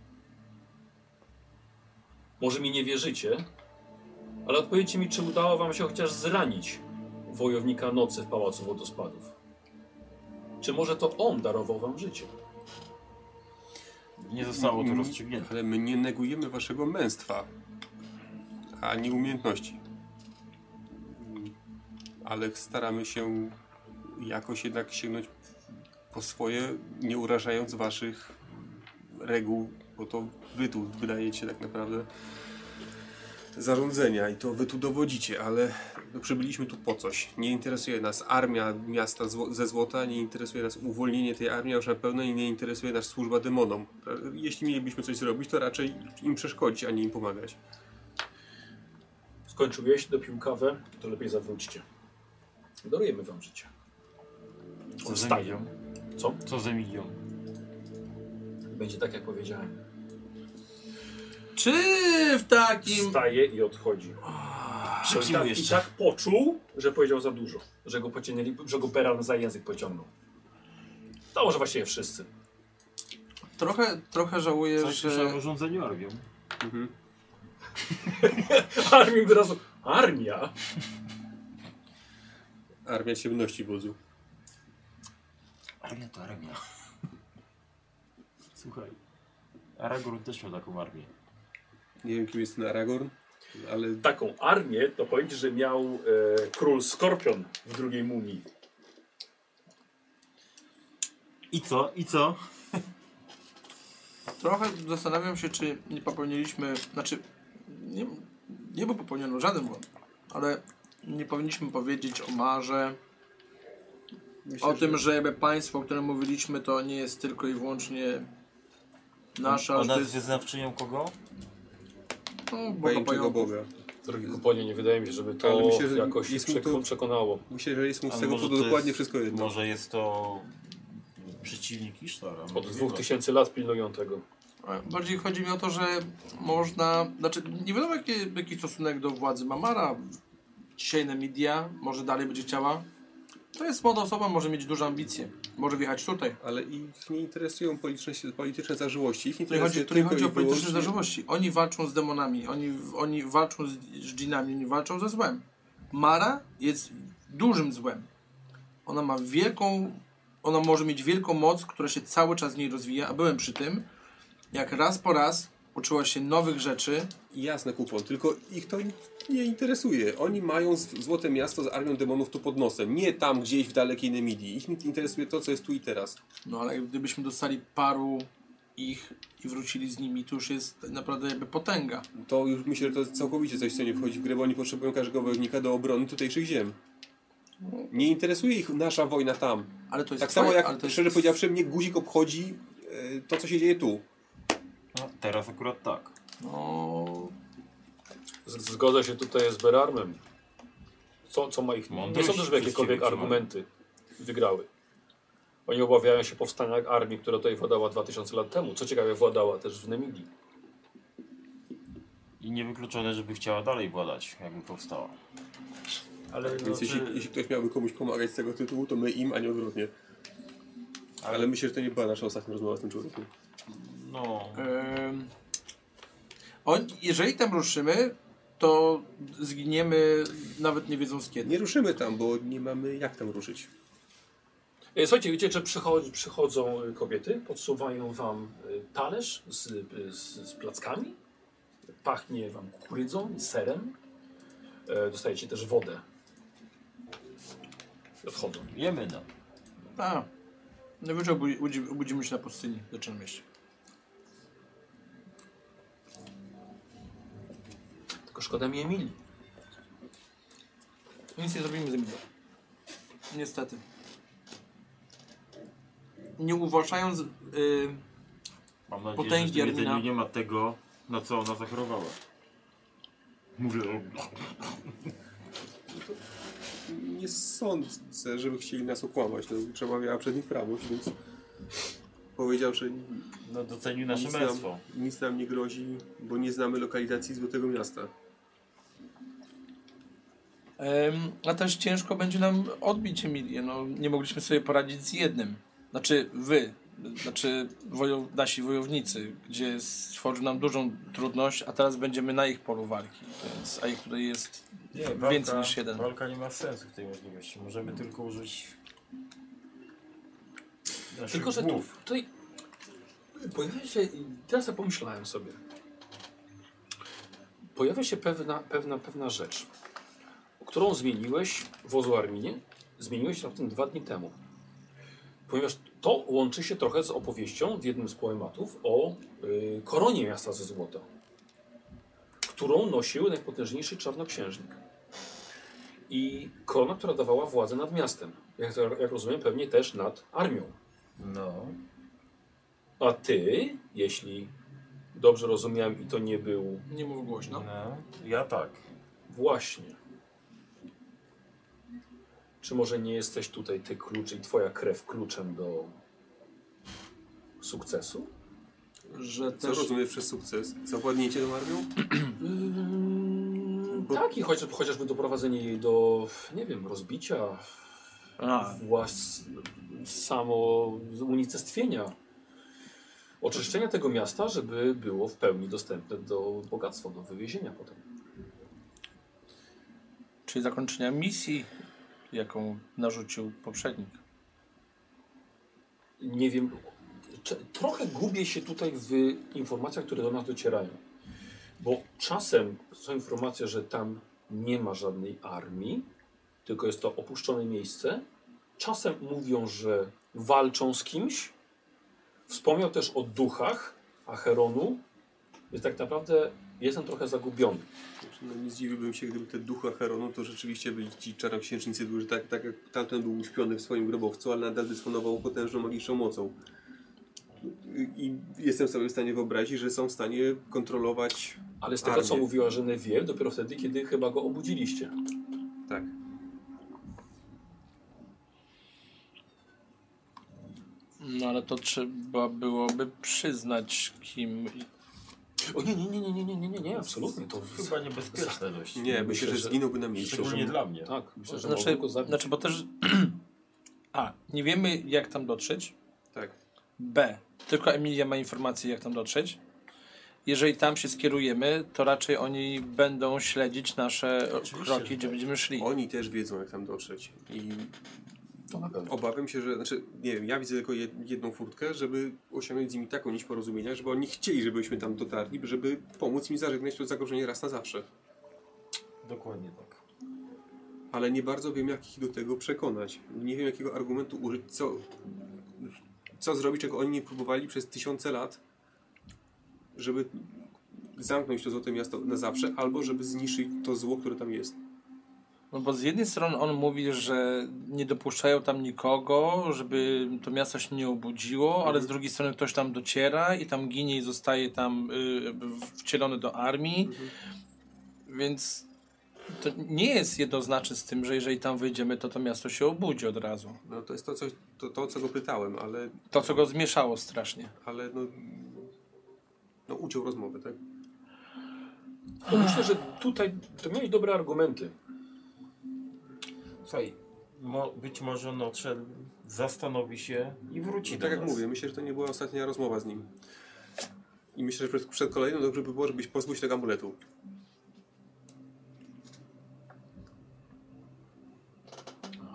S1: Może mi nie wierzycie, ale odpowiedzcie mi, czy udało wam się chociaż zranić wojownika nocy w Pałacu Wodospadów? Czy może to on darował wam życie?
S3: Nie zostało
S2: Mm.
S3: to rozstrzygnięte.
S2: Ale my nie negujemy waszego męstwa, ani umiejętności. Ale staramy się jakoś jednak sięgnąć po swoje, nie urażając waszych reguł, bo to wy tu wydajecie tak naprawdę zarządzenia i to wy tu dowodzicie, ale no przybyliśmy tu po coś. Nie interesuje nas armia miasta zło ze złota, nie interesuje nas uwolnienie tej armii, a już na pewno i nie interesuje nas służba demonom. E, Jeśli mielibyśmy coś zrobić, to raczej im przeszkodzić, a nie im pomagać.
S1: Skończyłeś, dopił kawę, to lepiej zawróćcie. Darujemy wam życie.
S3: Co z
S1: Wstaję.
S3: Emilią?
S1: Co?
S3: Co z Emilią?
S1: Będzie tak, jak powiedziałem.
S6: Czy w takim...
S1: Wstaje i odchodzi. Bo I
S3: Szybciej mu
S1: tak, I
S3: jeszcze.
S1: tak poczuł, że powiedział za dużo. Że go pociągnęli, że go peran za język pociągnął. To może właściwie wszyscy.
S5: Trochę, trochę żałuję,
S3: Coś
S5: że...
S3: słyszałem o rządzeniu armią.
S1: Armii wyrazu. Armia?
S2: Armia ciemności wodzu.
S3: Armia to armia. Słuchaj. Aragorn też miał taką armię.
S2: Nie wiem, kim jest ten Aragorn, ale
S3: Tak,
S1: taką armię, to powiem ci, że miał e, król Skorpion w drugiej mumii.
S3: I co? I co?
S6: Trochę zastanawiam się, czy nie popełniliśmy, znaczy nie, nie był popełniony żaden błąd, ale nie powinniśmy powiedzieć o Marze,
S2: myślę,
S6: o tym, że jakby państwo, o którym mówiliśmy, to nie jest tylko i wyłącznie nasza, że
S3: Ona
S6: to
S3: jest
S6: jest
S3: wyznawczynią kogo?
S6: no, Boga
S2: pojętego
S6: pająków.
S2: Boga.
S1: Drogi kuponie, nie wydaje mi się, żeby to
S2: Ale myślę, że
S1: jakoś
S2: jest mu
S1: przek-
S2: to-
S1: przekonało.
S2: Myślę, że jest mu z
S3: Ale
S2: tego
S3: może
S2: powodu
S3: to
S2: dokładnie
S3: jest-
S2: wszystko jedno.
S3: Może jest to przeciwnik Isztara.
S1: Od dwóch tysięcy lat pilnują tego.
S6: Bardziej chodzi mi o to, że można, znaczy nie wiadomo jaki, jaki stosunek do władzy Mamara, dzisiaj na media, może dalej będzie chciała. To jest młoda osoba, może mieć duże ambicje, może wjechać tutaj.
S2: Ale ich nie interesują polityczne, polityczne zażyłości. Ich
S6: To nie chodzi,
S2: interesuje
S6: to nie
S2: tylko
S6: chodzi
S2: i
S6: o polityczne
S2: wyłącznie-
S6: zażyłości. Oni walczą z demonami, oni, oni walczą z, z dżinami, oni walczą ze złem. Mara jest dużym złem. Ona ma wielką, ona może mieć wielką moc, która się cały czas w niej rozwija, a byłem przy tym, jak raz po raz uczyła się nowych rzeczy,
S2: Jasne, kupon, tylko ich to nie interesuje. Oni mają z- złote miasto z armią demonów tu pod nosem, nie tam gdzieś w dalekiej Nemidii. Ich interesuje to, co jest tu i teraz.
S6: no ale gdybyśmy dostali paru ich i wrócili z nimi, to już jest tak naprawdę jakby potęga.
S2: To już myślę, że to jest całkowicie coś, co nie wchodzi w grę, bo oni potrzebują każdego wojownika do obrony tutejszych ziem. Nie interesuje ich nasza wojna tam.
S6: Ale to jest
S2: Tak samo
S6: twoje-
S2: jak,
S6: ale to jest-
S2: szczerze powiedziawszy, mnie guzik obchodzi e, to, co się dzieje tu.
S14: No, teraz akurat tak.
S6: No,
S1: Z- Zgodzę się tutaj z Berarmem. Co, co ma ich... Nie
S14: Mądrość
S1: sądzę, żeby jakiekolwiek
S14: wszystkiego trzyma.
S1: argumenty wygrały. Oni obawiają się powstania armii, która tutaj władała 2000 lat temu. Co ciekawe, władała też w Nemidii.
S14: I niewykluczone, żeby chciała dalej władać, jakby powstała. Ale no,
S2: Więc jeśli, jeśli ktoś miałby komuś pomagać z tego tytułu, to my im, a nie odwrotnie. Ale myślę, że to nie była nasza ostatnia rozmowa z tym człowiekiem.
S14: no
S6: Ym, on, jeżeli tam ruszymy, to zginiemy nawet nie wiedząc kiedy.
S2: Nie ruszymy tam, bo nie mamy jak tam ruszyć.
S1: E, Słuchajcie, wiecie, że przychodzi, przychodzą y, kobiety, podsuwają wam y, talerz z, y, z, z plackami, pachnie wam kukurydzą i serem. E, Dostajecie też wodę. I Odchodzą.
S14: jemy no.
S6: A, najwyżej obudzi, obudzi, obudzimy się na pustyni, zaczynamy mieście.
S1: Tylko szkoda mi Emilii.
S6: Nic nie zrobimy z nim. Niestety. Nie uważając, y,
S14: Mam nadzieję,
S6: Potęgi
S14: że w tym
S6: Armina.
S14: jedzeniu nie ma tego, na co ona zachorowała. Mówię o...
S2: Nie sądzę, żeby chcieli nas okłamać. To przemawiała przed nich prawość, więc powiedział, że
S14: No docenił nasze
S2: nic nam,
S14: męstwo.
S2: nic nam nie grozi, bo nie znamy lokalizacji Złotego Miasta.
S6: Em, A też ciężko będzie nam odbić Emilię. No, nie mogliśmy sobie poradzić z jednym. Znaczy wy, znaczy wojo, nasi wojownicy, gdzie stworzył nam dużą trudność, a teraz będziemy na ich polu walki. Więc, a ich tutaj jest.
S14: Nie,
S6: Więcej niż jeden.
S14: Walka nie ma sensu w tej możliwości. Możemy tylko użyć. naszych
S1: Tylko, że tu,
S14: głów.
S1: tutaj pojawia się, i teraz ja pomyślałem sobie, pojawia się pewna, pewna, pewna rzecz, którą zmieniłeś w Ozu Arminie, zmieniłeś raptem dwa dni temu. Ponieważ to łączy się trochę z opowieścią w jednym z poematów o y, koronie miasta ze złota, którą nosił najpotężniejszy czarnoksiężnik. I korona, która dawała władzę nad miastem. Jak, jak rozumiem, pewnie też nad armią.
S14: No.
S1: A ty, jeśli dobrze rozumiałem i to nie był
S6: Nie mów głośno.
S14: no. Ja tak.
S1: właśnie. Czy może nie jesteś tutaj ty klucz i twoja krew kluczem do sukcesu?
S6: Że
S2: Co
S6: też.
S2: rozumiesz przez sukces? Zawładnięcie tą armią? Bo-
S1: Tak, i chociaż, chociażby doprowadzenie jej do, nie wiem, rozbicia,
S6: A,
S1: włas, samo unicestwienia, oczyszczenia tego miasta, żeby było w pełni dostępne do bogactwa, do wywiezienia potem.
S6: czyli zakończenia misji, jaką narzucił poprzednik.
S1: nie wiem, cze- trochę gubię się tutaj w informacjach, które do nas docierają. Bo czasem są informacje, że tam nie ma żadnej armii, tylko jest to opuszczone miejsce. Czasem mówią, że walczą z kimś. Wspomniał też o duchach Acheronu, więc tak naprawdę jestem trochę zagubiony.
S2: Znaczy, No nie zdziwiłbym się, gdyby te duchy Acheronu to rzeczywiście byli ci czarnoksiężnicy duży, tak, tak jak tamten był uśpiony w swoim grobowcu, ale nadal dysponował potężną magiczną mocą. I jestem sobie w stanie wyobrazić, że są w stanie kontrolować...
S1: Ale z tego, co
S2: Armię.
S1: mówiła Genevieve, dopiero wtedy, kiedy chyba go obudziliście.
S2: Tak.
S6: No ale to trzeba byłoby przyznać, kim.
S1: O nie, nie, nie, nie, nie, nie, nie, nie, nie absolutnie. To
S14: Chyba niebezpieczne dość.
S2: Nie, myślę, że zginąłby na miejscu.
S14: Szczególnie dla mnie.
S1: Tak, myślę, że
S6: Znaczy,
S1: mogą go zabić.
S6: znaczy bo też. A, nie wiemy, jak tam dotrzeć.
S2: Tak.
S6: B. Tylko Emilia ma informacje, jak tam dotrzeć. Jeżeli tam się skierujemy, to raczej oni będą śledzić nasze kroki, gdzie będziemy szli.
S2: Oni też wiedzą, jak tam dotrzeć. I
S21: To na pewno.
S2: Obawiam się, że, znaczy, nie wiem, ja widzę tylko jed- jedną furtkę, żeby osiągnąć z nimi taką nić porozumienia, żeby oni chcieli, żebyśmy tam dotarli, żeby pomóc im zażegnać to zagrożenie raz na zawsze.
S3: Dokładnie tak.
S2: Ale nie bardzo wiem, jak ich do tego przekonać. Nie wiem, jakiego argumentu użyć, co, co zrobić, czego oni nie próbowali przez tysiące lat, żeby zamknąć to złote miasto na zawsze, albo żeby zniszczyć to zło, które tam jest.
S6: No bo z jednej strony on mówi, że nie dopuszczają tam nikogo, żeby to miasto się nie obudziło, ale z drugiej strony ktoś tam dociera i tam ginie i zostaje tam y, w- wcielony do armii. Więc to nie jest jednoznaczne z tym, że jeżeli tam wyjdziemy, to to miasto się obudzi od razu.
S2: No to jest to, coś, to, to co go pytałem, ale,
S6: To, co go zmieszało strasznie.
S2: ale no, no uciął rozmowę, tak?
S1: Bo myślę, że tutaj to mieli dobre argumenty.
S3: Słuchaj, mo, być może Notrzel zastanowi się i wróci
S2: I
S3: do
S2: tak jak
S3: nas.
S2: mówię, myślę, że to nie była ostatnia rozmowa z nim. I myślę, że przed, przed kolejną dobrze by było, żebyś pozbył się tego amuletu.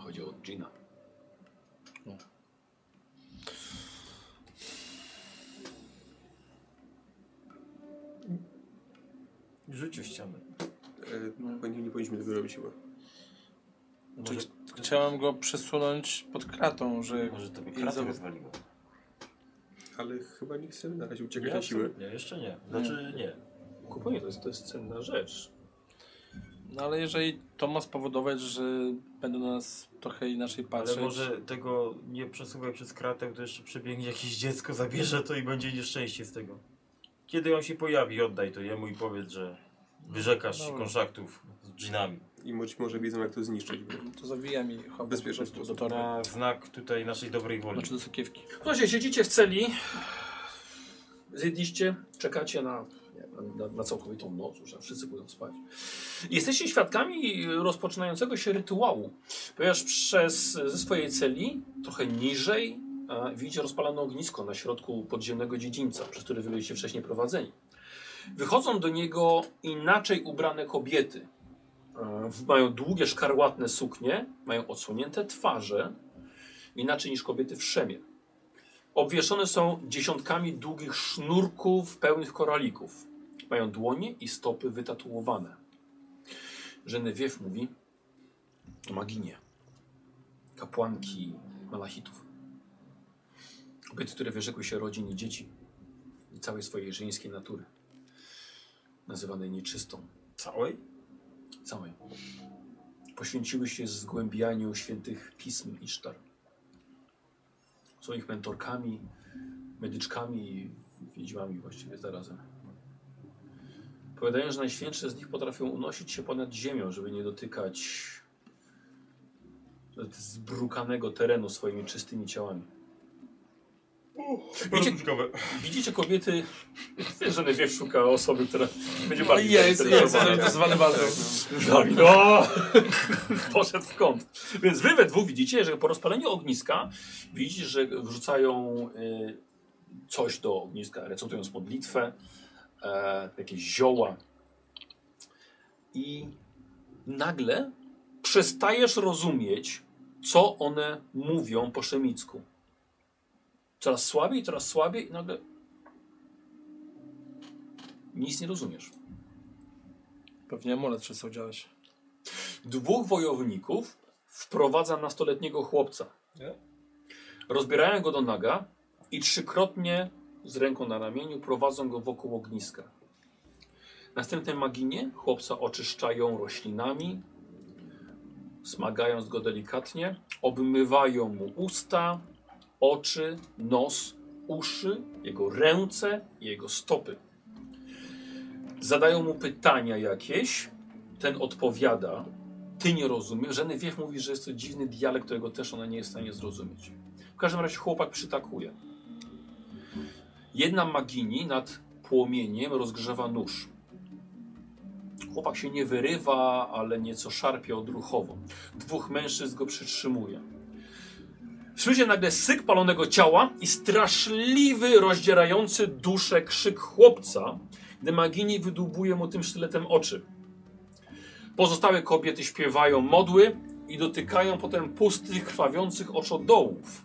S21: Chodzi o Gina.
S3: Rzucił ścianę.
S2: E, powinni- nie powinniśmy tego robić chyba.
S3: Może,
S6: Czyli chciałem go przesunąć pod kratą, że
S3: może to by
S6: i
S3: kratę
S6: zobacz-
S3: rozwaliło.
S2: Ale chyba nie chcemy na razie uciekać na siłę.
S3: absolutnie, jeszcze nie. Znaczy nie.
S1: Kupuję, to jest, to jest cenna rzecz.
S6: No ale jeżeli to ma spowodować, że będą na nas trochę inaczej patrzeć...
S3: Ale może tego nie przesuwaj przez kratę, to jeszcze przebiegnie jakieś dziecko, zabierze to i będzie nieszczęście z tego. Kiedy on się pojawi, oddaj to jemu i powiedz, że wyrzekasz się
S6: Dobra.
S3: kontraktów z dżinami.
S2: I być może wiedzą, jak to zniszczyć. Bo...
S6: To zawija mi chyba
S2: Bezpieczny
S6: po prostu do
S2: sposób.
S6: torby.
S3: Na znak tutaj naszej dobrej woli.
S6: Znaczy do sakiewki.
S1: Słuchajcie, siedzicie w celi, zjedliście, czekacie na, nie, na, na całkowitą noc, już tam wszyscy pójdą spać. Jesteście świadkami rozpoczynającego się rytuału, ponieważ przez, ze swojej celi, trochę niżej, e, widzicie rozpalone ognisko na środku podziemnego dziedzińca, przez który wy byliście wcześniej prowadzeni. Wychodzą do niego inaczej ubrane kobiety. E, Mają długie, szkarłatne suknie, mają odsłonięte twarze, inaczej niż kobiety w szemie. Obwieszone są dziesiątkami długich sznurków pełnych koralików. Mają dłonie i stopy wytatuowane. Genevieve mówi, to maginie. Kapłanki malachitów. Kobiety, które wyrzekły się rodzin i dzieci i całej swojej żeńskiej natury. Nazywanej nieczystą,
S3: Całej?
S1: całej. Poświęciły się zgłębianiu świętych pism Isztar. Są ich mentorkami, medyczkami i wiedźmami właściwie zarazem. Powiadają, że najświętsze z nich potrafią unosić się ponad ziemią, żeby nie dotykać zbrukanego terenu swoimi czystymi ciałami. Widzicie, widzicie kobiety... Genevieve szuka osoby, która będzie bardziej zainteresowana.
S6: zwany bardzo.
S1: Dawid, o! Poszedł w kąt. Więc wy we dwóch widzicie, że po rozpaleniu ogniska widzicie, że wrzucają y, coś do ogniska, recytując modlitwę, e, jakieś zioła. I nagle przestajesz rozumieć, co one mówią po szemicku. Coraz słabiej, coraz słabiej i nagle nic nie rozumiesz.
S6: Pewnie amulet przestał działać.
S1: dwóch wojowników wprowadza nastoletniego chłopca. Rozbierają go do naga i trzykrotnie z ręką na ramieniu prowadzą go wokół ogniska. Następne maginie chłopca oczyszczają roślinami, smagając go delikatnie, obmywają mu usta, oczy, nos, uszy, jego ręce i jego stopy. Zadają mu pytania jakieś, ten odpowiada, ty nie rozumiesz. Genevieve mówi, że jest to dziwny dialekt, którego też ona nie jest w stanie zrozumieć. W każdym razie chłopak przytakuje. Jedna magini nad płomieniem rozgrzewa nóż. Chłopak się nie wyrywa, ale nieco szarpie odruchowo. Dwóch mężczyzn go przytrzymuje. Słyszy nagle syk palonego ciała i straszliwy, rozdzierający duszę krzyk chłopca, gdy magini wydłubuje mu tym sztyletem oczy. Pozostałe kobiety śpiewają modły, i dotykają potem pustych, krwawiących oczodołów.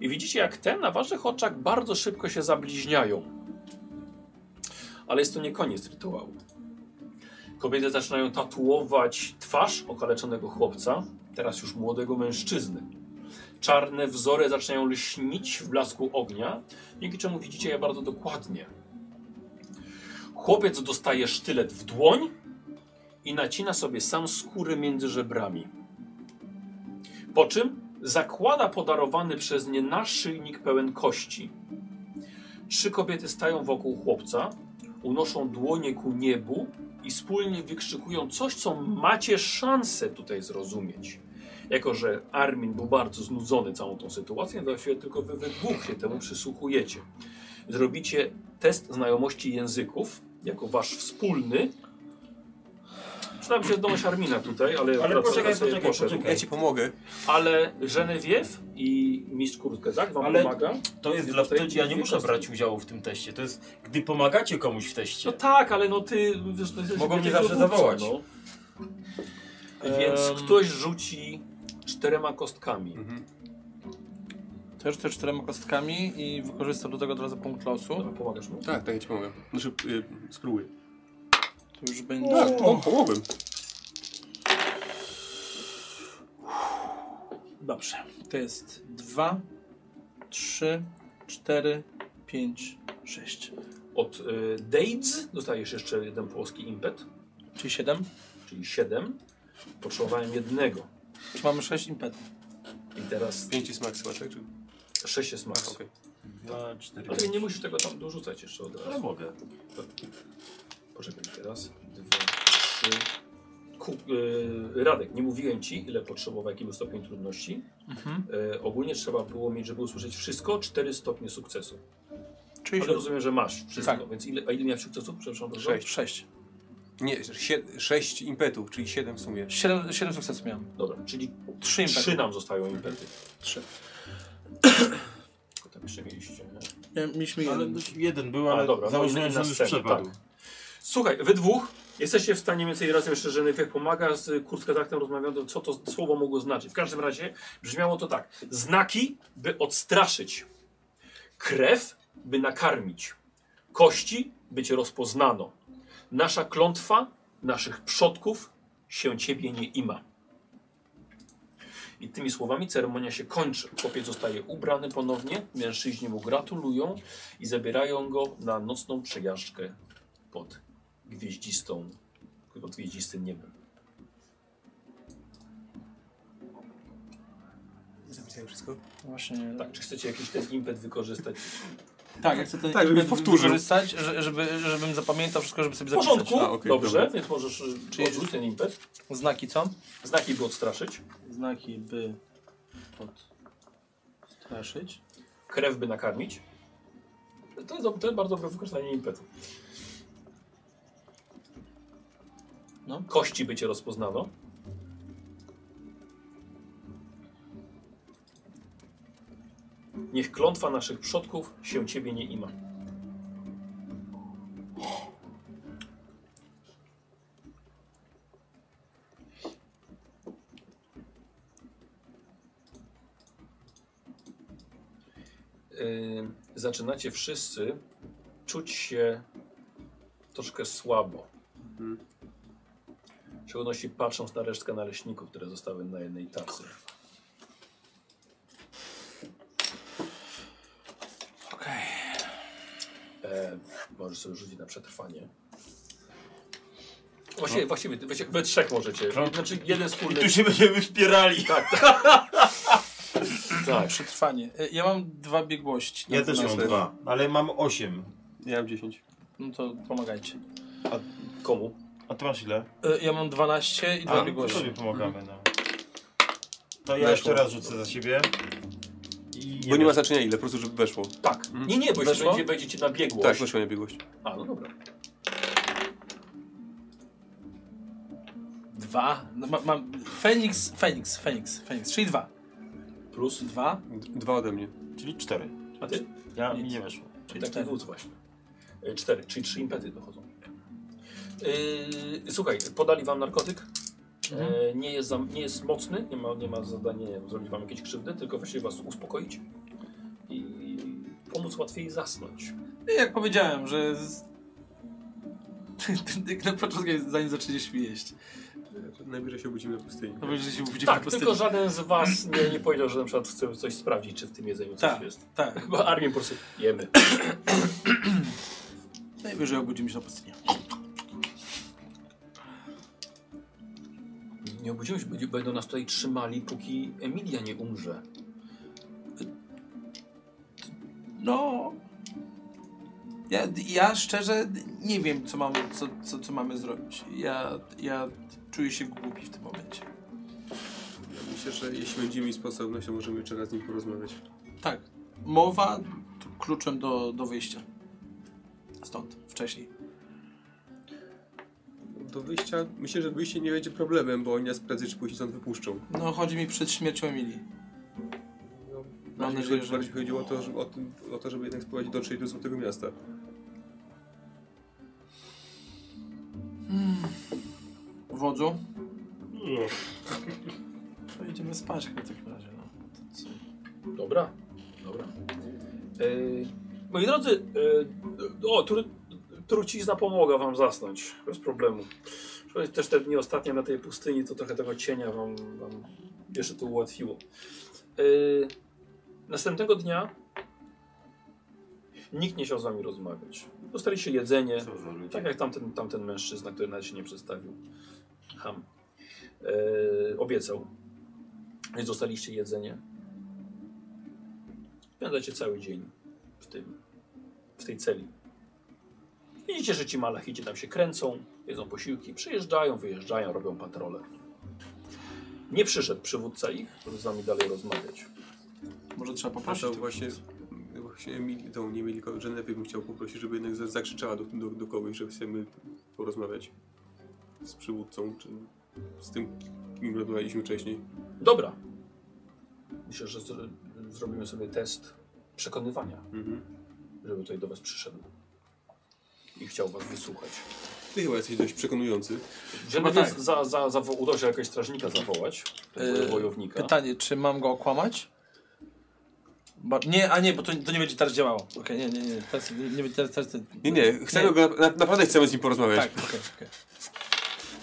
S1: I widzicie, jak te na waszych oczach bardzo szybko się zabliźniają. Ale jest to nie koniec rytuału. Kobiety zaczynają tatuować twarz okaleczonego chłopca, teraz już młodego mężczyzny. Czarne wzory zaczynają lśnić w blasku ognia, dzięki czemu widzicie je bardzo dokładnie. Chłopiec dostaje sztylet w dłoń i nacina sobie sam skórę między żebrami. Po czym zakłada podarowany przez nie naszyjnik pełen kości. Trzy kobiety stają wokół chłopca, unoszą dłonie ku niebu i wspólnie wykrzykują coś, co macie szansę tutaj zrozumieć. Jako, że Armin był bardzo znudzony całą tą sytuacją, właściwie tylko wy wybuchnie temu przysłuchujecie. Zrobicie test znajomości języków, jako wasz wspólny. Przydałby się zdolność Armina tutaj, ale,
S22: Ale
S1: akurat
S22: poczekaj,
S1: sobie
S22: poczekaj,
S1: poszedł.
S2: Ja ci pomogę.
S1: Ale Genevieve i mistrz Kurtke, tak? Wam
S22: Ale-
S1: pomaga?
S3: To jest
S1: Jest
S3: dla
S1: tutaj
S3: wtedy, ja nie muszę
S1: kostek.
S3: brać udziału w tym teście. To jest, gdy pomagacie komuś w teście.
S1: No tak, ale no ty... Wiesz, to jesteś
S3: Mogą mnie
S1: wielką
S3: zawsze
S1: dowódcą,
S3: zawołać.
S1: no. Więc ktoś rzuci czterema kostkami.
S3: Mhm.
S6: To już te czterema kostkami i wykorzystam do tego od razu punkt losu.
S1: Dobra, pomagasz mu?
S2: Tak, tak, ja ci pomogę. Znaczy, y, spróbuję.
S6: To już będzie...
S2: Tak, pom- pomogłem.
S6: Dobrze. To jest 2, 3, 4, 5, 6.
S1: Od y, Dates dostajesz jeszcze jeden polski impet,
S6: Czyli 7?
S1: czyli 7. Potrzebowałem jednego.
S6: Czy mamy 6 impetów?
S1: I teraz
S2: Pięć jest max chyba, tak? Czy...
S1: 6 jest
S2: A,
S1: max.
S2: okej.
S3: Dwa, cztery,
S1: Ale nie musisz tego tam dorzucać jeszcze od
S3: Ale
S1: razu.
S3: mogę.
S1: Poczekaj teraz. Dwa, trzy. Ku, y, Radek, nie mówiłem ci, ile potrzebował, jaki był stopień trudności. Y, ogólnie trzeba było mieć, żeby usłyszeć wszystko, cztery stopnie sukcesu.
S6: Czyli
S1: Ale rozumiem, że masz wszystko,
S6: Tak.
S1: więc ile, a ile miałeś sukcesów? Przepraszam bardzo.
S6: 6. 6.
S2: Nie, sie- sześć impetów, czyli siedem w sumie.
S6: 7, 7 sukcesów miałem.
S1: Dobra, czyli
S6: 3
S1: trzy
S6: impety.
S1: nam zostają impety.
S6: tak. Trzy.
S1: Tylko tam jeszcze mieliście. nie?
S6: Miałem- Mieliśmy
S3: Ale
S6: jeden.
S3: jeden był,
S1: A,
S3: ale
S1: dobra,
S3: założyłem,
S1: no i
S3: że już
S1: następny,
S3: przepadł.
S1: Słuchaj, wy dwóch jesteście w stanie między razem jeszcze, że Nefek pomaga z y, kurskazaktem rozmawiamy, co to słowo mogło znaczyć. W każdym razie brzmiało to tak. Znaki, by odstraszyć. Krew, by nakarmić. Kości, by cię rozpoznano. Nasza klątwa, naszych przodków, się ciebie nie ima. I tymi słowami ceremonia się kończy. Chłopiec zostaje ubrany ponownie, mężczyźni mu gratulują i zabierają go na nocną przejażdżkę pod gwieździstą, pod gwieździstym niebem.
S2: Zapisałem wszystko.
S6: No Właśnie. nie-
S1: Tak, czy chcecie jakiś ten impet wykorzystać?
S6: Tak, ja chcę ten
S2: Tak, żebyś
S6: impet
S2: powtórzył.
S6: wykorzystać, że- żeby, żebym zapamiętał wszystko, żeby sobie
S1: W
S6: zapisać.
S1: porządku,
S2: A, okej,
S1: dobrze,
S2: dobra.
S1: więc możesz y,
S6: Czyli-
S1: odrzuć ten impet.
S6: Znaki co?
S1: Znaki by odstraszyć,
S6: Znaki by odstraszyć.
S1: krew by nakarmić. To jest, to jest bardzo dobre wykorzystanie impetu.
S6: No.
S1: Kości by cię rozpoznano. Niech klątwa naszych przodków się ciebie nie ima. y, zaczynacie wszyscy czuć się troszkę słabo.
S3: Mhm.
S1: W szczególności patrząc na resztkę naleśników, które zostały na jednej tacy.
S6: Okej.
S1: E, możesz sobie rzucić na przetrwanie. Właściwie, właściwie wy, wy, we trzech możecie. Znaczy jeden wspólny.
S3: No. Tu się będziemy wspierali.
S1: Tak, tak. tak.
S6: Przetrwanie. E, Ja mam dwa biegłości.
S3: Ja też mam
S2: Następny.
S3: dwa, ale mam osiem.
S2: Ja mam 10.
S6: No to pomagajcie.
S1: Komu?
S3: A ty masz ile?
S6: E, Ja mam 12 i dwa
S3: A, to
S6: biegłości.
S3: sobie pomagamy, no. To ja
S2: Weszło.
S3: jeszcze raz rzucę za siebie. I
S2: Bo nie ma znaczenia ile, po prostu żeby weszło.
S1: Tak. Nie, nie, bo jeśli
S6: Mm. Weszło?
S1: będzie, będzie cię nabiegło.
S2: Tak, weszło na biegłość.
S1: A, no dobra.
S6: Dwa. No, ma, mam Feniks, Feniks, Feniks, Feniks. Czyli dwa.
S1: Plus.
S6: Dwa.
S2: D- Dwa ode mnie.
S3: Czyli cztery.
S1: A ty?
S3: Ja mi nie weszło.
S1: Czyli
S6: Cztery.
S1: taki wódz właśnie. Y, E, Cztery, czyli trzy impety dochodzą. Yy, słuchaj, podali wam narkotyk? E, nie, jest za, nie jest mocny, nie ma, nie ma zadania nie wiem, zrobić wam jakiejś krzywdy, tylko właściwie was uspokoić i pomóc łatwiej zasnąć.
S6: No Jak powiedziałem, że. z- Jak na początku, zanim zaczęliśmy jeść.
S2: Najwyżej się obudzimy na pustyni.
S6: To będzie się budzić
S1: Tak, tylko żaden z was nie, nie powiedział, że na przykład chce coś sprawdzić, czy w tym jedzeniu coś
S6: Tak.
S1: jest.
S6: Tak,
S1: Chyba armię po prostu jemy.
S6: najwyżej obudzimy się na pustyni.
S1: Nie obudzimy się, będzie- będą nas tutaj trzymali, póki Emilia nie umrze.
S6: No. Ja, ja szczerze nie wiem, co mamy, co, co, co mamy zrobić. Ja, ja czuję się głupi w tym momencie.
S2: Myślę, że jeśli będziemy mieli sposobność, to możemy jeszcze raz z nim porozmawiać.
S6: Tak, mowa to kluczem do, do wyjścia. Stąd, wcześniej.
S2: Do wyjścia, myślę, że wyjście nie będzie problemem, bo oni nas prędzej czy później stąd wypuszczą.
S6: No, chodzi mi przed śmiercią Emilii.
S2: Bardziej-
S6: nadzieję, że-
S2: No, Bardziej chodziło o to, żeby, o, tym- o to, żeby jednak spróbować dotrzeć do Złotego Miasta.
S6: Wodzu?
S2: No.
S6: To idziemy spać chyba w takim razie, no. To co?
S1: Dobra, dobra. Yy, moi drodzy, yy, o, tru, trucizna pomaga wam zasnąć, bez problemu. Przecież Też te dni ostatnie na tej pustyni, to trochę tego cienia wam, wam jeszcze to ułatwiło. Yy, następnego dnia nikt nie chciał z wami rozmawiać. Dostaliście jedzenie,
S3: Co za ludzie.
S1: tak jak tamten, tamten mężczyzna, który nawet się nie przedstawił. Ham. E, obiecał. Więc dostaliście jedzenie. Spędzacie cały dzień w tym, w tej celi. Widzicie, że ci malachici tam się kręcą, jedzą posiłki, przyjeżdżają, wyjeżdżają, robią patrole. Nie przyszedł przywódca ich, żeby z wami dalej rozmawiać.
S6: Może trzeba
S2: A
S6: poprosić.
S2: to właśnie, właśnie Emil, tą nie mieli, Genevieve bym chciał poprosić, żeby jednak za- zakrzyczała do, do, do kogoś, że chcemy porozmawiać z przywódcą, czy z tym, kim rozmawialiśmy wcześniej.
S1: Dobra. Myślę, że zro- zrobimy sobie test przekonywania.
S2: Mhm.
S1: żeby tutaj do was przyszedł i chciał was wysłuchać.
S2: Ty chyba jesteś dość przekonujący.
S1: Żeby
S6: tak.
S1: tak. za, za, za, udało się jakiegoś strażnika zawołać,
S6: Yy,
S1: tego wojownika.
S6: Pytanie, czy mam go okłamać? Bo, nie, a nie, bo to, to nie będzie teraz działało. Okej, nie, nie, nie. Teraz, nie, nie, teraz, teraz,
S2: Nie, nie, chcemy
S6: Nie.
S2: Go, na, naprawdę chcemy z nim porozmawiać.
S6: Tak, okej, okej.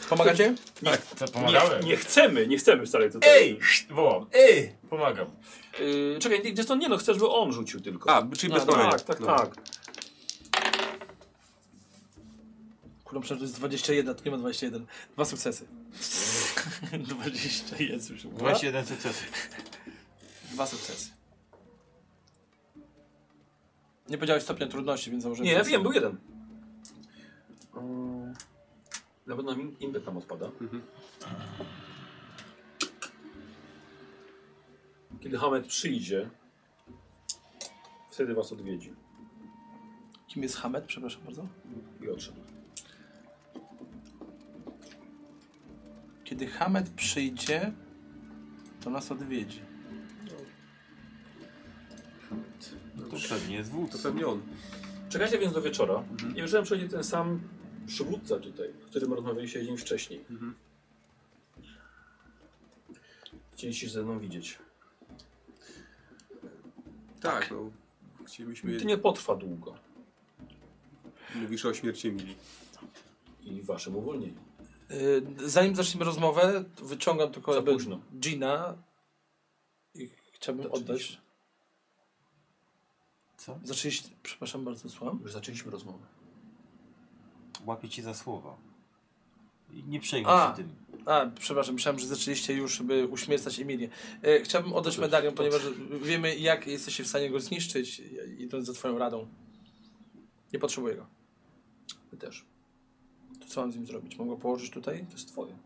S6: Pomagacie?
S3: Co,
S1: nie,
S3: pomagałem?
S1: nie chcemy, nie chcemy wcale tutaj.
S3: Ej! Wołam. Ej! Pomagam.
S1: Yy, czekaj, nie, zresztą nie no, chcesz, żeby on rzucił tylko.
S2: A, czyli
S1: tak,
S2: bez No. porwania.
S1: tak, tak,
S2: Dobra.
S6: Kurwa, przecież to jest 21, to nie ma 21. Dwa sukcesy. 20 jest już.
S3: 21 sukcesów.
S6: Dwa sukcesy. Nie powiedziałeś stopnia trudności, więc założyłem.
S1: Nie,
S6: że-
S1: wiem, był jeden. Yy, Na pewno im, impet nam odpada. Kiedy Hamed przyjdzie, wtedy was odwiedzi
S6: Kim jest Hamed? Przepraszam bardzo.
S1: i odszedł.
S6: Kiedy Hamed przyjdzie, to nas odwiedzi.
S3: To pewnie jest
S2: To
S3: wódz.
S2: pewnie on.
S1: Czekajcie więc do wieczora. I wieczorem przychodzi ten sam przywódca tutaj, z którym rozmawialiście dzień wcześniej. Chcieliście się ze mną widzieć.
S2: Tak, no. Chcielibyśmy...
S1: To nie potrwa długo.
S2: Mówisz o śmierci Emilii.
S1: I waszym uwolnieniu.
S6: Yy, zanim zaczniemy rozmowę, wyciągam tylko
S1: Za
S6: jakby
S1: późno.
S6: Gina i chciałbym oddać.
S3: Co?
S6: Zaczęliście, przepraszam bardzo, słucham.
S1: Już zaczęliśmy rozmowę.
S3: Łapię cię za słowa. I Nie przejmuj
S6: A.
S3: się tym.
S6: A, przepraszam, myślałem, że zaczęliście już, by uśmiercać Emilię. E, chciałbym oddać medalion, ponieważ wiemy, jak jesteście w stanie go zniszczyć, idąc za twoją radą. Nie potrzebuję go.
S1: Wy też.
S6: To co mam z nim zrobić? Mogę go położyć tutaj?
S1: To jest twoje.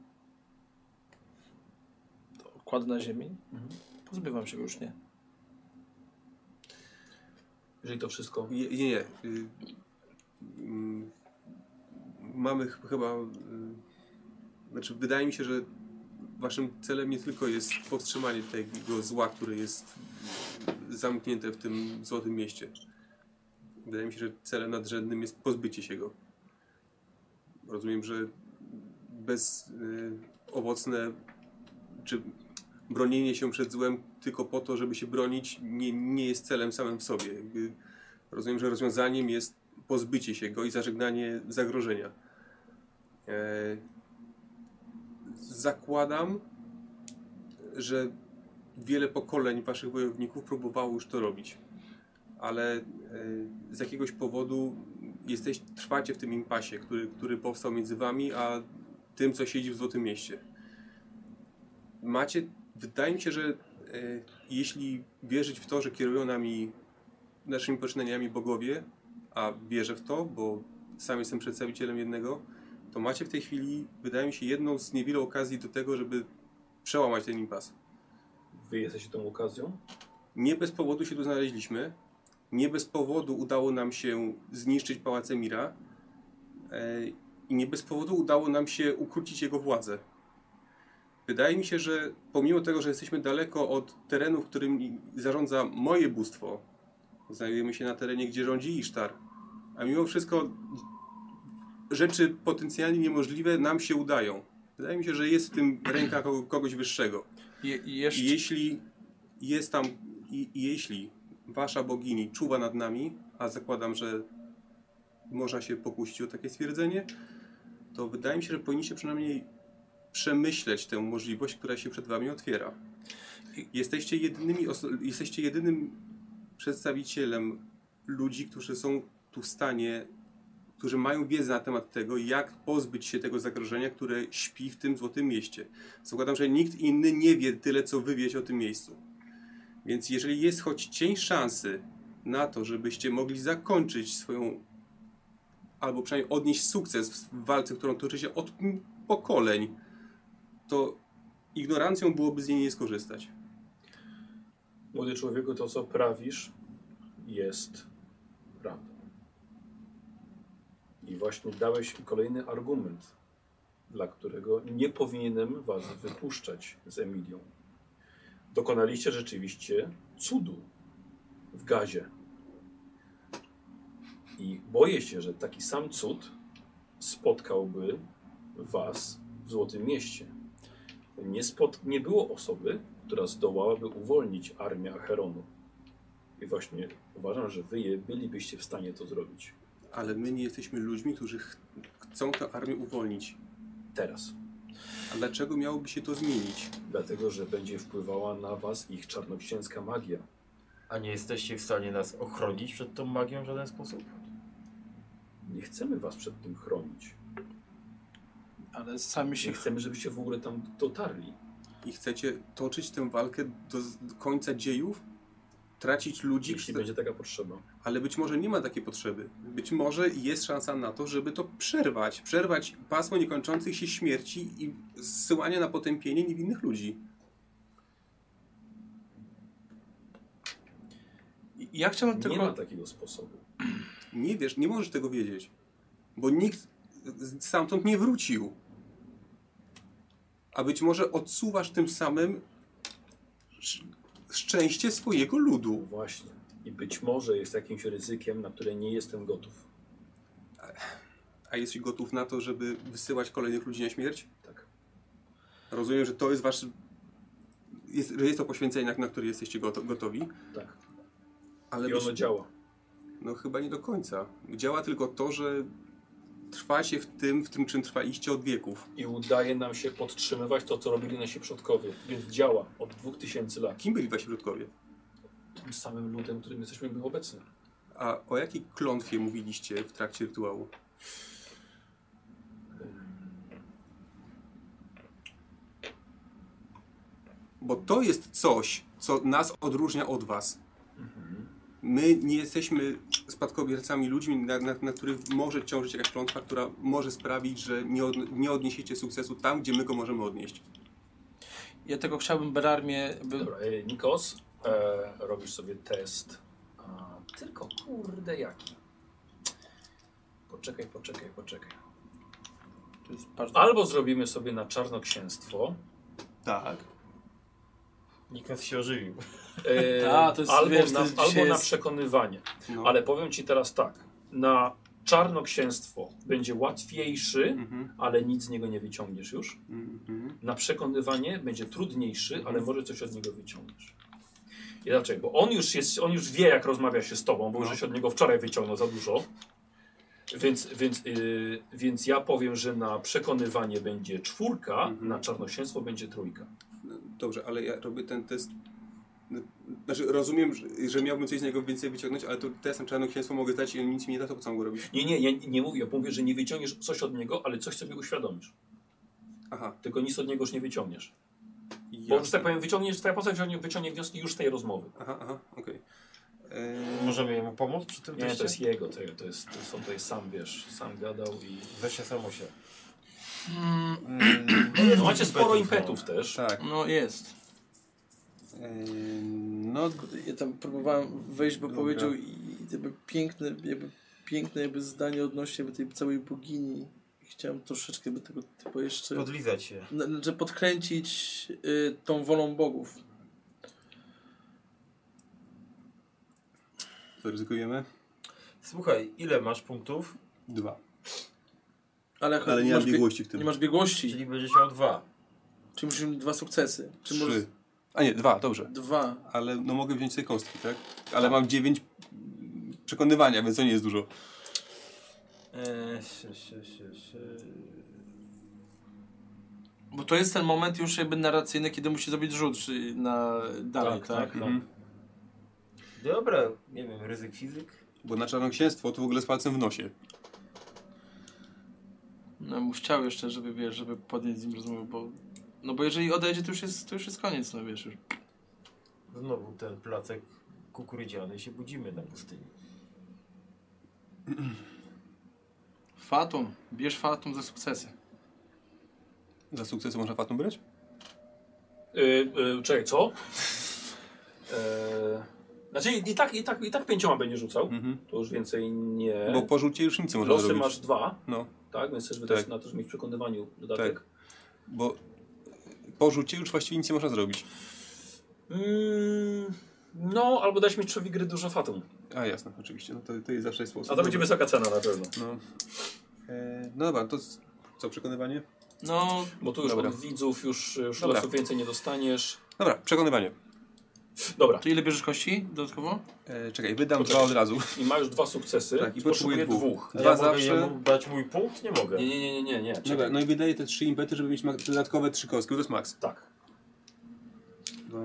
S6: To kładę na ziemi? Pozbywam się go już, nie?
S1: Jeżeli to wszystko...
S2: Nie, nie. nie. Y, mm, mamy ch- chyba. Y, znaczy, wydaje mi się, że waszym celem nie tylko jest powstrzymanie tego zła, które jest zamknięte w tym złotym mieście. Wydaje mi się, że celem nadrzędnym jest pozbycie się go. Rozumiem, że bezowocne czy bronienie się przed złem tylko po to, żeby się bronić, nie, nie jest celem samym w sobie. Y, Jakby rozumiem, że rozwiązaniem jest pozbycie się go i zażegnanie zagrożenia. E, zakładam, że wiele pokoleń waszych wojowników próbowało już to robić, ale e, z jakiegoś powodu jesteś, trwacie w tym impasie, który, który powstał między wami, a tym, co siedzi w Złotym Mieście. Macie, wydaje mi się, że e, jeśli wierzyć w to, że kierują nami naszymi poczynaniami bogowie, a wierzę w to, bo sam jestem przedstawicielem jednego, to macie w tej chwili, wydaje mi się, jedną z niewielu okazji do tego, żeby przełamać ten impas.
S18: Wy jesteście tą okazją?
S2: Nie bez powodu się tu znaleźliśmy. Nie bez powodu udało nam się zniszczyć Pałac Emira. E, I nie bez powodu udało nam się ukrócić jego władzę. Wydaje mi się, że pomimo tego, że jesteśmy daleko od terenu, w którym zarządza moje bóstwo, znajdujemy się na terenie, gdzie rządzi Isztar, a mimo wszystko rzeczy potencjalnie niemożliwe nam się udają. Wydaje mi się, że jest w tym ręka kogo- kogoś wyższego.
S5: Je, jeszcze...
S2: I jeśli jest tam, i, i jeśli wasza bogini czuwa nad nami, a zakładam, że można się pokusić o takie stwierdzenie, to wydaje mi się, że powinniście przynajmniej przemyśleć tę możliwość, która się przed wami otwiera. Jesteście, jedynymi oso- jesteście jedynym przedstawicielem ludzi, którzy są tu w stanie, którzy mają wiedzę na temat tego, jak pozbyć się tego zagrożenia, które śpi w tym złotym mieście. Zakładam, że nikt inny nie wie tyle, co wy wiecie o tym miejscu. Więc jeżeli jest choć cień szansy na to, żebyście mogli zakończyć swoją, albo przynajmniej odnieść sukces w walce, którą toczycie od m- pokoleń, to ignorancją byłoby z niej nie skorzystać.
S1: Młody człowieku, to co prawisz jest prawdą. I właśnie dałeś mi kolejny argument, dla którego nie powinienem was wypuszczać z Emilią. Dokonaliście rzeczywiście cudu w gazie. I boję się, że taki sam cud spotkałby was w Złotym Mieście. Nie, spot, nie było osoby, która zdołałaby uwolnić armię Acheronu. I właśnie uważam, że wy je- bylibyście w stanie to zrobić
S2: Ale my nie jesteśmy ludźmi, którzy ch- chcą tę armię uwolnić.
S1: teraz.
S2: A dlaczego miałoby się to zmienić?
S1: Dlatego, że będzie wpływała na was ich czarnoksięska magia.
S14: A nie jesteście w stanie nas ochronić przed tą magią w żaden sposób?
S1: Nie chcemy was przed tym chronić.
S5: Ale sami się...
S1: Nie chcemy, żebyście w ogóle tam dotarli.
S2: I chcecie toczyć tę walkę do z- do końca dziejów? Tracić ludzi?
S1: Jeśli będzie taka potrzeba.
S2: Ale być może nie ma takiej potrzeby. Być może jest szansa na to, żeby to przerwać. Przerwać pasmo niekończących się śmierci i zsyłania na potępienie niewinnych ludzi.
S5: Ja chciałbym
S1: Nie ma
S5: tylko...
S1: takiego sposobu.
S2: Nie wiesz, nie możesz tego wiedzieć. Bo nikt z- stamtąd nie wrócił. A być może odsuwasz tym samym sz- szczęście swojego
S1: No
S2: ludu.
S1: Właśnie. I być może jest jakimś ryzykiem, na które nie jestem gotów.
S2: A jesteś gotów na to, żeby wysyłać kolejnych ludzi na śmierć?
S1: Tak.
S2: Rozumiem, że to jest wasz. Jest, że jest to poświęcenie, na, na które jesteście goto, gotowi.
S1: Tak.
S2: Ale
S1: I
S2: być-
S1: ono działa.
S2: No chyba nie do końca. Działa tylko to, że trwacie w tym, w tym czym trwaliście od wieków.
S1: I udaje nam się podtrzymywać to, co robili nasi przodkowie. Więc działa od 2000 lat.
S2: Kim byli wasi przodkowie?
S1: Tym samym ludem, którym jesteśmy my obecni.
S2: A o jakiej klątwie mówiliście w trakcie rytuału? Bo to jest coś, co nas odróżnia od was. My nie jesteśmy spadkobiercami ludźmi, na, na, na których może ciążyć jakaś klątwa, która może sprawić, że nie, od, nie odniesiecie sukcesu tam, gdzie my go możemy odnieść.
S5: Ja tego chciałbym Berarmie... By...
S1: Dobra, e, Nikos, e, robisz sobie test. A, tylko kurde jaki. Poczekaj, poczekaj, poczekaj.
S5: To jest bardzo...
S1: Albo zrobimy sobie na czarnoksięstwo.
S2: Tak.
S14: Nikt nas się ożywił.
S1: E,
S5: Ta, to jest,
S1: albo
S5: wiesz, to
S1: na,
S5: jest-
S1: albo
S5: dzisiaj
S1: na
S5: jest-
S1: przekonywanie.
S2: No.
S1: Ale powiem ci teraz tak. Na Czarnoksięstwo będzie łatwiejszy,
S2: Mhm.
S1: ale nic z niego nie wyciągniesz już.
S2: Mhm.
S1: Na przekonywanie będzie trudniejszy, ale może coś od niego wyciągniesz. I dlaczego? Bo on już, jest, on już wie, jak rozmawia się z tobą, bo
S2: No.
S1: już żeś od niego wczoraj wyciągnął za dużo. Więc, więc, yy, więc ja powiem, że na przekonywanie będzie czwórka,
S2: Mhm.
S1: na czarnoksięstwo będzie trójka.
S2: Dobrze, ale ja robię ten test. Znaczy, rozumiem, że, że miałbym coś z niego więcej wyciągnąć, ale to testem czarnoksięstwa mogę zdać i on nic mi nie da, to po co mam go robić?
S1: Nie, nie, ja nie mówię, mówię, że nie wyciągniesz coś od niego, ale coś sobie uświadomisz.
S2: Aha,
S1: Tylko nic od niego już nie wyciągniesz. Bo, że
S2: jasne.
S1: tak powiem, wyciągniesz, twoja postać wyciągnie, wyciągnie wnioski już z tej rozmowy.
S2: Aha, aha, okej. Eee,
S14: Możemy mu pomóc przy tym
S1: Nie, to
S14: teście?
S2: tak.
S1: jest jego, to, to jest, to są- to jest sam, wiesz, sam gadał i...
S14: Weź się samo się.
S3: Hmm,
S1: No, macie sporo impetów też.
S2: Tak.
S5: No jest.
S2: Eee, no,
S6: Ja tam próbowałem wejść, bo
S2: Dobra.
S6: powiedział i jakby piękne, jakby piękne jakby zdanie odnośnie jakby tej całej bogini. Chciałem troszeczkę by tego typu jeszcze...
S14: Podlizać się.
S6: n- Znaczy podkręcić y, tą wolą bogów.
S2: to ryzykujemy?
S14: Słuchaj, ile masz punktów?
S2: Dwa.
S6: Ale,
S2: Ale nie
S6: masz
S2: mam biegłości w
S6: Nie
S2: tym.
S6: masz biegłości,
S14: Czyli będziesz miał dwa.
S6: czyli musisz mieć dwa sukcesy. Czy możesz-
S2: Trzy. A nie, dwa, dobrze.
S6: Dwa.
S2: Ale no mogę wziąć sobie kostki, tak? Ale mam dziewięć przekonywania, więc to nie jest dużo.
S14: Eee, szy, szy, szy, szy.
S5: Bo to jest ten moment już jakby narracyjny, kiedy musi zrobić rzut czy na dalej, tak?
S3: no.
S14: no.
S2: Mhm.
S14: Dobra, nie wiem, ryzyk fizyk.
S2: Bo na czarnoksięstwo to w ogóle z palcem w nosie.
S5: No mu chciał jeszcze, żeby wiesz, żeby podjąć z nim rozmowę, bo... No bo jeżeli odejdzie, to już jest, to już jest koniec, no wiesz już.
S14: Znowu ten placek kukurydziany się budzimy na pustyni.
S5: Fatum, bierz fatum za sukcesy.
S2: Za sukcesy można fatną brać?
S1: Yy, yy, czekaj, co? Yy, znaczy i tak, i tak, i tak pięcioma będzie rzucał.
S2: Mhm.
S1: To już więcej nie.
S2: Bo po rzucie już nic nie można
S1: E? Losy
S2: zrobić.
S1: masz dwa,
S2: No,
S1: tak? Więc chcesz
S2: Tak.
S1: wydać na to, żeby mieć w przekonywaniu dodatek.
S2: bo po rzucie już właściwie nic nie można zrobić.
S1: Mm, no, albo dać mistrzowi gry dużo fatum.
S2: A jasne, oczywiście. No to, to jest zawsze sposób.
S1: A to będzie wysoka cena na pewno.
S2: No, Eee, no dobra, to s- co, przekonywanie?
S5: No,
S1: Bo tu już
S2: Dobra.
S1: od widzów już, już
S2: Dobra.
S1: losów więcej nie dostaniesz.
S2: Dobra, przekonywanie.
S1: Dobra,
S5: to ile bierzesz kości dodatkowo?
S2: Eee, czekaj, wydam dwa od razu.
S1: i ma już dwa sukcesy.
S2: Tak, i
S1: potrzebuje
S2: potrzebuję dwóch.
S1: dwóch.
S2: Dwa
S14: ja mogę
S2: zawsze.
S14: jemu dać mój punkt? Nie mogę.
S1: Nie, nie, nie, nie, nie, nie. czekaj.
S2: Dobra, no i wydaje te trzy impety, żeby mieć ma- dodatkowe trzy kostki, bo to jest max.
S1: Tak.
S2: No,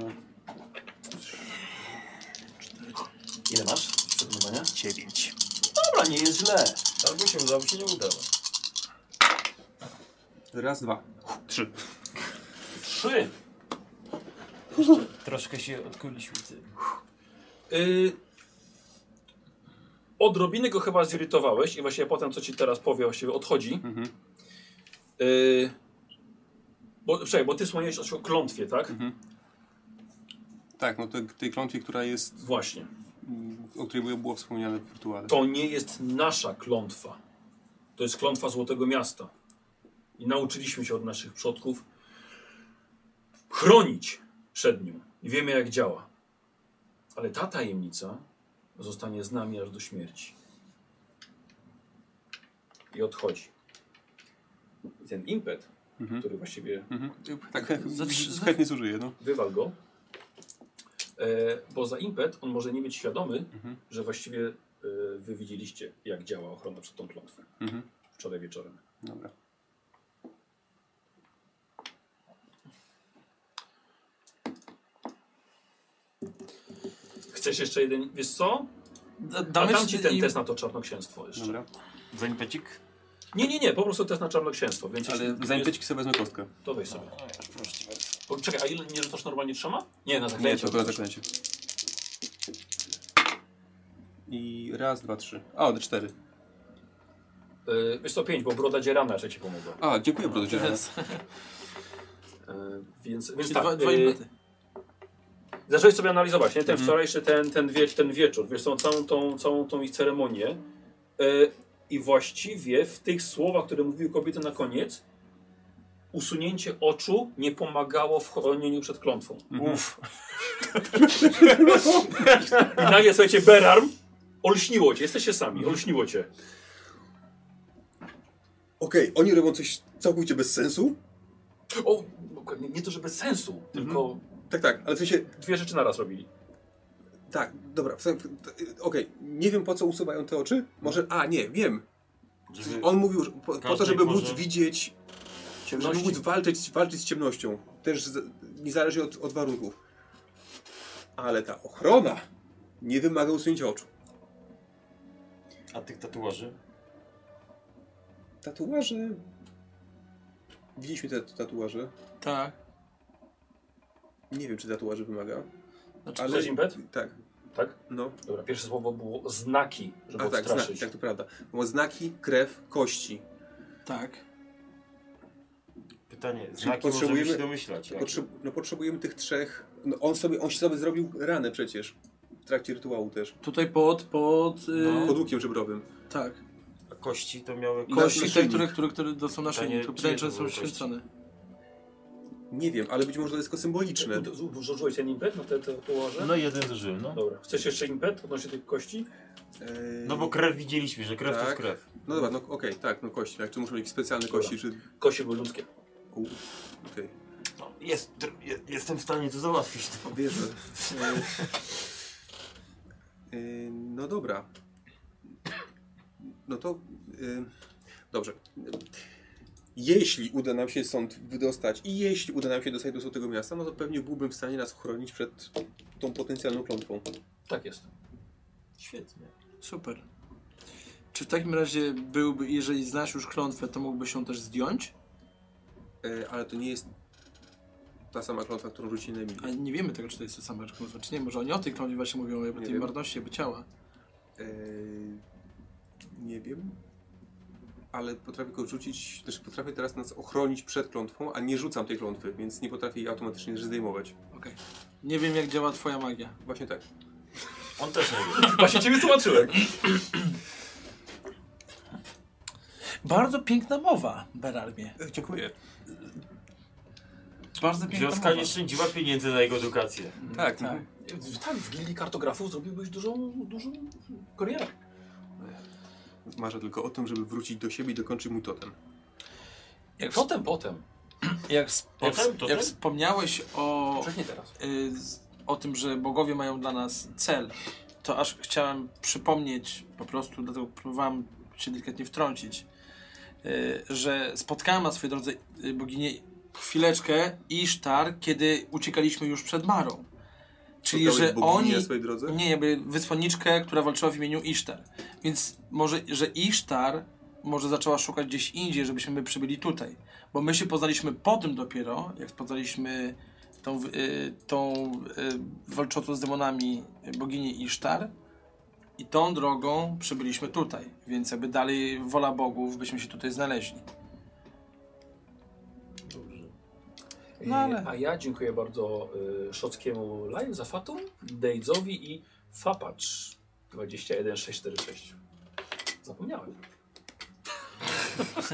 S19: Ile masz? Przekonywania?
S2: dziewięć.
S19: Dobra, nie jest źle.
S3: Tak
S14: Albo się uda, albo się nie uda.
S2: Raz, dwa. Trzy.
S1: Trzy.
S14: Troszkę się odkuliśmy. Ty.
S1: Y... Odrobinę go chyba zirytowałeś i właśnie potem, co ci teraz powie, właściwie odchodzi.
S2: Mhm.
S1: Y... Bo, czekaj, bo ty wspomniałeś o klątwie, tak?
S2: Mhm. Tak, no to tej klątwie, która jest,
S1: Właśnie.
S2: mm, o której było wspomniane w rytuale.
S1: To nie jest nasza klątwa. To jest klątwa Złotego Miasta. I nauczyliśmy się od naszych przodków chronić przed nią. I wiemy, jak działa. Ale ta tajemnica zostanie z nami aż do śmierci. I odchodzi. I ten impet,
S2: Mhm.
S1: który właściwie
S2: Mhm. Tak,
S5: Za trzy- za-
S2: chętnie zużyję, no.
S1: wywal go, e, bo za impet on może nie być świadomy,
S2: Mhm.
S1: że właściwie e, wy widzieliście, jak działa ochrona przed tą klątwą
S2: Mhm.
S1: wczoraj wieczorem.
S2: Dobra.
S1: Chcesz jeszcze jeden, wiesz co?
S5: Da,
S1: Dam,
S5: damy
S1: dam ci ten
S5: i-
S1: test na to czarnoksięstwo jeszcze.
S2: Dobra.
S14: Zanim pecik?
S1: Nie, nie, nie, po prostu test na czarnoksięstwo, więc
S2: Ale No,
S1: jeśli
S2: zanim
S1: jest,
S2: pycik sobie wezmę kostkę.
S1: to weź sobie. Bo, czekaj, a ile nie rzucasz normalnie trzema? Nie, na
S2: Nie, to
S1: zaklęcie.
S2: akurat zaklęcie. I raz, dwa, trzy. A, od cztery.
S1: E, wiesz co, pięć, bo broda dzierana jeszcze ci pomogła.
S2: A, dziękuję bardzo.
S5: Yes.
S1: E, więc, więc
S5: Czyli
S1: tak,
S5: dwa, dwa
S1: e,
S3: y-
S5: impety.
S1: Zacząłeś sobie analizować, nie? Ten wczorajszy, ten, ten, wie, ten wieczór, wiesz, tą, całą, tą, całą tą ich ceremonię. E, I właściwie w tych słowach, które mówiły kobiety na koniec, usunięcie oczu nie pomagało w chronieniu przed klątwą. Uff. I nagle, słuchajcie, Berarm, olśniło cię, jesteście sami, olśniło cię.
S2: Okej, oni robią coś całkowicie bez sensu?
S1: O, dokładnie, nie to, że bez sensu, tylko
S2: Tak, tak, ale w sensie,
S1: dwie rzeczy naraz robili.
S2: tak, dobra, w sensie, okej, nie wiem po co usuwają te oczy, może, a nie, wiem,
S3: Żeby...
S2: on mówił, że po, po to,
S3: Każdej
S2: żeby móc
S3: porze.
S2: widzieć, żeby móc walczyć, walczyć z ciemnością, też z, niezależnie od, od warunków. Ale ta ochrona nie wymaga usunięcia oczu.
S3: A tych tatuaży?
S2: Tatuaże. Widzieliśmy te tatuaże.
S6: Tak.
S2: Nie wiem, czy tatuaży wymaga.
S6: Znaczy,
S2: ale...
S1: Chcesz impet?
S2: Tak.
S1: Tak?
S2: No,
S1: Dobra, pierwsze słowo było znaki, żeby
S2: a tak, znaki,
S1: odstraszyć.
S2: tak, to prawda. Bo znaki, krew, kości.
S6: Tak.
S3: Pytanie, znaki
S2: potrzebujemy-
S3: możemy się domyślać. jakie?
S2: Potrze no, potrzebujemy tych trzech. No, on, sobie, on się sobie zrobił ranę przecież. W trakcie rytuału też.
S6: Tutaj pod, pod, y,
S3: No.
S2: Pod łukiem żebrowym.
S6: tak.
S3: A kości to miały...
S6: I
S2: Kości,
S6: kości te, które, które, które to są nasze,
S3: Pytanie,
S6: to pytanie,
S3: czyje
S6: czy
S3: to
S6: są
S3: były kości?
S6: święcone.
S2: Nie wiem, ale być może to jest tylko symboliczne.
S1: U- u- Rzuciłeś ten impet na te, te położe?
S3: No jeden zużyłem, no.
S1: Dobra. Chcesz jeszcze impet odnośnie tych kości?
S2: Eee,
S3: No bo krew widzieliśmy, że krew to
S2: Tak.
S3: jest krew.
S2: No dobra, no okej, tak, no kości, tak. Czy muszą jakieś specjalne kości, czy.
S1: Kości były ludzkie.
S2: U, Okej.
S3: No, jest, je, jestem w stanie to załatwić. To.
S2: Wierzę. E, e, no dobra. No to. e, dobrze. Jeśli uda nam się stąd wydostać i jeśli uda nam się dostać do tego miasta, no to pewnie byłbym w stanie nas chronić przed tą potencjalną klątwą.
S1: Tak jest.
S3: Świetnie.
S6: Super. Czy w takim razie byłby, jeżeli znasz już klątwę, to mógłbyś ją też zdjąć?
S2: E, ale to nie jest ta sama klątwa, którą rzuci na
S6: A
S2: Emilię.
S6: nie wiemy tego, czy to jest ta sama klątwa, czy nie. Może oni o tej klątwie właśnie mówią, jakby
S2: Nie
S6: tej
S2: wiem.
S6: marności, jakby ciała.
S2: E, nie wiem. Ale potrafię go rzucić, znaczy potrafię teraz nas ochronić przed klątwą, a nie rzucam tej klątwy, więc nie potrafię jej automatycznie zdejmować.
S6: Okej. Nie wiem, jak działa twoja magia.
S2: Właśnie tak.
S3: On też nie wie.
S1: Właśnie ciebie tłumaczyłem.
S6: Bardzo piękna mowa, Berarmie.
S2: E, dziękuję.
S6: Bardzo piękna
S3: Wioska
S6: mowa.
S3: nie szczędziła pieniędzy na jego edukację.
S2: Tak,
S6: Tak.
S1: W- Tak, w gildii kartografów zrobiłbyś dużą, dużą karierę.
S2: Marzę tylko o tym, żeby wrócić do siebie i dokończyć mój totem.
S6: Jak, wsp-
S1: Potem, potem.
S6: jak, wsp-
S3: Potem,
S6: jak wsp-
S3: potem?
S6: jak wspomniałeś o,
S1: Przecież nie teraz.
S6: y, z- o tym, że bogowie mają dla nas cel, to aż chciałem przypomnieć, po prostu dlatego próbowałem się delikatnie wtrącić, y, że spotkałem na swojej drodze y, boginię chwileczkę Isztar, kiedy uciekaliśmy już przed Marą. Czyli,
S2: Spotkałeś
S6: że
S2: boginię
S6: oni...
S2: na swojej drodze?
S6: Nie, jakby wysłanniczkę, która walczyła w imieniu Isztar. Więc może, że Isztar może zaczęła szukać gdzieś indziej, żebyśmy my przybyli tutaj. Bo my się poznaliśmy po tym dopiero, jak poznaliśmy tą, y, tą y, walczącą z demonami boginię Isztar. I tą drogą przybyliśmy tutaj. Więc jakby dalej wola bogów, byśmy się tutaj znaleźli. No ale-
S1: E, A ja dziękuję bardzo y, Szockiemu Live za Fatum, Dejdzowi i Fapacz 21646. Zapomniałem.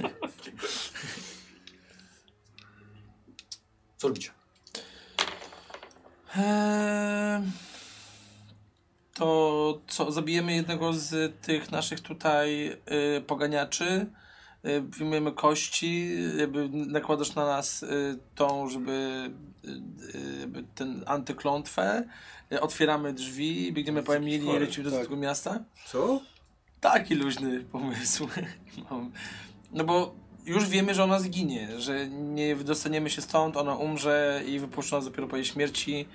S1: Co robicie?
S6: Eee, to co, zabijemy jednego z tych naszych tutaj y, poganiaczy, y, wyjmujemy kości, jakby nakładasz na nas y, tą, żeby y, y, jakby ten antyklątwę, y, otwieramy drzwi, biegniemy po Emilii i
S3: chory,
S6: lecimy do tego miasta.
S2: Co?
S6: Taki luźny pomysł mam. No bo już wiemy, że ona zginie, że nie wydostaniemy się stąd, ona umrze i wypuszczą nas dopiero po jej śmierci.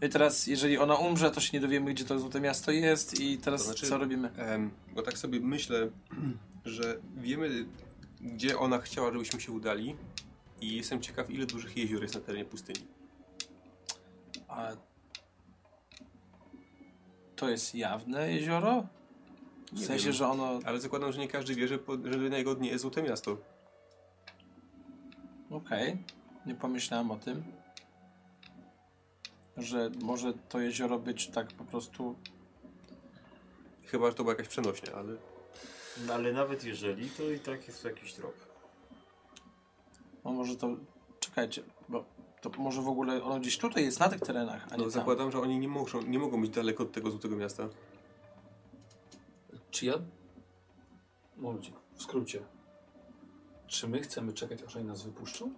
S6: No I teraz, jeżeli ona umrze, to się nie dowiemy, gdzie to złote miasto jest i teraz
S2: To znaczy-
S6: co robimy?
S2: Em, bo tak sobie myślę, że wiemy, gdzie ona chciała, żebyśmy się udali. I jestem ciekaw, ile dużych jezior jest na terenie pustyni.
S6: A... To jest jawne jezioro? W
S2: Nie
S6: sensie,
S2: wiem.
S6: że ono...
S2: Ale zakładam, że nie każdy wie, że, po, że na jego dnie jest złote miasto.
S6: Okej, nie pomyślałem o tym. Że może to jezioro być tak po prostu...
S2: Chyba, że to była jakaś przenośnia, ale...
S3: No, ale nawet jeżeli, to i tak jest to jakiś trop.
S6: No może to... Czekajcie, bo to może w ogóle ono gdzieś tutaj jest, na tych terenach, a nie
S2: No,
S6: tam.
S2: zakładam, że oni nie, muszą, nie mogą być daleko od tego złotego miasta.
S1: Czy ja. Momencik, w skrócie. Czy my chcemy czekać, aż oni nas wypuszczą?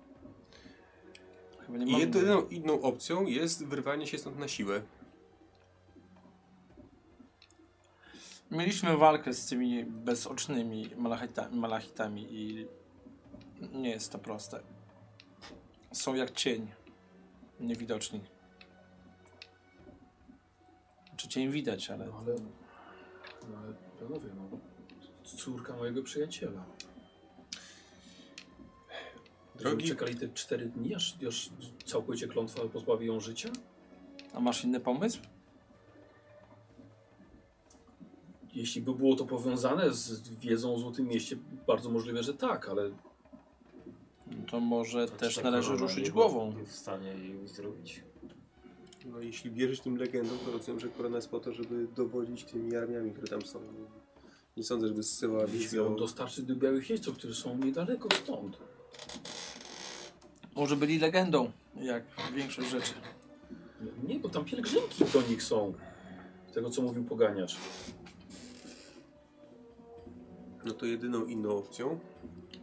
S6: Chyba nie
S2: I
S6: mamy-
S2: jedyną inną opcją jest wyrwanie się stąd na siłę.
S6: Mieliśmy walkę z tymi bezocznymi malachita- malachitami i nie jest to proste. Są jak cień. Niewidoczni. Czy cień widać, ale...
S1: No ale, no ale panowie, no, córka mojego przyjaciela. Drogi...
S2: Drogi-
S1: Czekali te cztery dni, aż, aż całkowicie klątwa pozbawi ją życia?
S6: A masz inny pomysł?
S1: Jeśli by było to powiązane z wiedzą o Złotym Mieście, bardzo możliwe, że tak, ale
S6: No To może też
S3: Ta
S6: należy
S3: korona
S6: ruszyć
S3: nie
S6: głową.
S3: Nie tak w stanie jej uzdrowić.
S2: No, jeśli wierzyć tym legendom, to rozumiem, że korona jest po to, żeby dowodzić tymi armiami, które tam są. Nie sądzę, żeby zsyłała
S1: jeśli
S2: wizją.
S1: ją dostarczy do Białych Jeźdźców, którzy są niedaleko stąd.
S6: Może byli legendą, jak większość rzeczy.
S1: Nie, bo tam pielgrzymki do nich są. Z Tego, co mówił Poganiacz.
S2: No to jedyną inną opcją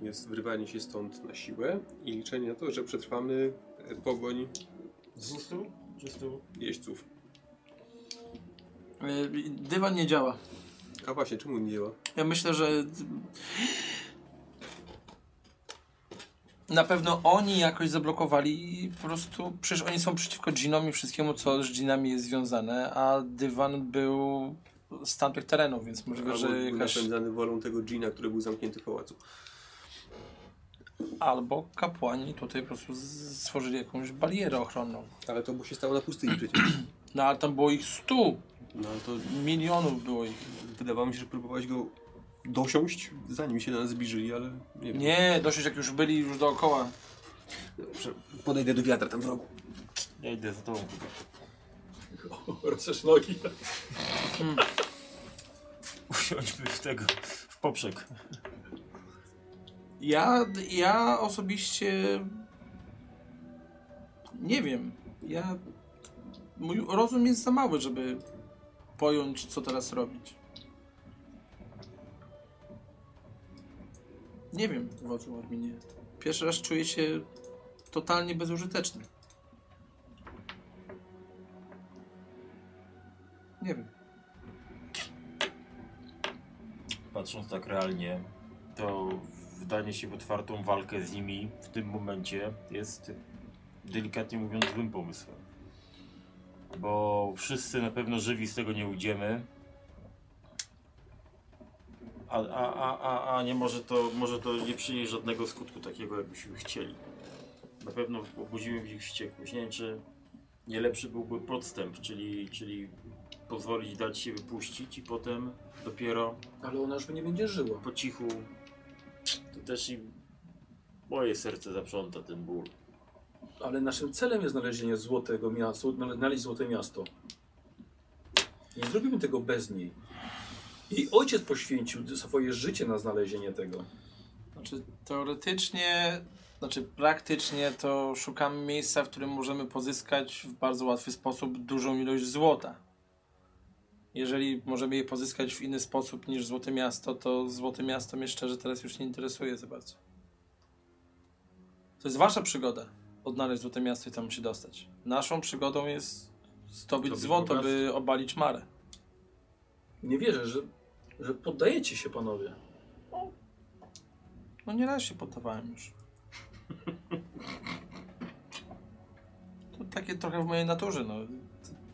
S2: jest wyrwanie się stąd na siłę i liczenie na to, że przetrwamy e, pogoń
S3: Z ustu? Czy z tyłu?
S2: jeźdźców.
S6: Y, Dywan nie działa.
S2: A właśnie, czemu nie działa?
S6: Ja myślę, że na pewno oni jakoś zablokowali i po prostu, przecież oni są przeciwko dżinom i wszystkiemu, co z dżinami jest związane, a dywan był z tamtych terenów, więc możliwe,
S2: Albo
S6: że
S2: był
S6: jakaś...
S2: napędzany wolą tego dżina, który był zamknięty w pałacu.
S6: Albo kapłani tutaj po prostu z- stworzyli jakąś barierę ochronną.
S2: Ale to mu się stało na pustyni przecież.
S6: No ale tam było ich stu,
S2: No ale to
S6: milionów było ich.
S2: wydawało mi się, że próbowałeś go dosiąść, zanim się do nas zbliżyli, ale nie wiem.
S6: Nie, dosyć jak już byli już dookoła.
S2: Dobrze, Podejdę do wiadra tam w rogu.
S3: Ja idę za tobą.
S23: Rozszerz nogi.
S3: Usiądźmy w tego, w poprzek.
S6: Ja, ja osobiście nie wiem. Ja, mój rozum jest za mały, żeby pojąć, co teraz robić. Nie wiem, wodzu Arminie. Pierwszy raz czuję się totalnie bezużyteczny. Nie wiem.
S3: Patrząc tak realnie, to wdanie się w otwartą walkę z nimi w tym momencie jest delikatnie mówiąc złym pomysłem. Bo wszyscy na pewno żywi z tego nie ujdziemy. A, a, a, a, a nie może to, może to nie przynieść żadnego skutku takiego, jakbyśmy chcieli. Na pewno obudzimy w nich wściekłość. Nie wiem, czy nie lepszy byłby podstęp, czyli, czyli pozwolić dać się wypuścić i potem dopiero
S1: Ale ona już by nie będzie żyła.
S3: po cichu. To też i moje serce zaprząta ten ból.
S1: Ale naszym celem jest znalezienie złotego miasta, znaleźć złote miasto. Nie zrobimy tego bez niej. Jej ojciec poświęcił swoje życie na znalezienie tego.
S6: Znaczy teoretycznie, znaczy praktycznie to szukamy miejsca, w którym możemy pozyskać w bardzo łatwy sposób dużą ilość złota. Jeżeli możemy je pozyskać w inny sposób niż Złote Miasto, to Złote Miasto mnie szczerze teraz już nie interesuje za bardzo. To jest wasza przygoda, odnaleźć Złote Miasto i tam się dostać. Naszą przygodą jest zdobyć
S3: Zdobyć
S6: złoto,
S3: bogactwo.
S6: by obalić Marę.
S1: Nie wierzę, że, że poddajecie się panowie.
S6: No nie raz się poddawałem już. To takie trochę w mojej naturze, no.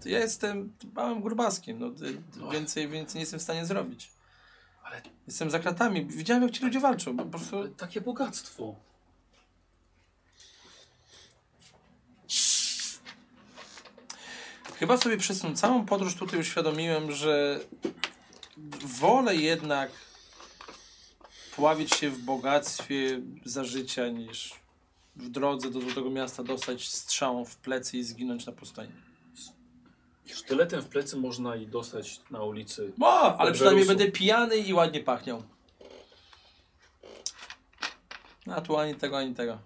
S6: To Ja jestem małym grubaskiem, no. Ty- ty- Więcej, więcej nie jestem w stanie zrobić.
S1: Ale-
S6: Jestem za kratami. Widziałem, jak ci ludzie walczą, bo po prostu...
S1: Ale takie bogactwo.
S6: Chyba sobie przez tą całą podróż tutaj uświadomiłem, że wolę jednak pławić się w bogactwie za życia, niż w drodze do Złotego Miasta dostać strzałą w plecy i zginąć na pustyni.
S1: Sztyletem w plecy można i dostać na ulicy.
S6: O, ale
S1: Dobrze
S6: przynajmniej
S1: rósł.
S6: będę pijany i ładnie pachniał. A tu ani tego, ani tego.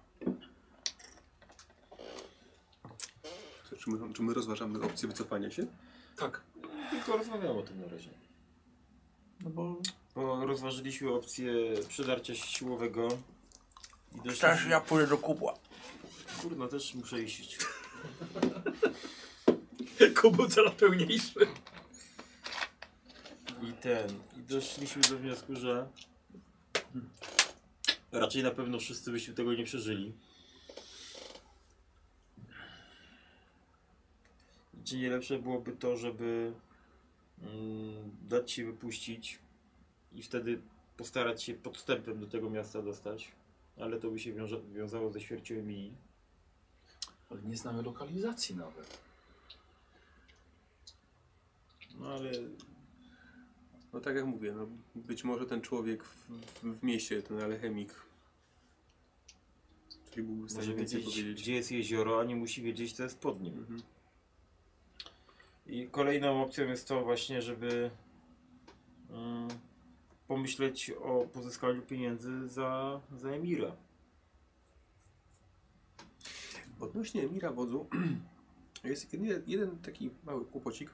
S2: Czy my, czy my rozważamy opcję wycofania się?
S1: Tak.
S3: Tylko rozmawiamy o tym na razie.
S6: No bo
S3: Bo rozważyliśmy opcję przydarcia się siłowego Idę
S14: Teraz ja pójdę do kubła.
S3: Kurna, też muszę iść.
S1: Kubu coraz pełniejszy.
S3: I ten. I doszliśmy do wniosku, że raczej na pewno wszyscy byśmy tego nie przeżyli. Czy nie lepsze byłoby to, żeby mm, dać się wypuścić i wtedy postarać się podstępem do tego miasta dostać, ale to by się wiąże, wiązało ze śmiercią Emilii.
S24: Ale nie znamy lokalizacji nawet.
S3: No ale
S2: No tak jak mówię, no, być może ten człowiek w, w, w mieście, ten alchemik, który byłby w
S3: może
S2: stanie więcej
S3: wiedzieć,
S2: powiedzieć.
S3: gdzie jest jezioro, a nie musi wiedzieć, co jest pod nim.
S2: Mhm.
S3: I kolejną opcją jest to właśnie, żeby mm, pomyśleć o pozyskaniu pieniędzy za, za Emira.
S2: Odnośnie Emira Wodzu, jest jeden, jeden taki mały kłopocik.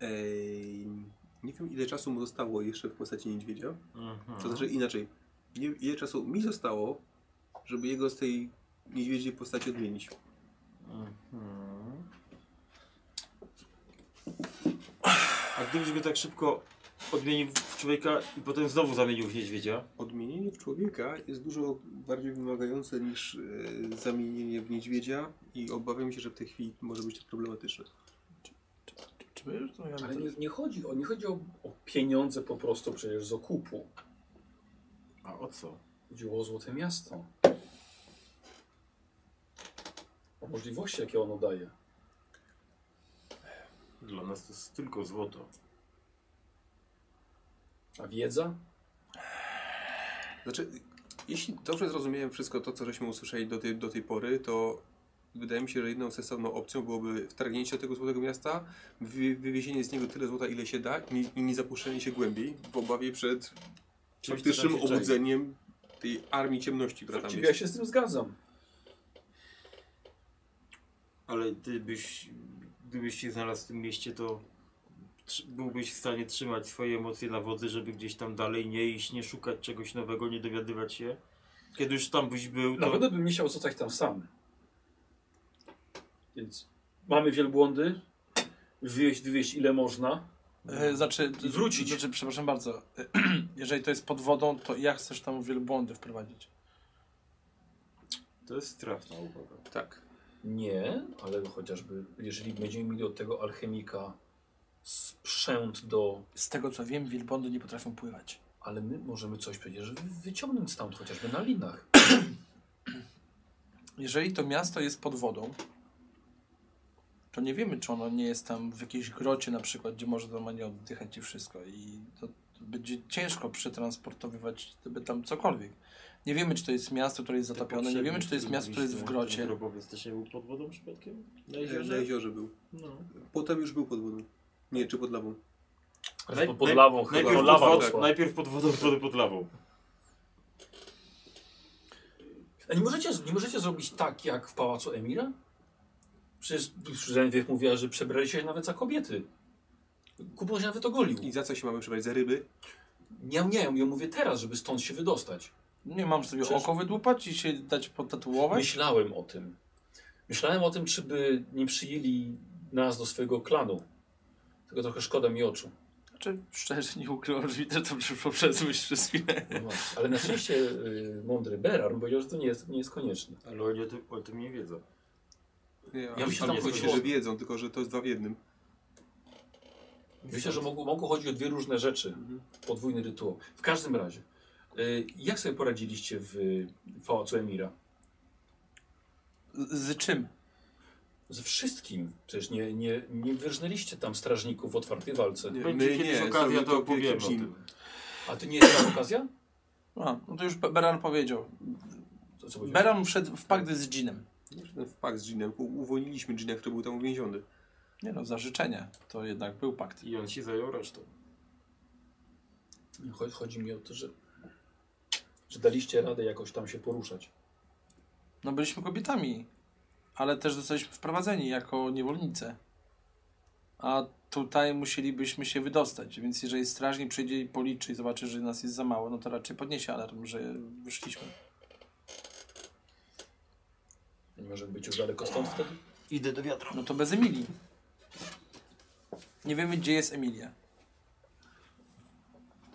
S2: Ej, nie wiem ile czasu mu zostało jeszcze w postaci niedźwiedzia.
S3: mhm,
S2: To znaczy inaczej, nie, ile czasu mi zostało, żeby jego z tej niedźwiedziej postaci odmienić.
S3: Mhm. A gdybyś go tak szybko odmienił w człowieka i potem znowu zamienił w niedźwiedzia?
S2: Odmienienie w człowieka jest dużo bardziej wymagające niż e, zamienienie w niedźwiedzia i obawiam się, że w tej chwili może być to problematyczne.
S14: Czy my już rozmawiamy?
S1: Ale nie, nie chodzi, o, nie chodzi o, o pieniądze po prostu przecież z okupu.
S3: A o co?
S1: Chodziło o Złote Miasto. O możliwości, jakie ono daje.
S3: Dla nas to jest tylko złoto.
S1: A wiedza?
S2: Znaczy, jeśli dobrze zrozumiałem wszystko to, co żeśmy usłyszeli do tej, do tej pory, to wydaje mi się, że jedną sensowną opcją byłoby wtargnięcie do tego złotego miasta, wy, wywiezienie z niego tyle złota, ile się da i, i nie zapuszczenie się głębiej w obawie przed
S3: Czymś, co
S2: faktycznym
S3: tam się czai.
S2: obudzeniem tej armii ciemności, która tam
S1: Właściwie ja
S2: jest.
S1: się z tym zgadzam.
S3: Ale ty byś, gdybyś się znalazł w tym mieście, to tr- byłbyś w stanie trzymać swoje emocje na wodzy, żeby gdzieś tam dalej nie iść, nie szukać czegoś nowego, nie dowiadywać się. Kiedy już tam byś był,
S6: No,
S1: Na
S3: to...
S1: pewno bym nie chciał zostać tam sam. Więc mamy wielbłądy. Wywieźć, wywieźć ile można.
S6: E, Znaczy,
S1: I wrócić.
S6: Znaczy, przepraszam bardzo. Jeżeli to jest pod wodą, to jak chcesz tam wielbłądy wprowadzić?
S3: To jest trafna uwaga.
S2: Tak.
S1: Nie, ale chociażby jeżeli będziemy mieli od tego alchemika sprzęt do...
S6: Z tego co wiem, wielbłądy nie potrafią pływać.
S1: Ale my możemy coś przecież wy- wyciągnąć stamtąd, chociażby na linach.
S6: Jeżeli to miasto jest pod wodą, to nie wiemy, czy ono nie jest tam w jakiejś grocie na przykład, gdzie może normalnie oddychać i wszystko. I to będzie ciężko przetransportowywać gdyby tam cokolwiek. Nie wiemy, czy to jest miasto, które jest zatopione, tak, no nie wiemy, czy to jest miasto, które jest w
S3: Ten
S6: grocie.
S3: grobowiec też nie był pod wodą przypadkiem? Na
S2: Na
S3: jeziorze?
S2: jeziorze był.
S3: No.
S2: Potem już był pod wodą. Nie, czy pod lawą.
S3: Naj-
S1: Pod, pod
S3: naj-
S1: lawą chyba. Pod
S3: Najpierw pod,
S1: lawa
S3: wodą,
S1: poszła.
S3: najpierw pod wodą, potem pod lawą.
S1: A nie możecie, nie możecie zrobić tak, jak w Pałacu Emira? Przecież Żenwiew mówiła, że przebrali się nawet za kobiety. Kubo się nawet ogolił.
S2: I za co się mamy przebrać? Za ryby?
S1: Nie, nie, ja mówię teraz, żeby stąd się wydostać.
S6: Nie mam sobie
S1: Przecież-
S6: oko wydłupać i się dać potatuować.
S1: Myślałem o tym. Myślałem o tym, czy by nie przyjęli nas do swojego klanu. Tylko trochę szkoda mi oczu.
S6: Znaczy, szczerze nie ukrywam, że mi też to przyszło przez myśl przez chwilę.
S1: No właśnie. Ale na szczęście y, mądry Berar powiedział, że to nie jest, nie jest konieczne.
S3: Ale oni o tym, o tym nie wiedzą.
S2: Nie,
S1: Ja bym się tam
S2: chodzi,
S1: chodziło.
S2: że wiedzą, tylko że to jest dwa w jednym.
S1: Myślę, że mogło, mogło chodzić o dwie różne rzeczy. Podwójny rytuał. W każdym razie, y, jak sobie poradziliście w y, Pałacu Emira?
S6: Z, z czym?
S1: Ze wszystkim. Przecież nie, nie, nie wyrżnęliście tam strażników w otwartej walce.
S2: Nie,
S3: Będzie
S2: my
S3: kiedyś
S2: nie,
S3: okazja,
S2: zrobił
S3: to
S2: to
S3: opowiem
S2: wielki
S3: o
S2: Jim.
S3: tym.
S1: A to nie jest ta okazja?
S6: A, no to już Be- Beran powiedział.
S1: Co, co powiedziałeś?
S6: Beran wszedł w pakt z dżinem.
S2: Ten wpakt z Ginem. U- Uwolniliśmy Gina, który był tam uwięziony.
S6: Nie no, za życzenie. To jednak był pakt.
S3: I on się zajął resztą.
S1: Nie, Chodzi, chodzi mi o to, że, że daliście radę jakoś tam się poruszać.
S6: No byliśmy kobietami, ale też zostaliśmy wprowadzeni jako niewolnice. a tutaj musielibyśmy się wydostać, więc jeżeli strażnik przyjdzie i policzy i zobaczy, że nas jest za mało, no to raczej podniesie alarm, że wyszliśmy.
S1: Nie możemy być już daleko stąd wtedy?
S14: Idę do wiatru.
S6: No to bez Emilii. Nie wiemy, gdzie jest Emilia.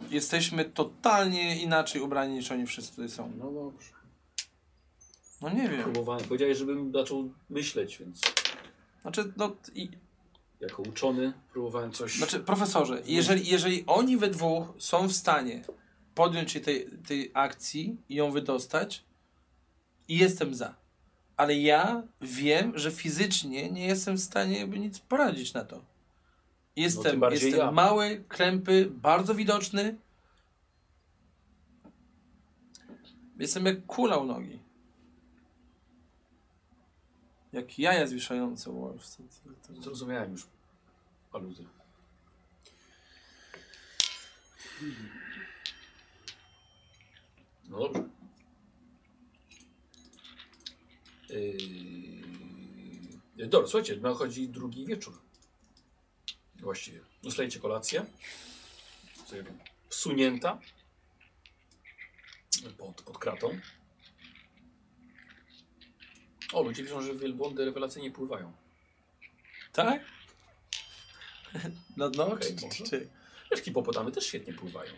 S6: Jesteśmy totalnie inaczej ubrani niż oni wszyscy tutaj są.
S1: No dobrze.
S6: No nie wiem.
S1: Próbowałem. Powiedziałeś, żebym zaczął myśleć, więc
S6: Znaczy, no, i,
S1: jako uczony próbowałem coś...
S6: znaczy profesorze, jeżeli, jeżeli oni we dwóch są w stanie podjąć się tej, tej akcji i ją wydostać, jestem za. Ale ja wiem, że fizycznie nie jestem w stanie jakby nic poradzić na to. Jestem,
S1: No, bardziej
S6: jestem
S1: ja.
S6: mały, krępy, bardzo widoczny. Jestem jak kula u nogi. Jak jaja zwiszające. Wow,
S1: Zrozumiałem już aluzję. No dobrze. Yy... Dobra, słuchajcie, nachodzi drugi wieczór. Właściwie. Dostajecie kolację. Sobie Wsunięta. Pod, pod kratą. O, ludzie widzą, że wielbłądy rewelacyjnie pływają.
S6: Tak? Na dno?
S1: Okej,
S6: No, czy, czy,
S1: może.
S6: czy.
S1: Wiesz, hipopotamy też świetnie pływają.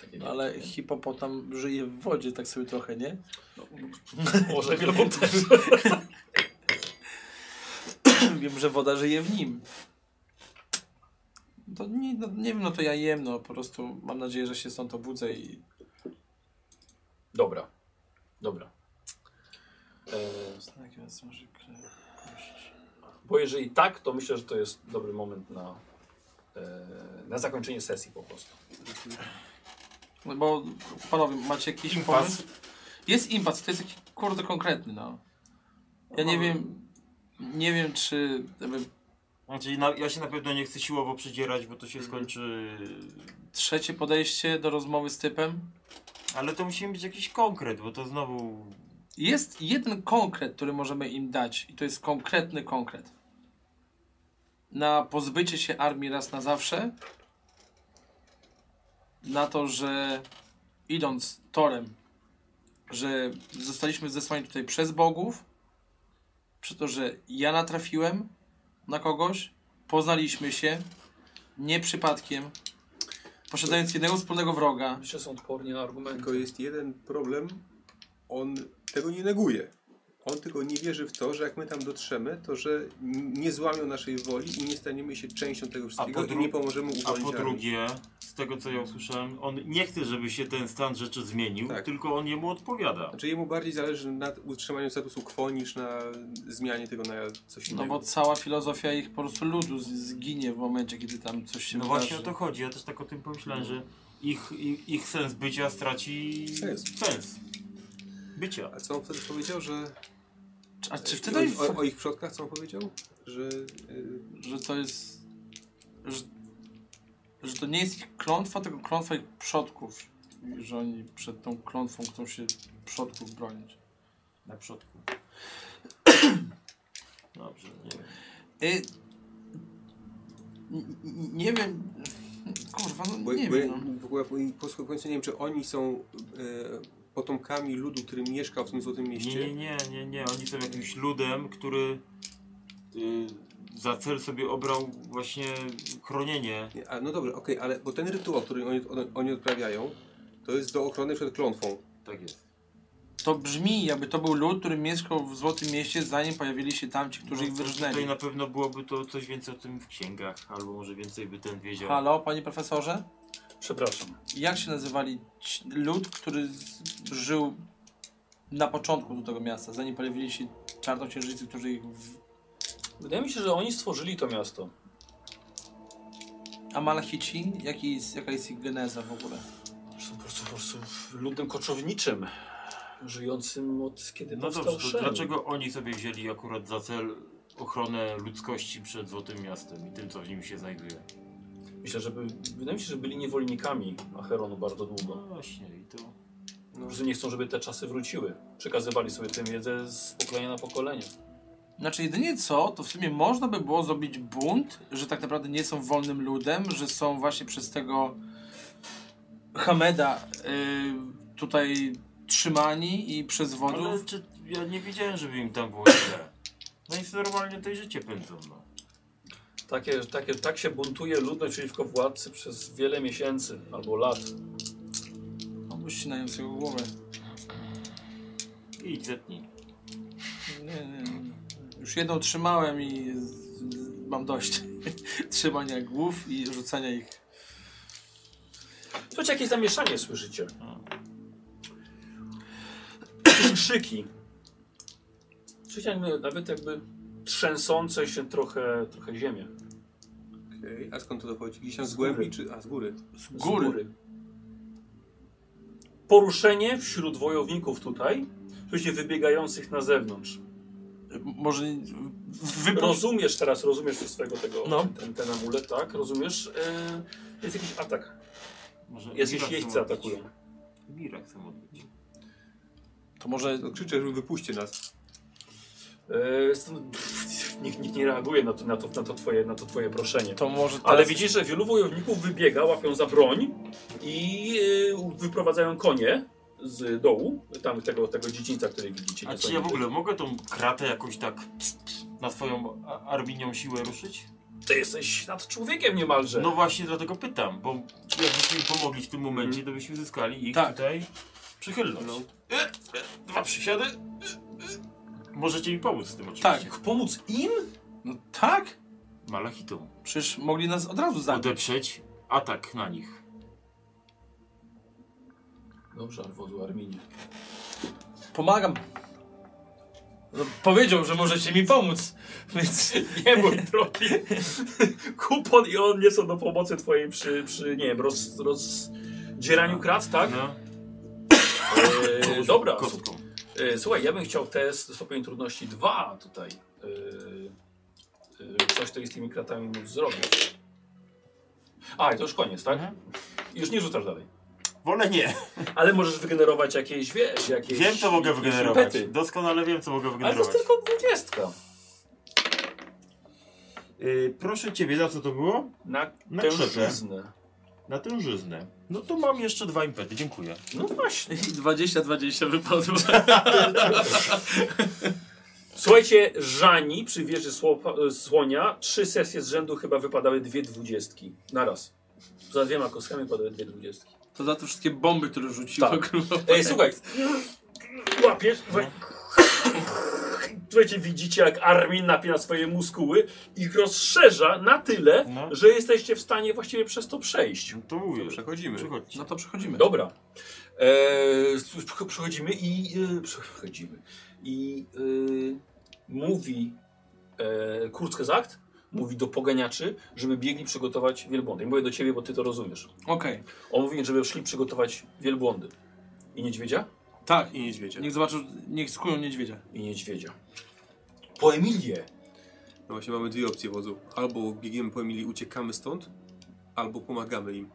S1: Takie
S6: No, ale hipopotam żyje w wodzie, tak sobie trochę, nie?
S1: może wielbłąd też.
S6: wiem, że woda żyje w nim. To nie, no, nie wiem, no to ja jem, no po prostu mam nadzieję, że się stąd obudzę i...
S1: Dobra, dobra. E, bo jeżeli tak, to myślę, że to jest dobry moment na, e, na zakończenie sesji po prostu.
S6: No bo panowie, macie jakiś
S14: Impas.
S6: pomysł? Jest impas, to jest taki kurde konkretny, no. Ja nie wiem, nie wiem czy... jakby
S14: Znaczy, na, ja się na pewno nie chcę siłowo przydzierać, bo to się skończy...
S6: Trzecie podejście do rozmowy z typem?
S14: Ale to musi być jakiś konkret, bo to znowu...
S6: Jest jeden konkret, który możemy im dać, i to jest konkretny konkret. Na pozbycie się armii raz na zawsze. Na to, że idąc torem, że zostaliśmy zesłani tutaj przez bogów, przez to, że ja natrafiłem na kogoś, poznaliśmy się, nie przypadkiem, posiadając jednego wspólnego wroga.
S1: Myślę, że są odporni na
S2: Tylko
S1: argumenty.
S2: jest jeden problem. On tego nie neguje. On tylko nie wierzy w to, że jak my tam dotrzemy, to że n- nie złamią naszej woli i nie staniemy się częścią tego wszystkiego i
S14: dru-
S2: nie pomożemy uwolnić
S14: A po
S2: armii.
S14: drugie, z tego co ja usłyszałem, on nie chce, żeby się ten stan rzeczy zmienił,
S2: Tak.
S14: tylko on jemu odpowiada.
S2: Znaczy jemu bardziej zależy na utrzymaniu statusu quo niż na zmianie tego na coś innego.
S6: No bo cała filozofia ich po prostu ludu z- zginie w momencie, kiedy tam coś się
S14: No
S6: wydarzy.
S14: właśnie o to chodzi, ja też tak o tym pomyślałem, że ich, ich, ich sens bycia straci
S2: Sens.
S14: sens bycia.
S2: A co on wtedy powiedział, że...
S6: A czy wtedy, oni-
S2: O, o, o ich przodkach co on powiedział? Że... y,
S6: że to jest, że, że to nie jest ich klątwa, tylko klątwa ich przodków. I Że oni przed tą klątwą chcą się przodków bronić.
S14: Na przodku. Dobrze, nie wiem.
S6: Y, n- n- nie wiem... Kurwa, no
S2: Bo,
S6: nie
S2: bo,
S6: wiem. no.
S2: w ogóle po- po końcu nie wiem, czy oni są e, potomkami ludu, który mieszkał w tym Złotym
S14: Nie,
S2: Mieście.
S14: nie, nie, nie, nie. Oni są jakimś ludem, który y, za cel sobie obrał właśnie chronienie.
S2: Nie, A, no dobrze, okej, ale bo ten rytuał, który oni, on, oni odprawiają, to jest do ochrony przed klątwą.
S14: Tak jest.
S6: To brzmi, jakby to był lud, który mieszkał w Złotym Mieście, zanim pojawili się tamci, którzy ich
S14: No, to Tutaj
S6: wyrżnęli.
S14: na pewno byłoby to coś więcej o tym w księgach, albo może więcej by ten wiedział.
S6: Halo, panie profesorze?
S1: Przepraszam.
S6: Jak się nazywali ci- lud, który z- żył na początku do tego miasta, zanim pojawili się czarnoksiężnicy, którzy ich... W...
S1: Wydaje mi się, że oni stworzyli to miasto.
S6: A Malachici? Jaki jest, jaka jest ich geneza w ogóle?
S1: Że Są po prostu, po prostu ludem koczowniczym, żyjącym od kiedy
S14: No
S1: powstał
S14: dobrze, to
S1: Shem.
S14: dlaczego oni sobie wzięli akurat za cel ochronę ludzkości przed Złotym Miastem i tym, co w nim się znajduje?
S1: Myślę, że by, wydaje mi się, że byli niewolnikami Acheronu bardzo długo.
S14: No właśnie, i to...
S1: No. Po prostu nie chcą, żeby te czasy wróciły. Przekazywali sobie tę wiedzę z pokolenia na pokolenie.
S6: Znaczy jedynie co, to w sumie można by było zrobić bunt, że tak naprawdę nie są wolnym ludem, że są właśnie przez tego Hameda y, tutaj trzymani i przez
S14: Ale
S6: wodów.
S14: czy, ja nie wiedziałem, żeby im tam było źle. No i normalnie to i życie pędzą, no.
S1: Takie, takie, tak się buntuje ludność przeciwko władcy przez wiele miesięcy albo lat.
S6: No, Uścinają sobie głowę.
S14: Idź, zetnij.
S6: Nie, nie, nie. Już jedną trzymałem i z- z- mam dość trzymania głów i rzucania ich.
S1: Słuchajcie, jakieś zamieszanie słyszycie. No. Krzyki. Słyszycie jakby, nawet jakby trzęsące się trochę, trochę ziemię.
S2: Okej, a skąd to dochodzi? Gdzieś tam z głębi, czy... A, z góry.
S6: Z góry.
S1: Poruszenie wśród wojowników tutaj, słuchajcie, wybiegających na zewnątrz.
S6: M- Może wybrał
S1: Rozumiesz teraz, rozumiesz ze swojego tego,
S6: No.
S1: ten, ten amulet, tak? Rozumiesz? E, jest jakiś atak.
S14: Może
S1: Jest
S14: Mirak
S1: jakiś jeźdźcy
S14: chcą odbić.
S1: atakują.
S14: Mirak chcą odbić.
S6: To może
S2: No, krzyczę, że wypuśćcie nas.
S1: E, stąd- pff, nikt, nikt nie reaguje na to, na, to, na, to twoje, na to twoje proszenie.
S6: to może
S1: Ale
S6: teraz-
S1: widzisz, że wielu wojowników wybiega, łapią za broń i e, wyprowadzają konie z dołu, tam tego, tego dziedzińca, który widzicie.
S14: A
S1: nie
S14: czy ja w ogóle mogę tą kratę jakoś tak na swoją a- arminią siłę ruszyć?
S1: Ty jesteś nad człowiekiem niemalże.
S14: No właśnie dlatego pytam, bo jakbyśmy im pomogli w tym momencie, to byśmy zyskali ich
S6: Tak.
S14: tutaj przychylność. E, e, Dwa przysiady. E, e. Możecie mi pomóc z tym oczywiście.
S6: Tak.
S1: Pomóc im?
S6: No tak?
S14: Malachitom.
S6: Przecież mogli nas od razu zabić.
S14: Odeprzeć atak na nich.
S25: Dobrze, Arwodu Arminie.
S6: Pomagam. No, powiedział, że możecie mi pomóc. Więc
S1: Nie, mój drogi. Kupon i on nie są do pomocy twojej przy, przy nie wiem, roz, rozdzieraniu krat, tak?
S14: No,
S1: E, dobra,
S14: kostką.
S1: E, Słuchaj, ja bym chciał test stopień trudności 2 tutaj. E, e, Coś tutaj z tymi kratami móc zrobić. A, i to już koniec, tak?
S14: Mhm.
S1: Już nie rzucasz dalej.
S14: Wolę nie.
S1: Ale możesz wygenerować jakieś, wiesz, jakieś...
S14: Wiem co mogę
S1: jakieś
S14: wygenerować.
S1: impety.
S14: Doskonale wiem co mogę
S1: Ale to jest
S14: wygenerować.
S1: tylko dwudziestka.
S14: Y, proszę ciebie, za co to było?
S1: Na,
S14: Na
S1: na
S14: krzyżę. Na tężyznę. No to mam jeszcze dwa impety, dziękuję.
S1: No właśnie.
S6: 20-20 wypadło.
S1: Słuchajcie, Żani przy wieży słopa, e, słonia trzy sesje z rzędu chyba wypadały dwie dwudziestki. Na raz. Za dwiema kostkami padały dwie dwudziestki.
S6: To za te wszystkie bomby, które rzuciło.
S1: Tak.
S6: kurwa.
S1: Ej, słuchaj. Łapiesz. we- Słuchajcie, widzicie jak Armin napina swoje muskuły ich rozszerza na tyle,
S14: No.
S1: że jesteście w stanie właściwie przez to przejść.
S14: No to mówię.
S2: Przechodzimy.
S14: Przychodźcie.
S6: No to przechodzimy.
S1: Dobra. Eee, s- przy- przechodzimy i e, przechodzimy. I e, mówi e, Kurzgesagt, mówi do poganiaczy, żeby biegli przygotować wielbłądy. I mówię do ciebie, bo ty to rozumiesz.
S6: Okej.
S1: On mówi, żeby szli przygotować wielbłądy. I niedźwiedzia?
S6: Tak.
S2: I niedźwiedzie.
S6: Niech zobaczą, niech skują niedźwiedzia.
S1: i niedźwiedzia. Po Emilię!
S2: No właśnie mamy dwie opcje wodzu. Albo biegniemy po Emilii, uciekamy stąd, albo pomagamy im.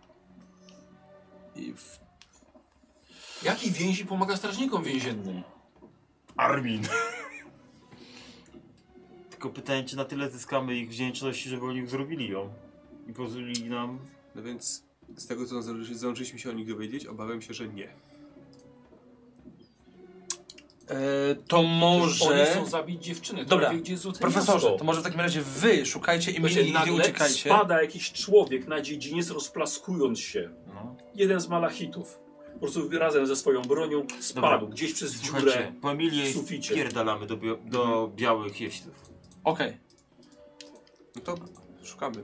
S6: I w...
S1: Jaki więzi pomaga strażnikom więziennym?
S14: Armin. Tylko pytanie, czy na tyle zyskamy ich wdzięczności, żeby oni zrobili ją i pozwolili nam.
S2: No więc z tego, co zdąży- zdążyliśmy się o nich dowiedzieć, obawiam się, że nie.
S6: e, to
S1: Oni
S6: może...
S1: chcą zabić dziewczynę,
S6: Dobra.
S1: która wie, gdzie jest złote
S6: Profesorze,
S1: miasto.
S6: to może w takim razie wy szukajcie i
S1: Słuchajcie,
S6: mnie nigdy
S1: nagle
S6: uciekajcie.
S1: spada jakiś człowiek na dziedziniec, rozplaskując się.
S14: No.
S1: Jeden z malachitów. Po prostu razem ze swoją bronią spadł
S14: Dobra.
S1: gdzieś przez dziurę.
S14: Słuchajcie, po Emilię
S1: w suficie.
S14: pierdalamy do, bio- do białych jeźdźców.
S6: Okej.
S2: No to szukamy.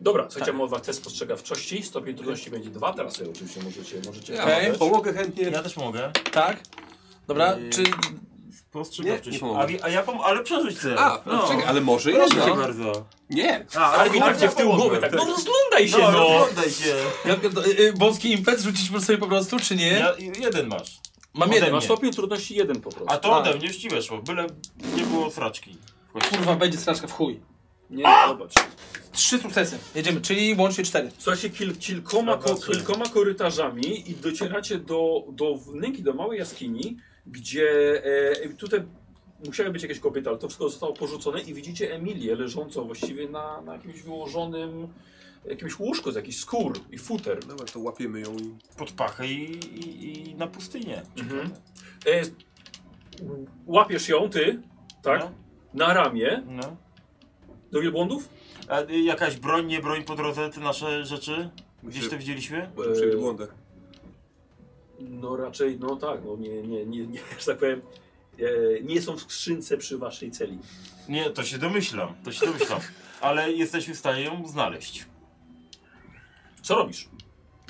S1: Dobra, słuchajcie,
S14: Tak.
S1: mam od was test spostrzegawczości. Stopień trudności będzie dwa. Teraz sobie oczywiście możecie, możecie
S6: Ja
S1: pomagać.
S6: Okej.
S2: Pomogę chętnie.
S14: Ja też mogę.
S6: Tak? Dobra,
S14: Yy,
S6: czy...
S14: Postrzegawczy
S2: Nie, nie
S14: się.
S2: pomogę.
S14: A, wi- a ja pom... ale przerzuć sobie.
S2: A, no. czekaj, ale może
S14: Proszę
S2: jednak.
S14: tak. cię bardzo.
S2: Nie.
S14: A, ale
S1: I tak cię w tył głowy, tak, no rozglądaj się,
S14: No,
S1: no!
S14: rozglądaj się.
S6: Ja, pierdolę, y, y, boski impet rzucić sobie po prostu, czy nie?
S14: Ja, jeden masz.
S6: Mam
S14: ode
S6: jeden.
S14: mnie.
S1: Masz stopień trudności jeden po prostu.
S14: A to ode mnie ściwe szło, byle nie było fraczki.
S6: Kurwa, będzie straszka w chuj.
S1: Nie, zobacz.
S6: Trzy sukcesy. Jedziemy, czyli łącznie cztery.
S1: Słuchajcie, kil, kilkoma, ko,
S14: Zobaczymy.
S1: kilkoma korytarzami i docieracie do, do wnęki, do małej jaskini, gdzie e, tutaj musiały być jakieś kobiety, ale to wszystko zostało porzucone i widzicie Emilię leżącą właściwie na, na jakimś wyłożonym jakimś łóżku z jakichś skór i futer.
S26: Dobra, to łapiemy ją i...
S14: Pod pachę i, i, i na pustynię.
S1: Mhm. E, łapiesz ją ty, tak?
S14: No.
S1: Na ramię.
S14: No.
S1: Do wielbłądów?
S14: A y, jakaś broń, nie broń po drodze, te nasze rzeczy? Gdzieś
S1: Znaczy-
S26: Myślę-
S14: to widzieliśmy?
S26: Może przy
S2: Eee.
S26: wielbłądach.
S1: No raczej, no tak, no nie, nie, nie, nie że tak powiem, e, nie są w skrzynce przy waszej celi.
S14: Nie, to się domyślam, to się domyślam. Ale jesteśmy w stanie ją znaleźć.
S1: Co robisz?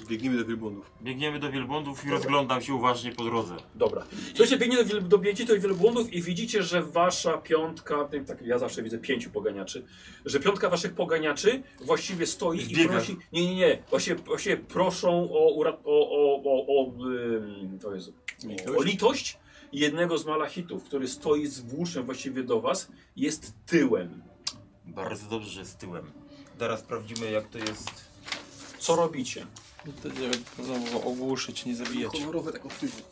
S26: Biegniemy do wielbłądów.
S14: Biegniemy do wielbłądów i rozglądam się uważnie po drodze.
S1: Dobra. Słuchajcie, biegnie do, wiel- dobiegniecie do wielbłądów i widzicie, że wasza piątka, ty- tak ja zawsze widzę pięciu poganiaczy, że piątka waszych poganiaczy właściwie stoi i
S14: Zbiega.
S1: prosi, nie, nie, nie, właściwie, właściwie proszą o, ura- o, o, o, o, ym, to jest, o, o litość jednego z malachitów, który stoi z włóczem właściwie do was, jest tyłem.
S14: Bardzo dobrze, że z tyłem. Teraz sprawdzimy jak to jest.
S1: Co robicie?
S6: No
S5: To nie wiem, Znowu go ogłuszyć, nie zabijać.
S26: Kolorowe tak odtywne.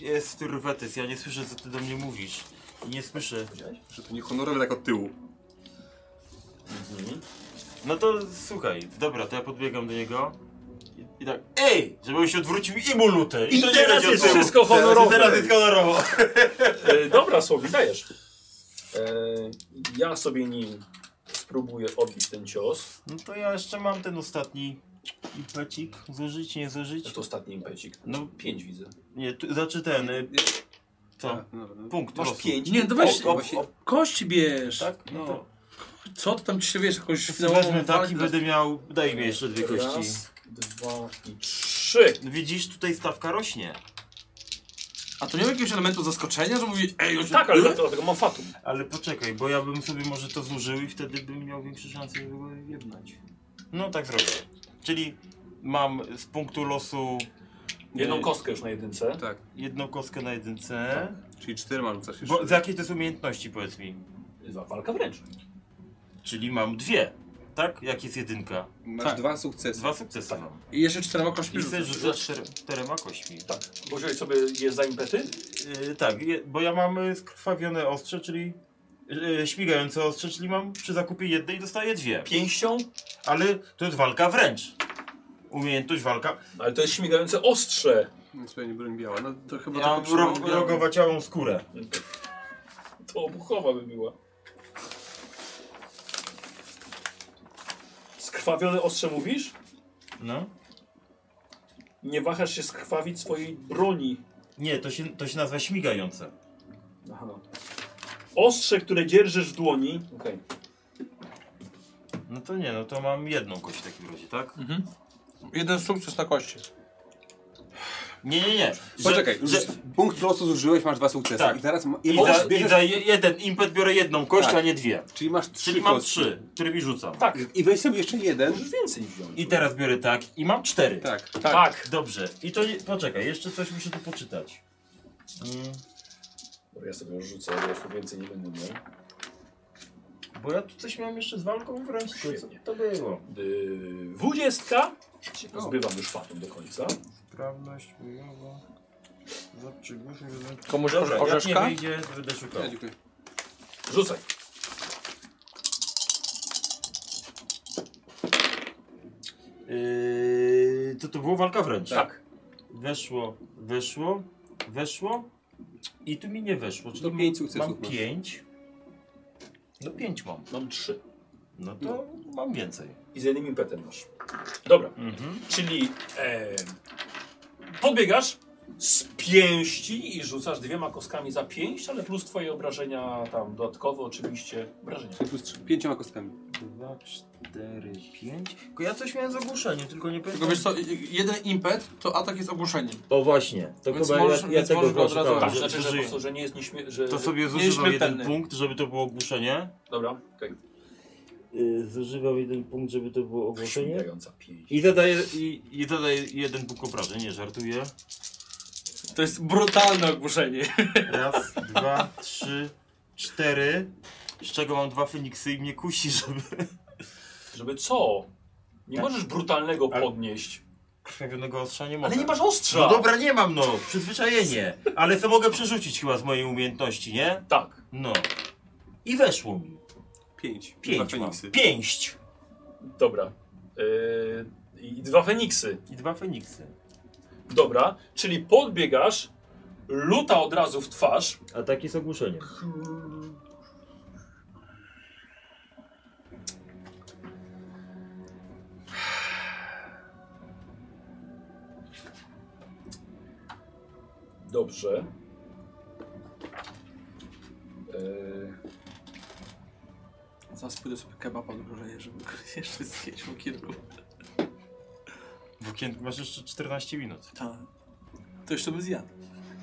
S14: Jest rwetys, ja nie słyszę co ty do mnie mówisz. I nie słyszę.
S26: Że to nie honorowe tak od tyłu.
S14: No to słuchaj, dobra, to ja podbiegam do niego. I, i tak, ej! Żeby on się odwrócił i mu lutę! I, to
S1: teraz
S14: nie będzie
S1: jest
S14: od tyłu.
S1: wszystko honorowe.
S14: Teraz jest honorowo.
S1: E, dobra, Słowi, dajesz. E, ja sobie nim spróbuję odbić ten cios.
S14: No to ja jeszcze mam ten ostatni impecik. Zużyć, nie zużyć.
S1: To ostatni impecik.
S14: No.
S1: No, pięć widzę.
S14: Nie, tu, znaczy ten. y,
S1: Tak,
S14: Co? Punkt.
S1: no, Masz
S14: losu.
S1: pięć?
S5: Nie, no weź,
S14: O, o, o,
S5: kości bierz.
S14: tak? No.
S5: Co to tam ci się wiesz, jakąś
S6: no,
S14: To
S1: No,
S14: wezmę tak i
S5: walkę-
S14: będę miał. Daj mi jeszcze dwie kości.
S1: Raz, dwa i trzy.
S14: No Widzisz, tutaj stawka rośnie.
S5: A to nie ma jakiegoś elementu zaskoczenia, że mówi, ej, już...
S1: Tak, ale dlatego, dlatego mam fatum.
S14: Ale poczekaj, bo ja bym sobie może to zużył i wtedy bym miał większe szanse, żeby go jednać. No tak zrobię. Czyli mam z punktu losu
S1: Jedną
S14: y,
S1: kostkę już na jedynce.
S26: Tak.
S14: jedną kostkę na jedynce.
S1: Tak.
S26: Czyli czterema rzucasz jeszcze.
S14: Bo, z jakiej to jest umiejętności, powiedz mi?
S1: Za walka wręcz.
S14: Czyli mam dwie, tak? Jak jest jedynka?
S26: Masz
S5: tak.
S26: dwa sukcesy.
S14: Dwa sukcesy mam.
S26: Tak.
S5: I jeszcze czterema kośćmi
S14: I chcę
S5: rzucasz.
S14: rzucać cztere- czterema kośćmi.
S1: Tak. Włożyłeś sobie je za impety?
S14: Yy, tak, je, bo ja mam y, skrwawione ostrze, czyli yy, śmigające ostrze, czyli mam przy zakupie jednej dostaję dwie.
S1: Pięścią?
S14: Ale to jest walka wręcz. Umiejętność walka.
S1: Ale to jest śmigające ostrze.
S26: Więc pewnie broń biała. No to chyba
S14: Ja mam
S26: tylko
S14: ro
S26: przypomniałem.
S14: rogowaciałą skórę.
S1: To obuchowa by była. Skrwawione ostrze mówisz?
S14: No.
S1: Nie wahasz się skrwawić swojej broni.
S14: Nie, to się, to się nazywa śmigające.
S1: Aha. Ostrze, które dzierżysz w dłoni. Okej.
S14: No to nie, no to mam jedną kość w takim razie, tak?
S5: Jeden sukces na kości.
S14: Nie, nie, nie. Że-
S26: Poczekaj,
S14: że,
S26: punkt losu zużyłeś, masz dwa sukcesy.
S14: Tak.
S26: I teraz ma...
S14: i,
S26: masz,
S14: za, I za je, jeden impet biorę jedną kość,
S26: Tak.
S14: a nie dwie.
S26: Czyli masz trzy
S14: Czyli mam
S26: kostki.
S14: trzy, którymi rzucam.
S1: Tak.
S26: I weź sobie jeszcze jeden.
S1: Możesz więcej wziąć.
S14: I teraz biorę tak i mam cztery.
S26: Tak.
S1: tak.
S14: Dobrze. I to nie, poczekaj, jeszcze coś muszę tu poczytać. Mm,
S1: Dobra, Ja sobie już rzucę, bo już tu więcej nie będę miał.
S14: bo ja tu coś miałem jeszcze z walką wręcz. To, co
S1: Świetnie.
S14: to było?
S1: Yy, Dwudziestka. Zbywam już fatum do końca.
S14: Sprawność bojowa. Zobaczy, głośno, że-
S5: Komuś
S14: Dobra, jak nie
S5: orzeszka?
S14: wyjdzie, to będę szukał.
S26: Ja, dziękuję.
S1: Rzucaj.
S14: Yy, to to było walka wręcz.
S1: Tak.
S14: Weszło, weszło, weszło i tu mi nie weszło. Czyli
S26: Do
S14: mam-
S26: pięć sukcesów
S14: Mam
S26: masz.
S14: pięć. No pięć mam.
S1: Mam trzy.
S14: No to mam więcej.
S1: I z jednym impetem masz. Dobra.
S14: Mhm.
S1: Czyli e, podbiegasz z pięści i rzucasz dwiema kostkami za pięść, ale plus twoje obrażenia tam dodatkowo oczywiście. Obrażenia.
S26: Czyli plus trzy. Pięcioma kostkami.
S14: Dwa, cztery, pięć. Tylko ja coś miałem z ogłuszeniem, tylko nie
S5: Tylko
S14: pamiętam.
S5: wiesz co, jeden impet, to atak jest ogłuszeniem.
S14: O właśnie, to
S5: Więc
S14: chyba
S5: możesz-
S14: ja, ja
S5: więc
S14: tego
S5: możesz go od razu-
S14: szukałem,
S1: Tak,
S5: Tak,
S14: że-
S1: znaczy,
S14: że
S1: że, po
S14: żyję.
S1: prostu, że nie jest nieśmie... że...
S14: To sobie zużywam jeden
S5: Nieśmiertelny.
S14: punkt, żeby to było ogłuszenie.
S1: Dobra, okej.
S14: Yy, zużywam jeden punkt, żeby to było ogłuszenie.
S1: Śmigająca pięść.
S14: I zadaję, i, i zadaję jeden punkt obrażeń, nie żartuję.
S5: To jest brutalne ogłuszenie.
S14: Raz, dwa, trzy, cztery. Z czego mam dwa Feniksy i mnie kusi, żeby...
S1: Żeby co? Nie możesz brutalnego
S14: Tak. Ale-
S1: podnieść.
S14: Krwawionego ostrza nie mogę.
S3: Ale nie masz ostrza!
S14: No dobra, nie mam no, przyzwyczajenie. Ale to mogę przerzucić chyba z mojej umiejętności, nie?
S1: Tak.
S14: No. I weszło mi.
S2: Pięć. Dwa
S14: Pięć mam.
S2: Feniksy.
S14: Pięść.
S1: Dobra. Yy, I dwa Feniksy.
S14: I dwa Feniksy.
S1: Dobra, czyli podbiegasz, luta od razu w twarz.
S14: A taki z ogłuszeniem.
S1: Dobrze. Yy,
S6: Zaraz pójdę sobie kebaba odgrzeję, żeby go jeszcze zjeść w kilku.
S14: W okienku masz jeszcze 14 minut.
S6: Tak. To jeszcze bym zjadł.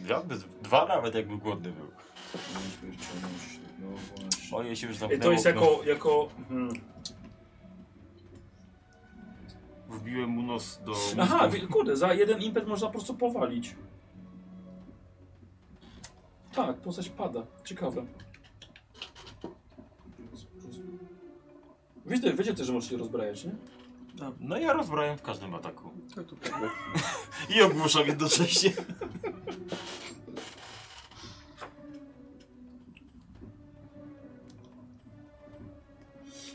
S14: Dwa, dwa nawet jakby głodny był.
S19: No właśnie.
S14: Oje się już
S1: Ej,
S14: zamknęło.
S1: Y, to jest
S14: okno.
S1: jako. jako mm,
S14: Wbiłem mu nos do
S1: aha,
S14: mózgu.
S1: wie- kurde, za jeden impet można po prostu powalić. Tak, postać pada. Ciekawe. Wiecie, wiecie też, że możecie rozbrajać, nie?
S14: No ja rozbrałem w każdym ataku.
S2: Tak, to prawda.
S14: I ogłuszam jednocześnie.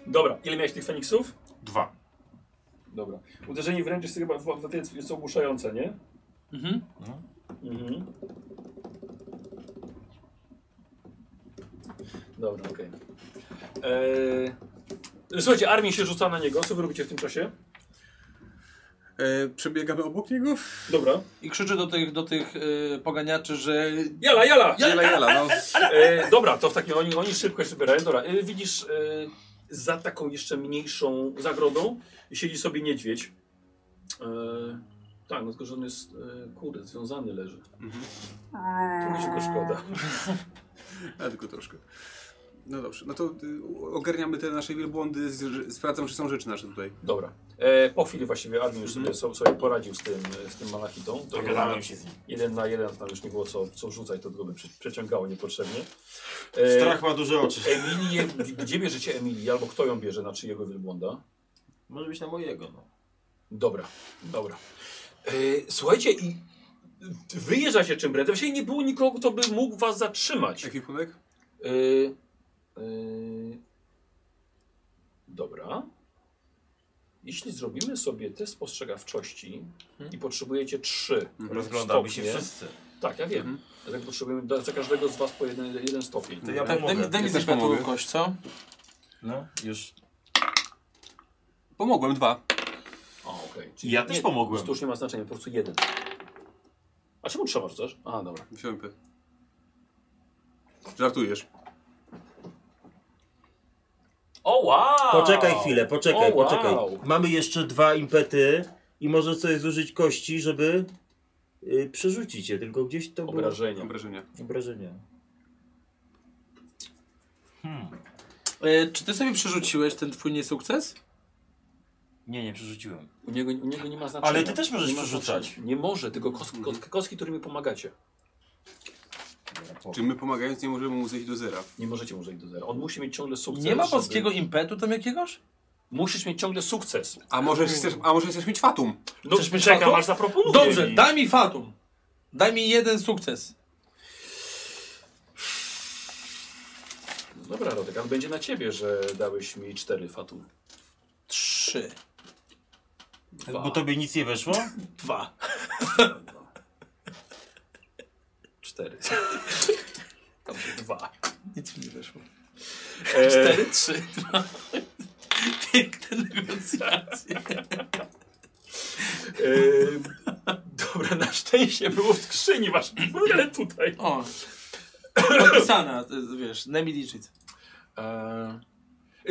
S1: Dobra, ile miałeś tych Feniksów?
S14: Dwa.
S1: Dobra. Uderzenie wręcz jest chyba w, w, w, jest ogłuszające, nie?
S5: Mhm.
S14: No.
S1: Mhm. Dobra, okej. Eee, Słuchajcie, armii się rzuca na niego. Co wy robicie w tym czasie?
S26: E, przebiegamy obok niego.
S1: Dobra.
S5: I krzyczy do tych, do tych y, poganiaczy, że
S1: Jala, jala!
S26: Jela, jela, no.
S1: E, dobra, to w takim oni, oni szybko się wybierają. Dobra, e, widzisz, e, za taką jeszcze mniejszą zagrodą siedzi sobie niedźwiedź. E, tak, no tylko, że on jest, e, kurde, związany leży. Trochę się go szkoda.
S26: A tylko troszkę. No dobrze, no to y, ogarniamy te nasze wielbłądy, z- sprawdzam, czy są rzeczy nasze tutaj.
S1: Dobra. E, po chwili właściwie Armin już sobie, so- sobie poradził z tym, z tym malachitą.
S14: Dogadałem się z nim.
S1: Jeden na jeden, tam już nie było co, co rzucać, to tylko by przy- przeciągało niepotrzebnie. E,
S14: Strach ma duże oczy.
S1: Emilię, gdzie bierzecie Emilię, albo kto ją bierze, na czyjego wielbłąda?
S14: Może być na mojego, no.
S1: Dobra, dobra. E, słuchajcie, i wyjeżdżacie czym prędzej. Właściwie nie było nikogo, kto by mógł was zatrzymać.
S26: Ekwipunek?
S1: E, e, dobra. Jeśli zrobimy sobie test spostrzegawczości i potrzebujecie trzy
S14: Mhm. Rozglądamy się
S1: stopnie.
S14: wszyscy. Mhm.
S1: Tak, ja wiem. Dlatego potrzebujemy dla za każdego z was po jeden, jeden stopień.
S14: To ja tak
S1: e,
S5: daj, daj, mi-
S14: pomogę.
S5: daj mi
S26: Ja też
S5: zaświatło
S26: pomogę.
S5: kość, co?
S14: No, już.
S26: Pomogłem, dwa.
S1: O, okej. Czyli
S14: Ja też
S1: nie-
S14: pomogłem.
S1: To już nie ma znaczenia, po prostu jeden. A czemu trzeba rzucasz? A, dobra.
S26: Wziąłem P. Żartujesz.
S1: O, wow!
S14: Poczekaj chwilę, poczekaj,
S1: O, wow.
S14: poczekaj. Mamy jeszcze dwa impety i może sobie zużyć kości, żeby y, przerzucić je, tylko gdzieś to było...
S1: Obrażenia.
S26: Obrażenia.
S14: Obrażenia.
S5: Y, czy ty sobie przerzuciłeś ten twój niesukces?
S14: Nie, nie przerzuciłem.
S1: U niego, u niego nie ma znaczenia.
S14: Ale ty też możesz
S1: Nie ma
S14: przerzucać.
S1: znaczenia. Nie może, tylko kos, kos, kostki, którymi pomagacie.
S26: Czy my pomagając nie możemy mu zejść do zera?
S1: Nie możecie może iść do zera. On musi mieć ciągle sukces.
S5: Nie ma
S1: żeby-
S5: polskiego impetu tam jakiegoś?
S1: Musisz mieć ciągle sukces.
S26: A może chcesz, a może chcesz mieć fatum?
S1: No,
S5: Chcesz mieć
S1: czekam,
S5: fatum?
S1: aż zaproponuję.
S5: Dobrze,
S3: tak.
S1: mi.
S5: daj mi fatum. Daj mi jeden sukces.
S1: No Dobra, Rodek, ale będzie na ciebie, że dałeś mi cztery fatum.
S5: Trzy.
S14: Bo tobie nic nie weszło?
S5: Dwa.
S1: Cztery. Dobrze, dwa.
S5: Nic mi nie weszło.
S1: E,
S5: Cztery, trzy, dwa. Piękne negocjacje.
S1: Ehm, dobra, na szczęście było w skrzyni masz. Ale tutaj.
S5: O. Podpisana, y, wiesz, Nemi liczyć.
S1: Ehm,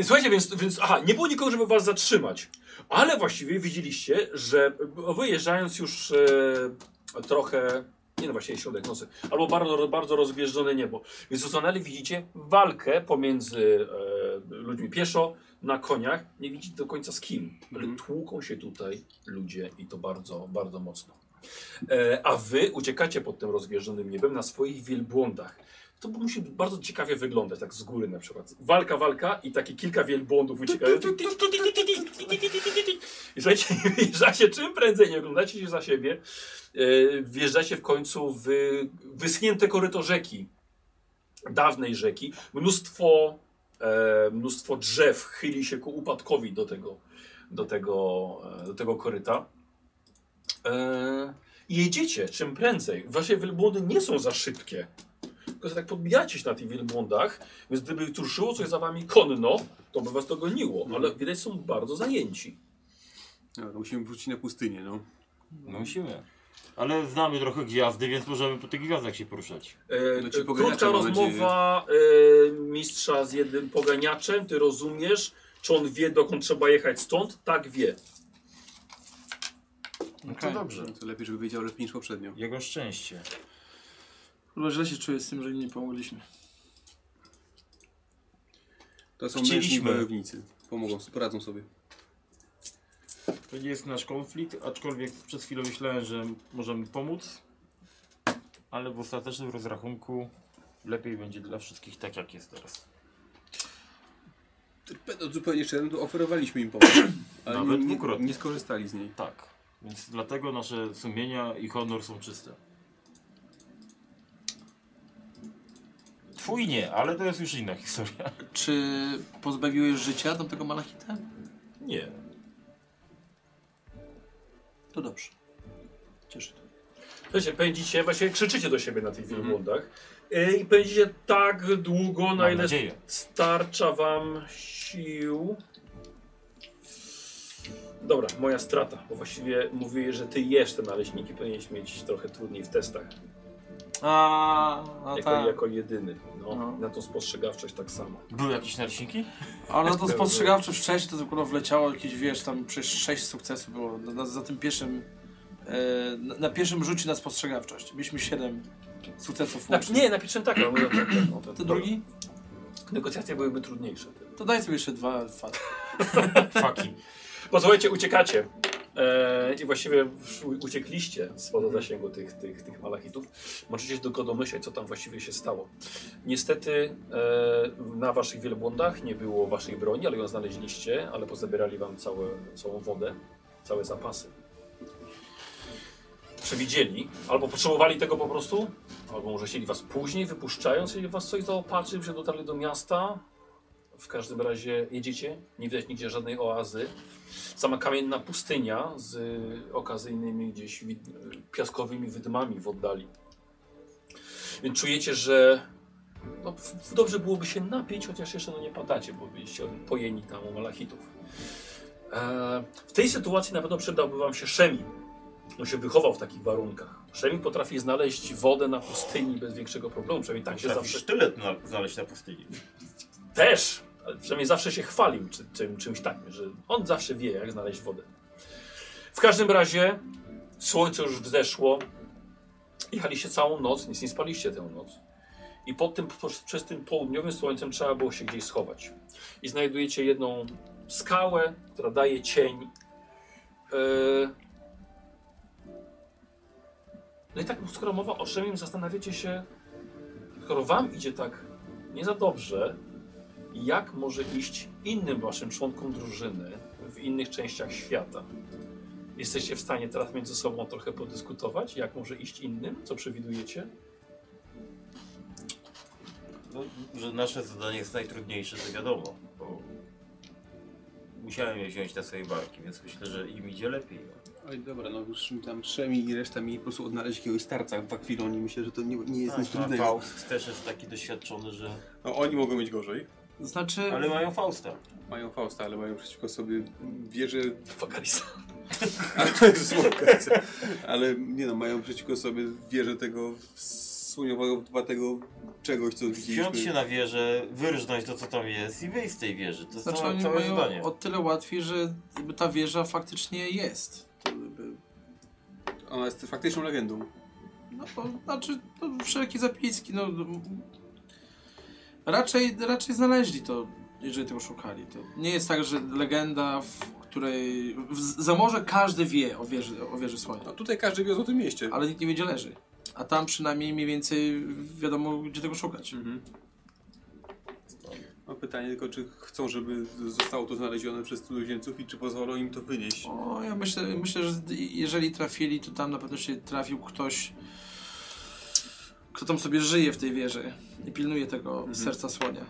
S1: Słuchajcie, więc, więc aha, nie było nikogo, żeby was zatrzymać. Ale właściwie widzieliście, że wyjeżdżając już e, trochę, nie no właśnie środek nocy, albo bardzo, bardzo rozgwieżdżone niebo, więc ustanęli, widzicie walkę pomiędzy e, ludźmi pieszo, na koniach, nie widzicie do końca z kim, ale tłuką się tutaj ludzie i to bardzo, bardzo mocno. E, a wy uciekacie pod tym rozwierzonym niebem na swoich wielbłądach. To musi bardzo ciekawie wyglądać, tak z góry na przykład. Walka, walka i takie kilka wielbłądów uciekają. I słuchajcie, wjeżdżacie czym prędzej, nie oglądacie się za siebie. E, wjeżdżacie w końcu w wyschnięte koryto rzeki. Dawnej rzeki. Mnóstwo, e, mnóstwo drzew chyli się ku upadkowi do tego, do tego, e, do tego koryta. E, i jedziecie czym prędzej. Wasze wielbłądy nie są za szybkie. Tylko że tak podbijacie się na tych wielbłądach, więc gdyby tu ruszyło coś za wami konno, to by was to goniło.
S2: Mhm.
S1: Ale widać są bardzo zajęci.
S2: No, to musimy wrócić na pustynię, no.
S3: No musimy. Ale znamy trochę gwiazdy, więc możemy po tych gwiazdach się poruszać.
S1: E,
S2: No
S1: e,
S2: ci poganiacze,
S1: krótka
S2: mam
S1: rozmowa e, mistrza z jednym poganiaczem. Ty rozumiesz, czy on wie, dokąd trzeba jechać stąd? Tak, wie.
S3: No
S6: Okej.
S3: to dobrze.
S2: No To lepiej, żeby wiedział lepiej niż poprzednio.
S3: Jego szczęście.
S27: Chyba źle się czuję z tym, że im nie pomogliśmy.
S2: To są
S3: Chcieliśmy.
S2: mężni wojownicy. Pomogą, poradzą sobie.
S3: To nie jest nasz konflikt, aczkolwiek przez chwilę myślałem, że możemy pomóc. Ale w ostatecznym rozrachunku lepiej będzie dla wszystkich tak, jak jest teraz.
S2: Będąc no, zupełnie szczerym, to oferowaliśmy im pomoc. Ale
S3: Nawet
S2: nie, nie,
S3: dwukrotnie.
S2: nie skorzystali z niej.
S3: Tak. Więc dlatego nasze sumienia i honor są czyste. Twój nie, ale to jest już inna historia.
S6: Czy pozbawiłeś życia tamtego malachita?
S3: Nie.
S6: To dobrze. Cieszę to.
S1: Słuchajcie, pędzicie, właśnie krzyczycie do siebie na tych
S2: Mhm.
S1: wielbłądach. E, I pędzicie tak długo, na
S3: Mam
S1: ile
S3: nadzieję.
S1: Starcza wam sił. Dobra, moja strata, bo właściwie mówię, że ty jesz te naleśniki, powinieneś mieć trochę trudniej w testach,
S6: A, no
S1: jako,
S6: tak.
S1: jako jedyny. No,
S6: No.
S1: Na tą spostrzegawczość tak samo.
S3: Były jakieś narczniki?
S6: Ale to spostrzegawczy wcześniej, to akurat wleciało jakieś, wiesz, tam przecież sześć sukcesów było na, na, za tym pierwszym, e, na, na pierwszym rzucie na spostrzegawczość. Mieliśmy siedem sukcesów
S1: Na,
S6: łącznie.
S1: nie, na pierwszym tak, ale mówię, tak, tak, no, to-
S6: Ty drugi?
S1: Negocjacje byłyby trudniejsze.
S6: To daj sobie jeszcze dwa fat.
S3: Faki.
S1: Posłuchajcie, uciekacie. E, I właściwie u- uciekliście spoza zasięgu tych, tych, tych malachitów. Możecie się tylko domyśleć, co tam właściwie się stało. Niestety e, na waszych wielbłądach nie było waszej broni, ale ją znaleźliście, ale pozabierali wam całe, całą wodę, całe zapasy. Przewidzieli, albo potrzebowali tego po prostu, albo może chcieli was później, wypuszczając, jeżeli was coś zaopatrzył, że dotarli do miasta. W każdym razie jedziecie, nie widać nigdzie żadnej oazy. Sama kamienna pustynia z y, okazyjnymi gdzieś wid- y, piaskowymi wydmami w oddali. Więc czujecie, że no, w- w- dobrze byłoby się napić, chociaż jeszcze no, nie padacie, bo byliście pojeni tam u malachitów. E, w tej sytuacji na pewno przydałby wam się Szemi. On się wychował w takich warunkach. Szemi potrafi znaleźć wodę na pustyni bez większego problemu, przynajmniej tak się
S3: Potrafisz
S1: zawsze...
S3: sztylet na, znaleźć na pustyni.
S1: Też! Ale przynajmniej zawsze się chwalił czy, czym, czymś takim, że on zawsze wie, jak znaleźć wodę. W każdym razie słońce już wzeszło. Jechaliście całą noc, nic nie spaliście tę noc. I pod tym, po, przez tym południowym słońcem trzeba było się gdzieś schować. I znajdujecie jedną skałę, która daje cień. Yy... No i tak, skoro mowa o Szemim, zastanawiacie się, skoro wam idzie tak nie za dobrze, jak może iść innym waszym członkom drużyny w innych częściach świata. Jesteście w stanie teraz między sobą trochę podyskutować, jak może iść innym, co przewidujecie?
S3: No, że nasze zadanie jest najtrudniejsze, to wiadomo. Bo musiałem je wziąć na swojej barki, więc myślę, że im idzie lepiej.
S2: Ale dobra, no już mi tam Szemi i reszta mieli po prostu odnaleźć jakiegoś starca w Akwilonii. Myślę, że to nie, nie jest nic
S3: A, a
S2: trudnego.
S3: Faust też jest taki doświadczony, że...
S2: No oni mogą mieć gorzej.
S6: Znaczy,
S3: Ale mają Fausta.
S2: Mają Fausta, ale mają przeciwko sobie wieże...
S1: Fakarisa.
S2: Słowkacja. ale nie no, mają przeciwko sobie wieże tego słoniowego, tego czegoś, co
S3: Wziąć się
S2: widzieliśmy.
S3: na wieżę, wyrżnąć to co tam jest i wyjść z tej wieży. To jest
S14: No,
S6: znaczy
S3: całe,
S6: oni
S3: całe
S6: mają
S3: zadanie.
S6: o tyle łatwiej, że jakby ta wieża faktycznie jest. To jakby-
S2: Ona jest faktyczną legendą.
S6: No to znaczy, to wszelkie zapiski, no... m- Raczej, raczej znaleźli to, jeżeli tego szukali. To nie jest tak, że legenda, w której... W zamorze każdy wie o wieży, o wieży słonia.
S2: No tutaj każdy wie o tym mieście.
S6: ale nikt nie wie, gdzie leży. A tam przynajmniej mniej więcej wiadomo, gdzie tego szukać.
S2: Mhm.
S26: Mam No pytanie tylko, czy chcą, żeby zostało to znalezione przez cudzoziemców i czy pozwolą im to wynieść?
S6: O, ja myślę, myślę, że zd- jeżeli trafili, to tam na pewno się trafił ktoś, kto tam sobie żyje w tej wieży i pilnuje tego serca słonia.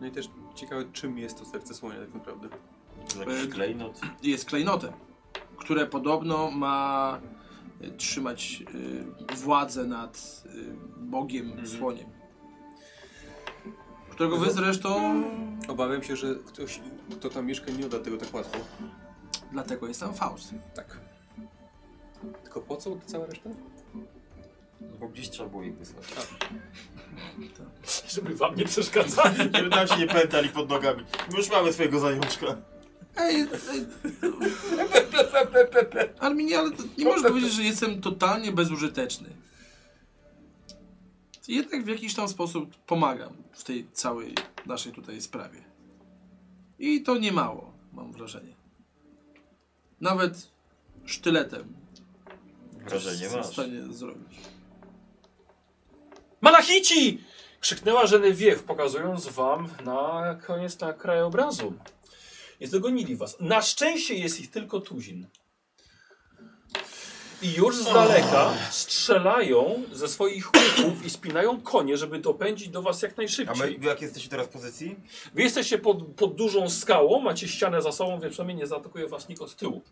S26: No i też ciekawe, czym jest to serce słonia tak naprawdę.
S6: E,
S14: Jakiś klejnot.
S6: Jest klejnotem, które podobno ma e, trzymać e, władzę nad e, Bogiem Słoniem. Którego wy zresztą,
S26: Obawiam się, że ktoś, kto tam mieszka, nie odda tego tak łatwo.
S6: dlatego jest tam Faust.
S26: Tak. Tylko po co ta cała reszta?
S3: no
S14: Bo gdzieś trzeba było ich wysłać.
S1: Żeby wam nie przeszkadzali.
S14: Żeby nam się nie pętali pod nogami. My już mamy swojego zajączka.
S6: Ej, ej. Arminie, ale to nie możesz powiedzieć, że jestem totalnie bezużyteczny. Jednak w jakiś tam sposób pomagam w tej całej naszej tutaj sprawie. I to nie mało, mam wrażenie. Nawet sztyletem
S14: Wrażenie
S6: jestem w
S14: masz.
S6: stanie zrobić.
S1: Malachici! Krzyknęła Genevieve, pokazując wam na koniec na krajobrazu. I zdogonili was. Na szczęście jest ich tylko tuzin. I już z daleka strzelają ze swoich łuków i spinają konie, żeby dopędzić do was jak
S14: A my
S1: najszybciej.
S14: jak jesteśmy teraz w pozycji?
S1: Wy jesteście pod, pod dużą skałą, macie ścianę za sobą, więc przynajmniej nie zaatakuje was nikt od tyłu.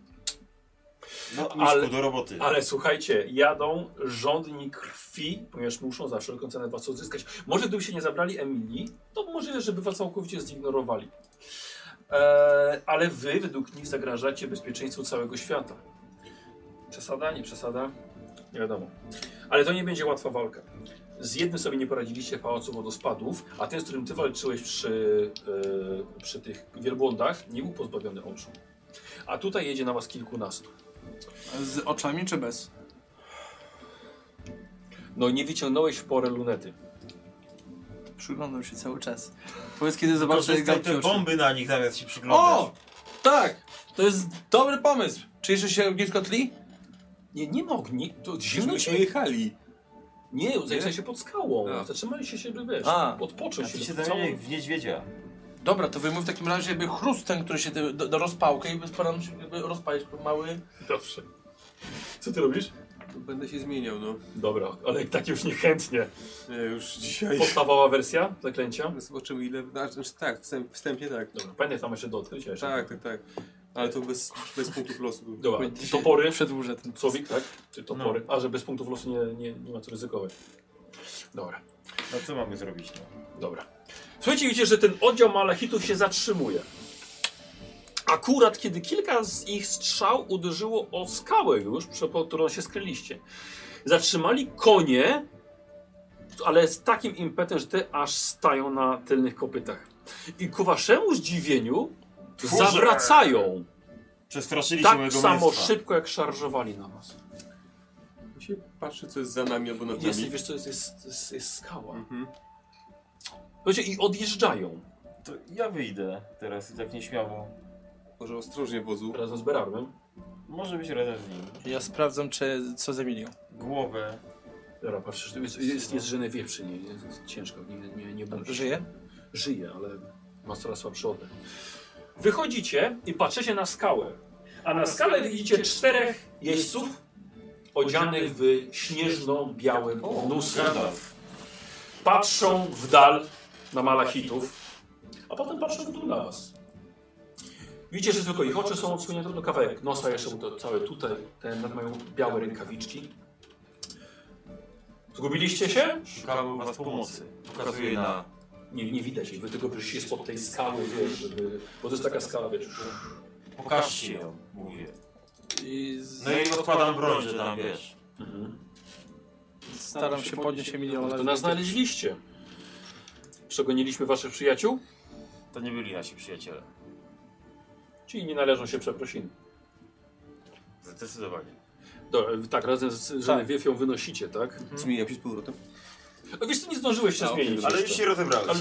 S14: No,
S1: Ale-
S14: ale, do roboty.
S1: Ale słuchajcie, jadą żądni krwi, ponieważ muszą za wszelką cenę was odzyskać. Może gdyby się nie zabrali Emilii, to możliwe, żeby was całkowicie zignorowali. Eee, ale wy według nich zagrażacie bezpieczeństwu całego świata. Przesada, nie przesada? Nie wiadomo. Ale to nie będzie łatwa walka. Z jednym sobie nie poradziliście w pałacu wodospadów, a ten, z którym ty walczyłeś przy, e, przy tych wielbłądach, nie był pozbawiony oczu. A tutaj jedzie na was kilkunastu.
S6: Z oczami czy bez?
S1: No nie wyciągnąłeś w porę lunety.
S6: Przyglądam się cały czas. Powiedz, kiedy zobaczę
S14: Korzystaj
S6: gałki
S14: te
S6: oczu.
S14: bomby na nich zamiast się przyglądać.
S5: O! Tak! To jest dobry pomysł. Czy jeszcze się ognisko tli?
S1: Nie, nie ma ogni. To zimno
S26: Myśmy
S1: się.
S26: jechali.
S1: Nie, zajrzeli się pod skałą.
S26: A.
S1: Zatrzymali się, żeby wiesz,
S5: A.
S1: odpocząć
S14: A
S1: się.
S14: ty się
S1: żeby całą-
S14: zamieniaj w niedźwiedzia.
S5: Dobra, to wymów w takim razie jakby chrustem, który się do, do, do rozpałkę i postaram się jakby rozpalić mały...
S1: Dobrze. Co ty robisz?
S26: Będę się zmieniał, no.
S1: Dobra, ale tak już niechętnie.
S26: Nie, już dzisiaj.
S1: Podstawowa wersja zaklęcia.
S26: Zobaczymy ile... Znaczy, tak, wstęp, wstępnie tak.
S1: Dobra, pamiętaj, tam jeszcze do odkrycia. Jeszcze.
S26: Tak, tak, tak. Ale to bez, bez punktów losu. było.
S1: Dobra, topory,
S5: Przedłużę ten
S1: słowik, tak? Czy topory?
S14: No.
S1: A, że bez punktów losu nie, nie, nie ma co ryzykować. Dobra.
S14: No co mamy zrobić? No?
S1: Dobra. Słuchajcie, widzicie, że ten oddział malachitów się zatrzymuje. Akurat kiedy kilka z ich strzał uderzyło o skałę już, przed pod którą się skryliście. Zatrzymali konie, ale z takim impetem, że te aż stają na tylnych kopytach. I ku waszemu zdziwieniu
S14: Tchórze!
S1: zawracają
S14: Przestraszyliśmy
S1: tak
S14: mojego
S1: samo
S14: mistrza.
S1: szybko, jak szarżowali na was.
S26: Ja się patrzę, co jest za nami albo nad
S1: Jest,
S26: nami.
S1: wiesz co, jest, jest, jest, jest skała.
S26: Mhm.
S1: Słuchajcie, i odjeżdżają
S14: To ja wyjdę teraz tak nieśmiało.
S26: Może ostrożnie wozu.
S1: razem z Berarmem.
S14: Może być razem z nim.
S5: Ja sprawdzam, czy co zamienił.
S14: Głowę.
S1: Dobra, patrzysz, jest, jest, jest Genevieve przy niej, jest ciężko, nie, nie, nie bądź.
S5: Żyje?
S1: Żyje, ale ma coraz słabszy oddech. Wychodzicie i patrzycie na skałę. A na skale widzicie czterech jeźdźców odzianych w śnieżno-białe mnóstwo.
S14: Gandalf.
S1: Patrzą w dal na malachitów, a potem patrzą w dół na was. Widzicie, że tylko ich oczy są odsłonięte tylko kawałek nosa, jeszcze mu to całe tutaj, te mają białe rękawiczki. Zgubiliście się?
S14: Szukam was pomocy. Pokazuję na...
S1: Nie, nie widać ich, wy tylko wyszliście spod tej skały, wiesz, żeby, bo to jest taka skała, wiesz.
S14: Pokażcie ją, mówię.
S5: I z...
S14: No i odkładam broń, że tam wiesz.
S5: staram się podnieść Emilią.
S1: To nas znaleźliście. Przegoniliśmy waszych przyjaciół,
S14: To nie byli nasi przyjaciele.
S1: czyli nie należą się przeprosiny.
S14: Zdecydowanie.
S1: Dobra, tak, razem z Genevieve ją wynosicie, tak?
S26: Zmieniam się z powrotem.
S1: A wiesz co, nie zdążyłeś się zmienić
S14: Ale już
S1: jeszcze.
S14: się rozebrałeś.
S1: Ale-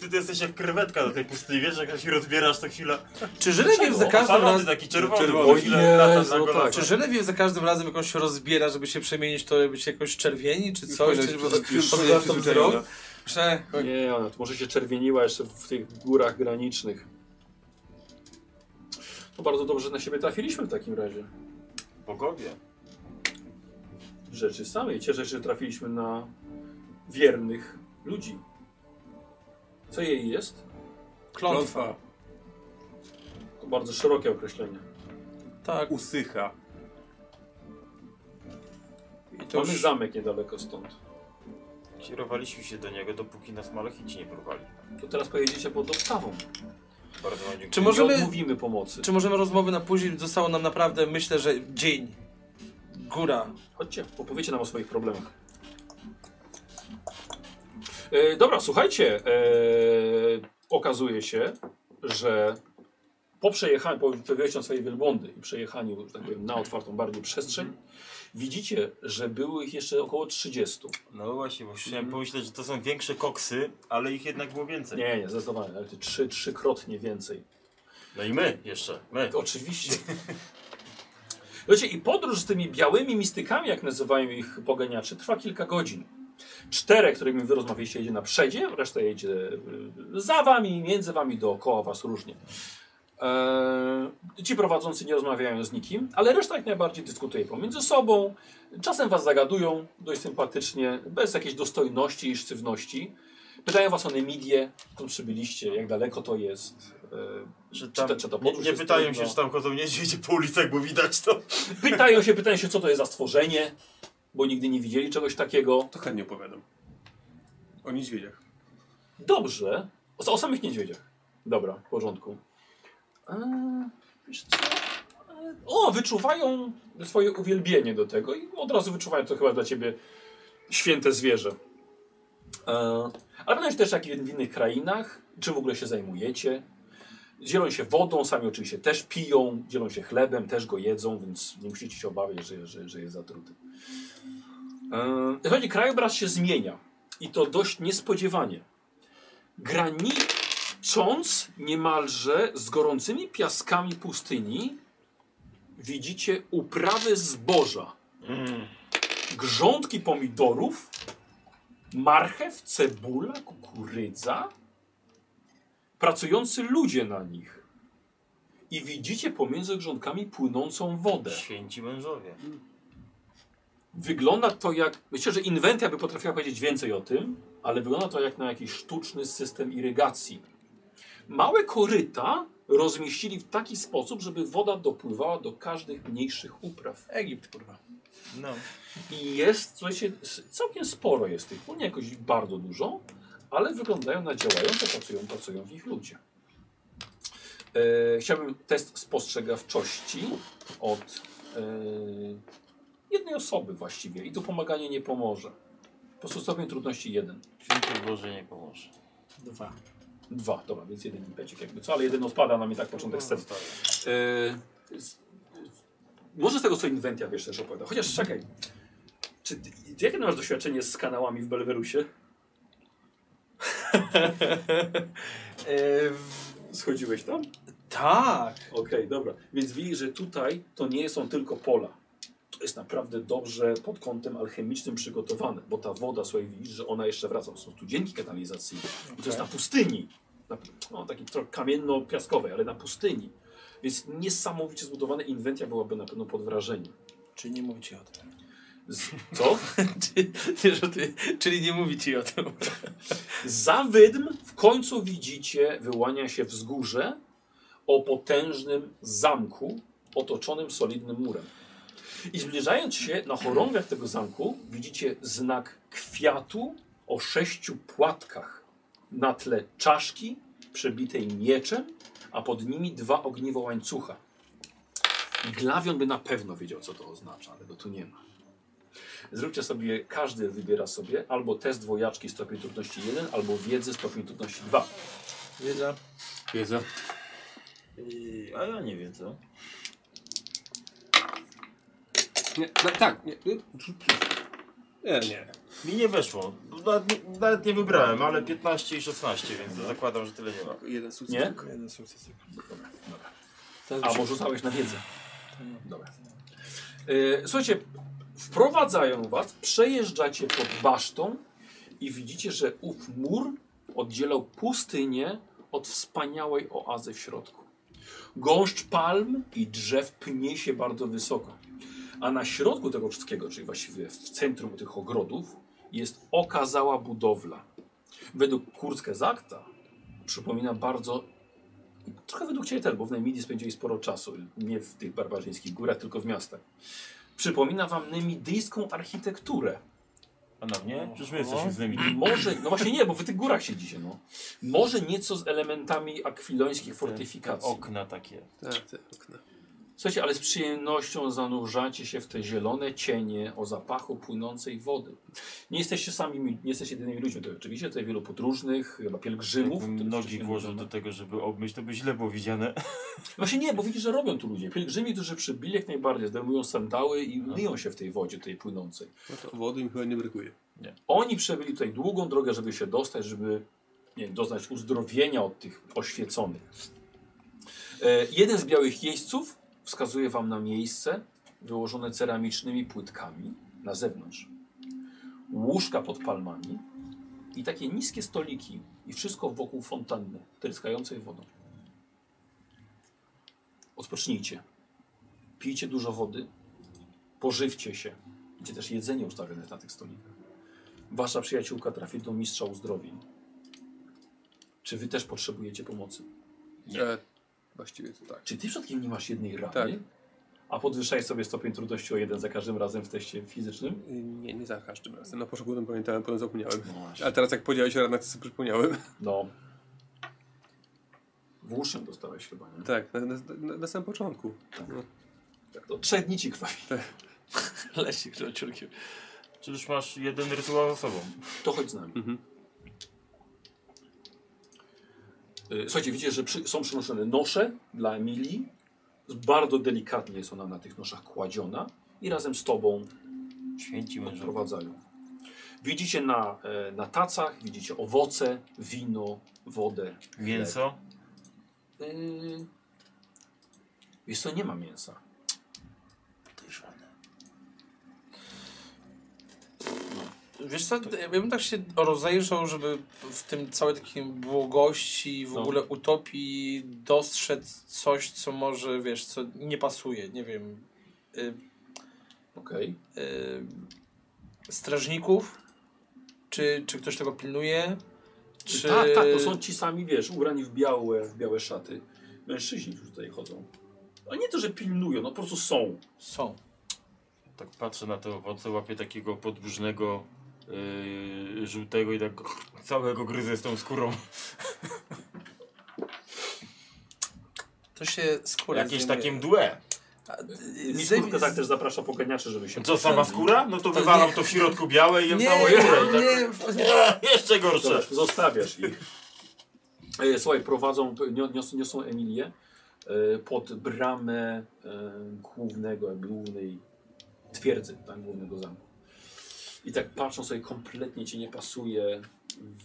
S14: Ty ty jesteś jak krewetka na tej pustyni, wiesz, jak się rozbierasz, to chwila...
S6: Czy Żeleniew za każdym
S14: Pan
S6: razem...
S14: ty taki czerwony,
S1: Czerwony.
S14: bo chwilę lata
S1: Jezu,
S14: za golasa.
S1: tak.
S6: Czy Żeleniew za każdym razem jakoś się rozbiera, żeby się przemienić, to być jakoś czerwieni, czy coś?
S2: powinnaś
S6: Czy
S2: być-
S6: po-
S2: już
S6: po-
S2: powinnaś
S6: po- po-
S2: przyzwyczajona.
S6: wzrok? Prze...
S1: Nie, ona tu może się czerwieniła jeszcze w tych górach granicznych. To bardzo dobrze że na siebie trafiliśmy w takim razie.
S14: Bogowie.
S1: Rzeczy samej. Cieszę się, że trafiliśmy na wiernych ludzi. Co jej jest?
S6: Klątwa.
S1: To bardzo szerokie określenie.
S6: Tak.
S2: Usycha.
S6: I to
S1: Mamy
S6: już...
S1: zamek niedaleko stąd.
S14: Kierowaliśmy się do niego, dopóki nas malechici nie porwali.
S1: To teraz pojedziecie pod dostawą.
S14: Bardzo wam dziękuję.
S6: Czy
S1: Nie
S6: możemy...
S1: odmówimy pomocy.
S6: Czy możemy rozmowy na później? Zostało nam naprawdę, myślę, że dzień. Góra.
S1: Chodźcie, opowiecie nam o swoich problemach. E, dobra, słuchajcie. E, okazuje się, że po przejechaniu, po wyjściu swojej wielbłądy i przejechaniu, że tak powiem, na otwartą bardziej przestrzeń, widzicie, że było ich jeszcze około 30.
S14: No właśnie, bo chciałem pomyśleć, że to są większe koksy, ale ich jednak było więcej.
S1: Nie, nie, zdecydowanie, ale trzy, trzykrotnie więcej.
S14: No i my jeszcze, my.
S1: Oczywiście. Wiecie, i podróż z tymi białymi mistykami, jak nazywają ich poganiacze, trwa kilka godzin. Czterech, którymi wy rozmawialiście, jedzie na przedzie, reszta jedzie y, za wami, między wami, dookoła was, różnie. Eee, ci prowadzący nie rozmawiają z nikim, ale reszta jak najbardziej dyskutuje pomiędzy sobą. Czasem was zagadują dość sympatycznie, bez jakiejś dostojności i sztywności. Pytają was o Nemidię, skąd przybyliście, jak daleko to jest. Eee,
S14: Że
S1: czy
S14: tam,
S1: to- czy to
S14: nie
S1: podróż
S14: nie
S1: jest no.
S14: pytają
S1: trudna?
S14: się, czy tam chodzą niedźwiedzie po ulicach, bo widać to.
S1: Pytają się, pytają się, co to jest za stworzenie, bo nigdy nie widzieli czegoś takiego.
S2: To chętnie opowiadam. O niedźwiedziach.
S1: Dobrze. O, o samych niedźwiedziach. Dobra, w porządku. Eee, wiesz co? Eee, O, wyczuwają swoje uwielbienie do tego i od razu wyczuwają to chyba dla ciebie święte zwierzę. Eee, ale pytają się też, jak w innych krainach, czy w ogóle się zajmujecie. Dzielą się wodą, sami oczywiście też piją, dzielą się chlebem, też go jedzą, więc nie musicie się obawiać, że, że, że jest zatruty. Eee, Słuchajcie, krajobraz się zmienia i to dość niespodziewanie granicząc niemalże z gorącymi piaskami pustyni, widzicie uprawy zboża.
S14: Mhm.
S1: Grządki pomidorów, marchew, cebula, kukurydza, pracujący ludzie na nich. I widzicie pomiędzy grządkami płynącą wodę.
S14: Święci mężowie.
S1: Wygląda to jak. Myślę, że inwentja by potrafiła powiedzieć więcej o tym, ale wygląda to jak na jakiś sztuczny system irygacji. Małe koryta rozmieścili w taki sposób, żeby woda dopływała do każdych mniejszych upraw.
S6: Egipt, kurwa.
S14: No.
S1: I jest, słuchajcie, s- całkiem sporo jest tych, bo nie jakoś bardzo dużo, ale wyglądają na działające, pracują, pracują w nich ludzie. E, chciałbym test spostrzegawczości od e, jednej osoby właściwie i tu pomaganie nie pomoże. Po prostu stopień trudności jeden.
S14: Święty Boże nie pomoże.
S6: Dwa.
S1: Dwa, dobra, więc jeden impecik jakby co, ale jeden odpada nam i tak początek set. E, z- może z tego co Inventia wiesz też opowiada. Chociaż czekaj. Czy ty, ty jakie masz doświadczenie z kanałami w Belwerusie?
S6: E, w...
S1: Schodziłeś tam?
S6: Tak.
S1: Okej, dobra. Więc widzisz, że tutaj to nie są tylko pola. To jest naprawdę dobrze pod kątem alchemicznym przygotowane, bo ta woda, słuchaj, widzisz, że ona jeszcze wraca. Są tu dzięki kanalizacyjne. I to jest na pustyni. Na, no, takiej trochę kamienno-piaskowej, ale na pustyni. Więc niesamowicie zbudowane inwentia byłaby na pewno pod wrażeniem.
S6: Czy nie mówi ci o tym?
S1: Z, co?
S6: Czy, nie, że ty, czyli nie mówi ci o tym.
S1: Za wydm w końcu widzicie, wyłania się wzgórze o potężnym zamku otoczonym solidnym murem. I zbliżając się na chorągach tego zamku, widzicie znak kwiatu o sześciu płatkach na tle czaszki przebitej mieczem, a pod nimi dwa ogniwo łańcucha. Glawion by na pewno wiedział, co to oznacza, ale go tu nie ma. Zróbcie sobie, każdy wybiera sobie albo test dwojaczki stopień trudności 1, albo wiedzę stopień trudności 2.
S6: Wiedza.
S2: Wiedza.
S14: I, a ja nie wiem co.
S2: Nie, no, tak, nie. Nie, nie.
S14: Mi nie weszło. nawet, nie- nawet nie wybrałem, ale 15 i 16, więc zakładam, że tyle nie ma.
S26: Jeden sukces.
S1: Nie?
S6: Jeden sukces. tylko.
S1: A, bo rzucałeś na wiedzę. Dobra. E, Słuchajcie, wprowadzają was, przejeżdżacie pod basztą i widzicie, że ów mur oddzielał pustynię od wspaniałej oazy w środku. Gąszcz palm i drzew pnie się bardzo wysoko. A na środku tego wszystkiego, czyli właściwie w centrum tych ogrodów, jest okazała budowla. Według Kurzgesagta przypomina bardzo Trochę według Ciebie też, bo w Nemidii spędzili sporo czasu. Nie w tych barbarzyńskich górach, tylko w miastach. Przypomina Wam nemidyjską architekturę.
S14: A na mnie? Przecież my jesteśmy z nimi.
S1: Może, no właśnie nie, bo Wy tych górach siedzicie, no. Może nieco z elementami akwilońskich fortyfikacji.
S14: Okna takie.
S2: Tak, te okna.
S1: Słuchajcie, ale z przyjemnością zanurzacie się w te zielone cienie o zapachu płynącej wody. Nie jesteście sami, nie jesteście jedynymi ludźmi. To oczywiście tutaj wielu podróżnych, chyba pielgrzymów.
S14: Jakbym
S1: których
S14: nogi
S1: wcześniej
S14: włożył
S1: nie
S14: do tego, żeby obmyć, to by źle było widziane.
S1: Właśnie nie, bo widzisz, że robią tu ludzie. Pielgrzymi, którzy przybyli jak najbardziej, zdejmują sandały i myją się w tej wodzie, tej płynącej.
S2: No to wody mi chyba nie brakuje.
S1: Oni przebyli tutaj długą drogę, żeby się dostać, żeby nie wiem, doznać uzdrowienia od tych oświeconych. E, jeden z białych jeźdźców wskazuje wam na miejsce wyłożone ceramicznymi płytkami na zewnątrz. Łóżka pod palmami i takie niskie stoliki i wszystko wokół fontanny tryskającej wodą. Odpocznijcie. Pijcie dużo wody. Pożywcie się. Będzie też jedzenie ustawione na tych stolikach. Wasza przyjaciółka trafi do mistrza uzdrowień. Czy wy też potrzebujecie pomocy?
S2: E, właściwie to tak.
S1: Czy ty przed kim nie masz jednej rany?
S2: Tak.
S1: A podwyższaj sobie stopień trudności o jeden za każdym razem w teście fizycznym?
S2: Y, Nie, nie za każdym razem. Na początku o tym pamiętałem, potem zapomniałem.
S1: No właśnie.
S2: A teraz jak podziałeś radna, to sobie przypomniałem.
S1: No. W uszy dostałeś chyba, nie?
S2: Tak, na, na, na, na samym początku.
S1: Tak. To trzech dni ci krwawi.
S5: Lesik ciurkiem.
S14: Czyli już masz jeden rytuał za sobą.
S1: To chodź z nami.
S2: Mhm.
S1: Y, Słuchajcie, widzicie, że przy, są przynoszone nosze dla Emilii. Bardzo delikatnie jest ona na tych noszach kładziona i razem z tobą
S14: Święci mężowie.
S1: odprowadzają. Widzicie na, e, na tacach, widzicie owoce, wino, wodę.
S14: Mięso?
S1: Yy... Wiesz co, nie ma mięsa.
S5: Wiesz co, ja bym tak się rozejrzał, żeby w tym całej takiej błogości, w
S14: No.
S5: ogóle utopii dostrzec coś, co może, wiesz, co nie pasuje, nie wiem, y,
S1: Okej.
S5: y, strażników, czy, czy ktoś tego pilnuje, czy...
S1: Tak, tak, to są ci sami, wiesz, ubrani w białe, w białe szaty. Mężczyźni, którzy tutaj chodzą. A nie to, że pilnują, no po prostu są.
S5: Są.
S14: Tak patrzę na te owoce, łapię takiego podłużnego yy, żółtego i tak całego gryzę z tą skórą.
S5: To się skóra
S14: Jakieś
S5: zdejmuje.
S14: takie mdłe.
S5: Y, zdejm-
S1: Mistrz tak też zaprasza poganiaczy, żeby się...
S14: Co, sama skóra? No to
S5: To
S14: wywalam
S5: nie-
S14: to w środku białe i jem
S5: Nie,
S14: całą skórę. I tak,
S5: nie, w-
S14: Jeszcze
S1: Dobra,
S14: gorsze.
S1: Zostawiasz ich. E, Słuchaj, prowadzą, nio- niosą, niosą Emilię e, pod bramę e, głównego, jakby głównej twierdzy, tam głównego zamku. I tak patrzą sobie, kompletnie ci nie pasuje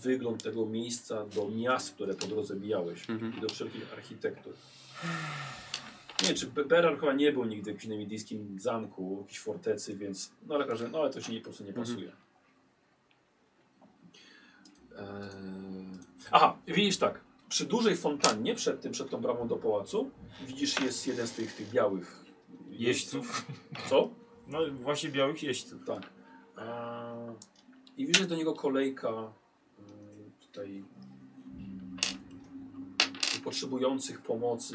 S1: wygląd tego miejsca do miast, które po drodze mijałeś i do wszelkich architektur. Nie, wiem, czy Be- Berar chyba nie był nigdy w jakimś nemidyjskim zamku, jakiejś fortecy, więc no ale każdy, no ale to ci nie, po prostu nie pasuje. Eee, Aha, widzisz tak. Przy dużej fontannie, przed tym, przed tą bramą do pałacu, widzisz jest jeden z tych, tych białych
S14: Jeźdźców.
S1: Co?
S14: No właśnie białych jeźdźców.
S1: Tak. Eee, I widzisz do niego kolejka mm, tutaj mm, potrzebujących pomocy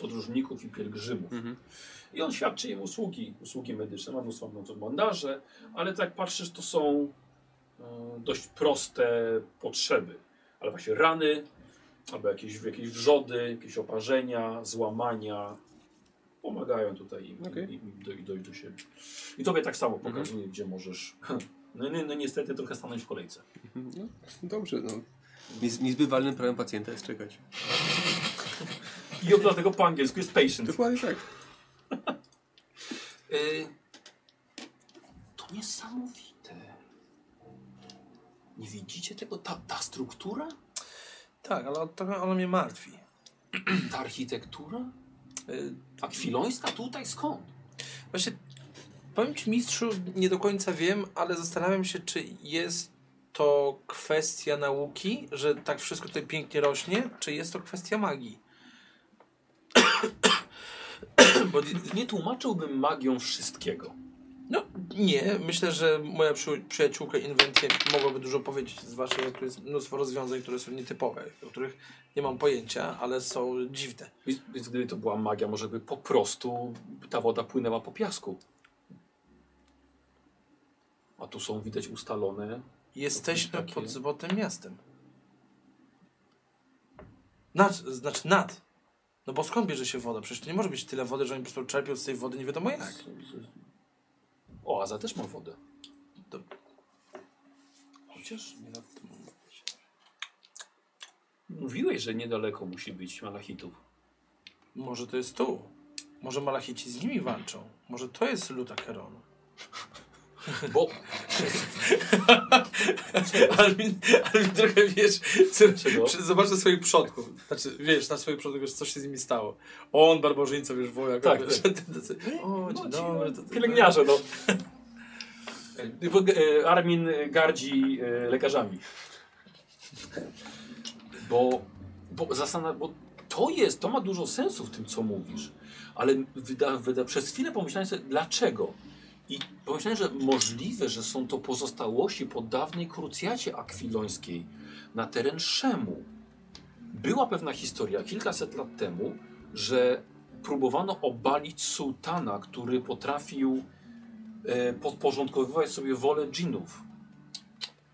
S1: podróżników i pielgrzymów.
S2: Mhm.
S1: I on świadczy im usługi, usługi medyczne, ma mnóstwo mnóstwo bandaże, ale tak patrzysz, to są e, dość proste potrzeby. Ale właśnie rany, albo jakieś, jakieś wrzody, jakieś oparzenia, złamania. Pomagają tutaj im,
S2: Okej.
S1: im, im doj- dojść do siebie. I tobie tak samo pokazuje, gdzie możesz. No, no, no niestety trochę stanąć w kolejce.
S2: No, dobrze, no. Niez, niezbywalnym prawem pacjenta jest czekać.
S1: I dlatego po angielsku jest patient.
S2: Dokładnie tak.
S1: Y, To niesamowite. Nie widzicie tego? Ta, ta struktura?
S6: Tak, ale trochę ona mnie martwi.
S1: Ta architektura?
S6: Y,
S1: Akwilońska? Tutaj skąd?
S6: Właśnie, powiem Ci mistrzu, nie do końca wiem, ale zastanawiam się, czy jest to kwestia nauki, że tak wszystko tutaj pięknie rośnie, czy jest to kwestia magii. Bo
S1: Nie tłumaczyłbym magią wszystkiego.
S6: No nie, myślę, że moja przy, przyjaciółka Inwentie mogłaby dużo powiedzieć z waszej, bo tu jest mnóstwo rozwiązań, które są nietypowe, o których nie mam pojęcia, ale są dziwne.
S1: Więc, więc gdyby to była magia, może by po prostu ta woda płynęła po piasku. A tu są widać ustalone.
S6: Jesteśmy
S1: Takie-
S6: pod złotym miastem. Nad, znaczy nad. No bo skąd bierze się woda? Przecież to nie może być tyle wody, że oni po prostu czerpią z tej wody nie wiadomo jak.
S1: O, Aza też ma wodę.
S6: Chociaż nie na
S1: Mówiłeś, że niedaleko musi być malachitów.
S6: Może to jest tu. Może malachici z nimi walczą. Może to jest luta Keronu.
S1: Bo
S6: Ale mi, ale mi trochę wiesz, co,
S1: Czego?
S6: przy- zobacz na swoich przodków. Znaczy, wiesz, na swoich przodków, wiesz, co się z nimi stało. On, barbarzyńca, wiesz, wojak.
S1: Tak,
S6: wiesz,
S1: tak.
S6: to- to- to- O, dzień dobry. No to- to-
S28: Pielęgniarze, no. E, bo, e, Armin gardzi e, lekarzami.
S1: bo, bo, zastanaw- bo to jest, to ma dużo sensu w tym, co mówisz, ale wyda, wyda, przez chwilę pomyślałem sobie, dlaczego? I pomyślałem, że możliwe, że są to pozostałości po dawnej krucjacie akwilońskiej na teren Szemu. Była pewna historia kilkaset lat temu, że próbowano obalić sułtana, który potrafił e, podporządkowywać sobie wolę dżinów.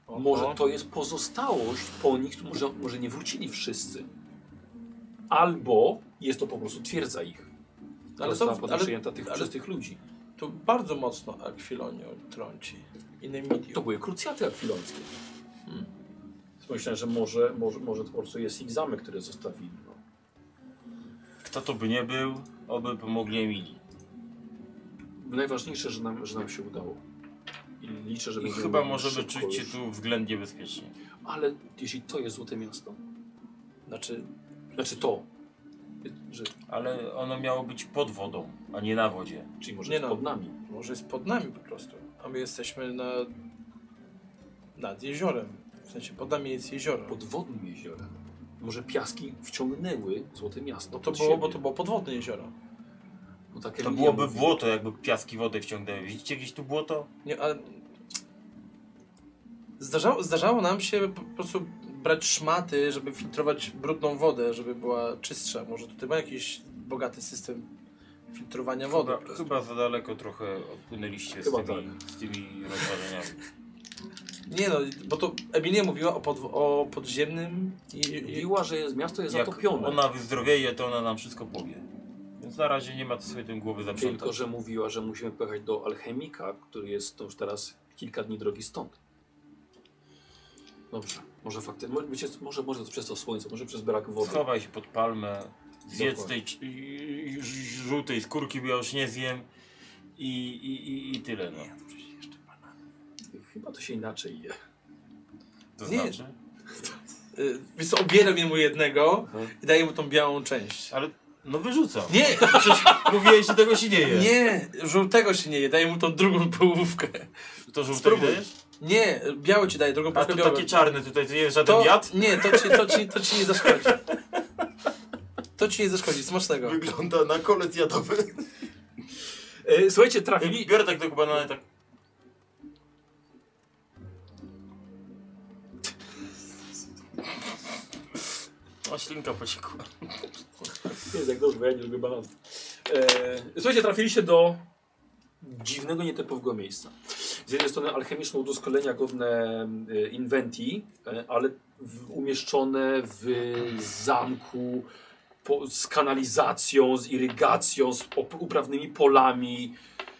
S6: O,
S1: Może
S6: o.
S1: to jest pozostałość po nich, którzy może, może nie wrócili wszyscy. Albo jest to po prostu twierdza ich. Ale
S6: Ale
S1: została
S6: to-
S1: potem
S6: ale-
S1: przyjęta tych,
S6: ale-
S1: przez tych ludzi.
S6: To bardzo mocno Akwilonio trąci. I Nemidium.
S1: To były krucjaty akwilońskie. Więc Myślę, że może, może, może to po prostu jest ich zamek, który zostawili. No.
S14: Kto to by nie był, oby pomogli Emilii.
S1: Najważniejsze, że nam, że nam się udało. I liczę, że
S14: I
S1: będziemy
S14: chyba
S1: mogli
S14: możemy
S1: szybko
S14: czuć się
S1: już.
S14: tu względnie bezpiecznie.
S1: Ale jeśli to jest Złote Miasto,
S6: Znaczy,
S1: znaczy to, że,
S14: Ale ono miało być pod wodą, a nie na wodzie.
S1: czyli może
S6: Nie
S1: jest
S6: no.
S1: pod nami.
S6: może jest pod nami po prostu. A my jesteśmy na... nad jeziorem. W sensie, pod nami jest jezioro.
S1: podwodnym jeziorem. Może piaski wciągnęły Złote Miasto.
S14: No
S6: Bo to,
S1: pod
S6: było,
S1: siebie.
S6: bo to było podwodne jezioro.
S1: No, tak
S14: To
S1: Emilia
S14: byłoby
S1: mówi.
S14: błoto, jakby piaski wodę wciągnęły. Widzicie gdzieś tu błoto?
S6: Nie, ale... Zdarzało, zdarzało nam się po prostu brać szmaty, żeby filtrować brudną wodę, żeby była czystsza. Może tutaj ma jakiś bogaty system filtrowania wody. po
S14: Chyba,
S6: prostu.
S14: No, chyba za daleko trochę odpłynęliście z
S1: Chyba tak.
S14: tymi, z tymi rozważaniami.
S6: Nie no, bo to Emilia mówiła o, podw- o podziemnym i, i
S1: Mówiła, że jest, miasto jest
S14: Jak
S1: zatopione.
S14: No ona wyzdrowieje, to ona nam wszystko powie. Więc na razie nie ma co sobie tym głowy
S1: Tylko,
S14: zaprzątać.
S1: że mówiła, że musimy pojechać do alchemika, który jest to już teraz kilka dni drogi stąd. Dobrze, może faktycznie, mo- wiecie, może, może przez to słońce, może przez brak wody.
S14: Schowaj się pod palmę, zjedz
S1: Dokładnie.
S14: tej ć- i- i- żółtej skórki, bo ja już nie zjem. I, i, i, i tyle. No.
S1: Chyba to się inaczej je.
S14: To
S6: Nie.
S14: znaczy.
S6: Y, Więc obieram jemu jednego i daję mu tą białą część.
S14: Ale no wyrzucam.
S6: Nie,
S14: Przecież mówiłeś, że tego się nie je.
S6: nie, żółtego się nie je, daję mu tą drugą połówkę.
S14: To żółte
S6: Spróbuj.
S14: dajesz?
S6: Nie, biały ci daję, drugą
S14: A
S6: połówkę
S14: tu
S6: białego.
S14: takie czarne tutaj, to nie jest żaden
S6: to,
S14: jad?
S6: Nie, to ci, to, ci, to ci nie zaszkodzi. To ci nie zaszkodzi, smacznego.
S14: Wygląda na kolec jadowy.
S28: E, słuchajcie, trafili,
S14: Biorę tak tego banana i tak... O, ślinka pociekła.
S28: Jest jak dobrze, bo ja nie lubię bananów. E, słuchajcie, trafiliście do
S1: Dziwnego, nietypowego miejsca. Z jednej strony alchemiczne udoskolenia godne e, inwentii, e, ale w, umieszczone w zamku po, z kanalizacją, z irygacją, z op- uprawnymi polami.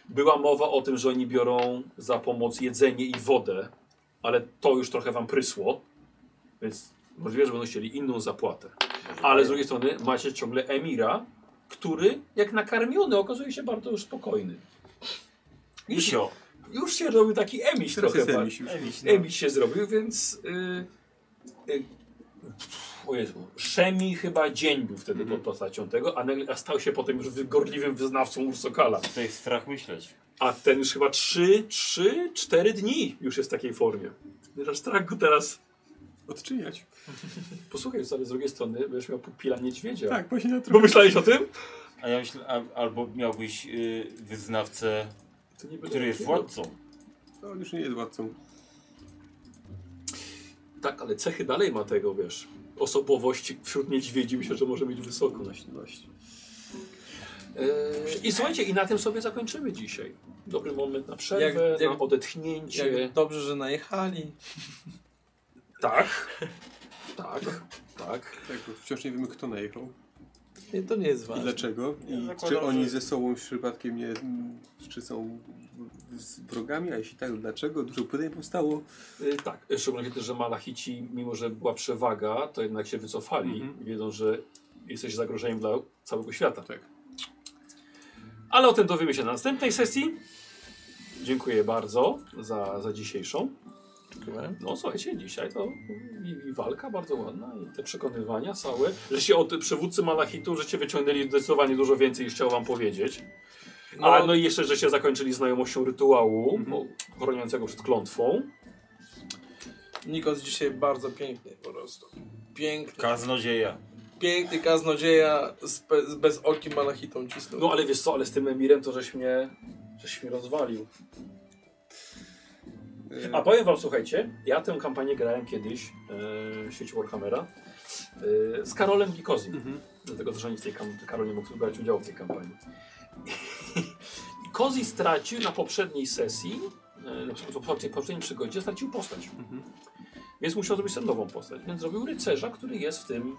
S1: Była mowa o tym, że oni biorą za pomoc jedzenie i wodę, ale to już trochę wam prysło, więc możliwe, że będą chcieli inną zapłatę. Ale z drugiej strony macie ciągle Emira, który jak nakarmiony okazuje się bardzo już spokojny.
S14: Misio,
S1: Już się robił taki emiś
S2: Teraz
S1: trochę.
S2: jest
S1: Emiś,
S2: Emiś już.
S14: Emiś, no.
S1: emiś się zrobił, więc... Yy, yy, o Jezu, Szemi chyba dzień był wtedy pod postacią tego, a, nagle, a stał się potem już gorliwym wyznawcą Ursokala.
S14: To jest strach myśleć.
S1: A ten już chyba 3, 3, 4 dni już jest w takiej formie. Aż tak go teraz.
S2: Odczyniać.
S1: Posłuchaj, ale z drugiej strony będziesz miał pupila niedźwiedzia.
S2: Tak, właśnie na
S1: Bo
S2: trochę.
S1: myślałeś o tym?
S14: A ja myślę, a, albo miałbyś y, wyznawcę,
S1: To nie byle
S14: który jest
S1: jakiego.
S14: władcą.
S2: To już nie jest władcą.
S1: Tak, ale cechy dalej ma tego, wiesz. Osobowości wśród niedźwiedzi myślę, że może mieć wysoką.
S6: Yy,
S1: Eee, I słuchajcie, i na tym sobie zakończymy dzisiaj. Dobry moment na przerwę,
S6: Jak-
S1: na
S6: jak-
S1: odetchnięcie.
S6: Jak dobrze, że najechali.
S1: Tak. Tak, tak.
S2: Tak, bo wciąż nie wiemy kto najechał
S6: Nie, to nie jest
S2: i
S6: ważne.
S2: dlaczego.
S14: Ja
S2: I
S14: zakładam,
S2: czy oni
S14: że-
S2: ze sobą przypadkiem nie... m, Czy są z wrogami, a jeśli tak, to dlaczego? Dużo pytań powstało.
S1: Yy, tak, szczególnie też, że Malachici, mimo że była przewaga, to jednak się wycofali,
S2: Mhm.
S1: wiedzą, że jesteś zagrożeniem dla całego świata.
S2: Tak.
S1: Ale o tym dowiemy się na następnej sesji. Dziękuję bardzo za, za dzisiejszą. No słuchajcie, dzisiaj to i, i walka bardzo ładna i te przekonywania całe, że się od przywódcy Malachitu, że się wyciągnęli zdecydowanie dużo więcej niż chciał wam powiedzieć. A no i jeszcze, że się zakończyli znajomością rytuału bo, chroniącego przed klątwą.
S6: Nikos dzisiaj bardzo piękny po prostu. Piękny,
S14: Kaznodzieja.
S6: piękny kaznodzieja z, pe- z bez oki malachitą cisnął.
S1: No ale wiesz co, ale z tym Emirem to żeś mnie, żeś mnie rozwalił.
S2: E,
S1: A powiem wam, słuchajcie, ja tę kampanię grałem kiedyś e, w sieci Warhammera e, z Karolem Gikozim. Dlatego też ani z tej kam- Karol nie mógł brać udziału w tej kampanii. I Kozi stracił na poprzedniej sesji, e, na przykład w poprzedniej- poprzedniej przygodzie, stracił postać. Więc musiał zrobić sobie nową postać. Więc zrobił rycerza, który jest w tym.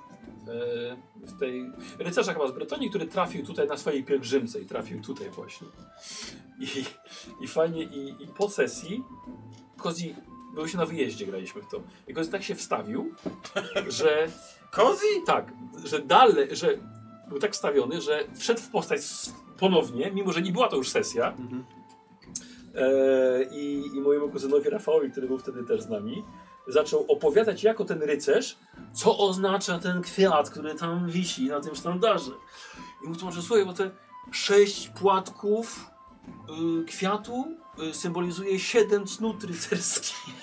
S1: e, W tej rycerza chyba z Bretonii, który trafił tutaj na swojej pielgrzymce i trafił tutaj właśnie. I, i fajnie, i, i po sesji Kozi, było się na wyjeździe, graliśmy w to. I Kozi tak się wstawił, że
S14: Kozi?
S1: tak, że dalej, że był tak wstawiony, że wszedł w postać s- ponownie, mimo że nie była to już sesja. E, i, I mojemu kuzynowi Rafałowi, który był wtedy też z nami, zaczął opowiadać jako ten rycerz, co oznacza ten kwiat, który tam wisi na tym sztandarze. I mu tłumaczę, słuchaj, bo te sześć płatków y, kwiatu y, symbolizuje siedem cnót rycerskich.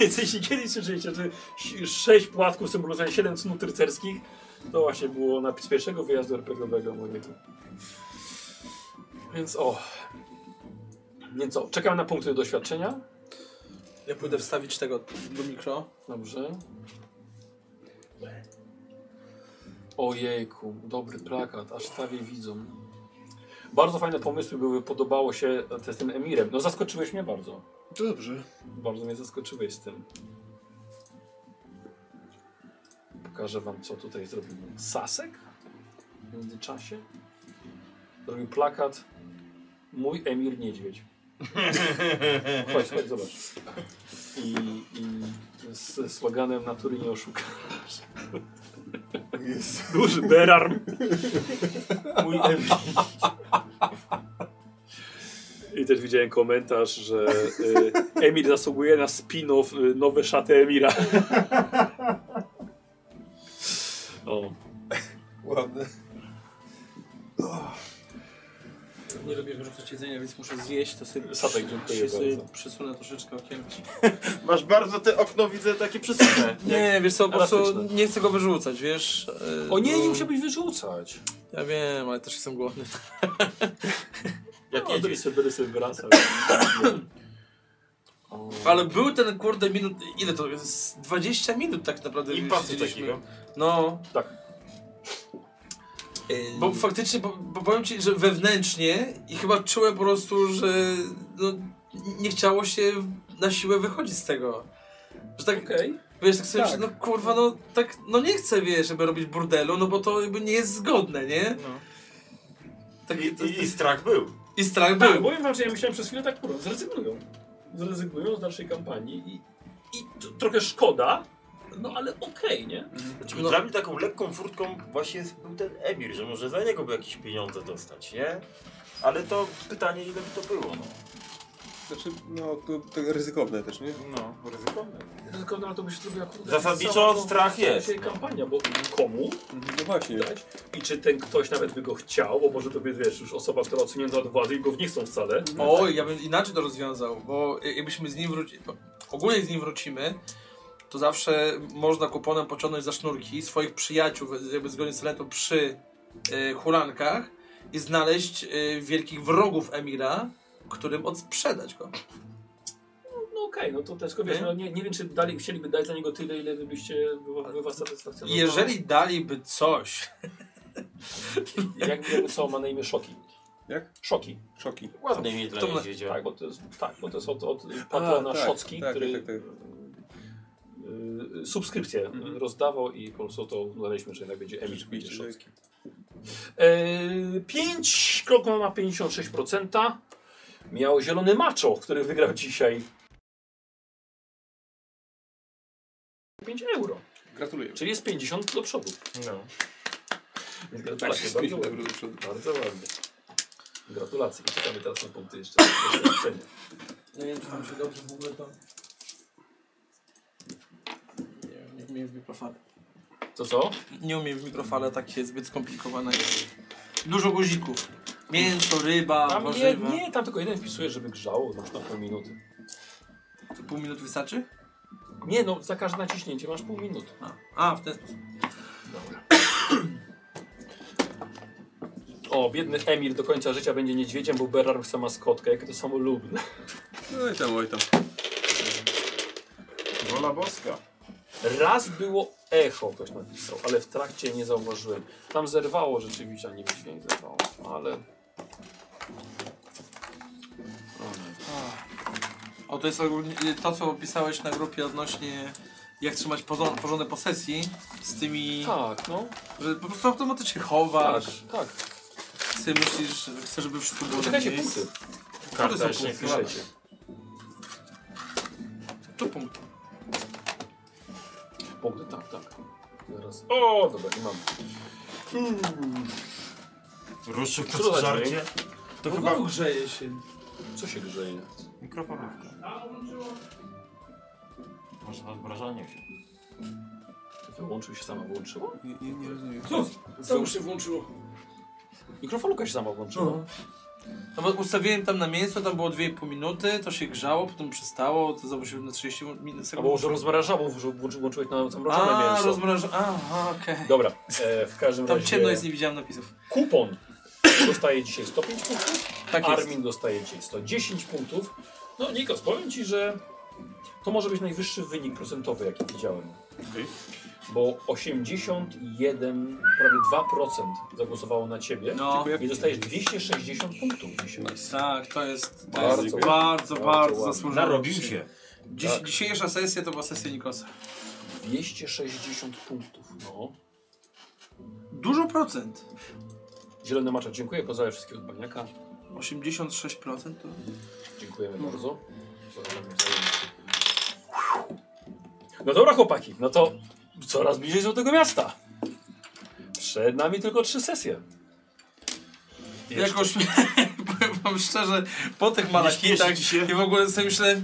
S1: Więc jeśli kiedyś słyszeliście, że si- sześć płatków symbolizuje siedem cnót rycerskich, to właśnie było napis z pierwszego wyjazdu RPGowego mojego. Więc o... Więc co, czekam na punkty doświadczenia.
S6: Ja pójdę wstawić tego do mikro.
S1: Dobrze. Ojejku, dobry plakat, aż prawie widzą. Bardzo fajne pomysły były, podobało się te z tym Emirem. No zaskoczyłeś mnie bardzo.
S2: Dobrze.
S1: Bardzo mnie zaskoczyłeś z tym. Pokażę wam, co tutaj zrobił Sasek w międzyczasie. Zrobił plakat Mój Emir Niedźwiedź. Chodź, chodź, zobacz. I, i z sloganem Natury nie oszukasz. Duży berarm.
S14: Mój em...
S1: I też widziałem komentarz, że y, Emir zasługuje na spin-off y, nowe szaty Emira. O.
S2: Ładne.
S6: Nie lubię wyrzucać jedzenia, więc muszę zjeść. To sobie,
S1: Sadek, dziękuję
S6: się sobie
S1: bardzo.
S6: przesunę troszeczkę okienki.
S14: Masz bardzo te okno, widzę takie przesunę.
S6: Nie, wiesz co, po prostu
S1: elastyczne.
S6: nie chcę go wyrzucać, wiesz. e,
S1: o nie, nie
S6: bo-
S1: musiałbyś wyrzucać.
S6: Ja wiem, ale też jestem głodny.
S14: Jak
S1: no,
S14: jedziesz.
S1: będę sobie, będę sobie wracał. O.
S6: Ale był ten kurde minut, ile to jest? 20 minut tak naprawdę.
S14: Impasu
S6: siedzieliśmy.
S14: takiego.
S6: No.
S1: Tak.
S6: Bo faktycznie, bo, bo powiem ci, że wewnętrznie i chyba czułem po prostu, że no, nie chciało się na siłę wychodzić z tego. Że tak,
S1: Okej.
S6: wiesz, tak sobie, myślę, no kurwa, no tak, no nie chcę, wiesz, żeby robić burdelu, no bo to jakby nie jest zgodne, nie?
S14: No.
S6: Tak,
S14: I, i, I strach był.
S6: I
S1: Tak,
S6: strach był.
S1: powiem wam, że ja myślałem przez chwilę tak, kurwa, zrezygnują. Zrezygnują z naszej kampanii i, i to, trochę szkoda, no ale okej, nie?
S14: Znaczy,
S6: No.
S14: Dla mnie taką lekką furtką właśnie jest- był ten Emir, że może za niego by jakieś pieniądze dostać, nie? Ale to pytanie, ile by to było, no.
S2: Znaczy, no, to, to ryzykowne też, nie?
S3: No, ryzykowne.
S1: Tylko na to by się zrobiła kurde,
S3: Zasadniczo
S1: sama to-
S3: strach jest.
S1: dzisiaj kampania, bo komu
S2: No właśnie.
S1: dać? I czy ten ktoś nawet by go chciał, bo może to by, wiesz, już osoba, która odsunięta od władzy i go w nie chcą wcale.
S6: Oj, ja bym inaczej to rozwiązał, bo jakbyśmy z nim wrócili, ogólnie z nim wrócimy, to zawsze można kuponem pociągnąć za sznurki swoich przyjaciół, jakby zgodnie z letą przy e, hulankach i znaleźć e, wielkich wrogów Emira, którym odsprzedać go.
S1: No okej, no to też, wiesz,
S6: Nie?
S1: no, nie, nie wiem, czy dalej chcieliby dać za niego tyle, ile wy byście, by, by was satysfakcjonowało.
S6: Jeżeli daliby coś,
S1: Jak wiemy, co ma na imię Szoki.
S2: Jak?
S1: Szoki.
S2: Szoki.
S3: Ładne imię dla
S6: To-
S3: niedźwiedzia.
S1: Tak, bo to jest, tak, bo to jest od, od patrona
S2: tak,
S1: Szocki,
S2: tak,
S1: który
S2: tak, tak, Mhm.
S1: y, y, subskrypcję y, rozdawał i po prostu to uznaliśmy, że jednak będzie Emil, będzie
S2: Rzeczywiście,
S1: Szocki. E, 5, Krokman ma 56%. Miał zielony maczo, który wygrał dzisiaj 5 euro,
S2: Gratuluję.
S1: czyli jest 50 do przodu.
S3: No.
S1: Więc Gratulacje, bardzo ładnie.
S2: do przodu.
S1: Bardzo ładnie. Gratulacje. I czekamy teraz na punkty jeszcze. doświadczenia.
S6: No
S29: Nie wiem, czy tam się dobrze w ogóle to... Nie wiem, nie umiem w mikrofale.
S1: Co co?
S6: nie umiem w mikrofale, takie zbyt skomplikowane jest. Dużo guzików. Mięso, ryba,
S1: Tam nie,
S6: warzywa.
S1: nie, tam tylko jeden wpisuje, żeby grzało na na pół minuty.
S6: To Pół minuty wystarczy?
S1: Nie no, za każde naciśnięcie masz pół minuty.
S6: A, a w ten sposób.
S1: O, biedny Emir do końca życia będzie niedźwiedziem, bo Berard chce maskotkę. Jakie to samolubne.
S2: No i tam, oj tam.
S3: Wola boska.
S1: Raz było echo, ktoś napisał, ale w trakcie nie zauważyłem. Tam zerwało rzeczywiście, a nie dźwięk zerwało, ale... O, nie.
S6: O, to jest ogólnie to, co opisałeś na grupie odnośnie jak trzymać porząd- porządek posesji z tymi,
S1: Tak, no.
S6: że po prostu automatycznie
S1: Tak,
S6: chowasz,
S1: tak.
S6: ty myślisz, chcesz, żeby wszystko było na
S1: Czekajcie,
S6: miejscu.
S1: punkty.
S3: Karta
S6: są
S3: jeszcze nie
S6: punkty?
S3: składana.
S1: Piszecie.
S6: Tu punkt.
S1: Punkty, tak, tak. Zaraz. O, dobra, i mam.
S3: Ruszył
S1: Co to
S3: to
S1: za
S3: żarcie. To
S29: W
S3: chyba
S29: ogóle grzeje się.
S1: Co się grzeje?
S3: mikrofalówka. Może nad wrażaniem się.
S1: Wyłączył się sama, wyłączyło?
S2: Nie, nie, nie rozumiem.
S29: Znowu się włączyło.
S1: Mikrofalówka się sama włączyła.
S6: No bo ustawiłem tam na mięso, tam było 2,5 minuty, to się grzało, potem przestało, to zobaczyłem na 30 minut
S1: Albo może rozmrażało, że włączy- włączyłeś na zamrożone
S6: A,
S1: mięso.
S6: rozmraża... Aha, okej.
S1: Dobra, e, w każdym
S6: Tam
S1: razie
S6: ciemno jest, nie widziałem napisów.
S1: kupon dostaje dzisiaj 105 punktów,
S6: Tak jest.
S1: Armin dostaje dzisiaj 110 punktów. No Nikos, powiem Ci, że to może być najwyższy wynik procentowy, jaki widziałem. Bo 81, prawie 2% zagłosowało na Ciebie
S6: No,
S1: i dostajesz 260 punktów dzisiaj.
S6: tak, to jest, to
S1: Bardzo
S6: jest
S1: ładnie.
S6: bardzo, bardzo,
S1: Bardzo ładnie.
S6: zasłużone.
S3: Narobił
S1: Tak.
S3: się.
S6: Dziś, Dzisiejsza sesja to była sesja Nikosa.
S1: 260 punktów, no.
S6: Dużo procent.
S1: Zielony Macza, dziękuję, pozdrawiam wszystkich od Baniaka.
S6: 86% to...
S1: Dziękujemy bardzo. No dobra chłopaki, no to coraz bliżej Złotego Miasta. Przed nami tylko trzy sesje.
S6: Jakoś, powiem wam szczerze, po tych
S3: Nie śpieszy
S6: malakitach
S3: ci się?
S6: i w ogóle sobie myślę,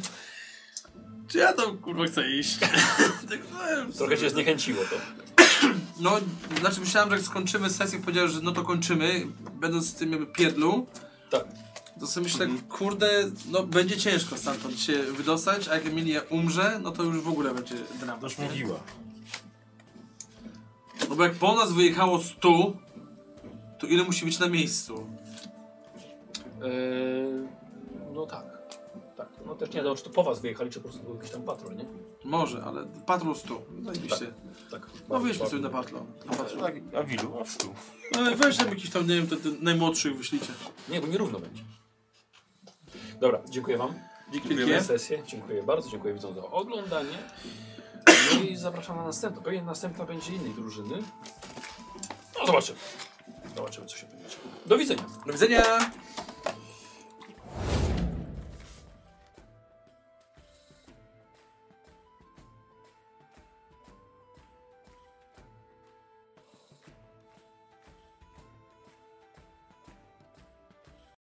S6: czy ja tam kurwa chcę iść? tak, no,
S1: Trochę cię zniechęciło to.
S6: no, znaczy myślałem, że jak skończymy sesję, powiedziałem, że no to kończymy, będąc z tym jakby pierdlu.
S1: Tak. Mhm.
S6: To sobie myślę, kurde, no będzie ciężko stamtąd się wydostać, a jak Emilia umrze, no to już w ogóle będzie drama.
S3: Noż mówiła.
S6: No bo jak po nas wyjechało 100, to ile musi być na miejscu?
S1: Eee, no tak. Tak. No też nie wiadomo, czy to po was wyjechali, czy po prostu był jakiś tam patrol, nie?
S6: Może, ale patrol 100. Zajebiście.
S1: Tak.
S6: No wyjdźmy sobie na patrol. Na patrol.
S3: Tak, a wilu, a w stu.
S6: No, weź tam jakiś tam, nie wiem, te, te najmłodszych wyślijcie.
S1: Nie, bo nierówno będzie. Dobra, dziękuję wam. Dziękuję za sesję. Dziękuję bardzo, dziękuję widzom za oglądanie. No i zapraszam na następną. Pewnie następna będzie innej drużyny. No zobaczymy. Zobaczymy, co się będzie działo. Do widzenia.
S6: Do widzenia!